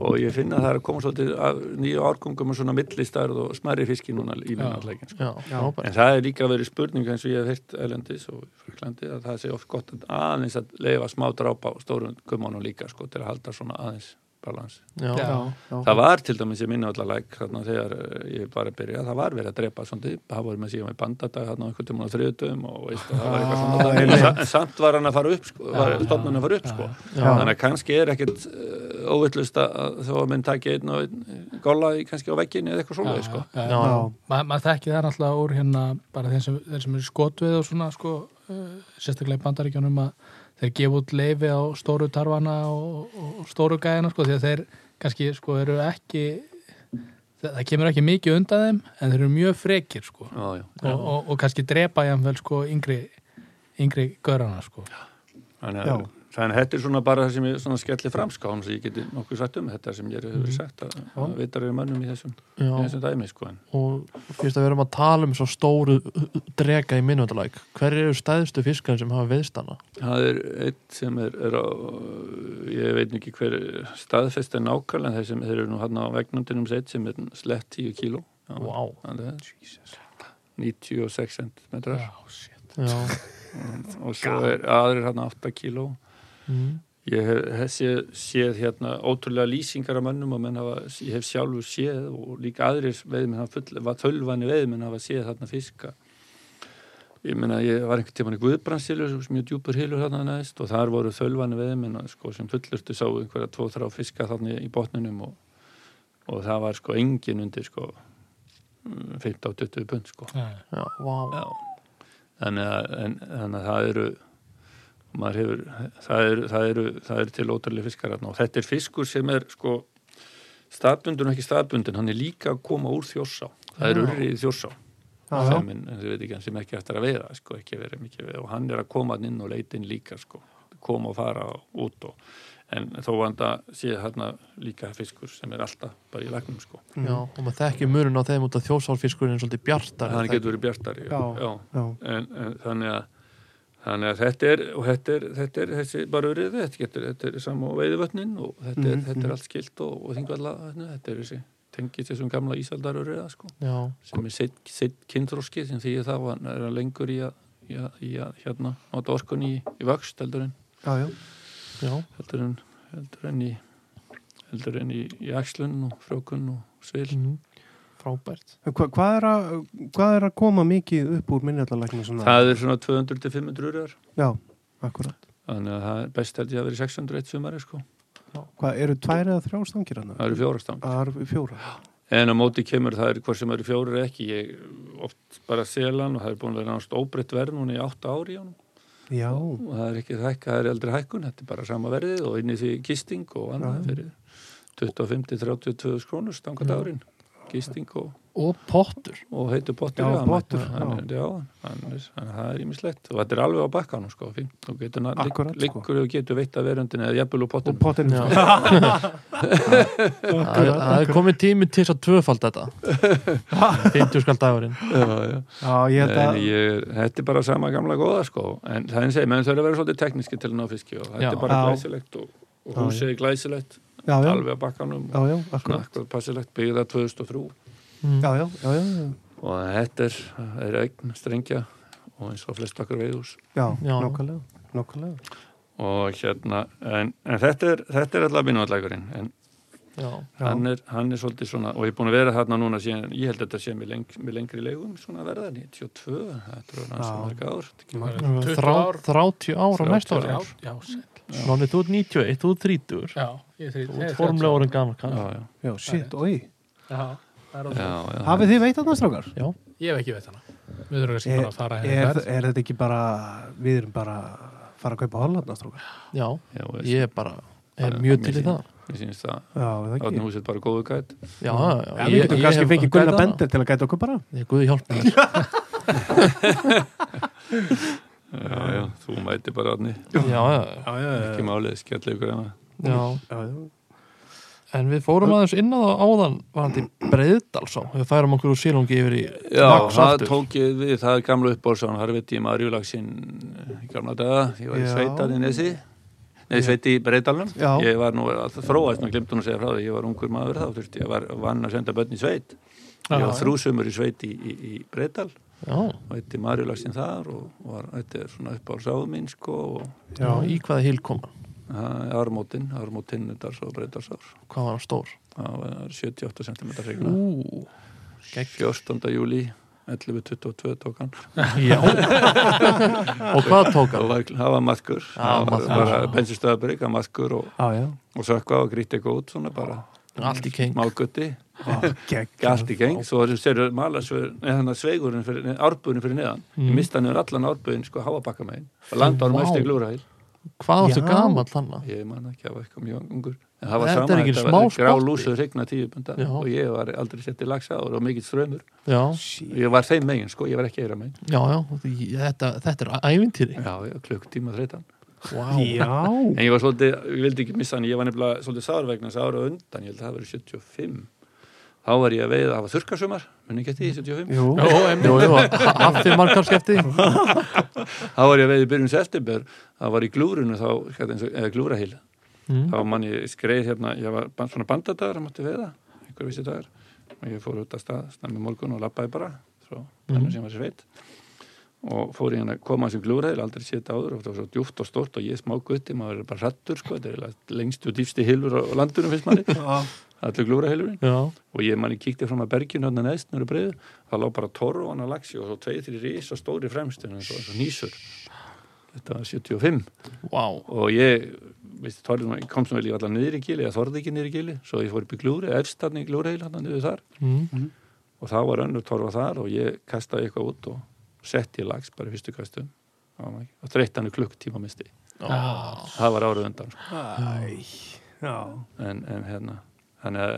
Speaker 4: og ég finna að það er að koma svolítið af nýju árgungum og svona millistarð og smærri fiski núna í minnallegin.
Speaker 3: já, frábært.
Speaker 4: sko. En það er líka verið spurning eins og ég hef heyrt Erlendis og í Fraklandi að það sé oft gott að aðeins að leifa smá drápa á stórum kummanum líka sko til að halda svona aðeins balans.
Speaker 3: Já,
Speaker 1: Já.
Speaker 3: já,
Speaker 4: Það var til dæmis í minnallalæk þarna þegar eh, ég var að byrja, það var verið að drepa svona, það var með síðan með bandadag þarna einhvern tímann á þriðutum og veist að það var eitthvað
Speaker 2: Ah,
Speaker 4: svona dæmi. en sa- en samt var hann að fara upp, sko, var
Speaker 1: Já, já,
Speaker 4: stofnun að fara upp sko.
Speaker 3: já,
Speaker 4: þannig að kannski er ekkert uh, óvillust að þó að minn taki einn og einn golla í, kannski á vegginni eða eitthvað svoleiði sko.
Speaker 1: Já, já,
Speaker 3: já,
Speaker 2: Já,
Speaker 1: Ma, maður þekki það náttúrulega úr hérna bara þeir sem, þeir sem eru skotvið og svona sko, uh, sérstaklega í bandaríkjunum að þeir gefa út leifi á stóru tarfana og, og, og stóru gæðina sko, því að þeir kannski sko, eru ekki það, það kemur ekki mikið undan þeim en þeir eru mjög frekir sko,
Speaker 4: Já, já.
Speaker 1: og, og, og kannski drepa jafnvel sko, yngri, yngri görana sko.
Speaker 4: Þannig
Speaker 2: Já.
Speaker 4: að Þannig að þetta er svona bara það sem ég svona sko, skelli framskáum sem ég geti nokkuð sagt um þetta sem ég hefur sagt að, að vitar eru mönnum í þessum, í
Speaker 3: já.
Speaker 4: þessum dæmi sko en
Speaker 3: og fyrst að við erum að tala um svo stóru drega í minnvöndalæk hver eru stæðstu fiskarinn sem hafa veðst hana?
Speaker 4: Það er eitt sem er, er á, ég veit nú ekki hver staðfest er nákvæmlega en þeir sem þeir eru nú hann á vegnundinum sett sem er slett 10 kíló. Já,
Speaker 3: Vá.
Speaker 4: hann er 96 centimetrar
Speaker 3: Já,
Speaker 4: og svo er aðrir hann 8 kíló.
Speaker 3: mm.
Speaker 4: Ég hef, hef séð, séð hérna ótrúlega lýsingar af mönnum og menn hafa, ég hef sjálfur séð og líka aðrir veðminn hafa full, var tölvani veðminn hafa séð þarna fiska. Ég meina, ég var einhvern tímann í Guðbrandshylu sem mjög djúpur hylur þarna næst og þar voru þölvani veðminn sko, sem fullurstu sá einhverja tvo þrá fiska þarna í botninum og, og það var sko engin undir sko 15-20 pund sko.
Speaker 1: Já,
Speaker 3: já, vá
Speaker 4: Já, þannig að, en, þannig að það eru maður hefur, það eru, það eru, það eru til ótrúlega fiskar þarna og þetta er fiskur sem er sko staðbundin og ekki staðbundin, hann er líka að koma úr þjórsá, það er
Speaker 3: Já.
Speaker 4: urrið í þjórsá
Speaker 2: Já, já.
Speaker 4: sem, en, ég veit ekki, sem ekki eftir að veiða sko, ekki verið mikið veiða og hann er að koma þarna inn og leita inn líka sko, koma og fara og út og en þó að það sé hérna líka fiskur sem er alltaf bara í lagnum sko
Speaker 3: Já,
Speaker 2: Mm.
Speaker 3: og maður þekkir murinn á þeim út af þjósálfiskurinn er svolítið bjartar
Speaker 4: hann getur verið bjartari
Speaker 2: Já.
Speaker 4: Já
Speaker 2: já,
Speaker 4: en, en þannig að þannig að þetta er og þetta er, þetta er þessi bara urriði, þetta, getur, þetta er sama og veiðvötnin og þetta er,
Speaker 2: Mhm,
Speaker 4: þetta er allt skilt og, og þingvalla, þetta er þessi tengist þessum gamla ísaldar urriða sko
Speaker 3: Já,
Speaker 4: sem er sitt, sitt kynþróski sem því þá hann er hann lengur í að, í að, í að hérna, nota orkunni í, í vöxt heldur en,
Speaker 2: já, já.
Speaker 3: já,
Speaker 4: heldur en, heldur en í heldur en í, í axlun og frókun og svil
Speaker 3: mm. frábært
Speaker 2: En Hva, hvað, er að, hvað er að koma mikið upp úr minnjallalækni svona?
Speaker 4: það er svona 200-500 urriðar
Speaker 2: Já, akkurat.
Speaker 4: þannig að það er best held ég að vera 600 eitt sumari sko,
Speaker 2: Hvað, eru tvær eða þrjá stangir hann?
Speaker 4: það eru fjórastang
Speaker 2: Það eru fjóra.
Speaker 4: En á móti kemur það er hvort sem eru fjórir eða ekki, ég oft bara selan og það er búin að vera náttúrulega óbreytt verð núna í átta ári á hann
Speaker 2: Já,
Speaker 4: og það er ekki hækka, það er aldrei hækkun, þetta er bara sama verðið og inn í því gisting og annað fyrir 25-32 skrónur stangað árin, gisting og,
Speaker 3: Og pottur
Speaker 4: og heitur pottur.
Speaker 2: Já,
Speaker 4: hann-
Speaker 2: pottur,
Speaker 4: hann er- Já, þannig að það er ímislegt og þetta er alveg á bakkanum sko, fínt, þú getur na- ligg-
Speaker 2: Akkurat, sko.
Speaker 4: liggur og getur veitt að verundin eða jafnvel úr
Speaker 2: og
Speaker 4: pottunum.
Speaker 2: potinn.
Speaker 3: Já.
Speaker 2: Já,
Speaker 3: sko. Það er- það er komið tími til þess að tvöfald þetta 50 skall dagurinn
Speaker 4: Já, já.
Speaker 2: ég held
Speaker 4: En
Speaker 2: að...
Speaker 4: ég, þetta er bara sama gamla góða sko en það er að segja, menn þau eru að vera svolítið tekníski til að ná fiski og þetta
Speaker 3: Já.
Speaker 4: er bara
Speaker 2: Já.
Speaker 4: glæsilegt og, og
Speaker 2: Já,
Speaker 4: húsið er glæsilegt,
Speaker 2: Já, já,
Speaker 4: alveg að bakkanum
Speaker 2: já,
Speaker 4: og
Speaker 2: já,
Speaker 4: svona
Speaker 2: akkurat.
Speaker 4: akkurat passilegt, byggða 2003
Speaker 3: mm.
Speaker 2: Já, já, já, já, já,
Speaker 4: og þetta er, er eign strengja og eins og flest okkar veiðús
Speaker 2: já,
Speaker 3: Já.
Speaker 2: nákvæmlega, nákvæmlega.
Speaker 4: og hérna, en, en þetta er þetta er allavega vinnuallegurinn en
Speaker 3: Já,
Speaker 2: Já.
Speaker 4: hann er, hann er svolítið svona og ég er búin að vera þarna núna síðan, ég held að þetta sé mér leng, mér lengri leigum svona verða 92, þetta er hans
Speaker 2: Já.
Speaker 4: marga ár þetta er ekki marga.
Speaker 1: Tuttugu
Speaker 3: eh, Þrá,
Speaker 1: ár.
Speaker 3: 30 ára næsta
Speaker 1: já,
Speaker 3: ára
Speaker 1: já, sæll.
Speaker 3: Nóni, þú ert 91, þú ert 30
Speaker 1: já, Ég er þrjú-
Speaker 3: Þú
Speaker 1: ég er 30.
Speaker 3: ert formlega orðin gaman
Speaker 4: já,
Speaker 3: kann.
Speaker 4: já,
Speaker 2: Já, shit, oi.
Speaker 1: Já, það er
Speaker 4: já,
Speaker 1: orðið.
Speaker 4: já
Speaker 2: Hafið þið veit að það strákar?
Speaker 3: Já,
Speaker 1: Ég hef ekki veit hana. Við þurfum kannski bara að fara
Speaker 2: er,
Speaker 1: hérna. í ferð.
Speaker 2: er þetta ekki bara, við erum bara að fara að kaupa Holland strákar?
Speaker 3: já,
Speaker 4: já,
Speaker 3: ég er bara
Speaker 4: Það
Speaker 3: er
Speaker 4: er
Speaker 3: mjög
Speaker 4: mikið.
Speaker 3: til í það
Speaker 4: Ég sýnist það
Speaker 2: Já, er það
Speaker 4: Átni
Speaker 2: ekki.
Speaker 4: húsið bara góðu gæt
Speaker 3: Já, já, já,
Speaker 2: Já, við getum kannski fengið Gunnar Bender til að gæta okkur bara.
Speaker 3: Ég guði hjálp mér
Speaker 4: Já, já, Eh, þú mæti bara Átni
Speaker 3: Já, já,
Speaker 2: Já, já,
Speaker 4: Ekki málið, skell ykkur hérna. hana
Speaker 3: já
Speaker 2: já, já.
Speaker 3: En við fórum aðeins inn að það áðan varandi breiðdalsá Við færum okkur úr sílungi yfir í
Speaker 4: Já,
Speaker 3: lax
Speaker 4: það
Speaker 3: aftur.
Speaker 4: tók ég við, það er gamla uppbólsán Þar veit ég maður júlagsinn eh, í gamla daga Ég var í
Speaker 2: Já.
Speaker 4: sveitan í Nesi Nei, sveiti í Breitalum
Speaker 2: Já.
Speaker 4: Ég var nú að þróast, maður glemt hún að segja frá því Ég var ungur maður þá, þurfti ég var vann að senda börn í sveit Ég var þrúsumur í sveit í, í, í Breital
Speaker 3: Já,
Speaker 4: og veitti marjulagsinn þar og var, þetta er svona uppbálsáðu mín sko og
Speaker 3: já, í hvaða hýl kom hann
Speaker 4: það er ármótin, ármótin þetta er svo Breitalsár
Speaker 3: Hvað var hann stór?
Speaker 4: það var 78 cm regna
Speaker 3: Ú, geggjur
Speaker 4: 14. júli 11.22 tók hann
Speaker 3: Já Og hvað tók
Speaker 4: það
Speaker 3: hann?
Speaker 4: var, það var maðkur það var
Speaker 3: maðkur.
Speaker 4: bara bensinstöðabrygg að maðkur og,
Speaker 2: Já, já.
Speaker 4: og sökva og grýtti eitthvað út svona bara
Speaker 3: Allt í keng
Speaker 4: mágutti,
Speaker 2: Gekk.
Speaker 4: allt í geng svo serur malasvegur, þannig að sveigurinn fyrir, nei, árbúðin fyrir neðan,
Speaker 3: Mm.
Speaker 4: ég mista niður allan árbúðin sko háabakka megin, og landa á
Speaker 3: Vá.
Speaker 4: mæstu glúræl,
Speaker 3: Hvað áttu
Speaker 2: Já.
Speaker 3: gamall þannig?
Speaker 4: ég man ekki að var eitthvað mjög ungur, en það var
Speaker 3: Þetta er
Speaker 4: sama
Speaker 3: ekki
Speaker 4: þetta
Speaker 3: smá
Speaker 4: var grá
Speaker 3: spotti.
Speaker 4: lúsu regna tíu bunda
Speaker 3: Já.
Speaker 4: og ég var aldrei sett í lagsa og mikill strömmur,
Speaker 3: Já,
Speaker 4: ég var þeim megin sko, ég var ekki eira megin,
Speaker 3: já, já Þetta, þetta er ævintýri
Speaker 4: já, já, klukktíma þreytan
Speaker 3: Vá
Speaker 2: Já.
Speaker 4: En ég var svolítið, ég vildi ekki missa hann, ég var nefnilega svolítið sár vegna þess að ára undan, ég held að það verið 75. Þá var ég að veiða, það var þurrkasumar, muni ekki eftir því, 75.
Speaker 2: Jú.
Speaker 1: Jó, emni.
Speaker 3: Jú, jú, hafði margar skefti
Speaker 4: Þá var ég að veiða í byrjun september, það var í glúrunu þá, hérna eins og- eða glúrahil.
Speaker 3: mm.
Speaker 4: Þá mann ég skreið hérna, ég var ban- svona bandadagar, hann mátti veiða, einhver vissi dagar. Og ég fór út að stað, snemmi morgun og lappaði bara, svo þannig sem var sveit. Og fór ég hérna að koma að þessu glúrahil, aldrei séð þetta áður, og það var svo djúft og stort og ég smá gutti, maður er bara hrattur, sko, þetta er eiginlega lengstu og dýfsti hilfur á landunum fyrst manni.
Speaker 2: Já.
Speaker 4: allir glúrahilurinn
Speaker 3: Já,
Speaker 4: og ég manni kíkti fram að berginu hann neðst nörðu breiðu, það lá bara torru hann að lagsi og svo tveið þrjir rís og stóri fremstun eins og eins og nýsur þetta var 75
Speaker 3: vá
Speaker 4: og ég veist, torrið, nú- komst nú vel í allar niður í gili ég þorði ekki niður í gili, svo ég fór upp í glúri efstarni í glúreil hann niður þar
Speaker 3: mm.
Speaker 4: og þá var önnur torfa þar og ég kastaði eitthvað út og setti í lags bara í fyrstu kastum og þreytt hann í klukk tíma misti
Speaker 3: ah.
Speaker 4: það var árið undan sko.
Speaker 2: Æ. Já.
Speaker 4: en, en hérna þannig að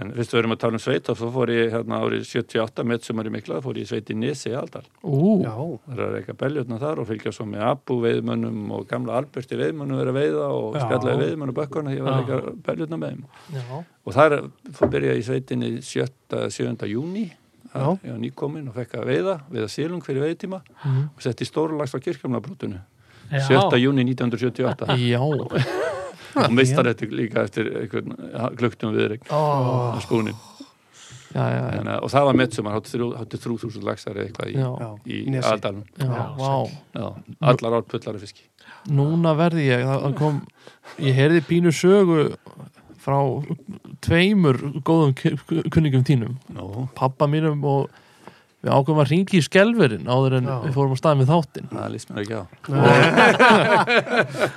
Speaker 4: en fyrst við erum að tala um sveit og svo fór ég hérna árið 78 með sumar í mikla, fór ég í sveit í Nesi í Aldal
Speaker 3: Ú,
Speaker 2: Já.
Speaker 4: það er eitthvað beljutna þar og fylgja svo með Abu veiðmönnum og gamla Alberti veiðmönnum verið að veiða og
Speaker 2: Já.
Speaker 4: skallaði veiðmönn og bökkurna því ég var
Speaker 1: Já.
Speaker 4: eitthvað beljutna með þeim
Speaker 3: já,
Speaker 4: og þar fór byrja ég í sveitinni 7. 7. júni
Speaker 2: Já.
Speaker 4: ég var nýkomin og fekk að veiða veiða sílung fyrir veiðtíma
Speaker 3: Mhm.
Speaker 4: og setti stórlags á kirkjumlabrútinu
Speaker 1: Já.
Speaker 4: 7. júni 1978
Speaker 3: já
Speaker 4: og mistar þetta líka eftir einhvern klukktum viðreik
Speaker 3: oh.
Speaker 4: á spúnin
Speaker 3: Já, já, já,
Speaker 4: Þannig, að- og það var mettsumar, hátti 3000 laxar eða eitthvað í,
Speaker 3: já,
Speaker 2: Já.
Speaker 4: í
Speaker 2: Nesi.
Speaker 4: aðdalum
Speaker 3: já,
Speaker 1: Já,
Speaker 3: vá
Speaker 4: Já, allar ár pullari fiski
Speaker 3: Núna verði ég, það það kom Ég heyrði pínu sögu frá tveimur góðum ki- kunningum þínum
Speaker 4: Nú,
Speaker 3: pappa mínum og við ákveðum að ringi í skelverin áður en
Speaker 2: Já.
Speaker 3: við fórum á stað með þáttinn
Speaker 4: það líst mér ekki á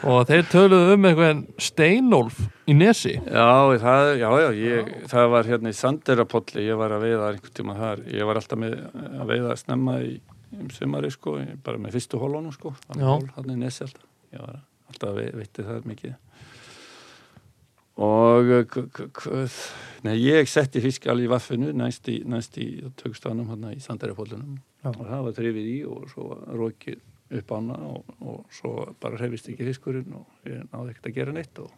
Speaker 3: og þeir töluðu um einhvern Steinolf í Nesi
Speaker 4: Já, það, já, já, ég, það var hérna í Sanderapolli, ég var að veiða einhvern tíma þar, ég var alltaf með að veiða snemma í, í sumari sko, ég- bara með fyrstu hólunum sko
Speaker 3: Já.
Speaker 4: hann er nesi alltaf, ég var alltaf að vei- veitti það mikið og uh, k- k- k- nei, ég setti fisk alveg í vaffinu næst í, næst í tökstanum hann í Sanderapollinum
Speaker 2: Já.
Speaker 4: og það var trefið í og svo rókið upp ána og, og svo bara hrefist ekki fiskurinn og ég náði ekkert að gera neitt og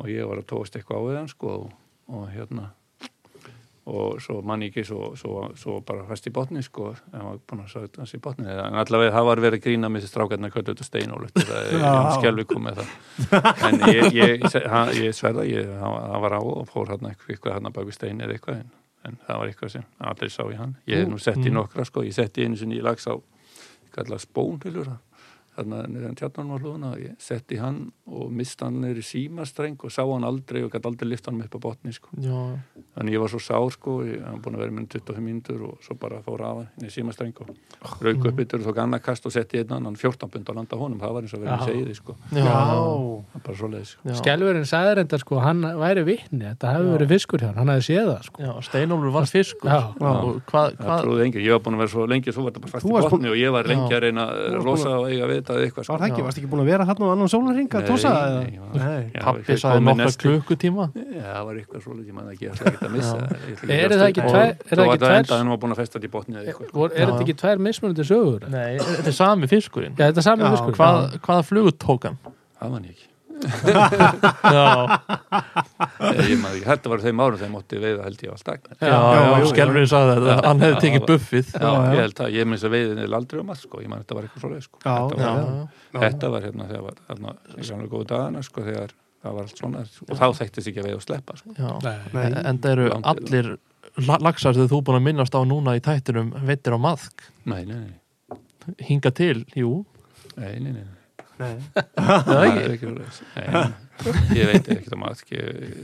Speaker 4: og ég var að tóast eitthvað á við hann sko og, og hérna og svo mann ég ekki svo, svo, svo bara fast í botni sko en var búin að sagt hans í botni Eða- en allavega það var verið að grína með þessi strákarna kvöldu þetta stein og lutt
Speaker 2: Já.
Speaker 4: skelvi kom með það en ég, ég, hann, ég sverða ég, hann, hann var á og fór hann eitthvað hann bak við stein eða eitthvað en, en það var eitthvað sem allir sá í hann ég hef nú sett í
Speaker 3: Mm.
Speaker 4: nokkra sko, ég sett í einu sinni í lags á kallað spónhulur þarna niðan tjarnanum á hlúðuna og ég setti hann og mista hann niður í símastreng og sá hann aldrei og gæti aldrei lifta hann upp á botni sko.
Speaker 3: já,
Speaker 4: þannig ég var svo sár sko, ég hann búin að vera með 25 mínútur og svo bara fór af hann í símastreng og rauk upp yfir og tók annað kast og setti einn annan 14 pund á landa honum, það var eins og
Speaker 1: Já.
Speaker 4: verið að segja því sko,
Speaker 3: já,
Speaker 4: Það er bara svo leiðis sko.
Speaker 3: já.
Speaker 1: Skelverinn sagði reynda sko, hann væri vittni, þetta hefði
Speaker 3: Já.
Speaker 1: verið fiskur hjá hann, hann hefði séð það sko.
Speaker 3: já Steinólfur var fiskur
Speaker 1: Já.
Speaker 3: og hvað,
Speaker 4: Það
Speaker 3: hvað
Speaker 4: trúði enginn, ég var búin að vera svo lengi svo var þetta bara fast
Speaker 2: Þú
Speaker 4: í
Speaker 2: varst
Speaker 4: botni og ég var lengi
Speaker 3: Já.
Speaker 4: að reyna að
Speaker 2: Þú varst
Speaker 4: rosa og eiga að vita eitthvað sko.
Speaker 2: Var það ekki,
Speaker 3: Já.
Speaker 2: varst ekki búin að vera hann og annan sólarring að
Speaker 4: Nei,
Speaker 2: tósa?
Speaker 4: nei, ég var- Já, ég
Speaker 3: pappi
Speaker 4: fekk
Speaker 3: sagði
Speaker 4: komið
Speaker 3: nokkra
Speaker 4: nesti.
Speaker 3: klukkutíma
Speaker 4: Já, það var eitthvað svolítið, ég man ekki, ég ætla ekki að missa
Speaker 3: Já.
Speaker 4: það. Ég ætla
Speaker 1: Eru
Speaker 4: að
Speaker 1: það ekki
Speaker 4: stunda
Speaker 1: tvær- eru
Speaker 4: það.
Speaker 1: það
Speaker 4: Þá var
Speaker 1: ekki
Speaker 4: þetta
Speaker 1: tvær-
Speaker 4: enda, hann var búin að festa þetta í botnið eða eitthvað.
Speaker 1: Vor, er
Speaker 3: Já.
Speaker 1: þetta ekki tvær mismunandi sögur?
Speaker 3: nei, þetta er sami fiskurinn
Speaker 1: Já, þetta er sami
Speaker 2: Já,
Speaker 1: fiskur
Speaker 3: hvað, hvaða flugur tók hann
Speaker 4: Það man ég ekki.
Speaker 3: já,
Speaker 4: Nei, Ég man ekki, þetta var þeim árum þeim ótti veiða held ég á alltaf.
Speaker 3: já,
Speaker 2: já,
Speaker 3: já,
Speaker 2: já.
Speaker 3: skelfurinn sagði þetta hann hefði tekið buffið
Speaker 4: Já, ég held það, ég minnst að veiðin er aldrei um allt, sko, ég man þetta var eitthvað svolítið, sko.
Speaker 2: Já,
Speaker 4: þetta
Speaker 3: já,
Speaker 4: var,
Speaker 3: já,
Speaker 4: Þetta var hérna, þegar var, hérna, í gamlega góðu dagana, sko, þegar það var allt svona, og þá þekktist ekki að veiða og sleppa, sko.
Speaker 3: já.
Speaker 1: Nei.
Speaker 2: Nei.
Speaker 3: en það eru
Speaker 4: Langt
Speaker 3: allir la- laxar sem þú búin að minnast á núna í tættinum veitir á maðk,
Speaker 4: Nei, nei, nei,
Speaker 3: hinga til jú,
Speaker 4: nei, nei, nei.
Speaker 2: Nei.
Speaker 4: Það er ekki svoleiðis. Nei, nei. Ég veit ekki um að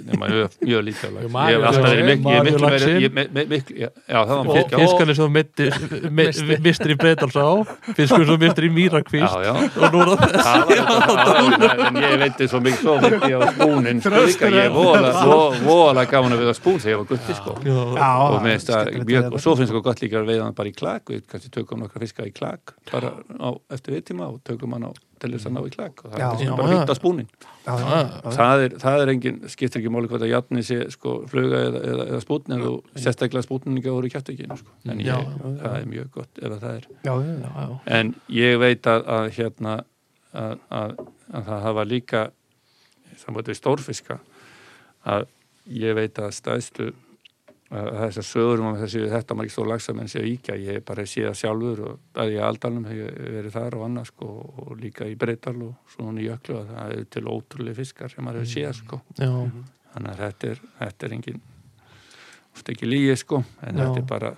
Speaker 4: nema mjög, mjög lítið af lax.
Speaker 1: Jú, Maríu
Speaker 4: Ég hef alltaf
Speaker 1: laxinn,
Speaker 4: verið miklu, ég er
Speaker 3: Maríu
Speaker 4: miklu meiri,
Speaker 3: laxinn.
Speaker 4: ég, me, me, miklu, já, já, það var
Speaker 3: og
Speaker 4: fyrir
Speaker 3: fiskarnir sem þú meiddir- me-
Speaker 1: Misti.
Speaker 3: mi- mistir í Breitalsá fiskur sem þú mistir í Mýrakvist
Speaker 4: Já, já.
Speaker 3: og nú er það
Speaker 4: Það var þetta, já, en ég veit svo mikið svo mikið ég á spúnin sko, líka, ég er voðalega- vo- voðalega gaman að veiða spún þegar ég var gutti sko
Speaker 3: já,
Speaker 2: Já,
Speaker 4: og, mér finnst það
Speaker 2: skemmtilegt
Speaker 4: mjög,
Speaker 2: að-
Speaker 4: og svo finnst það gott líka að veiða hann bara í klak við kannski tökum nokkra fiska í klak bara á, eftir viðtíma og tökum hann á til þess að ná í klak og það
Speaker 2: Já.
Speaker 4: er
Speaker 3: Já,
Speaker 4: svona bara
Speaker 3: já.
Speaker 4: hýtt á spúnin
Speaker 2: Já, já, já.
Speaker 4: það er, það er engin, skiptir ekki máli hvað að jafni sé sko fluga eða, eða, eða spútn en þú sérstaklega spútn ekki að voru kjátt ekki sko. en
Speaker 3: Já,
Speaker 4: ég,
Speaker 2: já, já.
Speaker 4: það er mjög gott ef að það er
Speaker 2: Já, já, já.
Speaker 3: já.
Speaker 4: en ég veit að, að hérna að, að, að það hafa líka samvægt við stórfiska að ég veit að stæðstu að að þessar sögur um að þessi þetta margir stór lagsamenn séu íkja ég bara sé það sjálfur og að ég aldalum hefur verið þar og annað sko og líka í breytal og svona í jöklu að það er til ótrúlega fiskar sem maður hefur séð sko
Speaker 3: já,
Speaker 4: þannig að þetta er, þetta er engin oft ekki lígi sko en
Speaker 3: Já.
Speaker 4: þetta er bara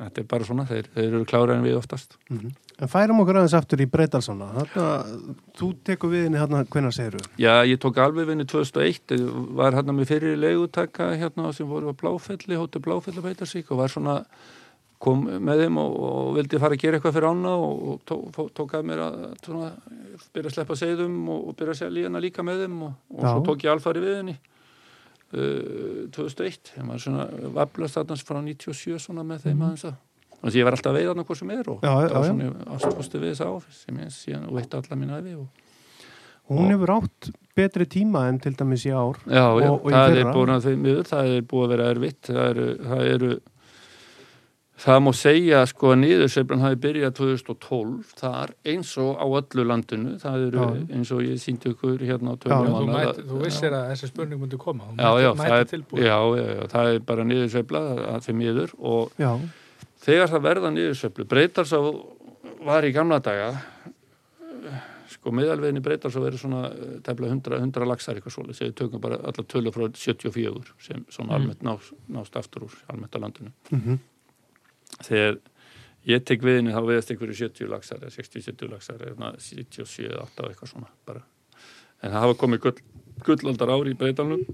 Speaker 4: þetta er bara svona, þeir, þeir eru klára en við oftast
Speaker 2: Mhm. En færum okkur aðeins aftur í Breitalsona. Þarna, þú tekur við henni hérna, hvenær segir þú?
Speaker 4: Já, ég tók alveg vinni 2001, var hérna með fyrir leigutaka hérna sem voru á Bláfelli, hóttu Bláfelli að beita sig og var svona, kom með þeim og, og vildi fara að gera eitthvað fyrir ána og, og tók, fó- tók að mér að svona, byrja að sleppa segðum og, og byrja að selja hérna líka með þeim og, og svo
Speaker 2: Já.
Speaker 4: tók ég alfari við henni uh, 2001, ég var svona vaflast þarna frá 97 svona með þeim aðeins að Þannig að ég var alltaf að veiða hann hvað sem er og
Speaker 2: Mhm. Já, já,
Speaker 4: það var
Speaker 2: já.
Speaker 4: svona ástfosti við þess áfis sem ég síðan veitt alla mín æfi og
Speaker 2: Hún hefur átt betri tíma en til dæmis í ár.
Speaker 4: Já, já,
Speaker 2: Og- og í
Speaker 4: það er
Speaker 2: fyrra.
Speaker 4: búin að þau miður, það er búið að vera erfitt, það eru, það eru, það má segja sko að niðursveiflan hafi byrjað 2012 þar eins og á öllu landinu, það eru
Speaker 2: Já.
Speaker 4: eins og ég síndi ykkur hérna á
Speaker 2: Já,
Speaker 1: Já,
Speaker 4: tölum
Speaker 1: þú,
Speaker 4: mánaða-
Speaker 1: mæti, þú vissir að þessi spurning myndi koma þú
Speaker 4: Já, já, það
Speaker 1: mæti
Speaker 4: er,
Speaker 1: tilbúið
Speaker 4: já, já, já, það er bara niðursveifla að- fyrir miður og
Speaker 2: Já,
Speaker 4: þegar það verða niðursveiflu breytar sá var í gamla daga sko meðalveginni breytar sá verið svona eh, tæplega 100, 100 laxar eitthvað svolítið þegar við tökum bara alla tölu frá 74 sem svona
Speaker 3: Mm.
Speaker 4: almennt nást, nást aftur úr almennt á landinu
Speaker 2: Mhm.
Speaker 4: þegar ég tek viðinni þá veðast einhverju 70 laxar eða 60-70 laxar eða 77-8 eitthvað svona bara en það hafa komið gull, gullaldar ári í breytalnum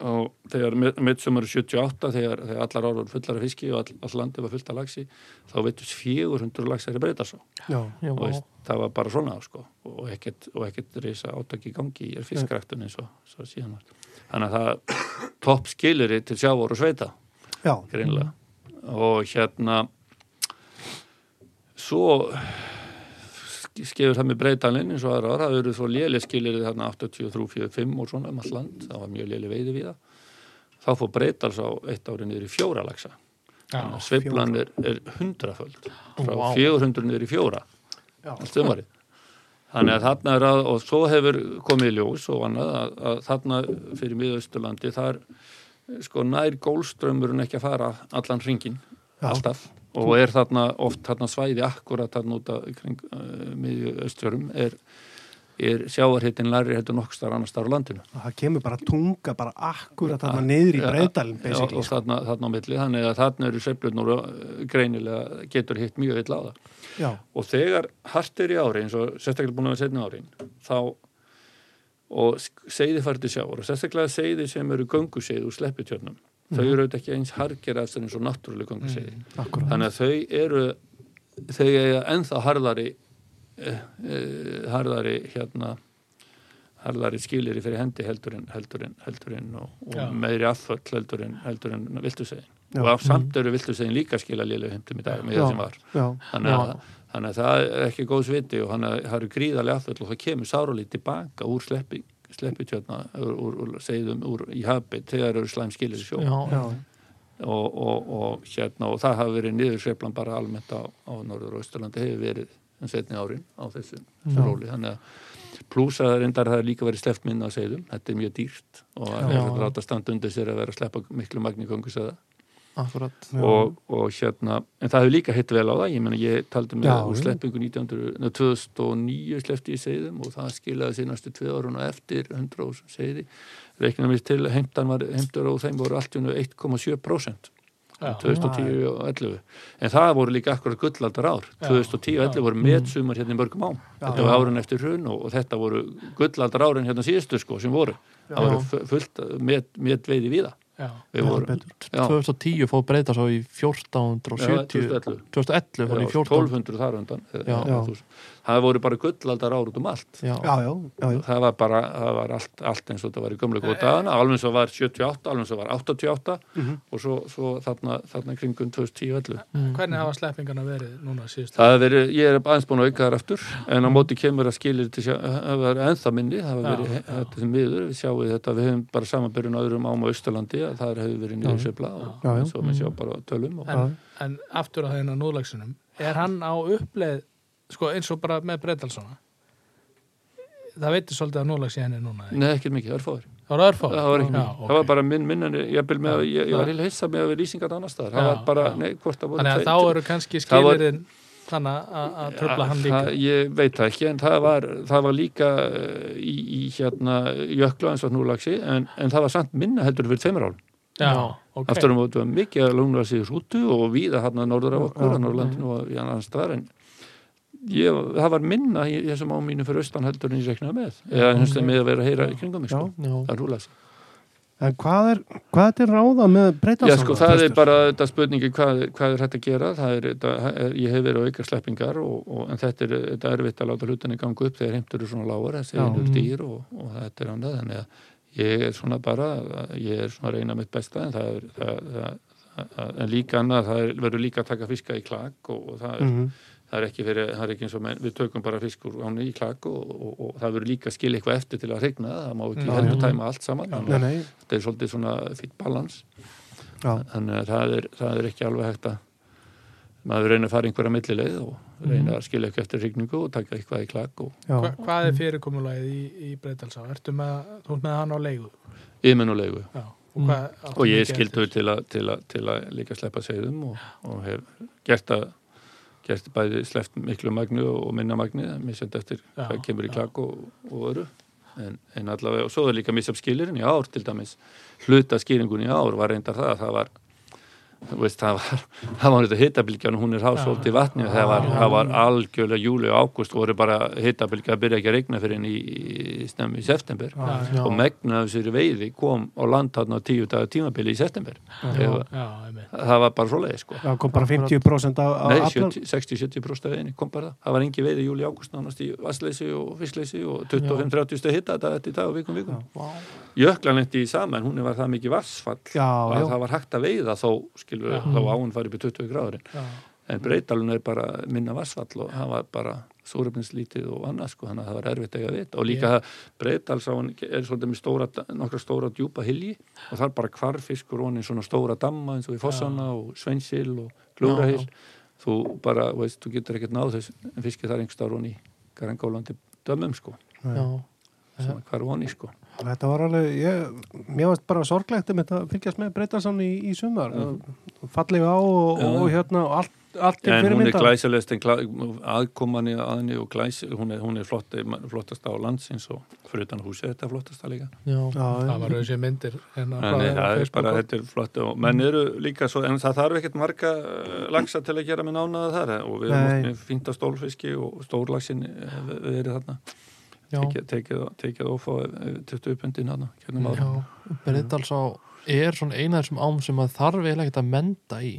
Speaker 4: og þegar mittsumar 78 þegar, þegar allar ára voru fullar af fiski og all, all landi var fullt af laxi þá veitust 400 laxar í breytasá
Speaker 2: já.
Speaker 3: já,
Speaker 4: og veist, það var bara svona sko, og ekkert, og ekkert reysa átak í gangi í fiskræktun eins og svo síðan var þannig að það topp skilur til sjávar og sveita
Speaker 2: Já,
Speaker 4: greinlega og hérna svo sk- skefur það með breytalinn eins og aðra ára, það eru svo léli skilir þarna 83, 45 og svona um all land, það var mjög léli veiði við það þá fór breytals á eitt ári niður í fjóra lagsa,
Speaker 1: Já.
Speaker 4: sveiflan er, er hundraföld frá
Speaker 3: Vá.
Speaker 4: 400 niður í fjóra
Speaker 2: Já.
Speaker 4: allt sumarið Þannig að þarna er að, og svo hefur komið í ljós og annað, að, að þarna fyrir miðausturlandi, þar sko nær gólströmmurinn ekki að fara allan hringin,
Speaker 2: Já.
Speaker 4: alltaf og er þarna oft þarna svæði akkurat þarna út að kring uh, miðju austfjörum eh, er er sjávarhittin læri heldur nokkstar annars þar á landinu
Speaker 2: það kemur bara tunga bara akkurat þarna
Speaker 4: Ja,
Speaker 2: niður í
Speaker 4: ja,
Speaker 2: breyðdalinn
Speaker 4: Ah, Já,
Speaker 2: basically sko.
Speaker 4: og þarna, þarna á milli, þannig að þarna eru sveiflunur greinilega getur hitt mjög illa á það
Speaker 2: já,
Speaker 4: og þegar hart er í ári eins og sérstaklega búin að vera setna ári þá og segði færdi sjávar og sérstaklega segði sem eru gönguseiði úr sleppitjörnum þau eru auðvitað ekki eins harkir aðstæðin eins og náttúrulega gönguseiði
Speaker 2: Mhm. akkurat
Speaker 4: þannig að þau eru þau eiga ennþá harðari uh, uh, harðari hérna harðari skilir fyrir hendi heldur en, heldur en, heldur en og,
Speaker 1: Já.
Speaker 4: og meðri afföll heldur en, heldur en viltusegin
Speaker 2: Já. Mhm.
Speaker 4: og af samt eru viltusegin líka skila lélega heimtum í dag með
Speaker 2: Já.
Speaker 4: það sem var
Speaker 2: já,
Speaker 4: þannig að,
Speaker 3: Já.
Speaker 4: þannig að það er ekki góðs viti og þannig að það eru gríðarlega afföll og það kemur sáralít tilbaka úr sleppi sleppitjörna, úr, úr, úr segðum úr, í hafi þegar eru slæm skilir í sjó
Speaker 3: já,
Speaker 2: já,
Speaker 4: og, og, og, hérna, og það hafa verið niður sveiflan bara almennt á, á Norður og Ísturlandi hefur verið en setni árin á þessu, þessu
Speaker 3: Já.
Speaker 4: róli þannig að plúsa það reyndar það er líka verið sleppt minna að segðum, þetta er mjög dýrt og
Speaker 3: Já.
Speaker 4: það er að láta standa undir sér að vera að sleppa miklu magni gangus að
Speaker 3: akkurat
Speaker 2: Já.
Speaker 4: og, og hérna en það hefur líka hitt vel á það, ég meina ég taldi með
Speaker 2: Já,
Speaker 4: úr
Speaker 2: já.
Speaker 4: sleppingu 1900, nei, 2009 sleppti ég segðum og það skilaði sér næstu tvið árun og eftir 100 og segði reikna mér til, heimtan var heimtur og þeim voru allt í einu 1,7%
Speaker 1: Já.
Speaker 4: 2010 og 11 en það voru líka akkurat gullaldar ár
Speaker 1: Já,
Speaker 4: 2010 og 11 voru
Speaker 2: Mm.
Speaker 4: metsumar hérna í mörgum ám þetta var árun eftir hrun og, og þetta voru gullaldar árin hérna síðustu sko sem voru það voru fu- fullt met, metveiði víða
Speaker 1: Já.
Speaker 4: við voru Já.
Speaker 3: 2010 fóð breyta svo í 1470
Speaker 4: 2011
Speaker 3: 2011 fór
Speaker 4: Já,
Speaker 3: í 14
Speaker 4: 1200 þar undan eða
Speaker 3: Já.
Speaker 4: 1000. það voru bara gullaldar ár út um allt
Speaker 2: já,
Speaker 3: já,
Speaker 2: já, já, já.
Speaker 4: það var bara, það var allt, allt eins og þetta var í gömlega góð dagana, alveg eins og var 78 alveg eins og var 88
Speaker 2: Mhm.
Speaker 4: og svo, svo þarna, þarna kringum 2010-11
Speaker 3: mm.
Speaker 1: Hvernig hafa sleppingarna verið núna síðust?
Speaker 4: Það hefur verið, ég er aðeins búin að auka þar aftur en á
Speaker 2: Mhm.
Speaker 4: móti kemur að skilir til sjá, að vera ennþá minni, það hefur
Speaker 1: Já,
Speaker 4: verið
Speaker 1: já.
Speaker 4: þetta sem miður, við sjáum þetta, við hefum bara samanbyrjun á öðrum ám á Östalandi að það hefur verið niður sveifla og
Speaker 2: Já, Mhm. já.
Speaker 4: eins og við sjáum bara á tölum og,
Speaker 1: En, en aftur að þeirna núðlagsunum, er hann á uppleið, sko eins og bara með Breitalsona? Það veitir svolítið að núðlags í henni núna. eða ekki?
Speaker 4: Nei, ekkert mikið, örfáður
Speaker 1: Það var örfá.
Speaker 4: það var ekki mikið, það var bara minn minnan ég, bil með,
Speaker 1: Já,
Speaker 4: ég, ég var
Speaker 1: já.
Speaker 4: heil hissa með að við lýsingar annar staðar,
Speaker 1: Já,
Speaker 4: það var bara,
Speaker 1: já.
Speaker 4: nei, hvort það voru
Speaker 1: Þannig að
Speaker 4: tveir-
Speaker 1: þá eru kannski
Speaker 4: Það var-
Speaker 1: skilirinn þannig að að tröfla
Speaker 4: Ja,
Speaker 1: hann líka.
Speaker 4: Ah, það, ég veit það ekki en það var, það var líka eh, í, í hérna jökla eins og núlagsi en, en það var samt minna heldur en fyrir tveimur árum
Speaker 1: Já, ok.
Speaker 4: aftur um að mikið að lungla sig rútu og víða hann að norður af okkur
Speaker 2: Já,
Speaker 4: að norðlandinu og í annars staðar en ég, það var minna í þessum ámínu fyrir austan heldur en ég reknaði með eða hans okay. með að vera að heyra í kringum mig sko.
Speaker 3: já,
Speaker 4: það er núlagsi
Speaker 2: en hvað er, hvað er til ráða með
Speaker 4: Já,
Speaker 2: breyðdalsana?
Speaker 4: sko, það er bara þetta spurningi hvað, hvað er hægt að gera, það er, það er ég hef verið á auka sleppingar og, og en þetta er, þetta er erfitt að láta hlutinni ganga upp þegar heimtur eru svona lágar, þessi
Speaker 2: Já.
Speaker 4: einur dýr og, og þetta er annað, þannig að ég er svona bara, ég er svona að reyna mitt besta en það er, það, það, það, en líka annað, það er, verður líka að taka fiska í klak og, og það er
Speaker 2: Mhm.
Speaker 4: það er ekki fyrir, það er ekki eins og menn, við tökum bara fisk úr áni í klak og, og, og, það verður líka að skilja eitthvað eftir til að regna það, það má ekki
Speaker 1: Já,
Speaker 4: heldur
Speaker 3: já.
Speaker 4: tæma allt saman, þannig
Speaker 2: nei,
Speaker 4: að
Speaker 2: nei,
Speaker 4: þetta er svolítið svona fýtt balans
Speaker 2: já,
Speaker 4: þannig að það er, það er ekki alveg hægt að maður reyna að fara einhverja millileið og reyna að skilja eitthvað eftir rigningu og taka eitthvað í klakk og
Speaker 2: já,
Speaker 1: Hva, hvað er fyrirkomulagið í, í Breitalsá? Ertu með, þú ert með hann á leigu?
Speaker 4: yminulegu
Speaker 1: Já. Og, hvað, áttu
Speaker 4: Mm. og ég er
Speaker 1: mikið
Speaker 4: skildur
Speaker 1: eftir?
Speaker 4: til að, til, að, til að líka sleppa segðum og, og hef gert að gert bæði sleppt miklu magnu og minna magni, misjönd eftir
Speaker 1: Já,
Speaker 4: hvað kemur í
Speaker 1: já.
Speaker 4: klakk og, og öru en, en allavega, og svo er líka misjöf skilirinn í ár til dæmis, hluta skýringun í ár var reyndar það að það var þú veist, það var, það var þetta hittabilgjan og hún er hásólt í vatni það var, það var algjörlega júli og ágúst voru bara hittabilgja að byrja ekki að regna fyrir henni í, í snemmi í september
Speaker 1: Já, já,
Speaker 3: já,
Speaker 4: og megnaðu sér veiði kom á land þarna á tíu dagar tímabili í september Ef-
Speaker 1: já, einmitt.
Speaker 4: það var bara svoleiði sko
Speaker 2: já, kom bara 50% af, af
Speaker 4: Nei,
Speaker 2: aflan.
Speaker 4: 70 60-70% af veiðinni kom bara það það var engi veiði í júli ágúst nánast í vassleysi og fiskleysi og 25-30 steg hitta þetta þetta í dag og vikum vikum
Speaker 3: vá,
Speaker 4: jöklan eftir í saman, hún var það mikið vassfall
Speaker 2: já,
Speaker 4: að
Speaker 2: já,
Speaker 4: það var hægt að veiða þó skilur
Speaker 1: Já.
Speaker 4: þá án farið upp í 20 gráðurinn
Speaker 1: Já,
Speaker 4: en breytalun er bara minna vassfall og það var bara súrefninslítið og annað sko, þannig að það var erfitt eiga vit og líka yeah. breytalsáin er svolítið með stóra, nokkra stóra djúpa hilji og það er bara hvarfiskur onin svona stóra damma eins og í Fossana og Svensil og Glúrahill þú bara, veist, þú getur ekkert náð þess en fiskir þar einhverstað roni Garangólandi dömum sko,
Speaker 3: já,
Speaker 4: svona hvar roni sko
Speaker 2: þetta var alveg ég, mér varst bara
Speaker 4: Mhm.
Speaker 2: sorglegt um þetta að fylgjast með breyðdalsan í, í sumar fallega á og, og,
Speaker 4: Já.
Speaker 2: hérna og allt allt til
Speaker 4: en hún er
Speaker 2: fyrirmyndar
Speaker 4: glæsilegst en aðkoman í aðinni og glæs, hún er, hún er flott, flottasta á landsins og fyrir utan húsið þetta er flottasta líka
Speaker 3: já,
Speaker 1: það
Speaker 2: Já,
Speaker 1: var þessi myndir hérna frá
Speaker 4: en
Speaker 1: þeim á
Speaker 4: það er
Speaker 1: Facebook
Speaker 4: bara,
Speaker 1: og-
Speaker 4: þetta er flott og menn eru líka svo, en það þarf ekkert marga eh, laxa til að gera með nánaða þar eh, og við erum
Speaker 2: Nei.
Speaker 4: oft með fínta stólfiski og stórlaxin eh, við við erum þarna
Speaker 3: já,
Speaker 4: tekið, tekið, tekið of eh, á 20 pundin þarna, kjörnum
Speaker 3: já.
Speaker 4: ára
Speaker 3: Breiðdals á er svona eina þessum ám sem maður þarf eiginlega ekkert að menda í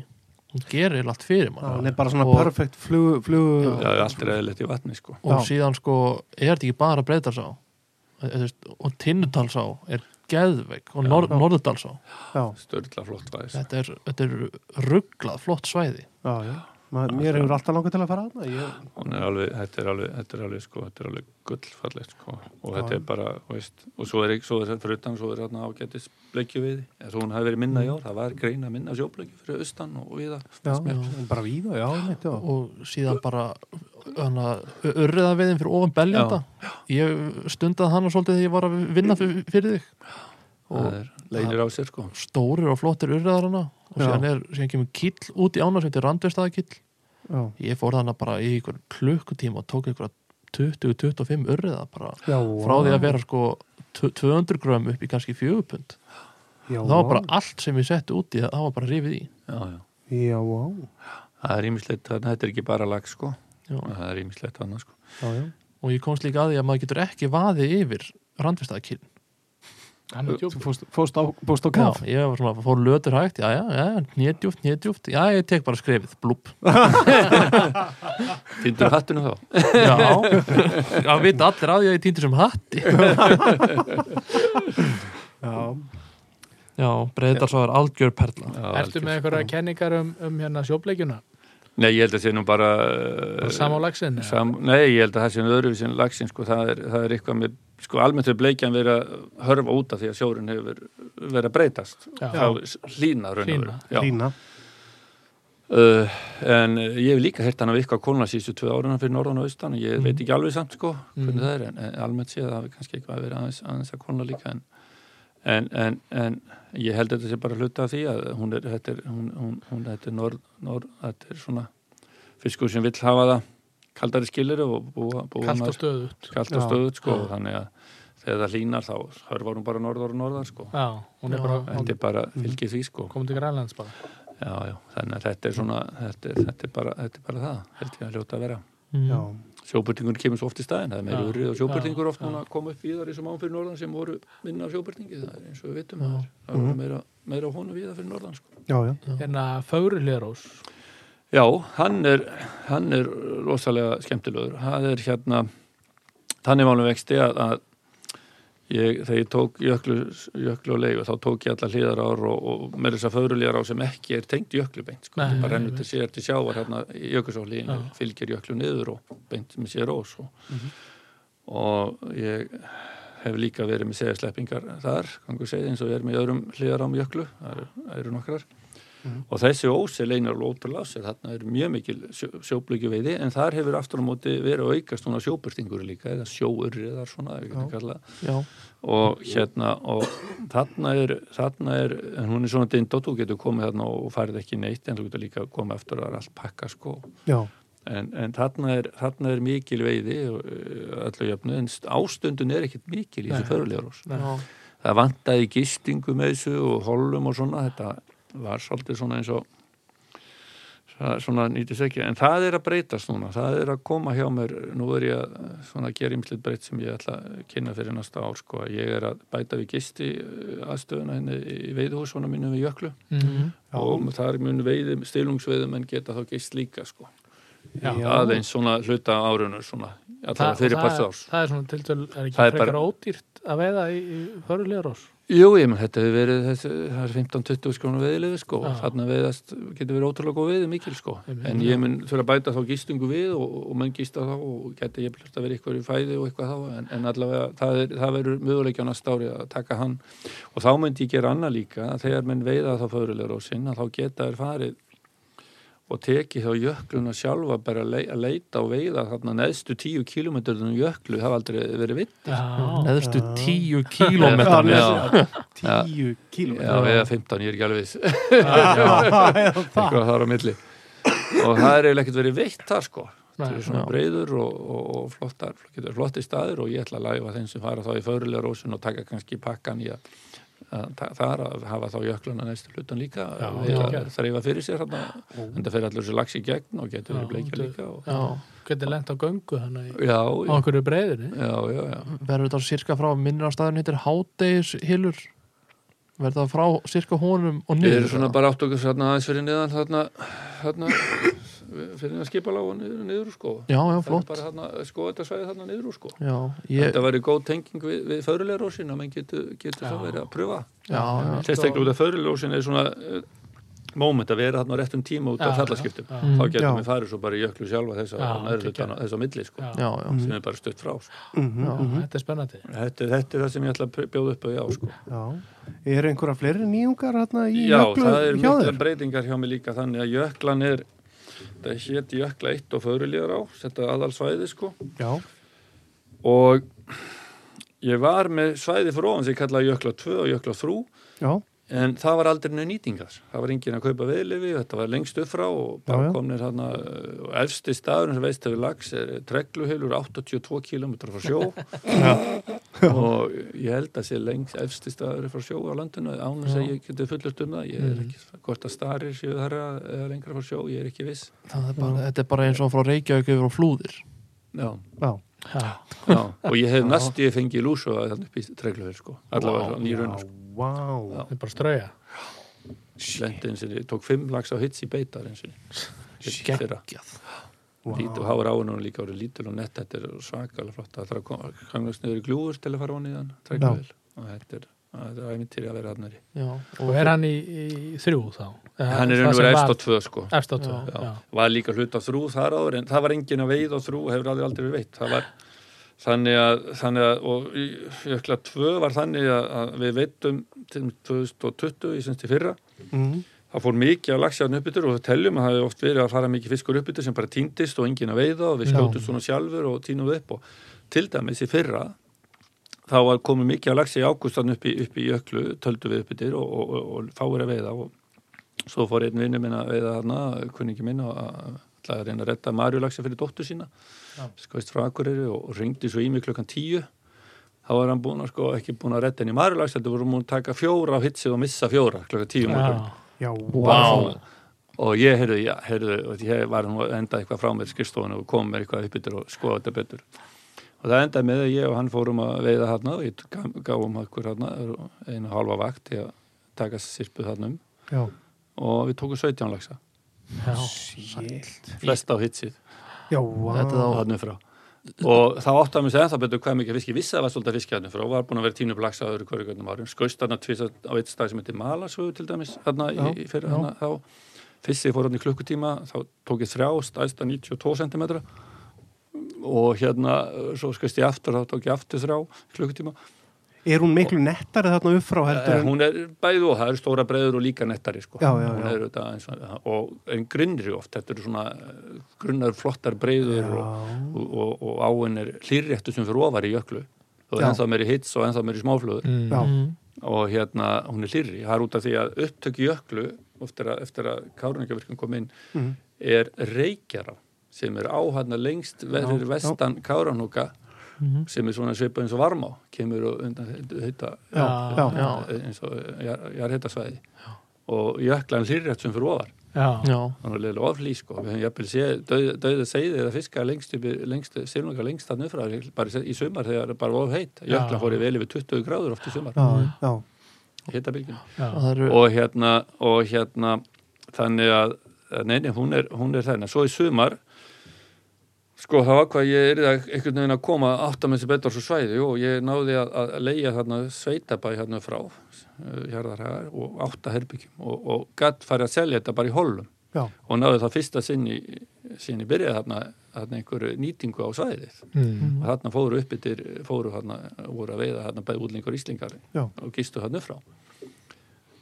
Speaker 3: hún gerir eiginlega allt fyrir
Speaker 2: Já,
Speaker 3: mann
Speaker 2: hún er bara svona
Speaker 3: Og-
Speaker 2: perfect flugu, flugu
Speaker 4: það er allt reyðilegt í vatni sko
Speaker 3: og
Speaker 2: Já.
Speaker 3: síðan sko er þetta ekki bara breyðdalsá og tinnudalsá er geðveik og nor
Speaker 2: Já.
Speaker 3: norðudalsá
Speaker 2: já,
Speaker 4: störla flott sko. væðis
Speaker 3: þetta er, þetta er rugglað flott svæði
Speaker 2: já, já. Ma, mér hefur alltaf langað til að fara að ég,
Speaker 4: hún er alveg, þetta er alveg, þetta er alveg sko, þetta er alveg gullfallegt sko og þetta
Speaker 2: Já.
Speaker 4: er bara, þú veist, og svo er ekki, svo er þetta fyrir utan, svo er þarna ágætis bleikju við, eða þó hún hafi verið minna í ár, það var greina minna sjóbleikju fyrir austan og viða,
Speaker 2: já,
Speaker 3: Já.
Speaker 2: bara víða, já, mitt, já.
Speaker 3: og síðan bara örriða viðin fyrir ofan beljanda ég stundaði hana svolítið þegar ég var að vinna fyr- fyrir þig
Speaker 4: það
Speaker 3: og
Speaker 4: er leiðir á sér sko.
Speaker 3: stórir og flottir urriðar hana og
Speaker 2: Já.
Speaker 3: síðan, er, síðan kemur kill út í ána sem þetta er randverstaðakill
Speaker 2: já,
Speaker 3: ég fór þarna bara í einhver klukkutíma og tók einhver 20-25 urriða bara
Speaker 2: já
Speaker 3: frá því að vera sko tv- 200 grömm upp í kannski 4 pund
Speaker 2: já,
Speaker 3: það var bara allt sem ég setti út í það það var bara rifið í
Speaker 4: já, já,
Speaker 2: já, já,
Speaker 4: það er ímislegt þarna, þetta er ekki bara lag sko,
Speaker 3: Já.
Speaker 4: það er ímislegt þarna sko,
Speaker 2: já, já.
Speaker 3: og ég komst líka að því að maður getur ekki vaðið yfir randvistaðakinn
Speaker 1: hann er djúpt
Speaker 2: Þú fórst, fórst á, fórst á
Speaker 3: Já,
Speaker 2: kaf
Speaker 3: ég var svona, fór lötur hægt, já, já, já, nýðdjúft, nýðdjúft, já, ég tek bara skrefið, blúpp.
Speaker 4: týndur hattinu þá
Speaker 3: Já, já, veit allir að ég týndur sem hatti.
Speaker 2: já,
Speaker 3: Já, breytar svo er algjör perla.
Speaker 4: Já,
Speaker 1: Ertu
Speaker 4: algjör.
Speaker 1: með einhverja kenningar um, um hérna sjóbleikjuna?
Speaker 4: Nei, ég held að sé nú bara
Speaker 1: Bara Sama á lagsin?
Speaker 4: Eh, Sam, nei, ég held að það sé öðruvísi en lagsin sko, það, er, það er eitthvað með sko, almennt er bleikjan verið að hörfa út af því að sjórun hefur verið að breytast
Speaker 1: Já.
Speaker 4: þá s- hlýna raun og
Speaker 1: Hlýna.
Speaker 4: veru. Já.
Speaker 2: lína
Speaker 4: uh, en uh, ég hef líka hert hann af ykkur kólna síðustu tvö áruna fyrir norðan og austan og ég veit ekki alveg samt sko hvernig það er en, en almennt séð að það hafi kannski eitthvað verið aðeins, aðeins að kólna líka en, en, en, en ég held að þetta sé bara hluta af því að hún er þetta er, hún, hún, hún, þetta er, norð, norð, þetta er svona fiskur sem vill hafa það kaldari skilir og búa, búa
Speaker 1: Kallt
Speaker 4: nær-
Speaker 1: og stöðut?
Speaker 4: kallt
Speaker 2: Já.
Speaker 4: og stöðut sko þannig að þegar það hlýnar þá hörfar hún bara norðar og norðar sko
Speaker 1: Já, hún er
Speaker 3: Já.
Speaker 1: bara
Speaker 4: þetta er bara fylgið því sko
Speaker 1: komin til Grænlands bara.
Speaker 4: já, já, þannig að þetta er svona þetta er, þetta er, bara, þetta er bara það held ég að hljóta að vera
Speaker 2: já,
Speaker 4: sjóbyrtingur kemur svo oft í staðin það er meira
Speaker 1: Já,
Speaker 4: urrið og sjóbyrtingur
Speaker 1: já,
Speaker 4: oft núna koma upp víðar í þessum án fyrir norðan sem voru minna af sjóbyrtingi það er eins og við vitum það er, það
Speaker 1: Mhm.
Speaker 4: voru meira, meira á honum víðar fyrir norðan sko
Speaker 2: já, já.
Speaker 1: Hérna Fögri Lerós,
Speaker 4: Já, hann er, hann er rosalega skemmtilegur. Það er hérna, þannig málum vexti að, að ég, þegar ég tók jöklu, jöklu og leigu, þá tók ég alla hliðarár og, og með þess að föðrulíðarár sem ekki er tengt jöklu beint, sko.
Speaker 1: Nei,
Speaker 4: Nei, bara
Speaker 1: nei,
Speaker 4: rennur til sér til sjávar hérna í jökulsálíðinu,
Speaker 1: Já. Mhm.
Speaker 4: fylgir jöklu niður og beint með sér ós og, og ég hef líka verið með segjarsleppingar þar, gangu segið eins og ég er með í öðrum hliðarám jöklu, það eru, það eru nokkrar og þessi ósi leinar alveg ótrúlega á sér, þarna er mjög mikil sjó, sjóblöki veiði, en þar hefur aftur á móti verið að aukast svona sjóbyrtingur líka eða sjóurriðar svona, ef ég geta kallað
Speaker 3: Já,
Speaker 4: og hérna og þarna er, þarna er en hún er svona dindótt, þú getur komið þarna og farið ekki neitt, en þú getur líka komið aftur og það er allt pakka sko
Speaker 2: já.
Speaker 4: en, en þarna, er, þarna er mikil veiði og, eh, öllu jöfnu, en st- ástundun er ekkit mikil í þessu förulegar ás
Speaker 3: já,
Speaker 4: það vantaði gistingu með þessu og holum og svona þetta var svolítið svona eins og það- svona nýtis ekki en það er að breytast núna, það er að koma hjá mér nú er ég að svona að gera ymslið breytt sem ég ætla að kynna fyrir næsta ár sko. að ég er að bæta við gisti eh, aðstöðuna henni í veiðhúsvona mínu við jöklu
Speaker 1: Mm.
Speaker 4: og þar mun veiði, stilungsveiðum en geta þá gist líka sko.
Speaker 1: Já.
Speaker 4: aðeins svona hluta árunur svona, alltaf fyrir
Speaker 1: það,
Speaker 4: passið árs
Speaker 1: það er svona til dæl, er ekki
Speaker 4: Það er
Speaker 1: frekar
Speaker 4: bara-
Speaker 1: ódýrt að veiða í, í Fögri Lerós?
Speaker 4: Jú, ég menn, þetta hefur verið þessi, það er 15-20 skrónu veiðilegu sko
Speaker 1: Já.
Speaker 4: þarna veiðast, getur verið ótrúlega góð veiði mikil sko,
Speaker 1: Einmitt.
Speaker 4: en ég mun þurfa að bæta þá gistingu við og, og menn gista þá og geti ég plöft að vera eitthvað í fæði og eitthvað þá en, en allavega það, er, það verður möguleikja á næsta ári að taka hann og þá myndi ég gera annað líka, að þegar menn veiða þá föðrulegur á sinn, að þá geta þær farið og tekið þá jökluna sjálfa bara að lei- að leita og veiða þarna neðstu tíu kilometrunum jöklu, það hafa aldrei verið vitt
Speaker 1: Já,
Speaker 3: neðstu
Speaker 2: Já.
Speaker 3: tíu kílómetrar.
Speaker 4: Já.
Speaker 2: Tíu
Speaker 4: Já,
Speaker 2: kílómetra
Speaker 4: eða 15, ég er ekki alveg viss
Speaker 2: Já, já, það.
Speaker 4: eitthvað þar á milli og það er eiginlega ekkert verið veitt þar sko það
Speaker 1: Nei,
Speaker 4: eru svona
Speaker 3: já.
Speaker 4: breyður og, og, og flottar getur flotti staðir og ég ætla að læfa þeim sem fara þá í förulega rósun og taka kannski pakkan í að að ta- þar að hafa þá jökluna næstu hlutan líka
Speaker 1: Já,
Speaker 4: við
Speaker 1: já.
Speaker 4: að þreifa fyrir sér þarna en það fer allur þessi lags í gegn og getur
Speaker 1: Já,
Speaker 4: verið bleikja
Speaker 1: þetta-
Speaker 4: líka og,
Speaker 3: já,
Speaker 1: Hvernig lent á göngu hann í-
Speaker 4: já,
Speaker 1: á okkur breyðinni?
Speaker 4: já, já, já
Speaker 3: verður þetta sirka frá minnir á staðinu hittir hádegishilur verður það frá sirka honum og
Speaker 4: Við
Speaker 3: niður
Speaker 4: erum svona bara átt okkur þarna aðeins fyrir niðan þarna, þarna fyrir niðan skipalág og niður, niður úr sko
Speaker 3: já, já,
Speaker 4: Það er
Speaker 3: flott
Speaker 4: bara þarna, sko, þetta svæði þarna niður úr sko
Speaker 3: já, ég,
Speaker 4: Þetta væri góð tenging við, við förulegrósin að menn getur getu
Speaker 1: Já.
Speaker 4: þá verið að pröfa
Speaker 3: já, já,
Speaker 4: Sérstaklega út af förulegrósin er svona uh, moment að vera þarna á réttum tíma út af
Speaker 1: Já,
Speaker 4: fjallaskiptum
Speaker 1: já,
Speaker 3: já.
Speaker 4: Þá getum
Speaker 2: Já.
Speaker 4: við farið svo bara í jöklu sjálfa þess
Speaker 1: Já,
Speaker 4: að nærðu
Speaker 1: geggjað.
Speaker 4: þarna þess að milli sko
Speaker 1: Já.
Speaker 3: já, já.
Speaker 4: sem er bara stutt frá sko.
Speaker 2: Mhm,
Speaker 3: Já.
Speaker 2: mhm.
Speaker 1: Þetta er spennandi.
Speaker 4: þetta, er- þetta er það sem ég ætla að bjóða upp á já sko
Speaker 2: Já. Er einhverja fleiri nýjungar hérna í
Speaker 4: Já,
Speaker 2: jöklu
Speaker 4: það er
Speaker 2: hjá
Speaker 4: mikla
Speaker 2: þér?
Speaker 4: breytingar hjá mig líka þannig að jöklan er þetta hét jökla 1 og förulegar á þetta aðalsvæði sko
Speaker 2: Já,
Speaker 4: og ég var með svæði fyrir ofan sem ég kallaði jökla 2 og jökla 3
Speaker 2: já,
Speaker 4: en það var aldrei nöð nýtingar það var engin að kaupa veðlifi, þetta var lengst upp frá og
Speaker 2: Já, já.
Speaker 4: bara komnir þarna uh, og efsti staðurinn sem veist hefur lags er tregluhylur 82 km frá sjó og ég held að sé lengst efsti staður frá sjó á landinu án þess að
Speaker 3: Já.
Speaker 4: ég geti fullust um það ég er
Speaker 2: Mhm.
Speaker 4: ekki, hvort að starir séu þar eða lengra frá sjó, ég er ekki viss
Speaker 3: Það er bara, þetta er bara eins og frá Reykjavík yfir á flúðir
Speaker 4: já,
Speaker 2: já.
Speaker 1: Já.
Speaker 4: já, og ég hef næst ég fengið lúsu að þannig upp í tregluhyl sko, allavega wow, nýrun
Speaker 2: Já, vá.
Speaker 1: Þetta er bara að strauja.
Speaker 4: lendi eins og ég tók fimm lags á hits í beitar eins og ég fyrra
Speaker 3: Geggjað.
Speaker 2: Vá.
Speaker 4: Lítil, og háur áin og líka orðið lítil og nett þetta er svakalega flott það þarf að koma- komast niður í glúður til að fara honið hann træknavel og þetta er, þetta er æmintýri að vera hann er
Speaker 3: Já,
Speaker 1: Og er hann í, í þrjú þá?
Speaker 4: hann er unnur efst á tvö sko
Speaker 1: Efst á tvö,
Speaker 4: Já.
Speaker 1: já.
Speaker 4: var líka hlut á þrú þar áður en það var engin að veið á þrú hefur aldrei aldrei verið veitt það var þannig að, þannig að og í jökla tvö var þannig að, að við veitum til 2020 í semst í fyrra
Speaker 2: Mhm.
Speaker 4: það fór mikið að lagsjáðan uppbyttur og það teljum að það hefði oft verið að fara mikið fiskur uppbyttur sem bara týndist og enginn að veiða og við
Speaker 2: Já.
Speaker 4: skjóttum svona sjálfur og týnum við upp og til dæmis í fyrra þá var komið mikið að lagsa í ágústan upp í, upp í jöklu, töldu við uppbyttir og, og, og, og fáir að veiða og svo fór einn vinnu minn að veiða þarna kunningi minn og að ætlaði að reyna að retta marjulagsa fyrir dóttur sína
Speaker 1: Já.
Speaker 4: skoist frá Akureyri og, og ringdi svo í mig klukkan tíu þá var hann búin að sko ekki búin að retta henni marjulagsa þetta voru múin að taka fjóra á hitsið og missa fjóra klukkan tíu um morgun
Speaker 1: Já.
Speaker 2: Já,
Speaker 4: bara
Speaker 2: vá.
Speaker 4: svona. og ég heyrðu, já, heyrðu og ég var nú að enda eitthvað frá mér í skrifstofunni og kom mér eitthvað uppbyttur og skoða þetta betur og það endaði með að ég og hann fórum að veiða hann og ég gaf- gáum okkur hann einu halva vakt til að taka sirpuð hann um
Speaker 2: Já,
Speaker 4: og við tókum 17 lagsa,
Speaker 1: Já.
Speaker 2: shit.
Speaker 4: flest á hitsið
Speaker 2: Já, vá.
Speaker 3: Þetta þá-
Speaker 4: og hann hérna frá og þá átti að mér segja það betur hvað mikið fisk ég vissi að það var svolítið fisk hann frá og var búin að vera tínu blaksa öðru hverju gönnum árum skaust hann að tvisa á eitt stað sem heitir Malasögu til dæmis þarna í,
Speaker 2: Já,
Speaker 4: í
Speaker 2: já.
Speaker 4: fyrir hann þá fyrst ég fór hann í klukkutíma þá tók ég þrjá stæðst að 92 cm og hérna svo skaust ég aftur þá tók ég aftur þrjá í klukkutíma
Speaker 2: Er hún miklu nettari þarna upp frá heldur
Speaker 4: Eh,
Speaker 2: en...
Speaker 4: hún er bæði og það eru stóra breyður og líka nettari sko.
Speaker 2: um- Já, já,
Speaker 4: Hún
Speaker 2: já.
Speaker 4: er auðvitað eins og, og en grinnri oft, þetta eru svona eh, grunnar flottar breyður og, og, og, og áin er hlýrréttu sem fyrir ofar í jöklu og
Speaker 2: Já.
Speaker 4: ennþá meiri hits og ennþá meiri smáflöður
Speaker 1: Mm.
Speaker 2: Já,
Speaker 3: Mm.
Speaker 4: og hérna hún er hlýrri, það er út af því að upptöki jöklu eftir að, eftir að kárunningavirkum kom inn
Speaker 2: Mhm.
Speaker 4: er reykjara sem er áhanna lengst
Speaker 2: Já,
Speaker 4: verður
Speaker 2: já.
Speaker 4: vestan kárunnuga
Speaker 3: Mhm.
Speaker 4: sem er svona svipað eins og varmá kemur og undan heita
Speaker 2: já, já.
Speaker 3: já.
Speaker 4: eins og jarðhitasvæði og jöklan hlýrrétt sem fyrir ofar
Speaker 1: Já.
Speaker 3: Já,
Speaker 4: þannig að leila oflý sko við höfum jafnvel séð dauð, dauða seiði eða fiska lengst upp í- lengst, silunga lengst þannig frá bara í- í sumar þegar það bara var of heitt
Speaker 1: Já.
Speaker 4: jöklan fór í vel yfir 20 gráður oft í sumar
Speaker 2: já, já.
Speaker 4: hitta bylgjum
Speaker 3: það eru
Speaker 4: og hérna, og hérna þannig að, neini, hún er, hún er þennan, svo í sumar sko, það var hvað ég er einhvern veginn að koma átt að með þessi betur svo svæði og ég náði að, að leigja þarna sveitabæ hérna frá eh, hjarðarhagar og átta herbyggjum og, og gatt farið að selja þetta bara í holum
Speaker 2: Já.
Speaker 4: og náði það fyrsta sinni sinni byrjaði þarna, þarna einhverju nýtingu á svæðið
Speaker 1: Mm.
Speaker 4: og þarna fóru upp yfir, fóru þarna voru að veiða þarna bæði útlingur íslingar
Speaker 2: Já.
Speaker 4: og gistu þarna upp frá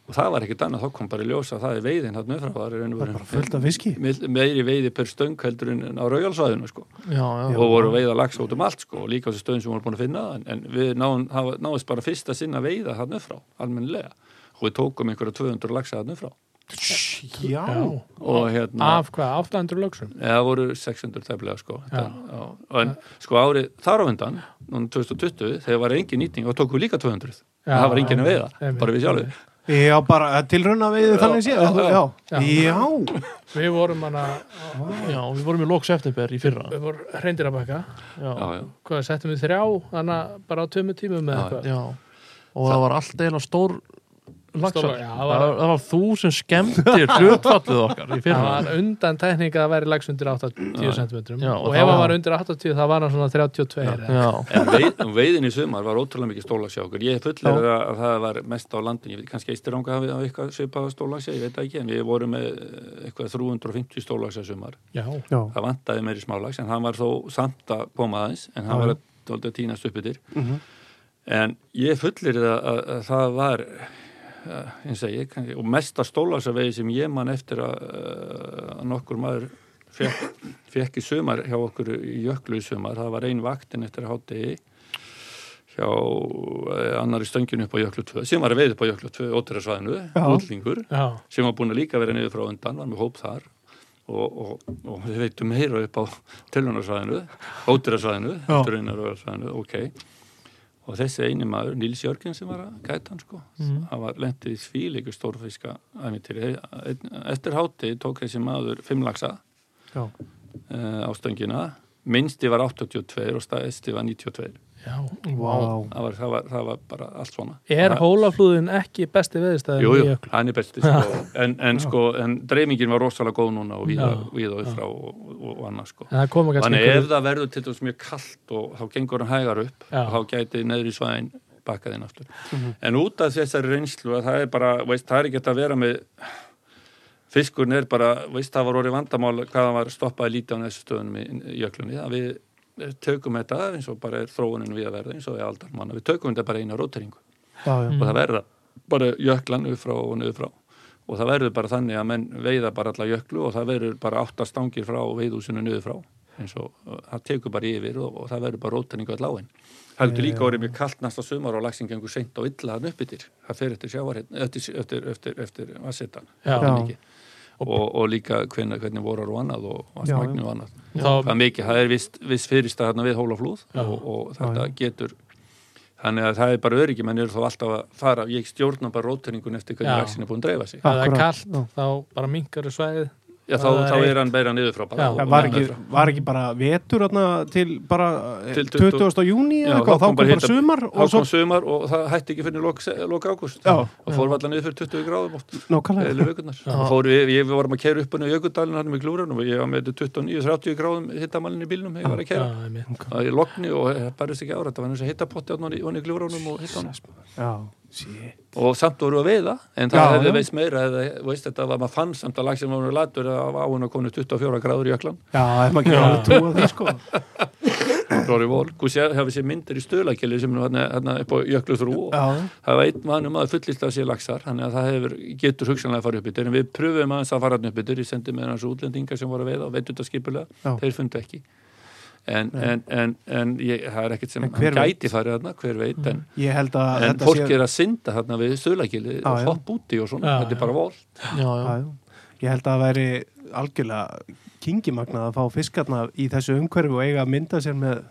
Speaker 4: og það var ekkert annað, þá kom bara í ljós að það er veiðin þarna upp frá, það er
Speaker 2: Það er bara fullt
Speaker 4: einhverjum
Speaker 2: af viski.
Speaker 4: meiri veiði per stöng heldur en en á raugalsvæðinu sko
Speaker 3: Já, já,
Speaker 4: og voru að veiða lags út um allt sko og líka á þessu stöðum sem voru búin að finna en, en við náðum, það var- náðist bara fyrsta sinna veiða þarna upp frá, almennilega og við tókum einhverja 200 lagsa þarna upp frá
Speaker 2: Já,
Speaker 1: Já.
Speaker 4: og hérna
Speaker 1: Af hvað? 800 lögsum?
Speaker 4: eða voru 600 tæflega sko þetta,
Speaker 1: Já.
Speaker 4: já. og en sko árið þar á undan um núna 2020 þegar var engin nýting og tókum við líka 200
Speaker 1: Já,
Speaker 4: það var engin að veiða,
Speaker 1: einmitt,
Speaker 4: bara við sjálfur
Speaker 2: já bara eh, tilrauna við þannig séð
Speaker 4: já,
Speaker 2: Já,
Speaker 1: já.
Speaker 2: já,
Speaker 1: Við vorum hana,
Speaker 3: Já, við vorum í loks eftirber í fyrra
Speaker 1: við vorum hreindir að bakka,
Speaker 3: Já,
Speaker 4: já, já.
Speaker 1: hvað, settum við þrjá, hana bara á tömu tímum með
Speaker 4: Já,
Speaker 1: eitthvað.
Speaker 3: já. Og það var allt eila stór lagsar
Speaker 1: Stór- já, það
Speaker 3: það,
Speaker 1: var-
Speaker 3: var- það var þú sem skemmtir hlutfallið okkar í
Speaker 1: Það
Speaker 3: fyrra
Speaker 1: var undan tekníka að væri lags undir 80 cm
Speaker 3: Já,
Speaker 1: og
Speaker 3: og
Speaker 1: ef
Speaker 3: þá-
Speaker 1: hann var undir 80 það var hann svona 32 eða-
Speaker 3: Já,
Speaker 4: En veið, um veiðin í sumar var ótrúlega mikið stólagsjákur. Ég fullir að, að það var mest á landin. Ég veit kannski eistiranga hafi hafi eitthvað svipað stólagsja, ég veit það ekki, en við vorum með eh, eitthvað 350 stólagsja sumar.
Speaker 1: Já,
Speaker 2: já
Speaker 4: Það vantaði meiri smálags, en hann var þó samt að koma aðeins, en hann
Speaker 2: Já, já.
Speaker 4: var tóldi að týnast upp yfir.
Speaker 2: Mhm.
Speaker 4: En ég fullir að, að, að það var eh, eins og ég, kannski, og mesta stólagsjavegi sem ég man eftir að, eh, að nokkur maður fekk, fekk í sumar hjá okkur í jöklu í sumar, það var ein vaktin eftir hátegi hjá eh, annari stönginu upp á jöklu 2 sem var að veið upp á jöklu 2, ótræðsvæðinu
Speaker 2: Já.
Speaker 4: útlingur,
Speaker 1: já,
Speaker 4: sem var búin að líka vera niður frá undan, var með hóp þar og, og, og við veitum meira upp á telunarsvæðinu, ótræðsvæðinu
Speaker 2: Já.
Speaker 4: ótræðsvæðinu, ok og þessi eini maður, Nils Jörgen sem var að gæta hann sko,
Speaker 2: Mhm.
Speaker 4: hann var lendið í svíleiku stórfiska ævintýri. Einn- eftir háti tók þessi maður fimmlaksa
Speaker 2: Já.
Speaker 4: uh, á stöngina minnsti var 82 og stæðsti var 92
Speaker 1: já.
Speaker 2: Vá.
Speaker 4: það var, það var, það var bara allt svona
Speaker 1: Er
Speaker 4: Það-
Speaker 1: hólaflúðin ekki besti veðistæðin
Speaker 4: Jú,
Speaker 1: í
Speaker 4: jú,
Speaker 1: jöklu?
Speaker 4: hann er besti sko. en, en, sko, en dreifingin var rosalega góð núna og víða,
Speaker 1: Já.
Speaker 4: víða og yfra og, og, og annars sko.
Speaker 1: En það koma kannski
Speaker 4: þannig ef
Speaker 1: einhverju-
Speaker 4: það verður til dæmis mjög kallt og þá gengur hann hægar upp
Speaker 1: Já. Mhm.
Speaker 4: og þá gæti neðri svæðin bakkaðin aftur en út af þessari reynslu að það er bara, veist, það er ekki að vera með fiskurinn er bara veist, það var orðið vandamál hvað hann var stoppað lítið á þessu stöðunum í, í jöklunni að við eh, tökum þetta eins og bara er þróunin við að verða eins og er aldar manna við tökum þetta bara eina róteringu
Speaker 2: já, já.
Speaker 4: og það verða bara jöklan uppfrá og niðurfrá og það verður bara þannig að menn veiða bara alla jöklu og það verður bara átta stangir frá veiðúsinu niðurfrá eins og og það tekur bara yfir og, og það verður bara rótningu all áinn það getur líka orðið mjög kallt næsta sumar og lagsingengu seint og illa hann uppbyttir það fer eftir sjávarhinn, eftir, eftir, eftir, eftir að setja
Speaker 1: Já.
Speaker 4: og, og líka hvernig, hvernig vorar og annað og
Speaker 2: Já,
Speaker 4: vatnsmagnu og annað
Speaker 1: Þá-
Speaker 4: það er mikið, það er viss, viss fyrirstað hérna við hólaflúð og, og þetta getur þannig að það er bara öryggi menn eru þá alltaf að fara, ég stjórna bara rótningun eftir
Speaker 1: Já.
Speaker 4: hvernig vaksin er búin að dreifa sig
Speaker 1: Ef það er
Speaker 2: Akkurat,
Speaker 1: kallt,
Speaker 2: já.
Speaker 1: þá bara minkar svæðið
Speaker 4: já, þá,
Speaker 1: Það er
Speaker 4: þá
Speaker 1: eitt.
Speaker 4: er hann beira niður frá bara
Speaker 1: Já.
Speaker 4: og-
Speaker 2: Það var
Speaker 4: og
Speaker 2: ekki,
Speaker 4: niður frá.
Speaker 2: var ekki bara vetur atna, til bara eh,
Speaker 4: Til
Speaker 2: 20.
Speaker 4: 20.
Speaker 2: júni
Speaker 4: Já,
Speaker 2: eða eitthvað, þá kom bara
Speaker 4: hita-
Speaker 2: sumar
Speaker 4: þá
Speaker 2: og svo,
Speaker 4: kom sumar og það hætti ekki fyrir lok, lok ágúst
Speaker 2: Já.
Speaker 4: og fór allan niður fyrir 20 gráðum oft
Speaker 2: nákvæmlega
Speaker 4: eða vökunar, þá fór við, ég, við vorum að kæra upp hann í jökundalinn hann með glúranum og ég var með 29-30 gráðum hittamælinn í bílnum, ég var að
Speaker 1: Já,
Speaker 4: kæra
Speaker 1: einmitt.
Speaker 4: Það er logni og það barðist ekki ára, það var eins og hittapotti hann í, ofan í glúránum og hittanum.
Speaker 2: Já, shit.
Speaker 4: Og samt voru að veiða, en það
Speaker 2: Já,
Speaker 4: hefði
Speaker 2: já.
Speaker 4: veist meira, eða, veist þetta var maður fann samt að lagsin var hann latur að á hún að konu 24 gráður í öklan.
Speaker 2: Já, ef maður ekki alveg trúa því sko
Speaker 4: Það var í vol. Gúsi hefði sér myndir í stöðlakeli sem er hérna, hérna upp á jöklu þrú og
Speaker 2: Já,
Speaker 4: það var einn mann um að fullist að sé lagsar, þannig að það hefur, getur hugsanlega að fara upp yttir, en við pröfum aðeins að fara hann upp yttir, ég sendi með hans útlendinga sem voru að veiða og veitur þetta
Speaker 2: Já.
Speaker 4: skipulega, þeir fundu ekki. En, en, en, en ég, það er ekkert sem
Speaker 2: En
Speaker 4: hann
Speaker 2: hver veit?
Speaker 4: gæti farið þarna, hver veit, en
Speaker 2: ég held að
Speaker 4: en
Speaker 2: þetta
Speaker 4: fólk
Speaker 2: sé-
Speaker 4: er að synda þarna við stöðlagili
Speaker 2: Já,
Speaker 4: og
Speaker 2: já.
Speaker 4: hopp úti og svona,
Speaker 1: Já,
Speaker 4: þetta er
Speaker 1: já.
Speaker 4: bara vol
Speaker 3: já, já.
Speaker 2: Já, já. Ég held að það væri algjörlega kingimagnað að fá fiskarna í þessu umhverfi og eiga að mynda sér með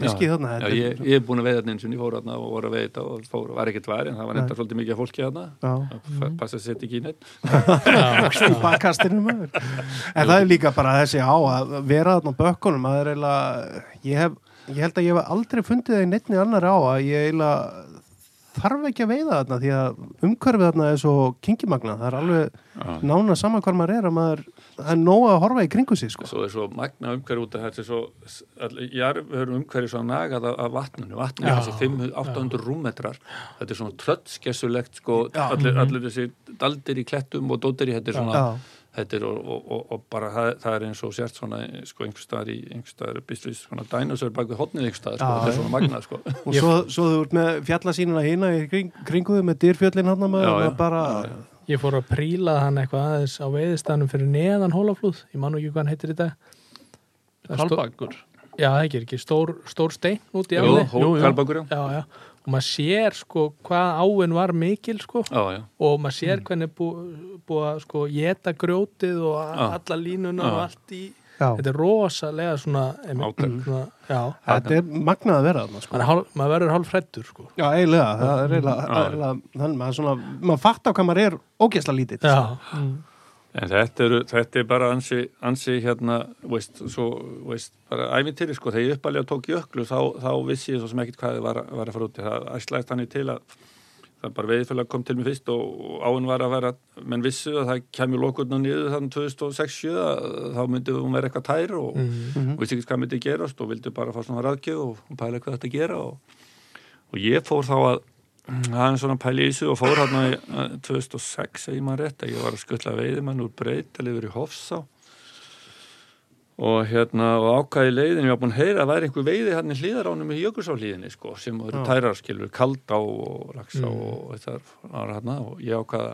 Speaker 2: fiski þarna.
Speaker 4: já,
Speaker 2: Þetta er-
Speaker 4: ég, ég er búin að veiða þarna eins og ég fór þarna og voru að veiða þetta og fór, var ekkert væri en það var nefnda svolítið mikið af fólki þarna
Speaker 2: já. Mhm.
Speaker 4: mm. passa að setja ekki í neitt
Speaker 2: Í bakkastinu maður. En það er líka bara þessi á að vera þarna á bökkunum. Það er eiginlega, ég, hef, ég held að ég hef aldrei fundið það í neittni annar á að ég eiginlega þarf ekki að veiða þarna því að umhverfið þarna er svo kingimagnað. Það er
Speaker 4: Já.
Speaker 2: alveg nána saman hvar maður er að maður, það er nóg að horfa í kringu sig sko.
Speaker 4: svo er svo magna umhverju út af þetta er svo, all- jarðvegur umhverju svo nagað af, af vatninu, vatninu
Speaker 1: Já.
Speaker 4: er þessi 500, 800 rúmmetrar þetta er svona tröttskessulegt sko,
Speaker 2: Já. Mhm.
Speaker 4: allir, allir þessi daldir í klettum og dóttir í þetta er svona
Speaker 2: Já,
Speaker 4: þetta er og, og, og, og bara það, það er eins og sért svona sko einhverstaðar í einhverstaðar býstlýs svona dænusör bak við hotnið einhverstaðar sko,
Speaker 2: Já,
Speaker 4: þetta
Speaker 2: já.
Speaker 4: er svona magnað sko
Speaker 2: og svo, svo þú ert með fjallasínuna hina í kring, kringuðu með dyrfjöllin hann maður
Speaker 4: Já,
Speaker 2: já,
Speaker 4: já.
Speaker 2: bara,
Speaker 1: Ég fór að príla hann eitthvað aðeins á veiðistæðanum fyrir neðan hólaflúð, ég man nú ekki hvað hann heitir í dag. Það stóð-
Speaker 3: Kaldbakur
Speaker 1: já, það ekki, er ekki stór, stór stein út í
Speaker 4: Jú,
Speaker 1: afli
Speaker 4: hó,
Speaker 3: Jú, jú.
Speaker 4: kalbakur, já.
Speaker 1: já, já, og maður sér sko hvað áin var mikil sko
Speaker 4: Já, já.
Speaker 1: og maður sér
Speaker 4: Mm.
Speaker 1: hvernig bú, búið að sko geta grjótið og
Speaker 4: Já.
Speaker 1: alla línuna
Speaker 4: Já.
Speaker 1: og allt í
Speaker 2: Já,
Speaker 1: þetta er rosalega svona, einmitt,
Speaker 4: Átak.
Speaker 1: svona já,
Speaker 2: þetta er magnað að vera þarna, sko.
Speaker 1: maður, er hálf, maður verður hálf hrættur sko
Speaker 2: Já, eiginlega, það er eiginlega,
Speaker 4: Mm-hmm. Já.
Speaker 2: eiginlega þannig maður er svona, maður fattar hvað maður er ógeðslega lítið.
Speaker 1: já,
Speaker 4: Mm. En þetta, eru, þetta er bara ansi, ansi hérna, veist, svo, veist, bara æfintýri, sko, þegar ég uppalega tók jöklu, þá, þá vissi ég svo sem ekkit hvað þið var, að- var að fara út í. Það æslaðist þannig til að það bara veiðfélag kom til mér fyrst og, og áinn var að vera, menn vissu að það kemur lokurnu niður þannig 2006-7, að þá myndi hún vera eitthvað tær og og vissi ekki hvað myndi gerast og vildi bara fá svona ráðgjöf og, og pæla hvað þetta gera og, og ég fór þá að aðeins svona pæla í þessu og fór hann í eh, 2006 ef ég maður rétt að ég var að skuttla veiðimann úr breytal yfir í Hofsá og hérna og ákvæði leiðin, ég var búin að heyra að væri einhver veiði hann í hlýðaránum í Jökulsáhlíðinni sko, sem eru
Speaker 2: Já.
Speaker 4: tærarskilur, Kaldá og Laxá og þetta var hann og ég ákvaða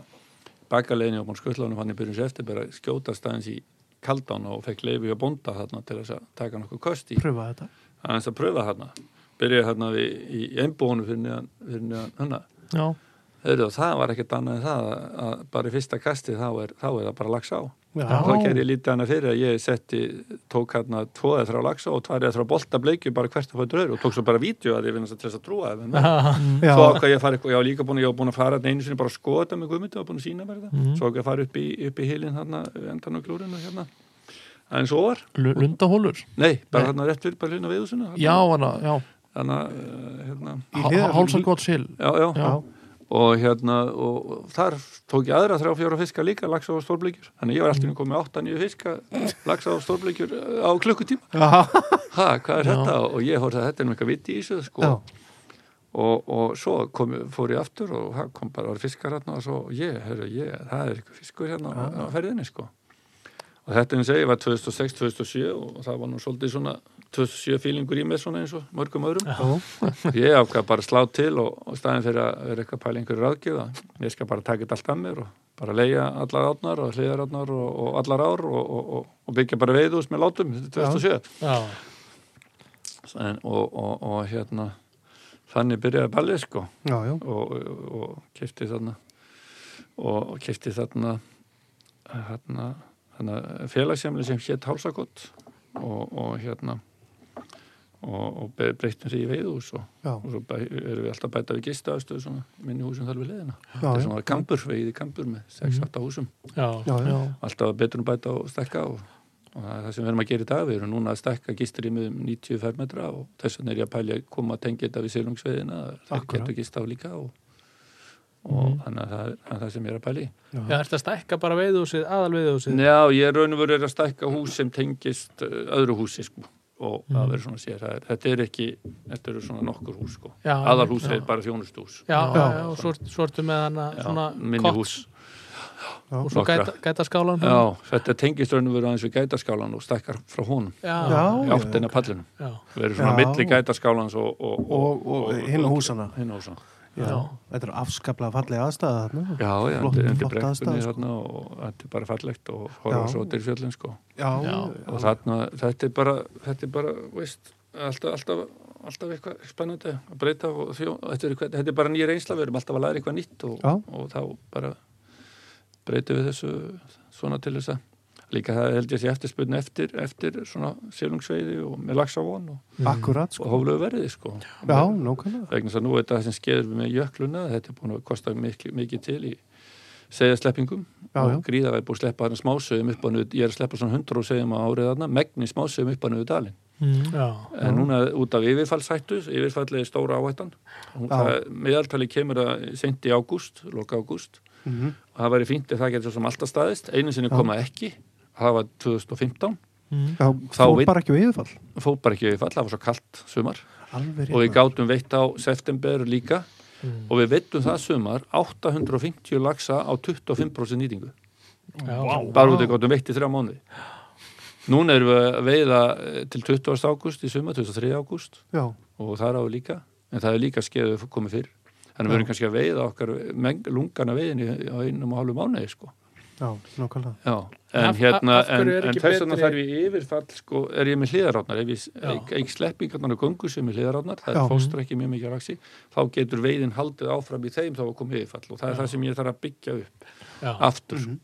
Speaker 4: bakalegin og búin skuttlanum hann hérna í byrjun sér eftir bara skjótast aðeins í kaldan og fekk leifi hjá bónda þarna til þess að taka nokkuð köst í
Speaker 2: Pröfa þetta.
Speaker 4: aðeins að pröfa þarna byrjaði þarna við, í einbúinu fyrir neðan fyrir neðan hana
Speaker 3: já,
Speaker 4: Heyrðu, og það var ekkert annað en það að, að bara í fyrsta kasti þá er, þá er það bara lags á
Speaker 2: Já,
Speaker 4: þá gerði ég lítið hana fyrir að ég setti tók hérna tvo eða þrjá lags á og tvær eða þrjá bolta bleikju bara hvert að fættur öðru og tók svo bara vídeo að ég vinna til þess að trúa þeim
Speaker 2: já,
Speaker 4: svo ákvað ég að fara eitthvað, ég var líka búin, ég var búin að fara þarna einu sinni bara að skoða þetta með guðmyndu, ég var búin að sína mér þetta
Speaker 3: Mhm.
Speaker 4: svo ákvað ég að fara upp í, upp í hilin þarna, endan og glúrinu hérna aðeins ofar,
Speaker 3: Lu- lundahólur
Speaker 4: nei,
Speaker 3: Nei.
Speaker 4: bara þarna rétt fyrir bara hérna hluna viðhúsinu
Speaker 3: já, hana, já,
Speaker 4: þarna, eh, hérna,
Speaker 2: Í hliðar-
Speaker 3: hálsargótt síl
Speaker 4: já, já,
Speaker 3: Já.
Speaker 4: og hérna og, og þar tók ég aðra þrjá fjóra fiska líka laxa og stórbleikjur, þannig ég var alltaf komið átta nýju fiska, laxa og stórbleikjur eh, á klukkutíma,
Speaker 2: já,
Speaker 4: ha, hvað er
Speaker 3: Já.
Speaker 4: þetta og ég horfði að þetta er nú eitthvað viti í þessu sko,
Speaker 2: já,
Speaker 4: og, og svo kom, fór ég aftur og það kom bara var fiskar hérna og svo ég, herru, ég, það er eitthvað fiskur hérna á, á ferðinni sko og þetta eins og ég var 2006-2007 og það var nú svolítið svona 2007 fílingur í mér svona eins og mörgum öðrum ég ákvað bara að slá til og, og staðin fyrir að vera eitthvað pæla í einhverju ráðgjöða ég skal bara taka þetta allt að mér og bara leia allar átnar og hliðar átnar og, og allar ár og, og, og, og byggja bara veiðús með látum þetta er 2007
Speaker 1: já,
Speaker 4: en, og, og, og hérna þannig byrjaði ballið sko
Speaker 2: já, já.
Speaker 4: og, og, og kefti þarna og kefti þarna þarna, þarna félagsjæmli sem hétt hálsakott og, og hérna og, og be- breyttum því í veiðhús og,
Speaker 2: Já.
Speaker 4: og svo bæ- erum við alltaf að bæta við gista aðstöðu svona minni húsum þar við leiðina
Speaker 2: Já,
Speaker 4: þetta
Speaker 2: já. Mhm.
Speaker 4: er svona kampur, veiði kampur með 6-8 húsum
Speaker 1: já,
Speaker 2: Já, já.
Speaker 3: já,
Speaker 4: alltaf betur um bæta og stekka og, og það er það sem við erum að gera í dag við erum núna að stekka gisturýmið um 90 fermetra og þess vegna er ég að pælja að koma að tengja þetta við silungsveiðina það
Speaker 2: Akkúrat.
Speaker 4: getur gist á líka og, og
Speaker 1: Mhm.
Speaker 4: þannig að það, er- að það sem ég er að pæli
Speaker 1: já, ertu að stækka bara veiðhúsið, aðal veiðhúsið
Speaker 4: Já, ég raun og veru er að stekka hús sem tengist uh, öðru húsi sko og
Speaker 1: Mhm.
Speaker 4: það verður svona sér, það er, þetta er ekki þetta eru svona nokkur hús sko
Speaker 1: Já,
Speaker 4: aðalhús
Speaker 1: já.
Speaker 4: er bara þjónustús
Speaker 1: já, já,
Speaker 2: Já.
Speaker 1: og svo, svo ertu með hana
Speaker 4: Já,
Speaker 1: svona
Speaker 4: minni
Speaker 1: kott
Speaker 4: hús.
Speaker 1: og svo
Speaker 4: Nokkra.
Speaker 1: gæta, gæta skálan
Speaker 4: Já, þetta tengist raun og veru aðeins við gætaskálan og stekkar frá honum,
Speaker 1: já,
Speaker 2: Já,
Speaker 4: í
Speaker 2: já.
Speaker 4: áttina að pallinum
Speaker 1: já.
Speaker 4: verið svona
Speaker 2: Já.
Speaker 4: milli gætaskálans og, og,
Speaker 2: Og- og hinna húsanna.
Speaker 4: hinna húsana.
Speaker 2: Já, þetta er afskaplega fallega aðstæða þarna.
Speaker 4: já, já,
Speaker 2: Flott-
Speaker 4: undir, undir
Speaker 2: flott aðstaða,
Speaker 4: brekkunni
Speaker 2: sko.
Speaker 4: þarna og þetta er bara fallegt og
Speaker 2: Já.
Speaker 4: horfa svo til fjöllin sko
Speaker 2: Já,
Speaker 4: og þarna, þetta er bara þetta er bara, veist, alltaf, alltaf alltaf eitthvað spennandi að breyta og þjó, þetta, er eitthvað, þetta er bara nýjir einsla við erum alltaf að læra eitthvað nýtt og,
Speaker 2: Já.
Speaker 4: og þá bara breytum við þessu svona til þess að líka það held ég sé eftirspurn eftir, eftir svona sílungsveiði og með lagsa von og,
Speaker 2: akkurat, sko.
Speaker 4: og hóflögu verði sko
Speaker 2: Já, nákvæmlega.
Speaker 4: vegna þess að nú er þetta það sem skeður með jökluna þetta er búin að kosta mikið, mikið til í segjarsleppingum
Speaker 2: Já, já.
Speaker 4: og gríða væri búið að sleppa þarna smásögum upp á nöðu ég er að sleppa svona 100 segjum á árið þarna megni smásögum upp á nöðu dalin
Speaker 1: já.
Speaker 4: en núna út af yfirfallshættu yfirfallið er stóra áhættan Hún-
Speaker 2: Já.
Speaker 4: það- meðaltalið kemur að seint í ágúst loka ágúst
Speaker 2: Mhm.
Speaker 4: og það væri fínt ef það getur svo sem alltaf staðist einu sinni
Speaker 2: Já.
Speaker 4: koma ekki það var 2015
Speaker 2: Já,
Speaker 4: Þá
Speaker 2: fór
Speaker 4: veit-
Speaker 2: bara ekki á yfirfall.
Speaker 4: fór bara ekki yfirfall, það var svo kalt sumar
Speaker 2: Alveg rétt.
Speaker 4: og við gátum veitt á september líka og við veittum það sumar 850 laxa á 25% nýtingu
Speaker 1: Já,
Speaker 4: bara út við gátum veitt í þrjá mánuði núna erum við að veiða eh, til 20. ágúst í sumar, 23. ágúst
Speaker 2: Já,
Speaker 4: og það er á líka en það er líka skeðu komið fyrr þannig að við erum kannski að veiða okkar meng, lungana veiðinni á einum og hálfu mánuði sko.
Speaker 2: já, nákvæmlega
Speaker 4: Já,
Speaker 1: Af-
Speaker 4: en hérna,
Speaker 1: af- af
Speaker 4: en,
Speaker 1: hverju er
Speaker 4: en
Speaker 1: ekki
Speaker 4: þess vegna
Speaker 1: betri-
Speaker 4: þarf ég yfirfall, sko, er ég með hliðarátnar, ef ég,
Speaker 1: Já.
Speaker 4: ég, ég sleppi kannan að gungu sem er hliðarátnar, það
Speaker 2: Já.
Speaker 4: er fóstur ekki mjög mikið á raksi, þá getur veiðin haldið áfram í þeim þá að koma yfirfall og það er það sem ég þarf að byggja upp
Speaker 1: já,
Speaker 4: aftur.
Speaker 2: Mhm.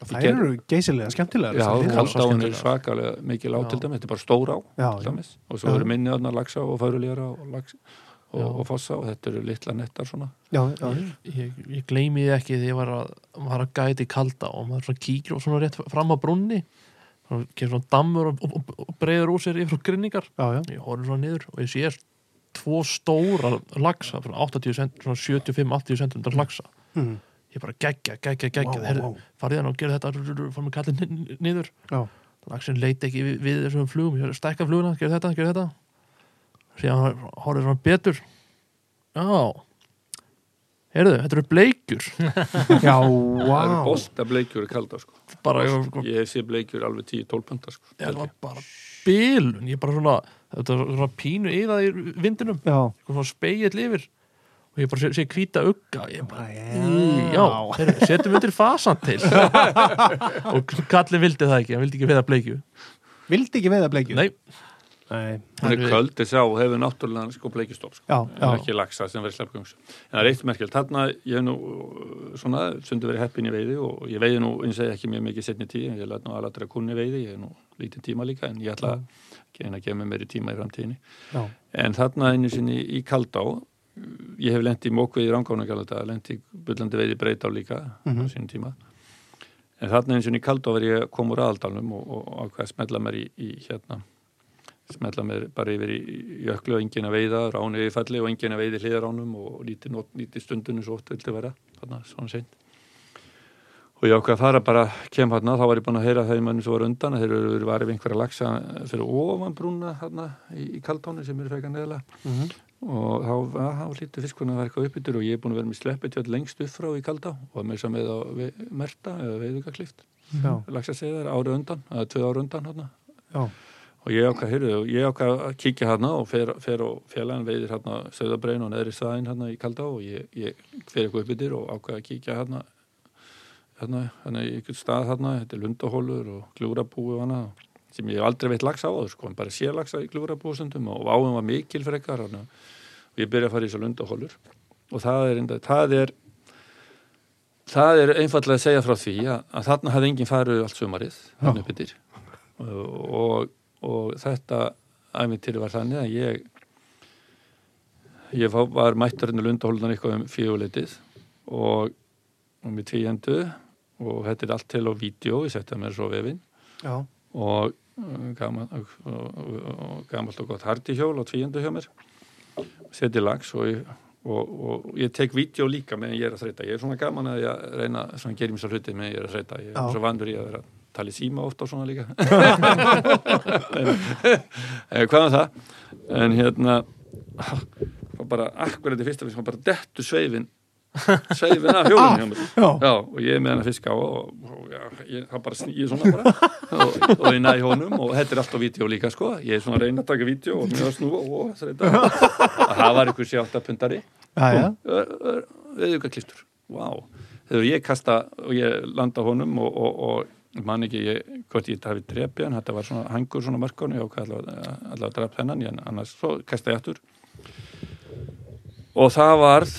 Speaker 2: Það eru geysilega skemmtilegar
Speaker 4: Já,
Speaker 2: þessar hliðar.
Speaker 4: kaldáin er svakalega mikið
Speaker 3: Já.
Speaker 4: látt til dæmis, þetta er bara stór á,
Speaker 2: Já,
Speaker 4: til
Speaker 2: já.
Speaker 4: dæmis, og svo
Speaker 2: Já.
Speaker 4: eru minni öðnar lagsa og færulíra og lagsa og,
Speaker 3: Já.
Speaker 4: og fossa og þetta eru litla nettar svona.
Speaker 2: já, já,
Speaker 3: ég, ég gleymi því ekki þegar ég var að, var að gæti kalda og maður svona kíkir og svona rétt fram að brunni og kemur svona dammur og, og, og breyður úr sér yfir og grinningar
Speaker 2: já, já.
Speaker 3: ég horfði svona niður og ég sé tvo stóra lagsa svona 80 cent, svona 75-80 cm lagsa
Speaker 2: Mm.
Speaker 3: ég bara geggja, geggja, geggja
Speaker 2: Vá,
Speaker 3: wow, herri,
Speaker 2: vá.
Speaker 3: farið hann og gerði þetta rr, rr, fór mig kallið ni- ni- niður
Speaker 2: Já.
Speaker 3: lagsin leiti ekki við, við þessum flugum ég er að stækka fluguna, gerði þetta, gerði þetta síðan horfði svona betur já heyrðu, þetta eru bleikur
Speaker 2: Já,
Speaker 4: Það eru
Speaker 2: wow.
Speaker 4: bolta bleikjur í kaldá, sko.
Speaker 3: bara, ég,
Speaker 4: Ég sé bleikjur alveg 10-12 pundar, sko.
Speaker 3: ég var bara bílun, ég bara svona þetta var svona pínu yfað í vindinum
Speaker 2: Já,
Speaker 3: eitthvað svona speigill yfir og ég bara sé, sé hvíta ugga ég bara,
Speaker 2: Já.
Speaker 3: já, heyrðu, setjum undir fasan til og kallið vildi það ekki, hann vildi ekki veða bleikju
Speaker 2: vildi ekki veiða bleikju?
Speaker 3: nei,
Speaker 2: Nei.
Speaker 4: Hún er
Speaker 3: Hann er-
Speaker 4: köldið sá og hefur náttúrulega sko bleikjustopp, sko.
Speaker 2: Já,
Speaker 4: Það er
Speaker 2: já,
Speaker 4: ekki lagsa sem verið sleppgöngs. En það er eitt merkjöld. Þarna, ég hef nú uh, svona, sundi verið heppin í veiði og ég veiði nú, eins og ég segi, ekki mjög mikið setni tíð, ég læt nú alveg að kunni veiði, ég hef nú lítið tíma líka, en ég ætla að reyna að gefa mér meiri tíma í framtíðinni.
Speaker 2: já.
Speaker 4: En þarna einu sinni í Kaldá, ég hef lent í mókveið í Rangána Galata, lent í bullandi veiði breyta líka
Speaker 2: Mhm.
Speaker 4: á sínum tíma. En þarna einu sinni í Kaldá var ég kom úr aðaldalum og, og ákveða að smetla mér í, í hérna, smetla mér bara yfir í í jöklu og enginn að veiða, ránu yfirfalli og enginn að veiði hliðaránum og lítið, not, lítið stundunum svo oft vildi vera, þarna svona seint. Og ég ákveða að fara bara, kem hérna, þá var ég búin að heyra þeim mönnum sem voru undan að þeir eru varif einhverja lagsa fyrir ofan brúna hérna í, í Kaldánu sem eru frekar neðla
Speaker 2: Mm
Speaker 4: og þá var- þá hlýttu fiskurinn að vera eitthvað uppbyttur og ég er búin að vera með sleppitjöld lengst upp frá í Kaldá og með sem með að ve- merta eða veiðuga klift
Speaker 2: já,
Speaker 4: lagsa segja þær árið undan, eða tvö árið undan hérna.
Speaker 2: já,
Speaker 4: og ég ákvað, heyrðu, ég ákvað að kíkja hérna og fer, fer og félagin veiðir hérna söðabrein og neðri svæðin hérna í Kaldá og ég, ég fer eitthvað uppbyttir og ákvað að kíkja hérna hérna, hérna í ykkur stað hérna þetta er lundahólur og glúrabúi og hana sem ég hef aldrei veitt lags á það sko, en bara sé lags í glúrabúsundum og áum var mikil frekar hana. og ég byrja að fara í þessu lundahólur og það er, enda, það er það er einfallega að segja frá því að, að þarna hafði enginn farið allt sumarið hérna hann uppbyttir og, og þetta æmintýri var þannig að ég ég fá- var mætturinn í lundahólunar eitthvað um fjöguleitið og, og mér tvíendu og þetta er allt til á vídeo, ég setja mér svo á vefinn
Speaker 2: já.
Speaker 4: og uh, gaman, og, og, og gamalt og gott hardihjól og tvíendu hjá mér setja lags og, ég- og, og ég tek vídeo líka meðan ég er að þreita ég er svona gaman að ég að reyna svona gerir mér svo hluti meðan ég er að þreita ég er
Speaker 2: Já.
Speaker 4: svo vandur í að vera að tala í síma ofta og svona líka en, en hvað er það en hérna og bara akkurat í fyrsta fyrst bara dettu sveifin sveifin af hjólinu hjá mér
Speaker 2: Já,
Speaker 4: Já, og ég er með hann að fiska á og, og já, ég, það bara snýði svona bara og, og ég næ honum og þetta er allt á vídeo líka sko, ég er svona að reyna að taka vídeo og mjög að snúa og þetta og það var ykkur sjátt að pundari
Speaker 2: já, já.
Speaker 4: auðvitað klistur Vá, þegar ég kasta og ég landa honum og, og, og man ekki ég, hvort ég hafi drepið hann þetta var svona hangur svona markonu og allavega allavega drap hennan, en annars svo kasta ég aftur og það varð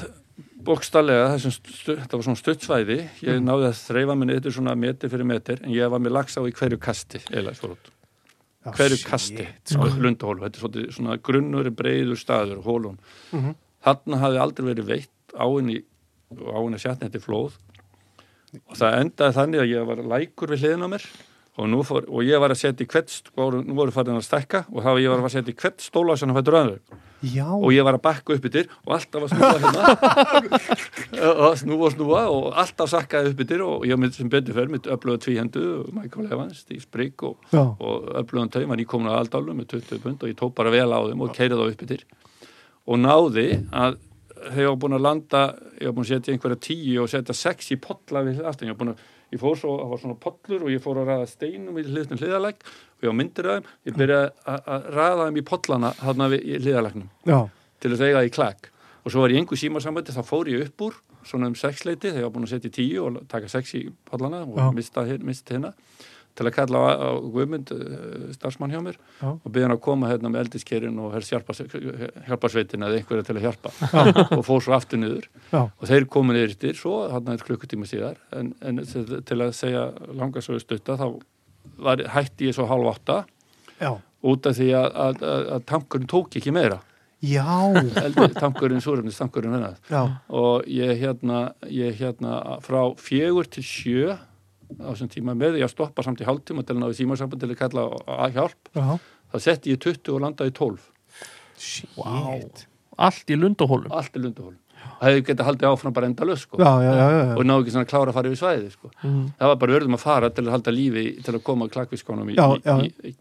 Speaker 4: bókstallega, þessum stu, þetta var svona stuttsvæði ég náði að þreifa minni yttur svona metir fyrir metir, en ég var með lags á í hverju kasti, eiginlega svo rútt
Speaker 2: Já,
Speaker 4: hverju
Speaker 2: shit.
Speaker 4: kasti á lundahólu þetta er svolítið svona grunnur breiður staður hólun,
Speaker 2: Mhm.
Speaker 4: þarna hafði aldrei verið veitt áin í áin að sjatna þetta flóð og það endaði þannig að ég var lækur við hliðin á mér og, nú fór, og ég var að setja í hvert st- voru- nú voru farin að stekka og það var ég var að setja í hvert stóla sem hann fættur öðru
Speaker 2: Já,
Speaker 4: og ég var að bakka upp yttir og alltaf að snúa hérna og snúa og snúa og alltaf sakkaði upp yttir og ég myndi sem betur fyrir mitt öflöða tvíhendu Michael Evans, Steve Sprigg og,
Speaker 2: já,
Speaker 4: og öflöðan taum var nýkomin að aldálu með 20 pund og ég tók bara vel á þeim og keirið þá upp yttir og náði að þegar ég var búin að landa ég var búin að setja einhverja tíu og setja sex í potla við aftan, ég var búin að ég fór svo, það var svona pollur og ég fór að ræða steinum í hliðnum hliðalæk og ég var myndir af þeim, ég byrjaði að- að ræða þeim í pollana þarna við hliðalæknum
Speaker 2: já.
Speaker 4: til þess að eiga í klæk og svo var ég í einhver símasambandi, þá fór ég upp úr svona um sexleiti þegar ég var búin að setja í tíu og taka sex í pallana og
Speaker 3: Já.
Speaker 4: mista, hin- mista hérna til að kalla á, á Guðmund uh, starfsmann hjá mér
Speaker 3: Já.
Speaker 4: og byggði hann að koma hérna með eldiskerinn og helst hjálparsveitin eða einhverja til að hjálpa og fór svo aftur niður
Speaker 3: Já.
Speaker 4: og þeir komu niður yfir svo hann er klukkutíma síðar en, en til til að segja langa svo stutta þá var, hætti ég svo hálf átta
Speaker 2: Já.
Speaker 4: út af því að, að, að, að tankurinn tók ekki meira
Speaker 2: Já.
Speaker 4: Eldi, tankurinn, súrefnis, tankurinn hennar
Speaker 2: Já.
Speaker 4: og ég hérna, ég hérna frá fjögur til sjö á þessum tíma með, ég að stoppa samt í hálftíma til að náðu símarsamband til að kalla á- á hjálp
Speaker 3: Já.
Speaker 4: þá setti ég 20 og landaði í 12
Speaker 2: Shit.
Speaker 3: allt í lundahólum
Speaker 4: allt í lunduhólum það hefði getið haldið áfram bara endalaust sko.
Speaker 2: Já, já, já, já.
Speaker 4: og náðu ekki svona klára að fara yfir svæðið sko.
Speaker 3: mm.
Speaker 4: það var bara örðum að fara til að halda lífi til að koma klakvískonum í,
Speaker 2: Já,
Speaker 4: í,
Speaker 2: já.
Speaker 4: í,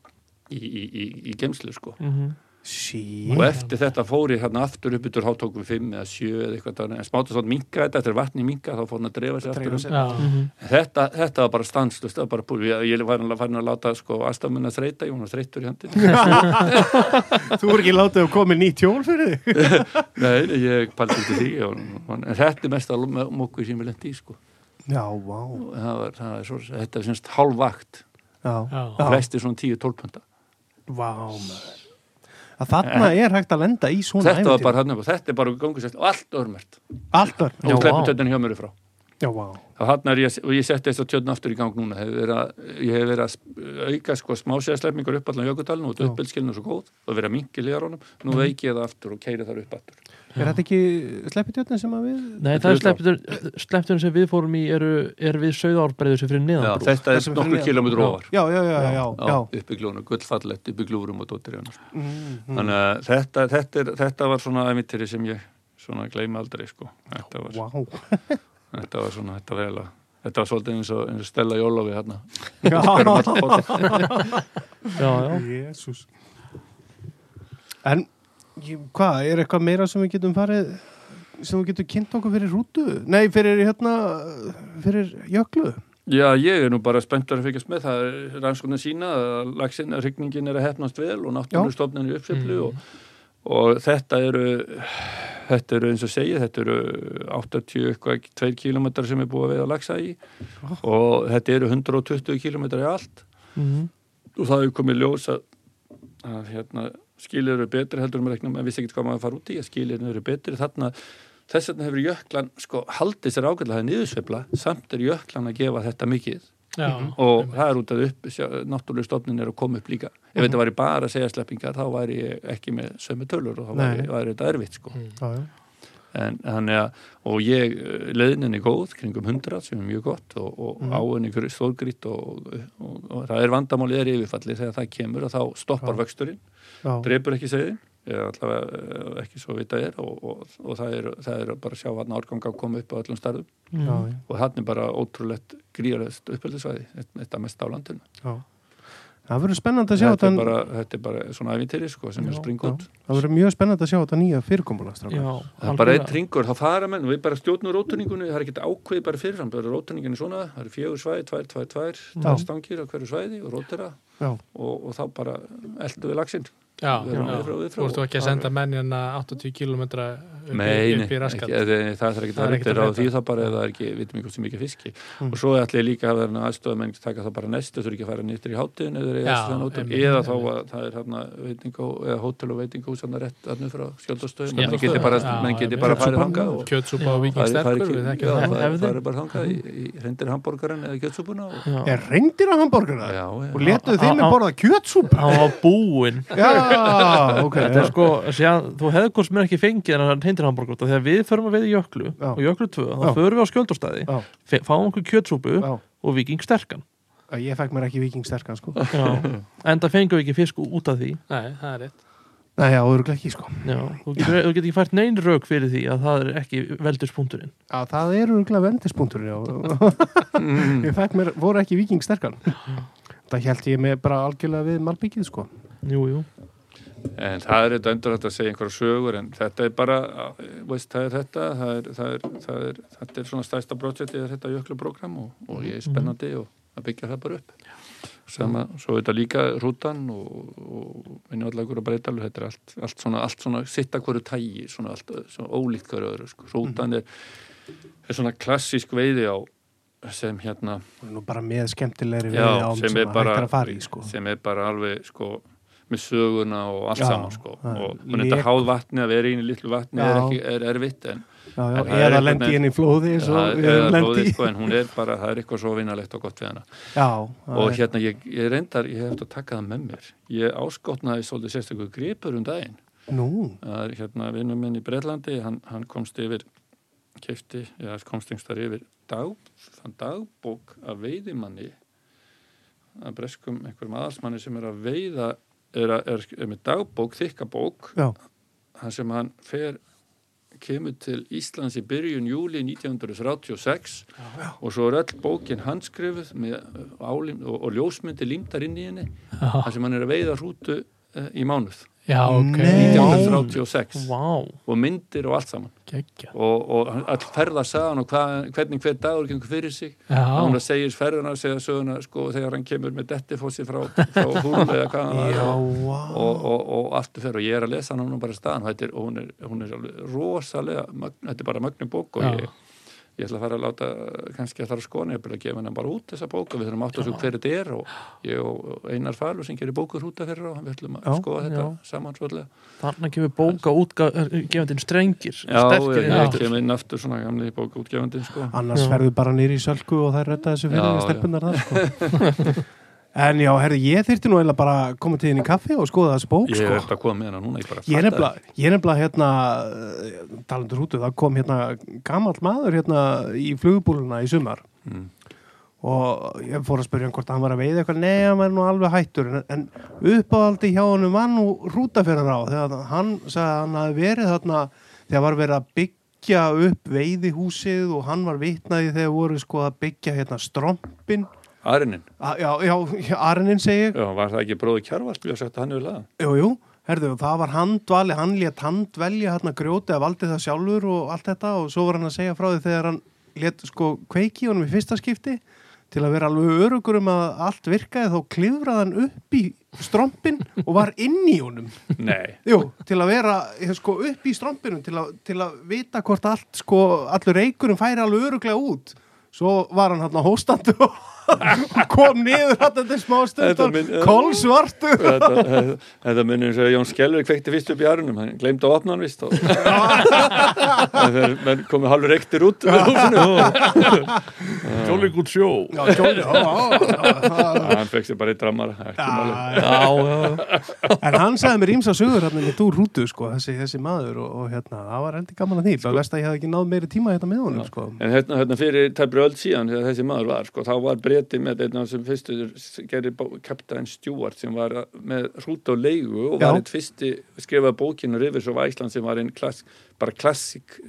Speaker 4: í, í, í, í gemslu sko.
Speaker 3: Mm
Speaker 2: Shit.
Speaker 4: og eftir þetta fór ég hérna aftur upp yfir hálftókum fimm eða sjö eða eitthvað þarna. en smátt og smátt minkaði þetta, eftir vatni minkaði þá fór hann að dreifa sér aftur um
Speaker 1: já,
Speaker 4: þetta, þetta var bara stanslust það var bara búið, ég, ég var hann að láta sko aðstafmunna þreita, ég var hann þreittur í handin
Speaker 2: Þú voru ekki látið að koma nýtt hjól fyrir þig?
Speaker 4: nei, nei, ég paldi ekki því ég, var- en þetta er mest að mokku sem ég lendi í sko,
Speaker 2: Já, vá.
Speaker 4: Og það var, það var svo, þetta er semst hálfvakt,
Speaker 2: Já.
Speaker 1: já,
Speaker 2: Já.
Speaker 4: resti svona 10-12 punda
Speaker 2: Vá, maður. Að þarna er hægt að lenda í svona
Speaker 4: Eh. þetta var bara hann upp og þetta er bara gangu sérst og allt örmert,
Speaker 2: Alltaf.
Speaker 4: og
Speaker 3: vá.
Speaker 4: sleppum tjötnin hjá mér frá
Speaker 2: Já, vá.
Speaker 4: og hann er ég, og ég setti þess að tjötnin aftur í gang núna hef verið að, ég hef verið að sp- auka sko smásæðasleppingar upp allan jökutalinn og
Speaker 2: Já. Mhm.
Speaker 4: uppbyldskilinu svo góð og verið að mingi liðarónum, nú veiki ég það aftur og keiri þar upp aftur
Speaker 2: Er þetta ekki sleppitjötnin sem að við...
Speaker 3: Nei,
Speaker 4: Þetta
Speaker 3: það
Speaker 4: er
Speaker 3: er slepptur, slepptur sem við fórum í eru, eru við sögðárbreyður sem fyrir
Speaker 4: Já,
Speaker 3: neðanbrú
Speaker 4: þetta er
Speaker 2: Þessum
Speaker 4: nokkur
Speaker 2: fyrir-
Speaker 4: kilómetru
Speaker 3: Já.
Speaker 4: ofar
Speaker 2: Já, já, já, já, já.
Speaker 4: upp í glónu, gullfallett upp í glúrum og dóttir hérna.
Speaker 2: Mm, mm.
Speaker 4: þannig að þetta, þetta, er, þetta var svona emittir sem ég svona gleymi aldrei sko. þetta, var,
Speaker 2: Vá.
Speaker 4: þetta var svona, þetta var eiginlega þetta var svolítið eins og, eins og Stella Jólofi hérna
Speaker 2: Já.
Speaker 3: já, já.
Speaker 2: Jésús. En ég- hvað, er eitthvað meira sem við getum farið sem við getum kynnt okkur fyrir rútu? Nei, fyrir hérna, fyrir jöklu.
Speaker 4: já, ég er nú bara spenntur að fyrkast með það er rannsóknin sína að lagsin, rigningin er að hefnast vel og náttúrustofnin er uppseflu
Speaker 3: Mm.
Speaker 4: og, og þetta eru þetta eru eins og segið, þetta eru 80 eitthvað 2 kilometrar sem er búið að veiða lagsa í og þetta eru 120 kilometrar í allt
Speaker 3: Mm.
Speaker 4: og það hefur komið ljós að, að hérna, skilir eru betri heldur um reiknum en vissi ekki hvað maður að fara út í að skilir eru betri þarna þess vegna hefur jöklan sko haldið sér ágætlega það er niðursveifla samt er jöklan að gefa þetta mikið
Speaker 1: já,
Speaker 4: og það er út að upp náttúrulega stofnin er að koma upp líka
Speaker 2: Mhm.
Speaker 4: ef þetta væri bara að segja sleppingar þá væri ég ekki með sömu tölur og þá
Speaker 2: Nei. Mhm.
Speaker 4: væri, væri þetta erfitt sko
Speaker 1: Mm.
Speaker 2: Já, já.
Speaker 4: en þannig að, og ég eh, leiðnin er góð, kringum 100 sem er mjög gott og, og
Speaker 2: Mhm.
Speaker 4: mm. áin ykkur stórgrýtt og, og, og, og það er vandamálið er yfirfalli þegar það kemur og þá stoppar
Speaker 2: Já.
Speaker 4: vöxturinn,
Speaker 2: Já.
Speaker 4: dreipur ekki segðin eða allavega eh, ekki svo vita er og, og, og það, er, það er bara að sjá hann árgang að koma upp á öllum starfum
Speaker 2: Já,
Speaker 3: Mm.
Speaker 2: já.
Speaker 4: og þannig bara ótrúlegt gríðaröðst upphildisvæði, þetta mest á landinu
Speaker 2: Það verður spennandi að sjá
Speaker 4: þetta
Speaker 2: þetta,
Speaker 4: er, bara, þetta er bara svona ævintýri sko sem
Speaker 3: Já,
Speaker 4: er springa út
Speaker 2: það verður mjög spennandi að sjá þetta nýja fyrirkomulega
Speaker 3: já
Speaker 2: strákar.
Speaker 4: Það er bara einn tringur, þá fara menn, við bara stjórnum rótuningunni, það er ekkert ákveðið bara fyrirfram, bara rótuningin er svona, það eru fjögur svæði, tvær, tvær, tvær, tvær
Speaker 2: Já.
Speaker 4: stangir á hverju svæði og rótera
Speaker 2: Já.
Speaker 4: og, og þá bara eldu við lagsinn.
Speaker 1: já,
Speaker 4: Við erum
Speaker 1: já.
Speaker 4: við frá- við frá-
Speaker 1: þú ert ekki að senda menn hérna 80 km upp, í-
Speaker 4: Nei, nei,
Speaker 1: upp í
Speaker 4: ekki,
Speaker 1: raskat
Speaker 4: eða, nei, það þarf ekki
Speaker 1: Það
Speaker 4: að
Speaker 1: er ekkert að
Speaker 4: reyta á því
Speaker 1: breyta.
Speaker 4: það bara ef það er ekki, við veitum ekki hversu mikið fiski.
Speaker 2: Mm.
Speaker 4: Og svo ætla ég líka að vera aðstöða menn taka það bara næstu, þurfi ekki að fara nýttir í hátíðin
Speaker 1: Já,
Speaker 4: eða eða aðstöðan út,
Speaker 1: einmitt,
Speaker 4: eða þá
Speaker 1: einmitt.
Speaker 4: að það er hérna veitingó, eða hótel og veitingús hérna rétt þarna frá skjöldastöðum,
Speaker 1: Já,
Speaker 4: menn geti bara,
Speaker 1: já,
Speaker 4: menn geti
Speaker 1: einmitt. Kjötsúpan.
Speaker 4: bara farið hangað og
Speaker 1: kjötsúpa og
Speaker 4: Það
Speaker 1: viking
Speaker 4: er- það er
Speaker 1: sterkur
Speaker 4: ekki-
Speaker 1: við
Speaker 4: já,
Speaker 1: þekkjum
Speaker 4: það
Speaker 1: það
Speaker 4: er-
Speaker 3: Hefðin.
Speaker 4: það er bara þangað í, í reyndir hambúrgarinn eða kjötsúpuna og,
Speaker 3: Já.
Speaker 2: Er reyndir að hambúrgara?
Speaker 4: já, já,
Speaker 2: Og letuðu
Speaker 3: Á-
Speaker 2: þeim
Speaker 3: á-
Speaker 2: að borða kjötsúpa?
Speaker 3: hann var búinn
Speaker 2: Já, ok.
Speaker 3: Þetta
Speaker 2: já.
Speaker 3: er sko, síðan, þú hefði hvort mér ekki fengið en hann heindir hambúrgur þegar við förum að veið jöklu
Speaker 2: Já.
Speaker 3: og jöklu 2, þá
Speaker 2: Já.
Speaker 3: förum við á skjöldurstæði
Speaker 2: Já.
Speaker 3: fe- fáum okkur kjötsúpu
Speaker 2: Já.
Speaker 3: og viking sterkan
Speaker 2: Ég fekk mér ekki vikingsterkan sko.
Speaker 3: en það fengum við ekki fisk út af því
Speaker 1: nei, það er rétt
Speaker 2: Nei, já, örugglega ekki sko.
Speaker 3: Já, þú getur, þú getur ekki fært neyn rauk fyrir því að það er ekki velduspunkturinn
Speaker 2: Já, það eru örgulega vendispunktur já.
Speaker 4: Mm.
Speaker 2: Ég fekk mér, voru ekki vikingsterkan Það held ég með bara algjörlega við Malbyggið sko
Speaker 3: Jú, jú,
Speaker 4: en það er þetta endur hægt að segja einhverja sögur en þetta er bara, veist, það er þetta það er, það er, það er, þetta er svona stærsta projektið er þetta jöklubrógram og, og ég er spennandi og að byggja það bara upp Sama, svo er þetta líka rútan og, og minni allar ykkur að breyta alveg þetta er allt, allt svona, allt svona sitta hverju tægi svona allt, svona ólíkt hverju öðru sko. rútan er er svona klassísk veiði á sem hérna
Speaker 2: Nú bara með skemmtilegri
Speaker 4: Já,
Speaker 2: veiði ám
Speaker 4: sem
Speaker 2: sem
Speaker 4: er
Speaker 2: maður
Speaker 4: bara-
Speaker 2: hættir að fara í sko.
Speaker 4: sem er bara alveg sko með söguna og allt
Speaker 2: Já,
Speaker 4: saman sko
Speaker 2: það er
Speaker 4: og, og
Speaker 2: lek.
Speaker 4: þetta háð vatni að vera í einu litlu vatni er,
Speaker 2: Já.
Speaker 4: ekki, er erfitt en
Speaker 2: Já, já,
Speaker 4: En það er
Speaker 2: eða
Speaker 4: einhvern
Speaker 2: lendi
Speaker 4: veginn-
Speaker 2: inn í flóði eins og
Speaker 4: það
Speaker 2: við
Speaker 4: er
Speaker 2: erum lendi
Speaker 4: blóðið sko en hún er bara, það er eitthvað svo vinalegt og gott við hana
Speaker 2: Já,
Speaker 4: og
Speaker 2: það er-
Speaker 4: hérna ég, ég reyndar, ég hef eftir að taka það með mér ég áskotnaði svolítið sérstaklega gripur um daginn
Speaker 2: nú,
Speaker 4: það er hérna vinnum minn í Breitlandi hann, hann komst yfir kefti, eða komst yngstar yfir dag, þann dagbók að veiðimanni að breskum einhverjum aðalsmanni sem er að veiða er, að, er, er með dagbók, þykka bók
Speaker 2: Já.
Speaker 4: hann sem hann fer kemur til Íslands í byrjun júli 1936 og svo er öll bókin handskrifuð með álim, og, og ljósmyndi límdar inn í henni
Speaker 1: Já,
Speaker 4: hann sem hann er að veiða hrútu eh, í mánuð
Speaker 1: já, ok.
Speaker 2: Nei.
Speaker 4: 1936
Speaker 3: Vá,
Speaker 4: og myndir og allt saman
Speaker 1: Gekkja.
Speaker 4: og, og all ferða sagan og hva, hvernig hver dagur gengur fyrir sig hann
Speaker 1: Já,
Speaker 4: segir ferðuna, segja söguna sko, þegar hann kemur með dettifósi frá, frá húlu eða hvað hann
Speaker 2: já,
Speaker 4: var og,
Speaker 2: vá
Speaker 4: og, og, og allt fer og ég er að lesa hann og bara staðan og, þetta er, og hún, er, hún er alveg rosalega mögn, þetta er bara mögnu bók og
Speaker 1: Já.
Speaker 4: ég Ég ætla að fara að láta, kannski að það er skona, ég vil að gefa hennar bara út þessa bóka, við þurfum átt að svo hver þetta er og ég og Einar Falur sem gerir bókur húta fyrir og við ætlum að
Speaker 3: Já,
Speaker 4: skoða þetta
Speaker 3: já.
Speaker 4: saman svolítið.
Speaker 3: þannig að gefur bóka útgefandinn strengir
Speaker 4: Já,
Speaker 3: sterkir
Speaker 4: ég,
Speaker 3: en
Speaker 4: ég
Speaker 3: aftur
Speaker 4: kem inn aftur svona gamli bókaútgefandi sko.
Speaker 2: annars
Speaker 3: Já.
Speaker 2: ferðu bara nýri í sölku og það er rötta þessu
Speaker 4: Já,
Speaker 2: fyrir
Speaker 4: já.
Speaker 2: stelpunar þar sko. en já, herri, ég þyrti nú eiginlega bara að koma til þín í kaffi og skoða þessu bók
Speaker 4: Ég
Speaker 2: sko.
Speaker 4: er eftir að koma með hana núna, ég bara
Speaker 2: Ég er
Speaker 4: fatta það.
Speaker 2: nefnilega, ég er nefnilega hérna, eh, talandur út, það kom hérna gamall maður hérna í flugubúluna í sumar
Speaker 4: Mm.
Speaker 2: og ég fór að spyrja hann hvort hann var að veiða eitthvað, nei, hann var nú alveg hættur en, en uppáhaldi hjá honum var nú rútaferðar á, þegar hann sagði að hann hafi verið þarna þegar var verið að byggja upp veiðihúsið og hann var vitnaði þegar voru sko að byggja hérna strompin
Speaker 4: Arinin,
Speaker 2: A, já, já, Arnin segi ég
Speaker 4: já, var það ekki bróði Kjarvald við að setja hann yfir laga?
Speaker 2: Jú, jú, herðu, það var handvali, hann létt handvelja hérna grjóti að valdi það sjálfur og allt þetta og svo var hann að segja frá því þegar hann létt sko kveiki honum í fyrsta skipti til að vera alveg örugur um að allt virkaði þá klifraði hann upp í strompin og var inn í honum.
Speaker 4: Nei,
Speaker 2: Jú, til að vera eh, sko upp í strompinum til að, til að vita hvort allt sko, allur reikurum færi alveg öruglega út. Svo var hann hérna hóstandu og kom niður hérna til smá
Speaker 4: Þetta
Speaker 2: stundar,
Speaker 4: minn-
Speaker 2: kolsvartu.
Speaker 4: þetta, þetta munir eins og Jón Skelvik kveikti fyrst upp í arninum, hann glemdi að opna hann vist og þegar menn komið halvur reyktir út úr húsinu og
Speaker 3: Jólíkúl sjó
Speaker 2: Já, Johnny, já, já, já, já.
Speaker 4: hann fekk sér bara eitt rammar, ekki máli.
Speaker 2: já.
Speaker 3: Já, já,
Speaker 2: En hann sagði mér ímsa sögur hérna mitt úr rútu, sko, þessi, þessi maður og, og hérna, það var heldur gaman að því, sko. best að ég hafði ekki náð meiri tíma hérna með honum, sko.
Speaker 4: En hérna, hérna fyrir tæpri öll síðan þegar þessi maður var, sko, þá var breyti með einn af þessum fyrstu gerir Captain Stewart sem var að- með hrút á leigu og
Speaker 2: Já.
Speaker 4: var eitt fyrsti skrifað bókinu yfir svo var Ísland sem var einn klass, bara klassik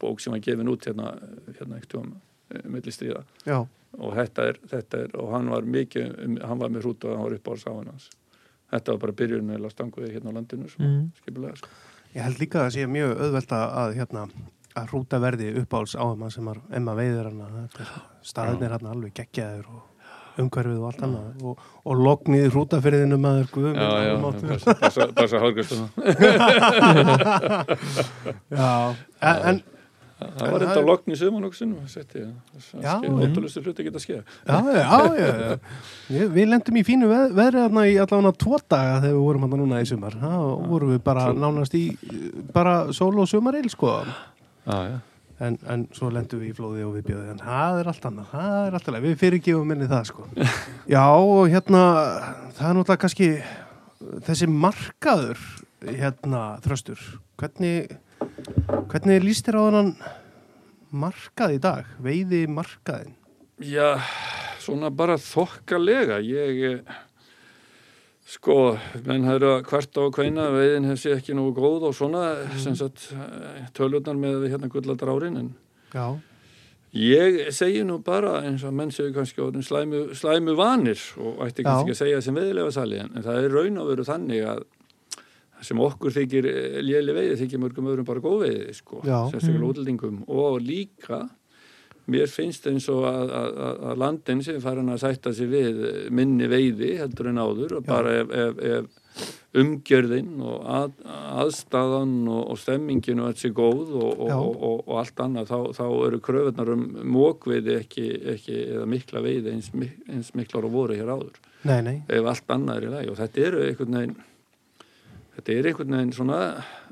Speaker 4: bók sem var gefin út hérna, hérna ekkert um milli stríða
Speaker 2: Já,
Speaker 4: og þetta er, þetta er, og hann var mikið, um- hann var með hrút og hann var upp á sáin hans. Þetta var bara byrjun eða stanguði hérna á landinu, svo,
Speaker 3: Mm.
Speaker 4: skipulega, sko.
Speaker 2: ég held líka að það sé mjög auðvelt að, að hérna, að rúta verði uppáhalds á hann sem er emma veiðir hann, staðinir hann alveg geggjaður og umhverfið og allt annað og, og loknið rútafyrðinu maður guðum
Speaker 4: Já, já, passa, passa, passa hálfgjörstu
Speaker 2: já. En, en
Speaker 4: Það var
Speaker 2: En það
Speaker 4: enda
Speaker 2: er-
Speaker 4: lokn í sömun og sinum, setti ég.
Speaker 2: Já,
Speaker 4: Það
Speaker 2: já.
Speaker 4: er ótrúlustu hluti að geta skeið.
Speaker 2: Já, já, já, já. Ég, við lendum í fínu veð, veðri þarna í allavega tvo daga þegar við vorum hann núna í sumar. Þá vorum við bara nánast í eh, bara sól og sumaril, sko.
Speaker 4: Já, já.
Speaker 2: En, en svo lendum við í flóði og við bjóðum. En það er allt annað, það er allt annað. Við fyrirgefum minni það, sko. Já, og hérna, það er náttúrulega kannski þessi markaður, hérna, þröstur. Hvernig, hvernig líst þér á hann markað í dag? Veiði markaðin?
Speaker 4: Já, svona bara þokkalega. Ég, eh, sko, menn það eru að kvarta og kveina, veiðin hef sé ekki nógu góð og svona, sem sagt, eh, tölurnar með hérna gulladar árin, en
Speaker 2: Já,
Speaker 4: ég segi nú bara eins og menn segir kannski orðin slæmu, slæmu vanir og
Speaker 2: Já.
Speaker 4: ætti kannski ekki að segja sem veiðilega sali, en, en það er raun og veru þannig að það sem okkur þykir léli veiði þykir mörgum öðrum bara góð veiði, sko,
Speaker 2: Já. Mm.
Speaker 4: sérstaklega útlendingum og líka mér finnst eins og að, að, að- að landin sem farin að sætta sig við minni veiði heldur en áður og bara ef, ef, ef umgjörðin og að, aðstæðan og, og stemmingin og allt sér góð og, og,
Speaker 2: Já.
Speaker 4: og, og, og allt annað þá, þá eru kröfunar um mókveiði ekki, ekki eða mikla veiði eins, mik- eins miklar og voru hér áður
Speaker 2: Nei, nei.
Speaker 4: ef allt annað er í lagi og þetta eru einhvern veginn þetta er einhvern veginn svona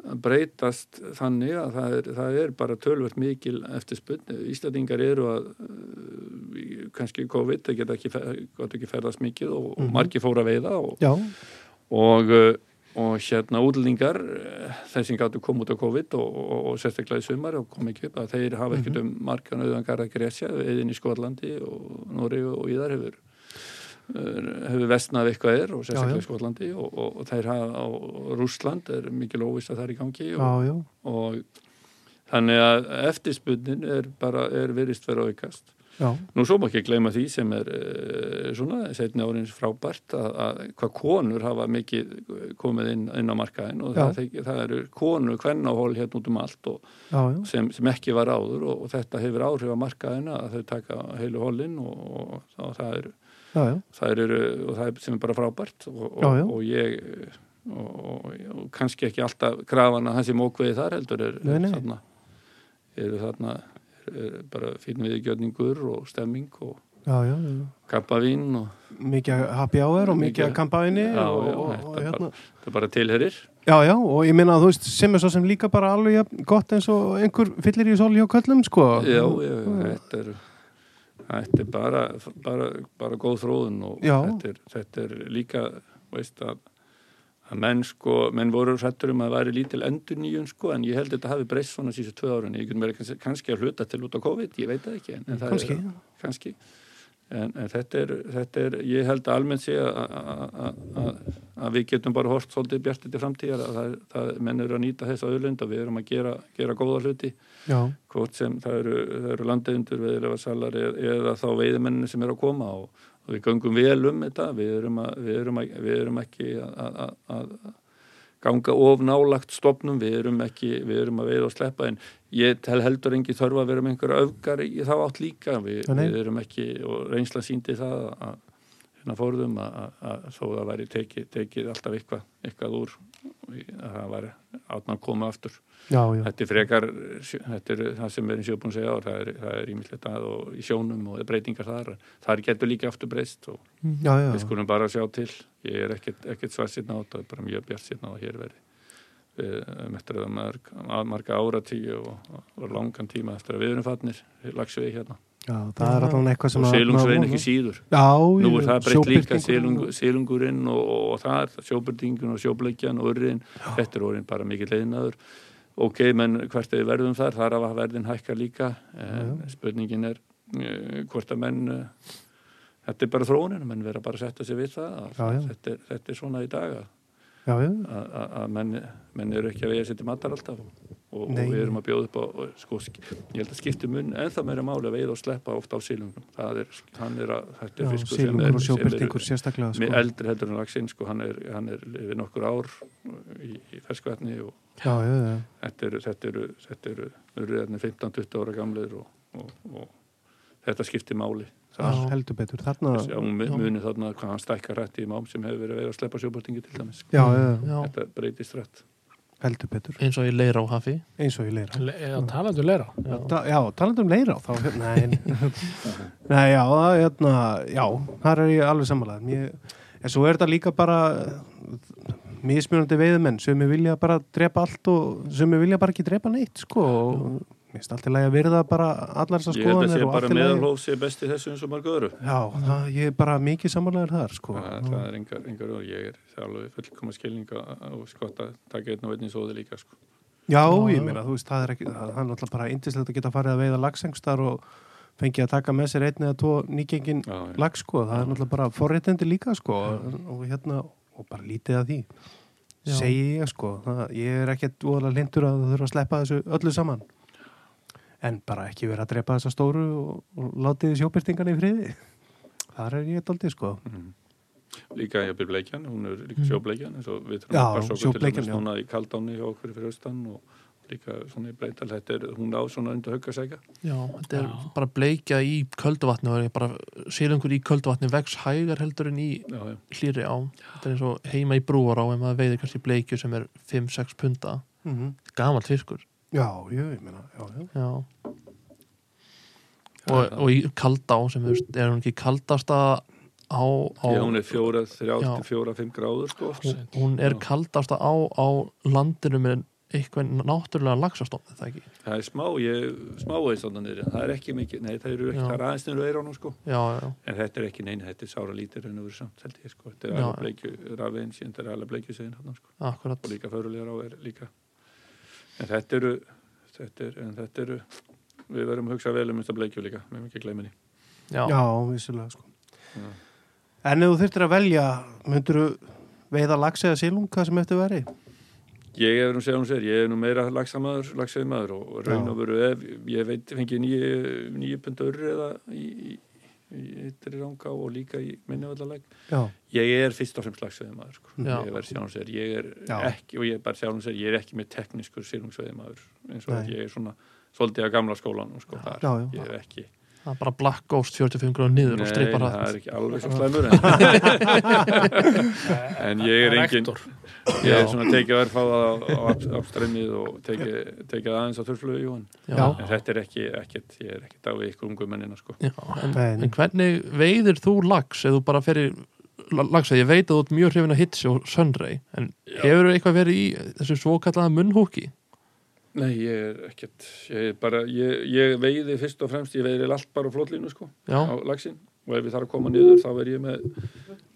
Speaker 4: að breytast þannig að það er, það er bara tölvert mikil eftir spurn Íslandingar eru að uh, kannski COVID, það geta ekki, fer- gátu ekki ferðast mikið og, og margir fóru að veiða og,
Speaker 2: Já,
Speaker 4: og, uh, og hérna útlendingar eh, þeir sem gáttu koma út á COVID og, og, og sérstaklega í sumar og kom ekki upp að þeir hafa ekkert
Speaker 2: Mhm.
Speaker 4: um margan auðvangar að gresja eðin í Skotlandi og Nóri og Íðar hefur eh, hefur vestnað eitthvað er og
Speaker 2: Já,
Speaker 4: sérstaklega
Speaker 2: já.
Speaker 4: í Skotlandi og, og, og þeir hafa og Rússland er mikil óvist að það er í gangi og,
Speaker 2: já, já.
Speaker 4: og þannig að eftirspunnin er bara er virðist vera að aukast
Speaker 2: Já,
Speaker 4: Nú svo má ekki gleyma því sem er eh, svona, setni árins frábært að, að hvað konur hafa mikið komið inn, inn á markaðin og
Speaker 2: Já.
Speaker 4: það, það eru konur kvennahól hérna út um allt og
Speaker 2: já, já.
Speaker 4: sem, sem ekki var áður og, og þetta hefur áhrif á markaðina að þau taka heilu hólinn og, og, og það eru
Speaker 2: já, já.
Speaker 4: það eru, og það er sem er bara frábært og, og,
Speaker 2: Já, já.
Speaker 4: og ég og, og, og kannski ekki alltaf krafan að hans er mókveði þar heldur er,
Speaker 2: Nei, nei.
Speaker 4: er þarna, eru þarna er bara fín viðgjörningur og stemming og
Speaker 2: já, já, já.
Speaker 4: kappavín og
Speaker 2: Mikið happy hour og
Speaker 4: Mikið-
Speaker 2: mikið að kampaðinni
Speaker 4: Já,
Speaker 2: og,
Speaker 4: já,
Speaker 2: og,
Speaker 4: þetta
Speaker 2: og hérna.
Speaker 4: það bara tilherir
Speaker 2: Já, já, og ég minna að þú veist, sem er svo sem líka bara alveg jafn gott eins og einhver fyllir í sól hjá köllum, sko.
Speaker 4: já, já, þetta er þetta er bara, bara, bara góð þróðun og
Speaker 2: Já.
Speaker 4: þetta er, þetta er líka veist að að menn sko, menn voru hrættur um að það væri lítil endur nýjun sko, en ég held að þetta hafi breyst svona síðan tvö árun, ég get mér kannski, kannski að hluta til út á COVID, ég veit það ekki en, en það
Speaker 2: Kannski.
Speaker 4: er, kannski en, en þetta, er, þetta er, ég held að almennt sé að- að- að að- að við getum bara hort svolítið bjartið til framtíðar að það, það, menn eru að nýta þessa auðlund og við erum að gera, gera góða hluti
Speaker 2: Já,
Speaker 4: hvort sem það eru, það eru landegundur veðilega salar eða þá veiðimennin sem eru að koma og, og við göngum vel um þetta, við erum, að, við erum, að, við erum ekki að, að, að ganga of nálagt stopnum, við erum ekki, við erum að veiða og sleppa en ég tel heldur engi þörfa að vera með einhverja öfgar í þá átt líka, við,
Speaker 2: Já, nei.
Speaker 4: við erum ekki og reynsla síndi það að hérna fórðum að, að, að þó það væri tekið, tekið alltaf eitthvað, eitthvað úr að það væri átna að koma aftur
Speaker 2: já, já.
Speaker 4: þetta er frekar þetta er það sem við erum sjöfum búin að segja og það er, það er ímillegt að og í sjónum og breytingar þar, þar getur líka aftur breyst og
Speaker 2: Já, já.
Speaker 4: við skulum bara sjá til ég er ekkert, ekkert svart sérna á þetta bara mjög bjart sérna á að hér veri við mettur það marg, að marga áratíu og, og langan tíma eftir að við erum fannir, lagsu við hérna
Speaker 2: Já, það er allan eitthvað sem
Speaker 4: og
Speaker 2: maður
Speaker 4: selungsveginn
Speaker 2: vonar.
Speaker 4: ekki síður
Speaker 2: Já,
Speaker 4: nú er
Speaker 2: já,
Speaker 4: það breytt líka
Speaker 2: sjóbirtingur.
Speaker 4: silung, silungurinn og, og, og það er sjóbyrtingun og sjóbleikjan og urrin þetta er orðin bara mikið leiðinaður ok, menn hvert er verðum þar þar af að verðin hækka líka en spurningin er eh, hvort að menn eh, þetta er bara þróunin, menn vera bara að setja sig við það að
Speaker 2: Já, já.
Speaker 4: Þetta, er, þetta er svona í dag að-
Speaker 2: Já, já,
Speaker 4: að að- að menn, menn eru ekki að vega sér til matar alltaf og, og, og
Speaker 2: Nei.
Speaker 4: við erum að bjóða upp á og, sko, sk- ég held að skipti mun en það meira máli að veiða og sleppa ofta á sílungum það er, hann er að,
Speaker 2: já,
Speaker 4: þetta er fiskur sem
Speaker 2: sílungur
Speaker 4: er,
Speaker 2: og sjóbyrtingur
Speaker 4: sem
Speaker 2: sérstaklega,
Speaker 4: er
Speaker 2: sko.
Speaker 4: með eldri heldur en laxinn sko, hann er, hann er við nokkur ár í, í ferskvætni og
Speaker 2: Já, já, já.
Speaker 4: þetta eru þetta eru, þetta eru, eru 15-20 ára gamleir og, og, og þetta skiptir máli
Speaker 2: Já, heldur betur. Þarna,
Speaker 4: Já, hún mu- muni þarna hvað hann stækkar rætt í mám sem hefur verið að veiða og sleppa sjóbörtingi til dæmis
Speaker 2: já, já,
Speaker 3: Já,
Speaker 4: þetta breytist rætt
Speaker 2: heldur betur.
Speaker 3: eins og ég leir á hafi
Speaker 2: Eins og ég leira.
Speaker 1: Le- eða talandi um leira
Speaker 3: Já,
Speaker 2: Ta- Já, talandi um leira þá, hérna, nei, nei, já, það, hérna, já, þar er ég alveg samanlega. Ég, en svo er þetta líka bara mismunandi veiðumenn, sem ég vilja bara drepa allt og sem ég vilja bara ekki drepa neitt, sko, og mér finnst allt í lagi að virða bara allar þessar
Speaker 4: Ég held að
Speaker 2: skoðanir
Speaker 4: sé
Speaker 2: og
Speaker 4: bara
Speaker 2: allt í lagi.
Speaker 4: meðalhóf sé besti þessu eins og mörg öðru.
Speaker 2: Já, það, ég er bara mikið samanlegaður þar, sko.
Speaker 4: Það, það er engar, engar öður. Ég er það er alveg fullkoma skilning og skott að taka einn og einn í sóði líka. Sko.
Speaker 2: Já, ég meina, þú veist, það er ekki, það það er náttúrulega bara indislegt að geta farið að veiða lagsengstar og fengið að taka með sér einn eða tvo nýgengin
Speaker 4: Já, já.
Speaker 2: lag, sko, það er náttúrulega bara forréttindi líka, sko, og hérna, og bara lítið að því,
Speaker 3: Já.
Speaker 2: segi ég, sko, það, ég er ekkert voðalega lindur að það þurfa að sleppa þessu öllu saman, en bara ekki vera að drepa þessa stóru og, og látið sjóbyrtingan í friði, þar er ég daldið, sko,
Speaker 4: Líka ég byrð bleikjan, hún er líka sjóbleikjan eins og við þurfum
Speaker 2: Mhm. Já,
Speaker 4: að passa okkur til
Speaker 2: sjóbleikjan,
Speaker 4: að
Speaker 2: já.
Speaker 4: núna í kaldáni hjá okkur fyrir austan og líka svona í breytal þetta er, hún á svona undir haugasækja
Speaker 3: Já, þetta er
Speaker 1: Já.
Speaker 3: bara bleikja í kölduvatni og er bara síðangur í kölduvatni vex hægar heldur en í
Speaker 4: já, já,
Speaker 3: hlýri á þetta er eins og heima í brúar á ef maður veiðir kannski bleikju sem er 5-6 punta
Speaker 2: -hmm.
Speaker 3: gamalt fiskur
Speaker 2: Já, ég, ég meina, já, já.
Speaker 3: já. Og,
Speaker 4: Já.
Speaker 3: og í kaldá sem er, er hún ekki kaldasta á, á
Speaker 4: já, hún er fjóra, þrjá
Speaker 3: Já.
Speaker 4: til fjóra, fimm gráður sko.
Speaker 3: hún, hún er
Speaker 4: Já.
Speaker 3: kaldasta á á landinu með eitthvað náttúrulega lagsastofn er það ekki
Speaker 4: það er smá, ég smá aðeins þarna niðri, það er ekki mikið, nei það eru ekki,
Speaker 3: Já.
Speaker 4: það er aðeins niður eirónum sko
Speaker 3: já, já,
Speaker 4: en þetta er ekki neina, þetta er sára lítir en það er samt, held ég sko,
Speaker 3: Já,
Speaker 4: þetta er
Speaker 3: já.
Speaker 4: alveg bleikju rafeins, þetta er alveg bleikju segin hann sko,
Speaker 3: akkurat
Speaker 4: og líka förulegar á er líka en þetta eru þetta er, en þetta eru við verðum að hugsa vel um þetta bleikju líka við erum ekki að gleyma henni
Speaker 3: já,
Speaker 2: já, vissulega sko.
Speaker 4: Já.
Speaker 2: En ef þú þurftir að velja, myndur veiða lags eða silung, hvað sem eftir væri?
Speaker 4: ég er nú segja hún sér, ég er nú meira lagsamæður, lagsamæður maður og raun
Speaker 2: Já.
Speaker 4: og veru ef ég veit, fengi nýju nýju pundur eða í, í, í ytri ranga og líka í minnivallaleg
Speaker 2: Já,
Speaker 4: ég er fyrst og fremst lagsveiðmaður sko.
Speaker 3: Já.
Speaker 4: ég verð sjálfsveið ég er
Speaker 2: Já.
Speaker 4: ekki, og ég er bara sjálfsveið ég er ekki með teknískur sílungsveiðmaður eins og
Speaker 2: Nei.
Speaker 4: að ég er svona svolítið að gamla skólanum sko, þar,
Speaker 2: já, já.
Speaker 4: ég er ekki
Speaker 3: það er bara black ghost 45 gráður niður og
Speaker 4: nei,
Speaker 3: strippar
Speaker 4: það er
Speaker 3: hatt
Speaker 4: ekki alveg svo slæmur en, en ég er engin
Speaker 1: Rektor.
Speaker 4: ég
Speaker 3: Já.
Speaker 4: er svona tekið örfáða á, á ab- abstreymið og tekið, tekið aðeins á þurflugu jú, en,
Speaker 3: já.
Speaker 2: Já.
Speaker 4: en þetta er ekki, ekkert ég er ekki dáið ykkur ungu mennina sko.
Speaker 3: Já, en,
Speaker 2: Nei.
Speaker 3: en hvernig veiðir þú lags ef þú bara ferir lags ég veit að þú ert mjög hrifin að hitsi og sönrei en hefur þú eitthvað verið í þessu svokallaða munnhúki
Speaker 4: nei, ég er ekkert ég, er bara, ég, ég veiði fyrst og fremst ég veiði allt bara á flotlínu sko.
Speaker 3: já,
Speaker 4: á laxin og ef ég þarf að koma niður þá er ég með,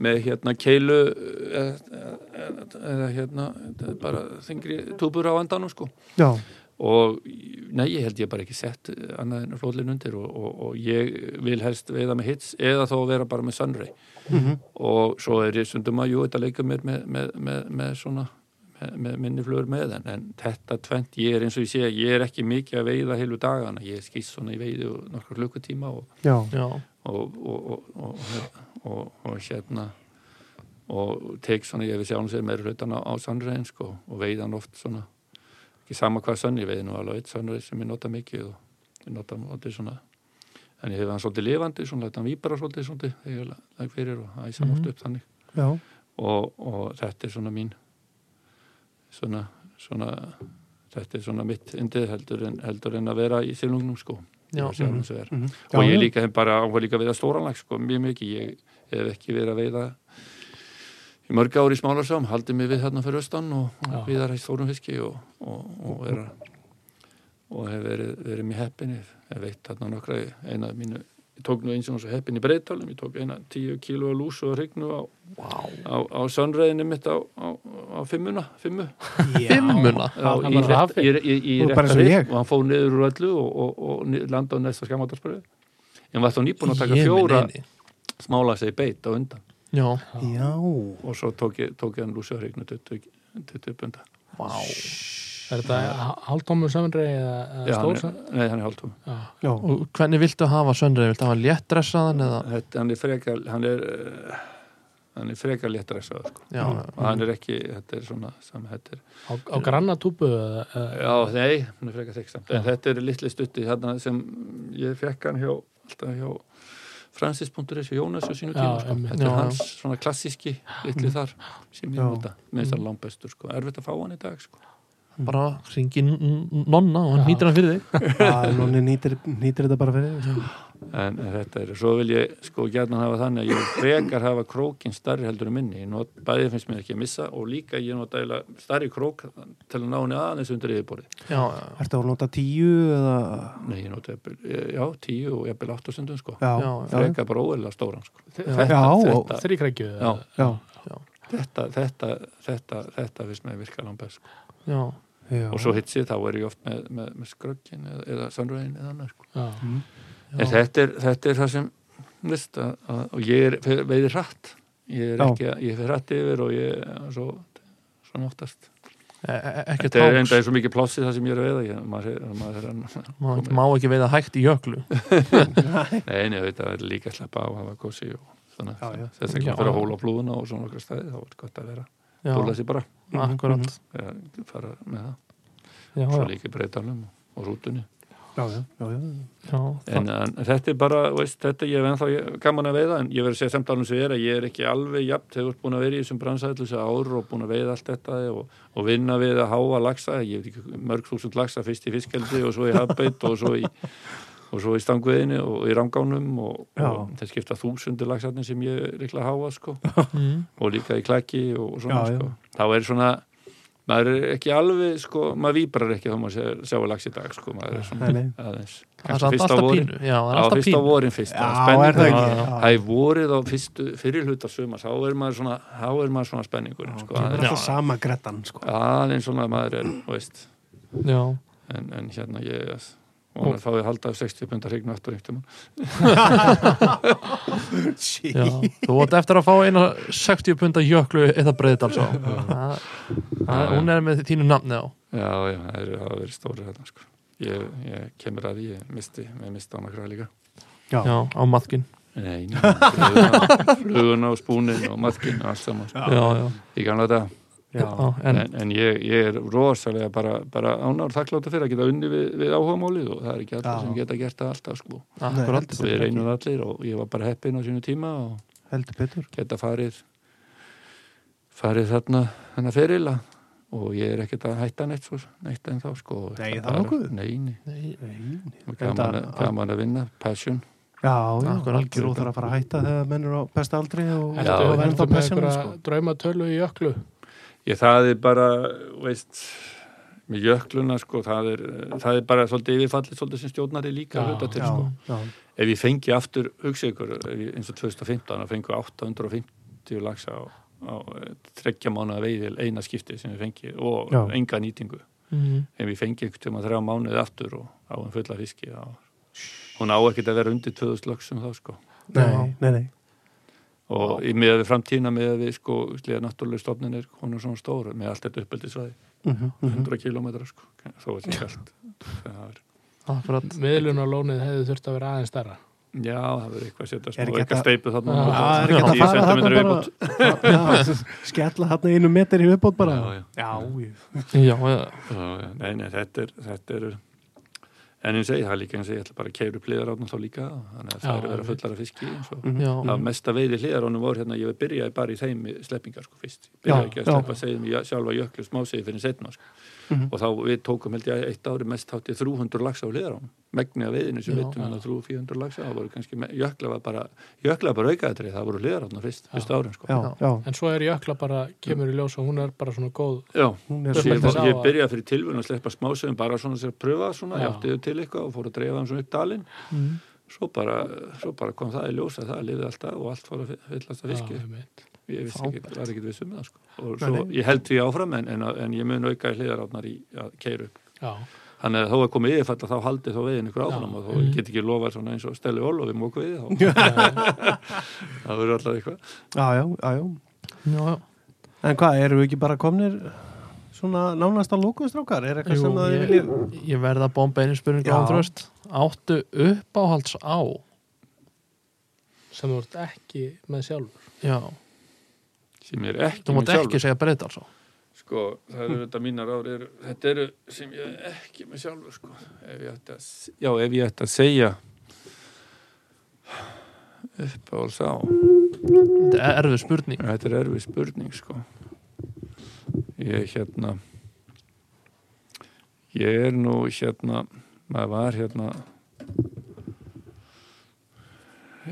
Speaker 4: með hérna keilu eh, eða, eða, eða hérna þetta er bara þingri túpur á endanum sko
Speaker 2: já,
Speaker 4: og nei, ég held ég bara ekki sett annað en flóðlinn undir og, og, og ég vil helst veiða með hits eða þá vera bara með sunray
Speaker 2: Mhm.
Speaker 4: og svo er ég sundum að jú, þetta leika mér með, með, með, með svona með, með minni flögur með en, en þetta tvent, ég er eins og ég sé ég er ekki mikið að veiða heilu dagana ég skýst svona í veiði og nokkra klukkutíma og
Speaker 2: já,
Speaker 3: já,
Speaker 4: og, og, og, og, og, og hérna og tek svona, ég við sjálfum sér meira hlutan á, á sannræðin sko og veiðan oft svona, ekki sama hvað sann ég veiði nú alveg eitt sannræð sem ég nota mikið og ég nota mótið svona en ég hefði hann svolítið lifandi, svona læta hann víbara svolítið svolítið, þegar ég lag fyrir og æsa hann
Speaker 3: Mhm.
Speaker 4: oft upp þannig
Speaker 2: já,
Speaker 4: og, og þetta er svona mín svona, svona þetta er svona mitt indið heldur en, heldur en að vera í silungnum sko
Speaker 3: já,
Speaker 4: Ég sjálfum sér
Speaker 2: mhm. já,
Speaker 4: og ég
Speaker 2: já.
Speaker 4: líka hef bara áhuga líka að veiða stóranlag sko, mjög mikið, ég hef ekki verið að veiða í mörg ári í smálarsám haldið mig við hérna fyrir austan og, og
Speaker 1: Já.
Speaker 4: viðar í stórum fiski og, og, og, er, að- og hef verið, verið mér heppin ég hef veitt hérna nokkra í- eina af mínu ég tók nú eins og svo heppin í breytalum ég tók eina tíu kílóa lús og hrygnu á,
Speaker 3: Vá.
Speaker 4: á, á sönræðinu mitt á, á, á fimmuna, fimmu
Speaker 3: fimmuna
Speaker 4: Já,
Speaker 1: Hann
Speaker 4: í
Speaker 1: var
Speaker 4: rétt-
Speaker 1: hafinn.
Speaker 4: í- í- í
Speaker 2: Þú er bara
Speaker 4: rétta
Speaker 2: eins og
Speaker 4: rif
Speaker 2: ég.
Speaker 4: og hann fóð niður úr öllu og, og, og ni- landa á næsta skamatarspöru en var þá nýbúin að taka
Speaker 3: Ég minn
Speaker 4: fjóra
Speaker 3: eini.
Speaker 4: smála sig beit á undan
Speaker 3: já,
Speaker 2: já,
Speaker 4: og svo tók ég, tók ég hann lúsjárhegnu 20 20 punda
Speaker 3: vá
Speaker 1: Er þetta haldómur samrei eða,
Speaker 4: Já,
Speaker 1: eða
Speaker 4: hann
Speaker 1: stór
Speaker 4: er- Nei, hann er haldum
Speaker 1: samrei?
Speaker 2: já,
Speaker 3: og hvernig viltu hafa sönrei, viltu hafa léttdressaðan eða,
Speaker 4: Þetta, hann er frekar hann er, eh, hann er frekar léttressaður sko.
Speaker 3: já,
Speaker 4: og hann er ekki, þetta er svona sem þetta er,
Speaker 1: Á, á grannatúpu eða, eða
Speaker 4: já, nei, hann er frekar þykst samt, en þetta er litli stutti þarna sem ég fekk hann hjá alltaf hjá Francis.is og Jónas á sínu tíma,
Speaker 1: Já,
Speaker 4: sko.
Speaker 1: einmitt.
Speaker 4: þetta
Speaker 3: Já,
Speaker 4: er hans svona klassíski litli þar sem ég
Speaker 2: Já.
Speaker 4: nota, minnst hann langbestur sko. erfitt að fá hann í dag sko.
Speaker 3: bara ringi nonna og
Speaker 1: Já.
Speaker 3: hann hnýtir hann fyrir þig
Speaker 2: já, nonni nýtir, nýtir þetta bara fyrir þig.
Speaker 4: en þetta er, svo vil ég sko gætna hafa þannig að ég vil frekar hafa krókin starri heldur en minni, ég not, bæði finnst mér ekki að missa og líka ég nota eiginlega starri krók til að ná henni aðeins undir yfirborði
Speaker 3: já, já,
Speaker 2: Ertu að nota tíu eða
Speaker 4: nei, ég nota, jafnvel, eh, já, tíu og jafnvel áttu sundum sko,
Speaker 2: Já,
Speaker 3: Já,
Speaker 2: já,
Speaker 3: já.
Speaker 4: frekar bara óeðlega stóran sko.
Speaker 2: já,
Speaker 4: þetta,
Speaker 2: já,
Speaker 4: þetta,
Speaker 1: þrýkrækju
Speaker 4: já,
Speaker 1: eða-
Speaker 2: já,
Speaker 4: þetta, þetta þetta, þetta finnst mér virka langbest sko.
Speaker 3: já,
Speaker 2: já.
Speaker 4: og svo hitsi þá er ég oft með, með, með skröggin eða, eða sannröðin eða annars sko.
Speaker 1: já.
Speaker 2: Mm.
Speaker 4: en
Speaker 3: já.
Speaker 4: þetta er, þetta er það sem veist, að, að, og ég er fer- veiði hratt ég er
Speaker 2: Já.
Speaker 4: ekki, að- ég fer hrætt yfir og ég svo, svona oftast
Speaker 3: E- e- ekki
Speaker 4: þetta er enda
Speaker 3: tóks
Speaker 4: er svo mikið plássi það sem ég er að veiða ég, maður, er- maður er að
Speaker 3: Má- má ekki veiða hægt í jöklu
Speaker 4: nei, nei, þetta er líka að sleppa á að hafa kósi og svona,
Speaker 2: Já, já.
Speaker 4: þess að
Speaker 3: Já.
Speaker 4: koma fyrir að hóla á blúðuna og svona okkar stæði, þá er gott að vera
Speaker 3: já,
Speaker 4: dóla sér bara,
Speaker 3: akkurat
Speaker 4: eða fara með það
Speaker 3: já,
Speaker 4: svo
Speaker 3: já,
Speaker 4: líka breytanum og rútunni
Speaker 2: já, já, já, já.
Speaker 3: já,
Speaker 4: en, en þetta er bara, veist, þetta ég hef ennþá ég- gaman að veiða en ég verður að segja samt alveg sem ég er að ég er ekki alveg jafn þegar þú ert búin að vera í þessum bransaðallu þessi ár og búin að veiða allt þetta og, og vinna við að háa laxa ég veit ekki mörg þúsund laxa fyrst í fiskeldi og svo í hafbeitt og svo í og svo í stangveðinu og í rangánum og, og
Speaker 2: Já.
Speaker 4: þeir skipta þúsundir lagsarnir sem ég er líklega að háa sko
Speaker 3: mm,
Speaker 4: og líka í klæki og svona
Speaker 2: Já, já.
Speaker 4: sko. þá er svona maður er ekki alveg sko, maður víbrar ekki þá maður sjá, sjá að lags í dag sko, maður er svona
Speaker 2: Nei, nei.
Speaker 4: aðeins
Speaker 3: það er samt alltaf pínu já, það er
Speaker 4: á
Speaker 3: alltaf
Speaker 4: fyrst á
Speaker 3: pínu
Speaker 4: vorin fyrst
Speaker 2: Já, er
Speaker 4: það
Speaker 2: það
Speaker 4: er
Speaker 2: ekki?
Speaker 4: spenningur.
Speaker 3: Já, já.
Speaker 4: það er vorið á fyrstu fyrir hluta sumars, þá er maður svona þá er maður svona spenningur
Speaker 2: Sko,
Speaker 4: sko,
Speaker 2: það er
Speaker 4: aðeins,
Speaker 2: alltaf sama grettan sko.
Speaker 4: aðeins svona maður er, þú veist
Speaker 3: já,
Speaker 4: en, en hérna ég og hann fáið halda 60 pundar hrign aftur einhvern tímann.
Speaker 2: Shit.
Speaker 3: já þú átt eftir að fá eina 60 punda jöklu eða breyðið alls á hún er með þínu nafni á
Speaker 4: já, já, það er- það hafa verið stóri hérna, sko. ég, ég kemur að því, ég misti ég misti á nokkra líka
Speaker 3: já, á maðkin
Speaker 4: Nei, nei, fluguna, fluguna og spúnin og maðkinn og allt saman sko.
Speaker 3: já, já,
Speaker 4: í gamla þetta
Speaker 3: já,
Speaker 4: en,
Speaker 3: en
Speaker 4: en ég, ég er rosalega bara, bara ánár þakkláttu fyrir að geta unni við, við áhugamálið og það er ekki allir
Speaker 2: Já.
Speaker 4: sem geta gert það alltaf sko.
Speaker 3: akkurat
Speaker 2: Nei,
Speaker 4: við reynum það allir og ég var bara heppin á sínu tíma og
Speaker 2: heldur betur
Speaker 4: geta farið farið þarna þarna ferila og ég er ekkert að hætta neitt, svo, neitt en þá sko. og
Speaker 2: Nei,
Speaker 4: þetta
Speaker 2: það
Speaker 4: bara-
Speaker 2: nokkuð.
Speaker 4: Nei, nei,
Speaker 3: Nei,
Speaker 4: gaman, að-
Speaker 2: Enda-
Speaker 4: gaman að vinna, passion
Speaker 2: eh, já, já,
Speaker 3: Akkur
Speaker 2: algjör
Speaker 3: aldrei.
Speaker 2: óþar að fara að hætta þegar menn eru á besta aldri og,
Speaker 4: Já,
Speaker 2: og verðum
Speaker 1: Ertu
Speaker 2: þá
Speaker 1: með
Speaker 2: passionum
Speaker 1: einhverja
Speaker 2: sko.
Speaker 1: draumatölu í öklu
Speaker 4: Ég, það er bara, veist, með jökluna, sko, það er, það er bara svolítið yfirfallið svolítið sem stjórnari líka
Speaker 1: Já,
Speaker 4: hluta til,
Speaker 2: já,
Speaker 4: sko.
Speaker 2: já,
Speaker 4: Ef ég fengi aftur, hugsa ykkur, ef ég- eins og 2015, að fengu 850 lagsa á, á eh, trekkja mánuða veiðil eina skipti sem ég fengi og
Speaker 2: Já.
Speaker 4: enga nýtingu.
Speaker 3: mhm,
Speaker 4: Ef ég fengi ykkur tíma þrjá mánuði aftur og á en fulla fiski, þá, hún á ekkert að vera undir 2000 lagsum þá, sko.
Speaker 2: nei, nei, nei
Speaker 4: Og í miðað við framtína, miðað við, sko, sliða náttúrulega stofninir, hún er svona stór, með allt þetta uppeldisvæði.
Speaker 2: Mhm, mhm.
Speaker 4: 100 kilometra sko, þó að það er kallt Það er-
Speaker 3: akkurat
Speaker 1: miðlunarlónið hefði þurft að vera aðeins starra
Speaker 4: Já, það verður eitthvað að setja
Speaker 2: Er
Speaker 4: smá
Speaker 2: ekki
Speaker 4: eitthvað
Speaker 2: þetta-
Speaker 4: steipu þarna
Speaker 1: Já,
Speaker 4: og-
Speaker 2: Já, er ekki hægt að
Speaker 4: 10
Speaker 2: fara
Speaker 4: sentimetra
Speaker 2: þarna
Speaker 4: viðbót.
Speaker 2: bara já, skella þarna einu metri í viðbót bara
Speaker 4: Já, já.
Speaker 2: já, já.
Speaker 3: já, já,
Speaker 4: Já, já. Nei, nei, þetta er, þetta er en eins og ég, það er líka eins og ég ætla bara að keira upp hliðar átna þá líka þannig að
Speaker 1: Já,
Speaker 4: það er að vera
Speaker 1: einmitt.
Speaker 4: fullar af fiski eins og
Speaker 2: Mhm.
Speaker 3: já,
Speaker 4: Það mesta veiði hliðar ánum voru hérna, ég var byrjaði bara í þeim í sleppingar sko fyrst,
Speaker 2: Já,
Speaker 4: Ég byrjaði ekki að
Speaker 2: já.
Speaker 4: sleppa segjum í sjálfa jöklu smásegi fyrir setna sko.
Speaker 2: Mhm.
Speaker 4: og þá við tókum held ég eitt ári mest hátti 300 laxa á hliðar ánum megni að veiðinu sem
Speaker 3: Já.
Speaker 4: við veitum hérna 300-400 laxa það voru kannski, me- jökla var bara jökla var bara aukaðatrið, það voru hliðar átna fyrst, fyrst árin sko.
Speaker 2: já, já,
Speaker 1: en svo er jökla bara, kemur í ljós og hún er bara svona góð
Speaker 4: Já,
Speaker 2: hún er
Speaker 1: Ég-
Speaker 4: Ég,
Speaker 1: Smeltist
Speaker 4: var,
Speaker 1: á
Speaker 4: ég
Speaker 1: að-
Speaker 4: byrjaði fyrir tilvun að sleppa smásegum bara svona sér að pröfa svona,
Speaker 1: Já.
Speaker 4: ég átti þau til eitthvað og fór að dreifa þeim svona upp dalinn
Speaker 3: Mm.
Speaker 4: svo, bara, svo bara kom það í ljós að það lifið alltaf og allt fór að fyllast að fiski
Speaker 1: Já, einmitt.
Speaker 4: ég vissi ekki, var ekki viss um það sko. og
Speaker 2: Nei,
Speaker 4: svo
Speaker 2: nei.
Speaker 4: ég held því áfram en, en, en ég mun auka í hliðarátnar í að keira upp
Speaker 1: já,
Speaker 4: þannig að þó að komið yfirfalla þá haldið þá veginn ykkur áfram
Speaker 1: Já.
Speaker 4: og þó ég get ekki lofað svona eins og steli ól og við mók við þá það verður alltaf eitthvað
Speaker 2: já, já, já, já
Speaker 3: já, já.
Speaker 2: En hvað, erum við ekki bara komnir svona nánast að lókuðstrákar? Er eitthvað
Speaker 3: Jú,
Speaker 2: sem að þið
Speaker 3: ég-
Speaker 2: viljið?
Speaker 3: Ég verða að bomba einu spurningu
Speaker 2: Já.
Speaker 3: á þröst Áttu uppáhalds á
Speaker 1: sem þú ert ekki með sjálfur
Speaker 3: Já,
Speaker 4: sem ég er ekki
Speaker 3: þú mátt
Speaker 4: minn
Speaker 3: ekki segja breyta alls á
Speaker 4: Sko, það eru þetta mínar ár eru, þetta eru sem ég er ekki með sjálfur sko. ef ég ætti að, s- já, ef ég ætti að segja uppáhalds á
Speaker 3: Þetta er erfið spurning
Speaker 4: þetta er erfið spurning sko. ég hérna ég er nú hérna maður var hérna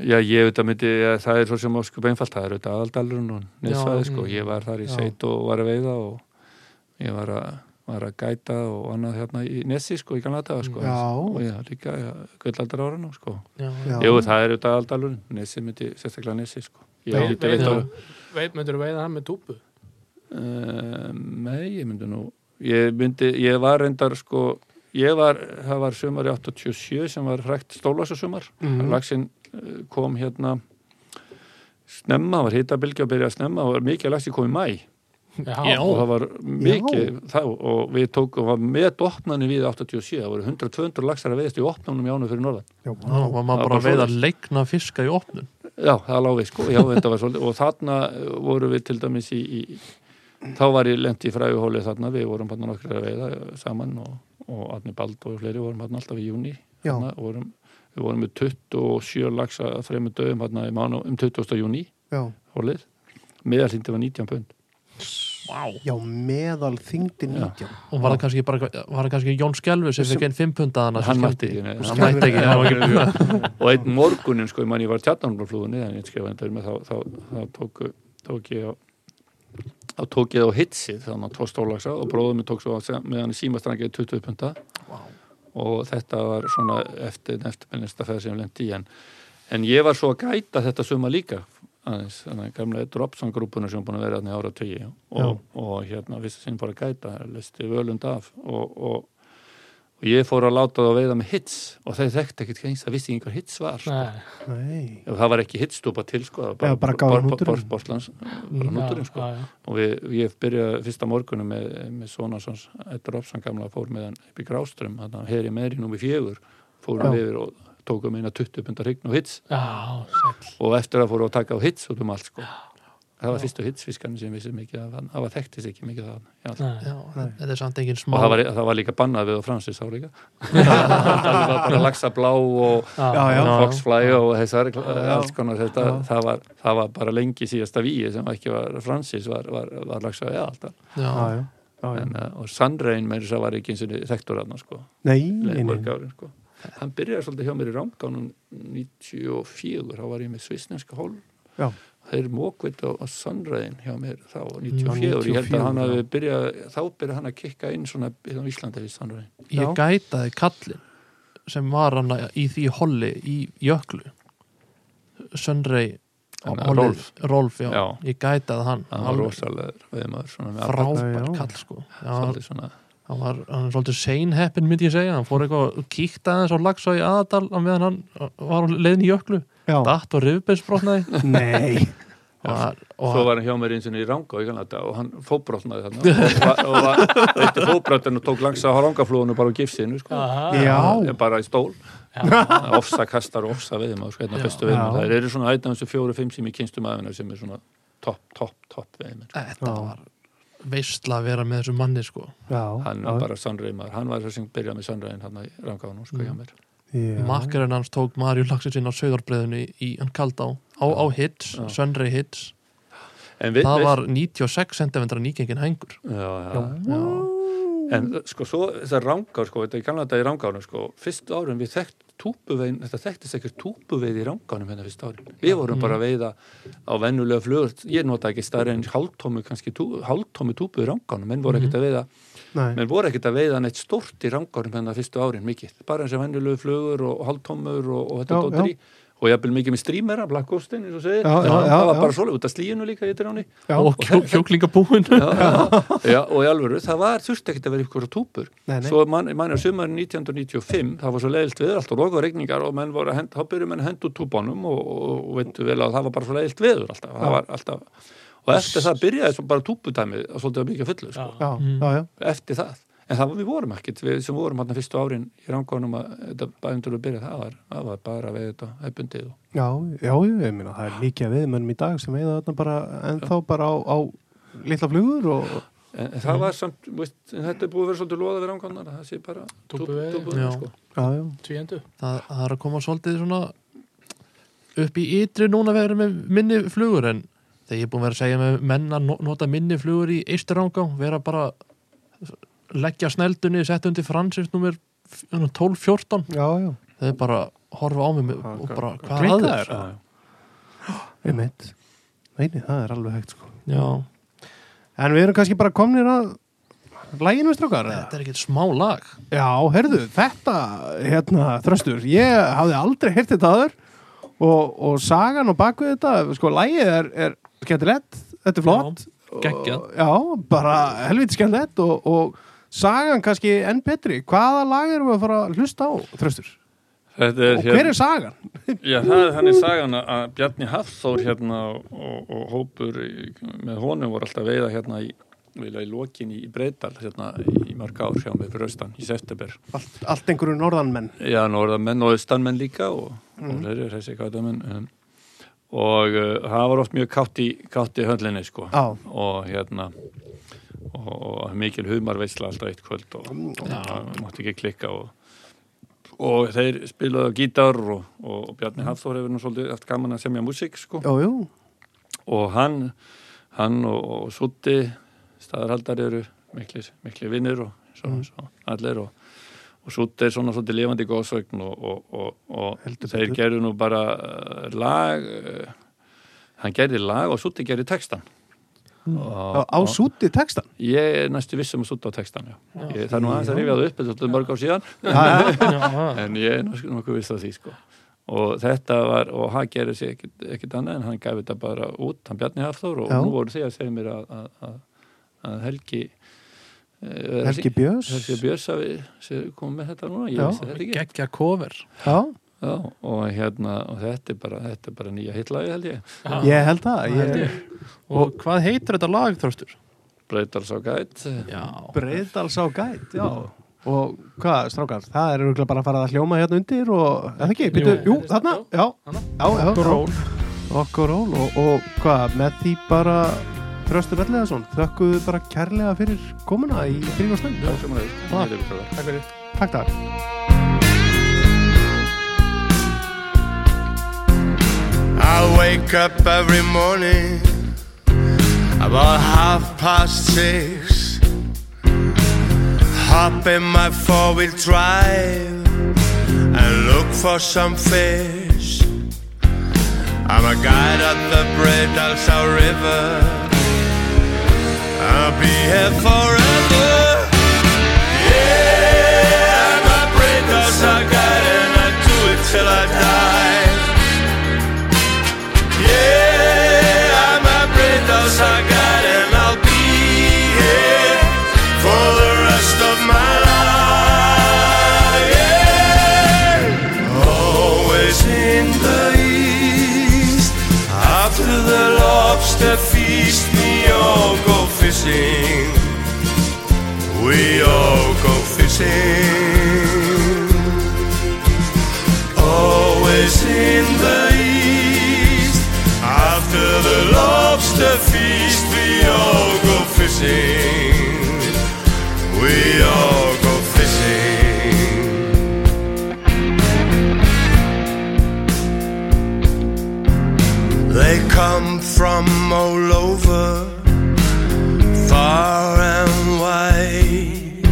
Speaker 4: já, ég veit að myndi já, það er svo sem óskup einfalt, það er þetta aðaldalurinn og nesfaði
Speaker 1: Já,
Speaker 4: sko,
Speaker 1: mm.
Speaker 4: ég var þar í
Speaker 2: Já.
Speaker 4: seit og var að veiða og ég var að, var að gæta og annað hérna í Nessi sko, í gamla daga sko
Speaker 2: Já.
Speaker 4: og já, líka, já, gullaldar ára sko
Speaker 3: Já,
Speaker 2: Já.
Speaker 4: Jú, það er auðvitað aldalun, Nessi myndi, sérstaklega Nessi sko. Ég
Speaker 1: Vei-
Speaker 4: myndi veit
Speaker 1: veiða-
Speaker 4: alveg.
Speaker 1: veit, myndur þú veiða hann með túpu
Speaker 4: Uh, nei, ég myndi nú, ég myndi, ég var reyndar sko, ég var, það var sumar í 87 sem var frækt stólasa sumar.
Speaker 2: Mhm.
Speaker 4: Laxinn uh, kom hérna snemma, það var hitabilgja að byrja að snemma og mikið af laxi kom í mæ
Speaker 3: Já.
Speaker 4: og það var mikið þá, og við tókum, það var með opnani við 87, það voru 100-200 laxar að veiðast í opnanum í ánum fyrir norðan
Speaker 2: Já,
Speaker 3: Þá var
Speaker 4: Það
Speaker 3: maður bara
Speaker 4: var
Speaker 3: að veiða
Speaker 4: svoleiðis.
Speaker 3: leikna fiska í opnun
Speaker 4: uh, Já, það lág við sko, já, þetta var svolítið og þarna voru við til dæmis í, í þá var ég lent í fræguhóli þarna við vorum hann okkur að veiða saman og, og Arni Bald og fleiri vorum hann alltaf í júni
Speaker 2: Já.
Speaker 4: þarna, vorum, við vorum með 27 lagsa fremur dögum hann í mánu um 20. júni
Speaker 2: já,
Speaker 4: hólið meðalþyndi var 19 pund
Speaker 3: wow.
Speaker 2: já meðal þingdin
Speaker 4: Já.
Speaker 2: 19
Speaker 3: og var það kannski, bara, var það kannski Jón Skelvi sem
Speaker 2: Sem-
Speaker 3: fekk einn fimmpundaðana
Speaker 4: hann mætti ekki, nei.
Speaker 3: hann mætti ekki, hann var ekki
Speaker 4: og einn morgunin sko, ég man ég var tjarnarflúðinni en ég skrifaði þetta um að þá, þá, þá tók, tók ég á þá tók ég það á hitsið þannig að tvo stólaksa og bróðum minn tók svo að segja meðan í símastrangið 20 punta og þetta var svona eftir eftirminnista ferð sem ég lendi í en, en ég var svo að gæta þetta suma líka aðeins, þannig að gamlega Dropson grúpuna sem er búin að vera þarna í ára tugi og, og hérna vissi sinn bara að gæta listi völund af og, og, og ég fór að láta það að veiða með hits og þeir þekkti ekkit eins að vissi ekki hvað hits var
Speaker 1: Nei,
Speaker 2: nei,
Speaker 4: Ef það var ekki hitstúpa til sko, það
Speaker 2: Já, bara
Speaker 4: var
Speaker 2: Mm.
Speaker 4: bara,
Speaker 2: gáði
Speaker 4: bara, bara,
Speaker 2: hnúturinn.
Speaker 4: bara, borslans, bara núturinn sko
Speaker 1: já, já.
Speaker 4: og við, ég byrjaði fyrsta morgunum með, með Sónarsons, Eddur Opsan gamla fór með hann upp í Gráström, þannig að heri meðri númi fjögur, fórum
Speaker 2: Já.
Speaker 4: yfir og tókum eina 20 pundar hrygn og hits
Speaker 1: já, sæll
Speaker 4: og eftir að fóru að taka á hits út um allt sko. það var fyrstu hitsfiskarnir sem vissi mikið af hann, það var þekktist ekki mikið af hann Já.
Speaker 1: Nei.
Speaker 3: Já, þetta er samt engin smá
Speaker 4: og það var, það var líka bannað við og Francis á líka það var bara laxa blá og
Speaker 1: Já,
Speaker 2: já, já,
Speaker 3: Já.
Speaker 4: Foxfly og þessar eh, alls konar þetta,
Speaker 2: Já.
Speaker 4: það var, það var bara lengi síðasta víi sem ekki var Francis var, var, var lagsa við
Speaker 3: já,
Speaker 4: alltaf
Speaker 2: já, já, já, já.
Speaker 4: en, uh, og Sandrein með þess að var ekki eins og þekktur aðna sko,
Speaker 2: nei, nei, nei.
Speaker 4: mörg árin sko hann byrjaði svolítið hjá mér í um rámdánum 94, þá var ég með svisneska hól
Speaker 2: Já.
Speaker 4: þeir mókveit á, á Sandrein hjá mér þá
Speaker 2: Á
Speaker 4: 94, ég held
Speaker 2: 94,
Speaker 4: að hann
Speaker 2: já.
Speaker 4: hafi byrjað þá byrjaði hann að kikka inn svona á Íslandi við Sandrein
Speaker 3: ég
Speaker 2: Já.
Speaker 3: gætaði kallin sem var hann í því holli í jöklu Sönrei
Speaker 4: Hann
Speaker 3: á
Speaker 4: að
Speaker 3: hollið-
Speaker 4: Rolf.
Speaker 3: Rolf já.
Speaker 4: Já.
Speaker 3: ég gætaði hann
Speaker 4: hann var rosalegur veðmaður svona með alla-
Speaker 3: frábær
Speaker 2: Já.
Speaker 3: kall sko já, hann,
Speaker 4: svolítið svona
Speaker 3: hann var hann er svolítið seinheppin myndi ég segja, hann fór eitthvað og kíkta aðeins á lagsa í aðadal á meðan hann var á leiðin í jöklu,
Speaker 2: já,
Speaker 3: datt og rifbeinsbrotnaði
Speaker 2: nei
Speaker 3: og, hann- og
Speaker 4: Svo var hann hjá mér eins og í Rangá í Kanada og hann fóbrotnaði þarna og, var- og var eittu fóbrotnaði og tók langsa á rangaflúinu bara á gifsinu sko.
Speaker 1: Aha,
Speaker 2: Já.
Speaker 4: Eh, bara í stól ofsa kastar og ofsa veðum sko, hérna
Speaker 3: Já.
Speaker 4: bestu veðum
Speaker 2: Já.
Speaker 4: það eru svona einn af þessu fjóru-fimm sem ég kynstum aðeina sem er svona topp, topp, topp veðum
Speaker 3: þetta
Speaker 2: Já.
Speaker 3: var veistla að vera með þessu manni sko
Speaker 2: já,
Speaker 4: hann
Speaker 2: já,
Speaker 4: var bara sannreimaður, hann var þess sem byrjaði með sannreiðin hann í Rangánum sko hjá mér
Speaker 2: já.
Speaker 3: makkarinn hans tók Marju Laxin á söðarbreiðinu í hann kaldá á, á hits,
Speaker 4: Já.
Speaker 3: Sönrei hits
Speaker 4: en við,
Speaker 3: það
Speaker 4: við,
Speaker 3: var 96 cm nýgengin hengur
Speaker 4: já, já, já. en sko svo þessar Rangá sko, þetta er kannada í Rangánum sko fyrstu árum við þekkt túpuvegin þetta þekktist ekkert túpuveið í Rangánum hérna fyrstu árum við vorum
Speaker 2: Mm.
Speaker 4: bara að veiða á vennulega flugur, ég nota ekki stærri en hálftómi kannski, tú, hálftómi túpu í Rangánum menn voru
Speaker 2: Mhm.
Speaker 4: ekkert að veiða
Speaker 2: nei,
Speaker 4: menn voru ekkert að veiða neitt stórt í Rangánum hérna fyrstu árin mikið, bara eins og venjulegu flugur og hálftómur og, og þetta
Speaker 2: Já,
Speaker 4: dóttri og ég hafði mikið með strímera, blakkostin eins og segir,
Speaker 2: Já, já, já,
Speaker 4: það var
Speaker 2: já.
Speaker 4: bara svolítið út af slíinu líka í dráni
Speaker 2: já,
Speaker 3: og kjó, kjóklingabúin
Speaker 4: já, já, já, og í alvöru, það var þurfti ekkert að vera ykkur túpur
Speaker 2: Nei, nei.
Speaker 4: svo mann man er sumarinn 1995 það var svo leiðilt veður, alltaf loka regningar og menn voru að henda, þá byrjuðu menn að henda út túpunum og, og, og veitu vel að það var bara svo leiðilt veður alltaf, það var alltaf og eftir það byrjaði svo bara túputæmið að svolítið að mikið að fullu, sko,
Speaker 1: Já.
Speaker 2: já, já, já,
Speaker 4: eftir það en það var við vorum ekkert, við sem vorum hann fyrstu árin í rangunum að þetta bæðundur að byrja það var, það var bara við þetta hefbundið og
Speaker 2: já, já, ég meina það er mikið að viðmönnum í dag sem veiða þarna bara ennþá bara á, á litla flugur og
Speaker 4: En, en
Speaker 2: Mm.
Speaker 4: það var samt, veist, en þetta er búið að vera svolítið loða við rangunar, það sé bara
Speaker 1: Túpuveið.
Speaker 4: túpuveið,
Speaker 3: Já.
Speaker 4: sko.
Speaker 2: já, já,
Speaker 1: tvíendu
Speaker 3: það, það er að koma svolítið svona upp í ytri núna verið með minni flugur en þegar ég er búin að vera að segja með menn að no- nota minni flugur í eisturanga vera bara leggja sneldunni, setja undir fransins nummer 12-14
Speaker 2: já, já,
Speaker 3: það er bara að horfa á mig með,
Speaker 2: Já,
Speaker 3: og
Speaker 2: hvað-
Speaker 3: bara hvað
Speaker 2: klikkað
Speaker 3: að
Speaker 2: er?
Speaker 3: þér
Speaker 4: Já, já.
Speaker 2: ég meint neini, það er alveg hægt sko
Speaker 3: Já,
Speaker 2: en við erum kannski bara komnir að læginu strókar eða?
Speaker 3: þetta er ekkert smá lag
Speaker 2: Já, heyrðu, þetta, hérna, þröstur, ég hafði aldrei heyrt þetta aður og, og sagan og bakvið þetta, sko, lægið er, er skemmtilegt, þetta er flott.
Speaker 3: geggjað.
Speaker 2: Og- Já, bara helviti skemmtilegt og, og sagan kannski enn betri. Hvaða lag erum við að fara að hlusta á, þröstur?
Speaker 4: Þetta er
Speaker 2: Og hver er sagan?
Speaker 4: Já, það er þannig sagan að- að Bjarni Hafþór hérna og, og hópur í, með honum voru alltaf að veiða hérna í, vilja í lokin í, í Breital hérna í mörg ár hjá mig fyrir austan í september.
Speaker 2: Allt, allt einhverju norðanmenn.
Speaker 4: Já, nú er það menn og austanmenn líka og, og þeir eru þessi kátamenn um, og uh, það var oft mjög kátt í, kátt í höndlinni sko
Speaker 2: Já,
Speaker 4: og hérna og, og mikil humarveisla alltaf eitt kvöld og það mátti ekki klikka og, og þeir spilaðu á gítar og, og Bjarni Hafþór hefur nú svolítið haft gaman að semja músík sko
Speaker 2: já, já,
Speaker 4: og hann, hann og, og Sutti staðarhaldar eru miklir, miklir vinnir og svo, svo allir og, og Sutti er svona svolítið lifandi góðsögn og, og, og,
Speaker 2: Heldur
Speaker 4: og þeir
Speaker 2: betur.
Speaker 4: gerðu nú bara eh, lag eh, hann gerði lag og Sutti gerði textan
Speaker 2: á,
Speaker 4: og,
Speaker 2: Mm. á súti textan
Speaker 4: Ég er næstu vissum að sutta á textan, já. Ég, það er nú aðeins að rifja það upp, þetta er svolítið mörg á síðan,
Speaker 3: já,
Speaker 4: en ég er nokkuð, nokkuð viss að því, sko. Og þetta var, og hann gerir sér ekkit, ekkit annað en hann gaf þetta bara út, hann Bjarni Hafþór og
Speaker 2: Já.
Speaker 4: nú voru því að segja mér að, að, að, að Helgi eh,
Speaker 2: Helgi Björns
Speaker 4: Helgi Björns hafi sé- komið með þetta núna, ég
Speaker 2: Já.
Speaker 4: vissi þetta ekki.
Speaker 3: geggja cover
Speaker 2: já,
Speaker 4: Já, og hérna, og þetta er bara, þetta er bara nýja hitlagi, held ég.
Speaker 2: ég held það
Speaker 3: held
Speaker 2: ég,
Speaker 3: og hvað heitir þetta lag, Þröstur?
Speaker 4: Breytars á gæt,
Speaker 3: Já,
Speaker 2: Breiðdals á gæt, já og hvað, strákar, það er örugglega bara að fara að hljóma hérna undir og, er það ekki, býtu, jú, þarna já,
Speaker 1: Þarna.
Speaker 2: já, já, já okkur ról og, og hvað, með því bara Þröstur Ellegason, þökkuðu bara kærlega fyrir komuna í þrjum og stund
Speaker 4: eh, sem hann hefur, þetta er
Speaker 1: Takk fyrir.
Speaker 2: takk, takk
Speaker 5: I wake up every morning about half past six. Hop in my four wheel drive and look for some fish. I'm a guide at the Bredalsá River. I'll be here forever. Yeah, I'm a Bredalsá guide and I do it till I die. Yeah, I'm a Brito's I got and I'll be here for the rest of my life. Yeah. Always in the east, after the lobster feast, we all go fishing. We all go fishing always in the east. After the lobster feast, we all go fishing. We all go fishing. They come from all over, far and wide.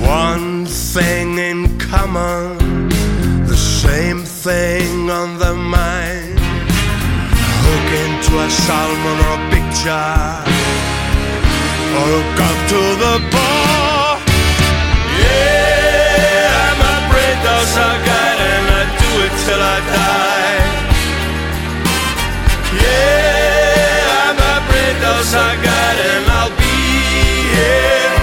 Speaker 5: One thing in common the same thing on the mind. Hook into a salmon or a picture, or hook up to the bar. Yeah, I'm a Brito's I got and I do it till I die. Yeah, I'm a Brito's I got and I'll be here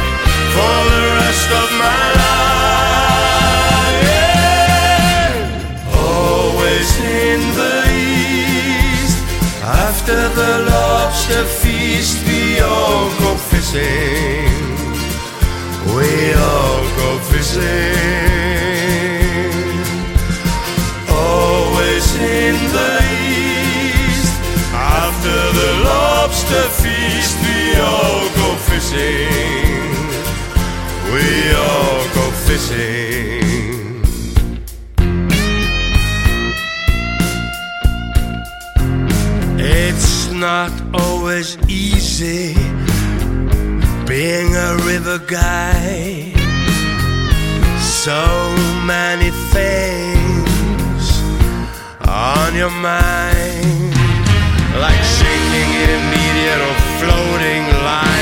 Speaker 5: for the rest of my life. Yeah. Always in the east. After the lobster feast, we all go fishing. We all go fishing. Always in the east. After the lobster feast, we all go fishing. We all go fishing. It's not always easy being a river guy. So many things on your mind, like sinking in immediate or floating line.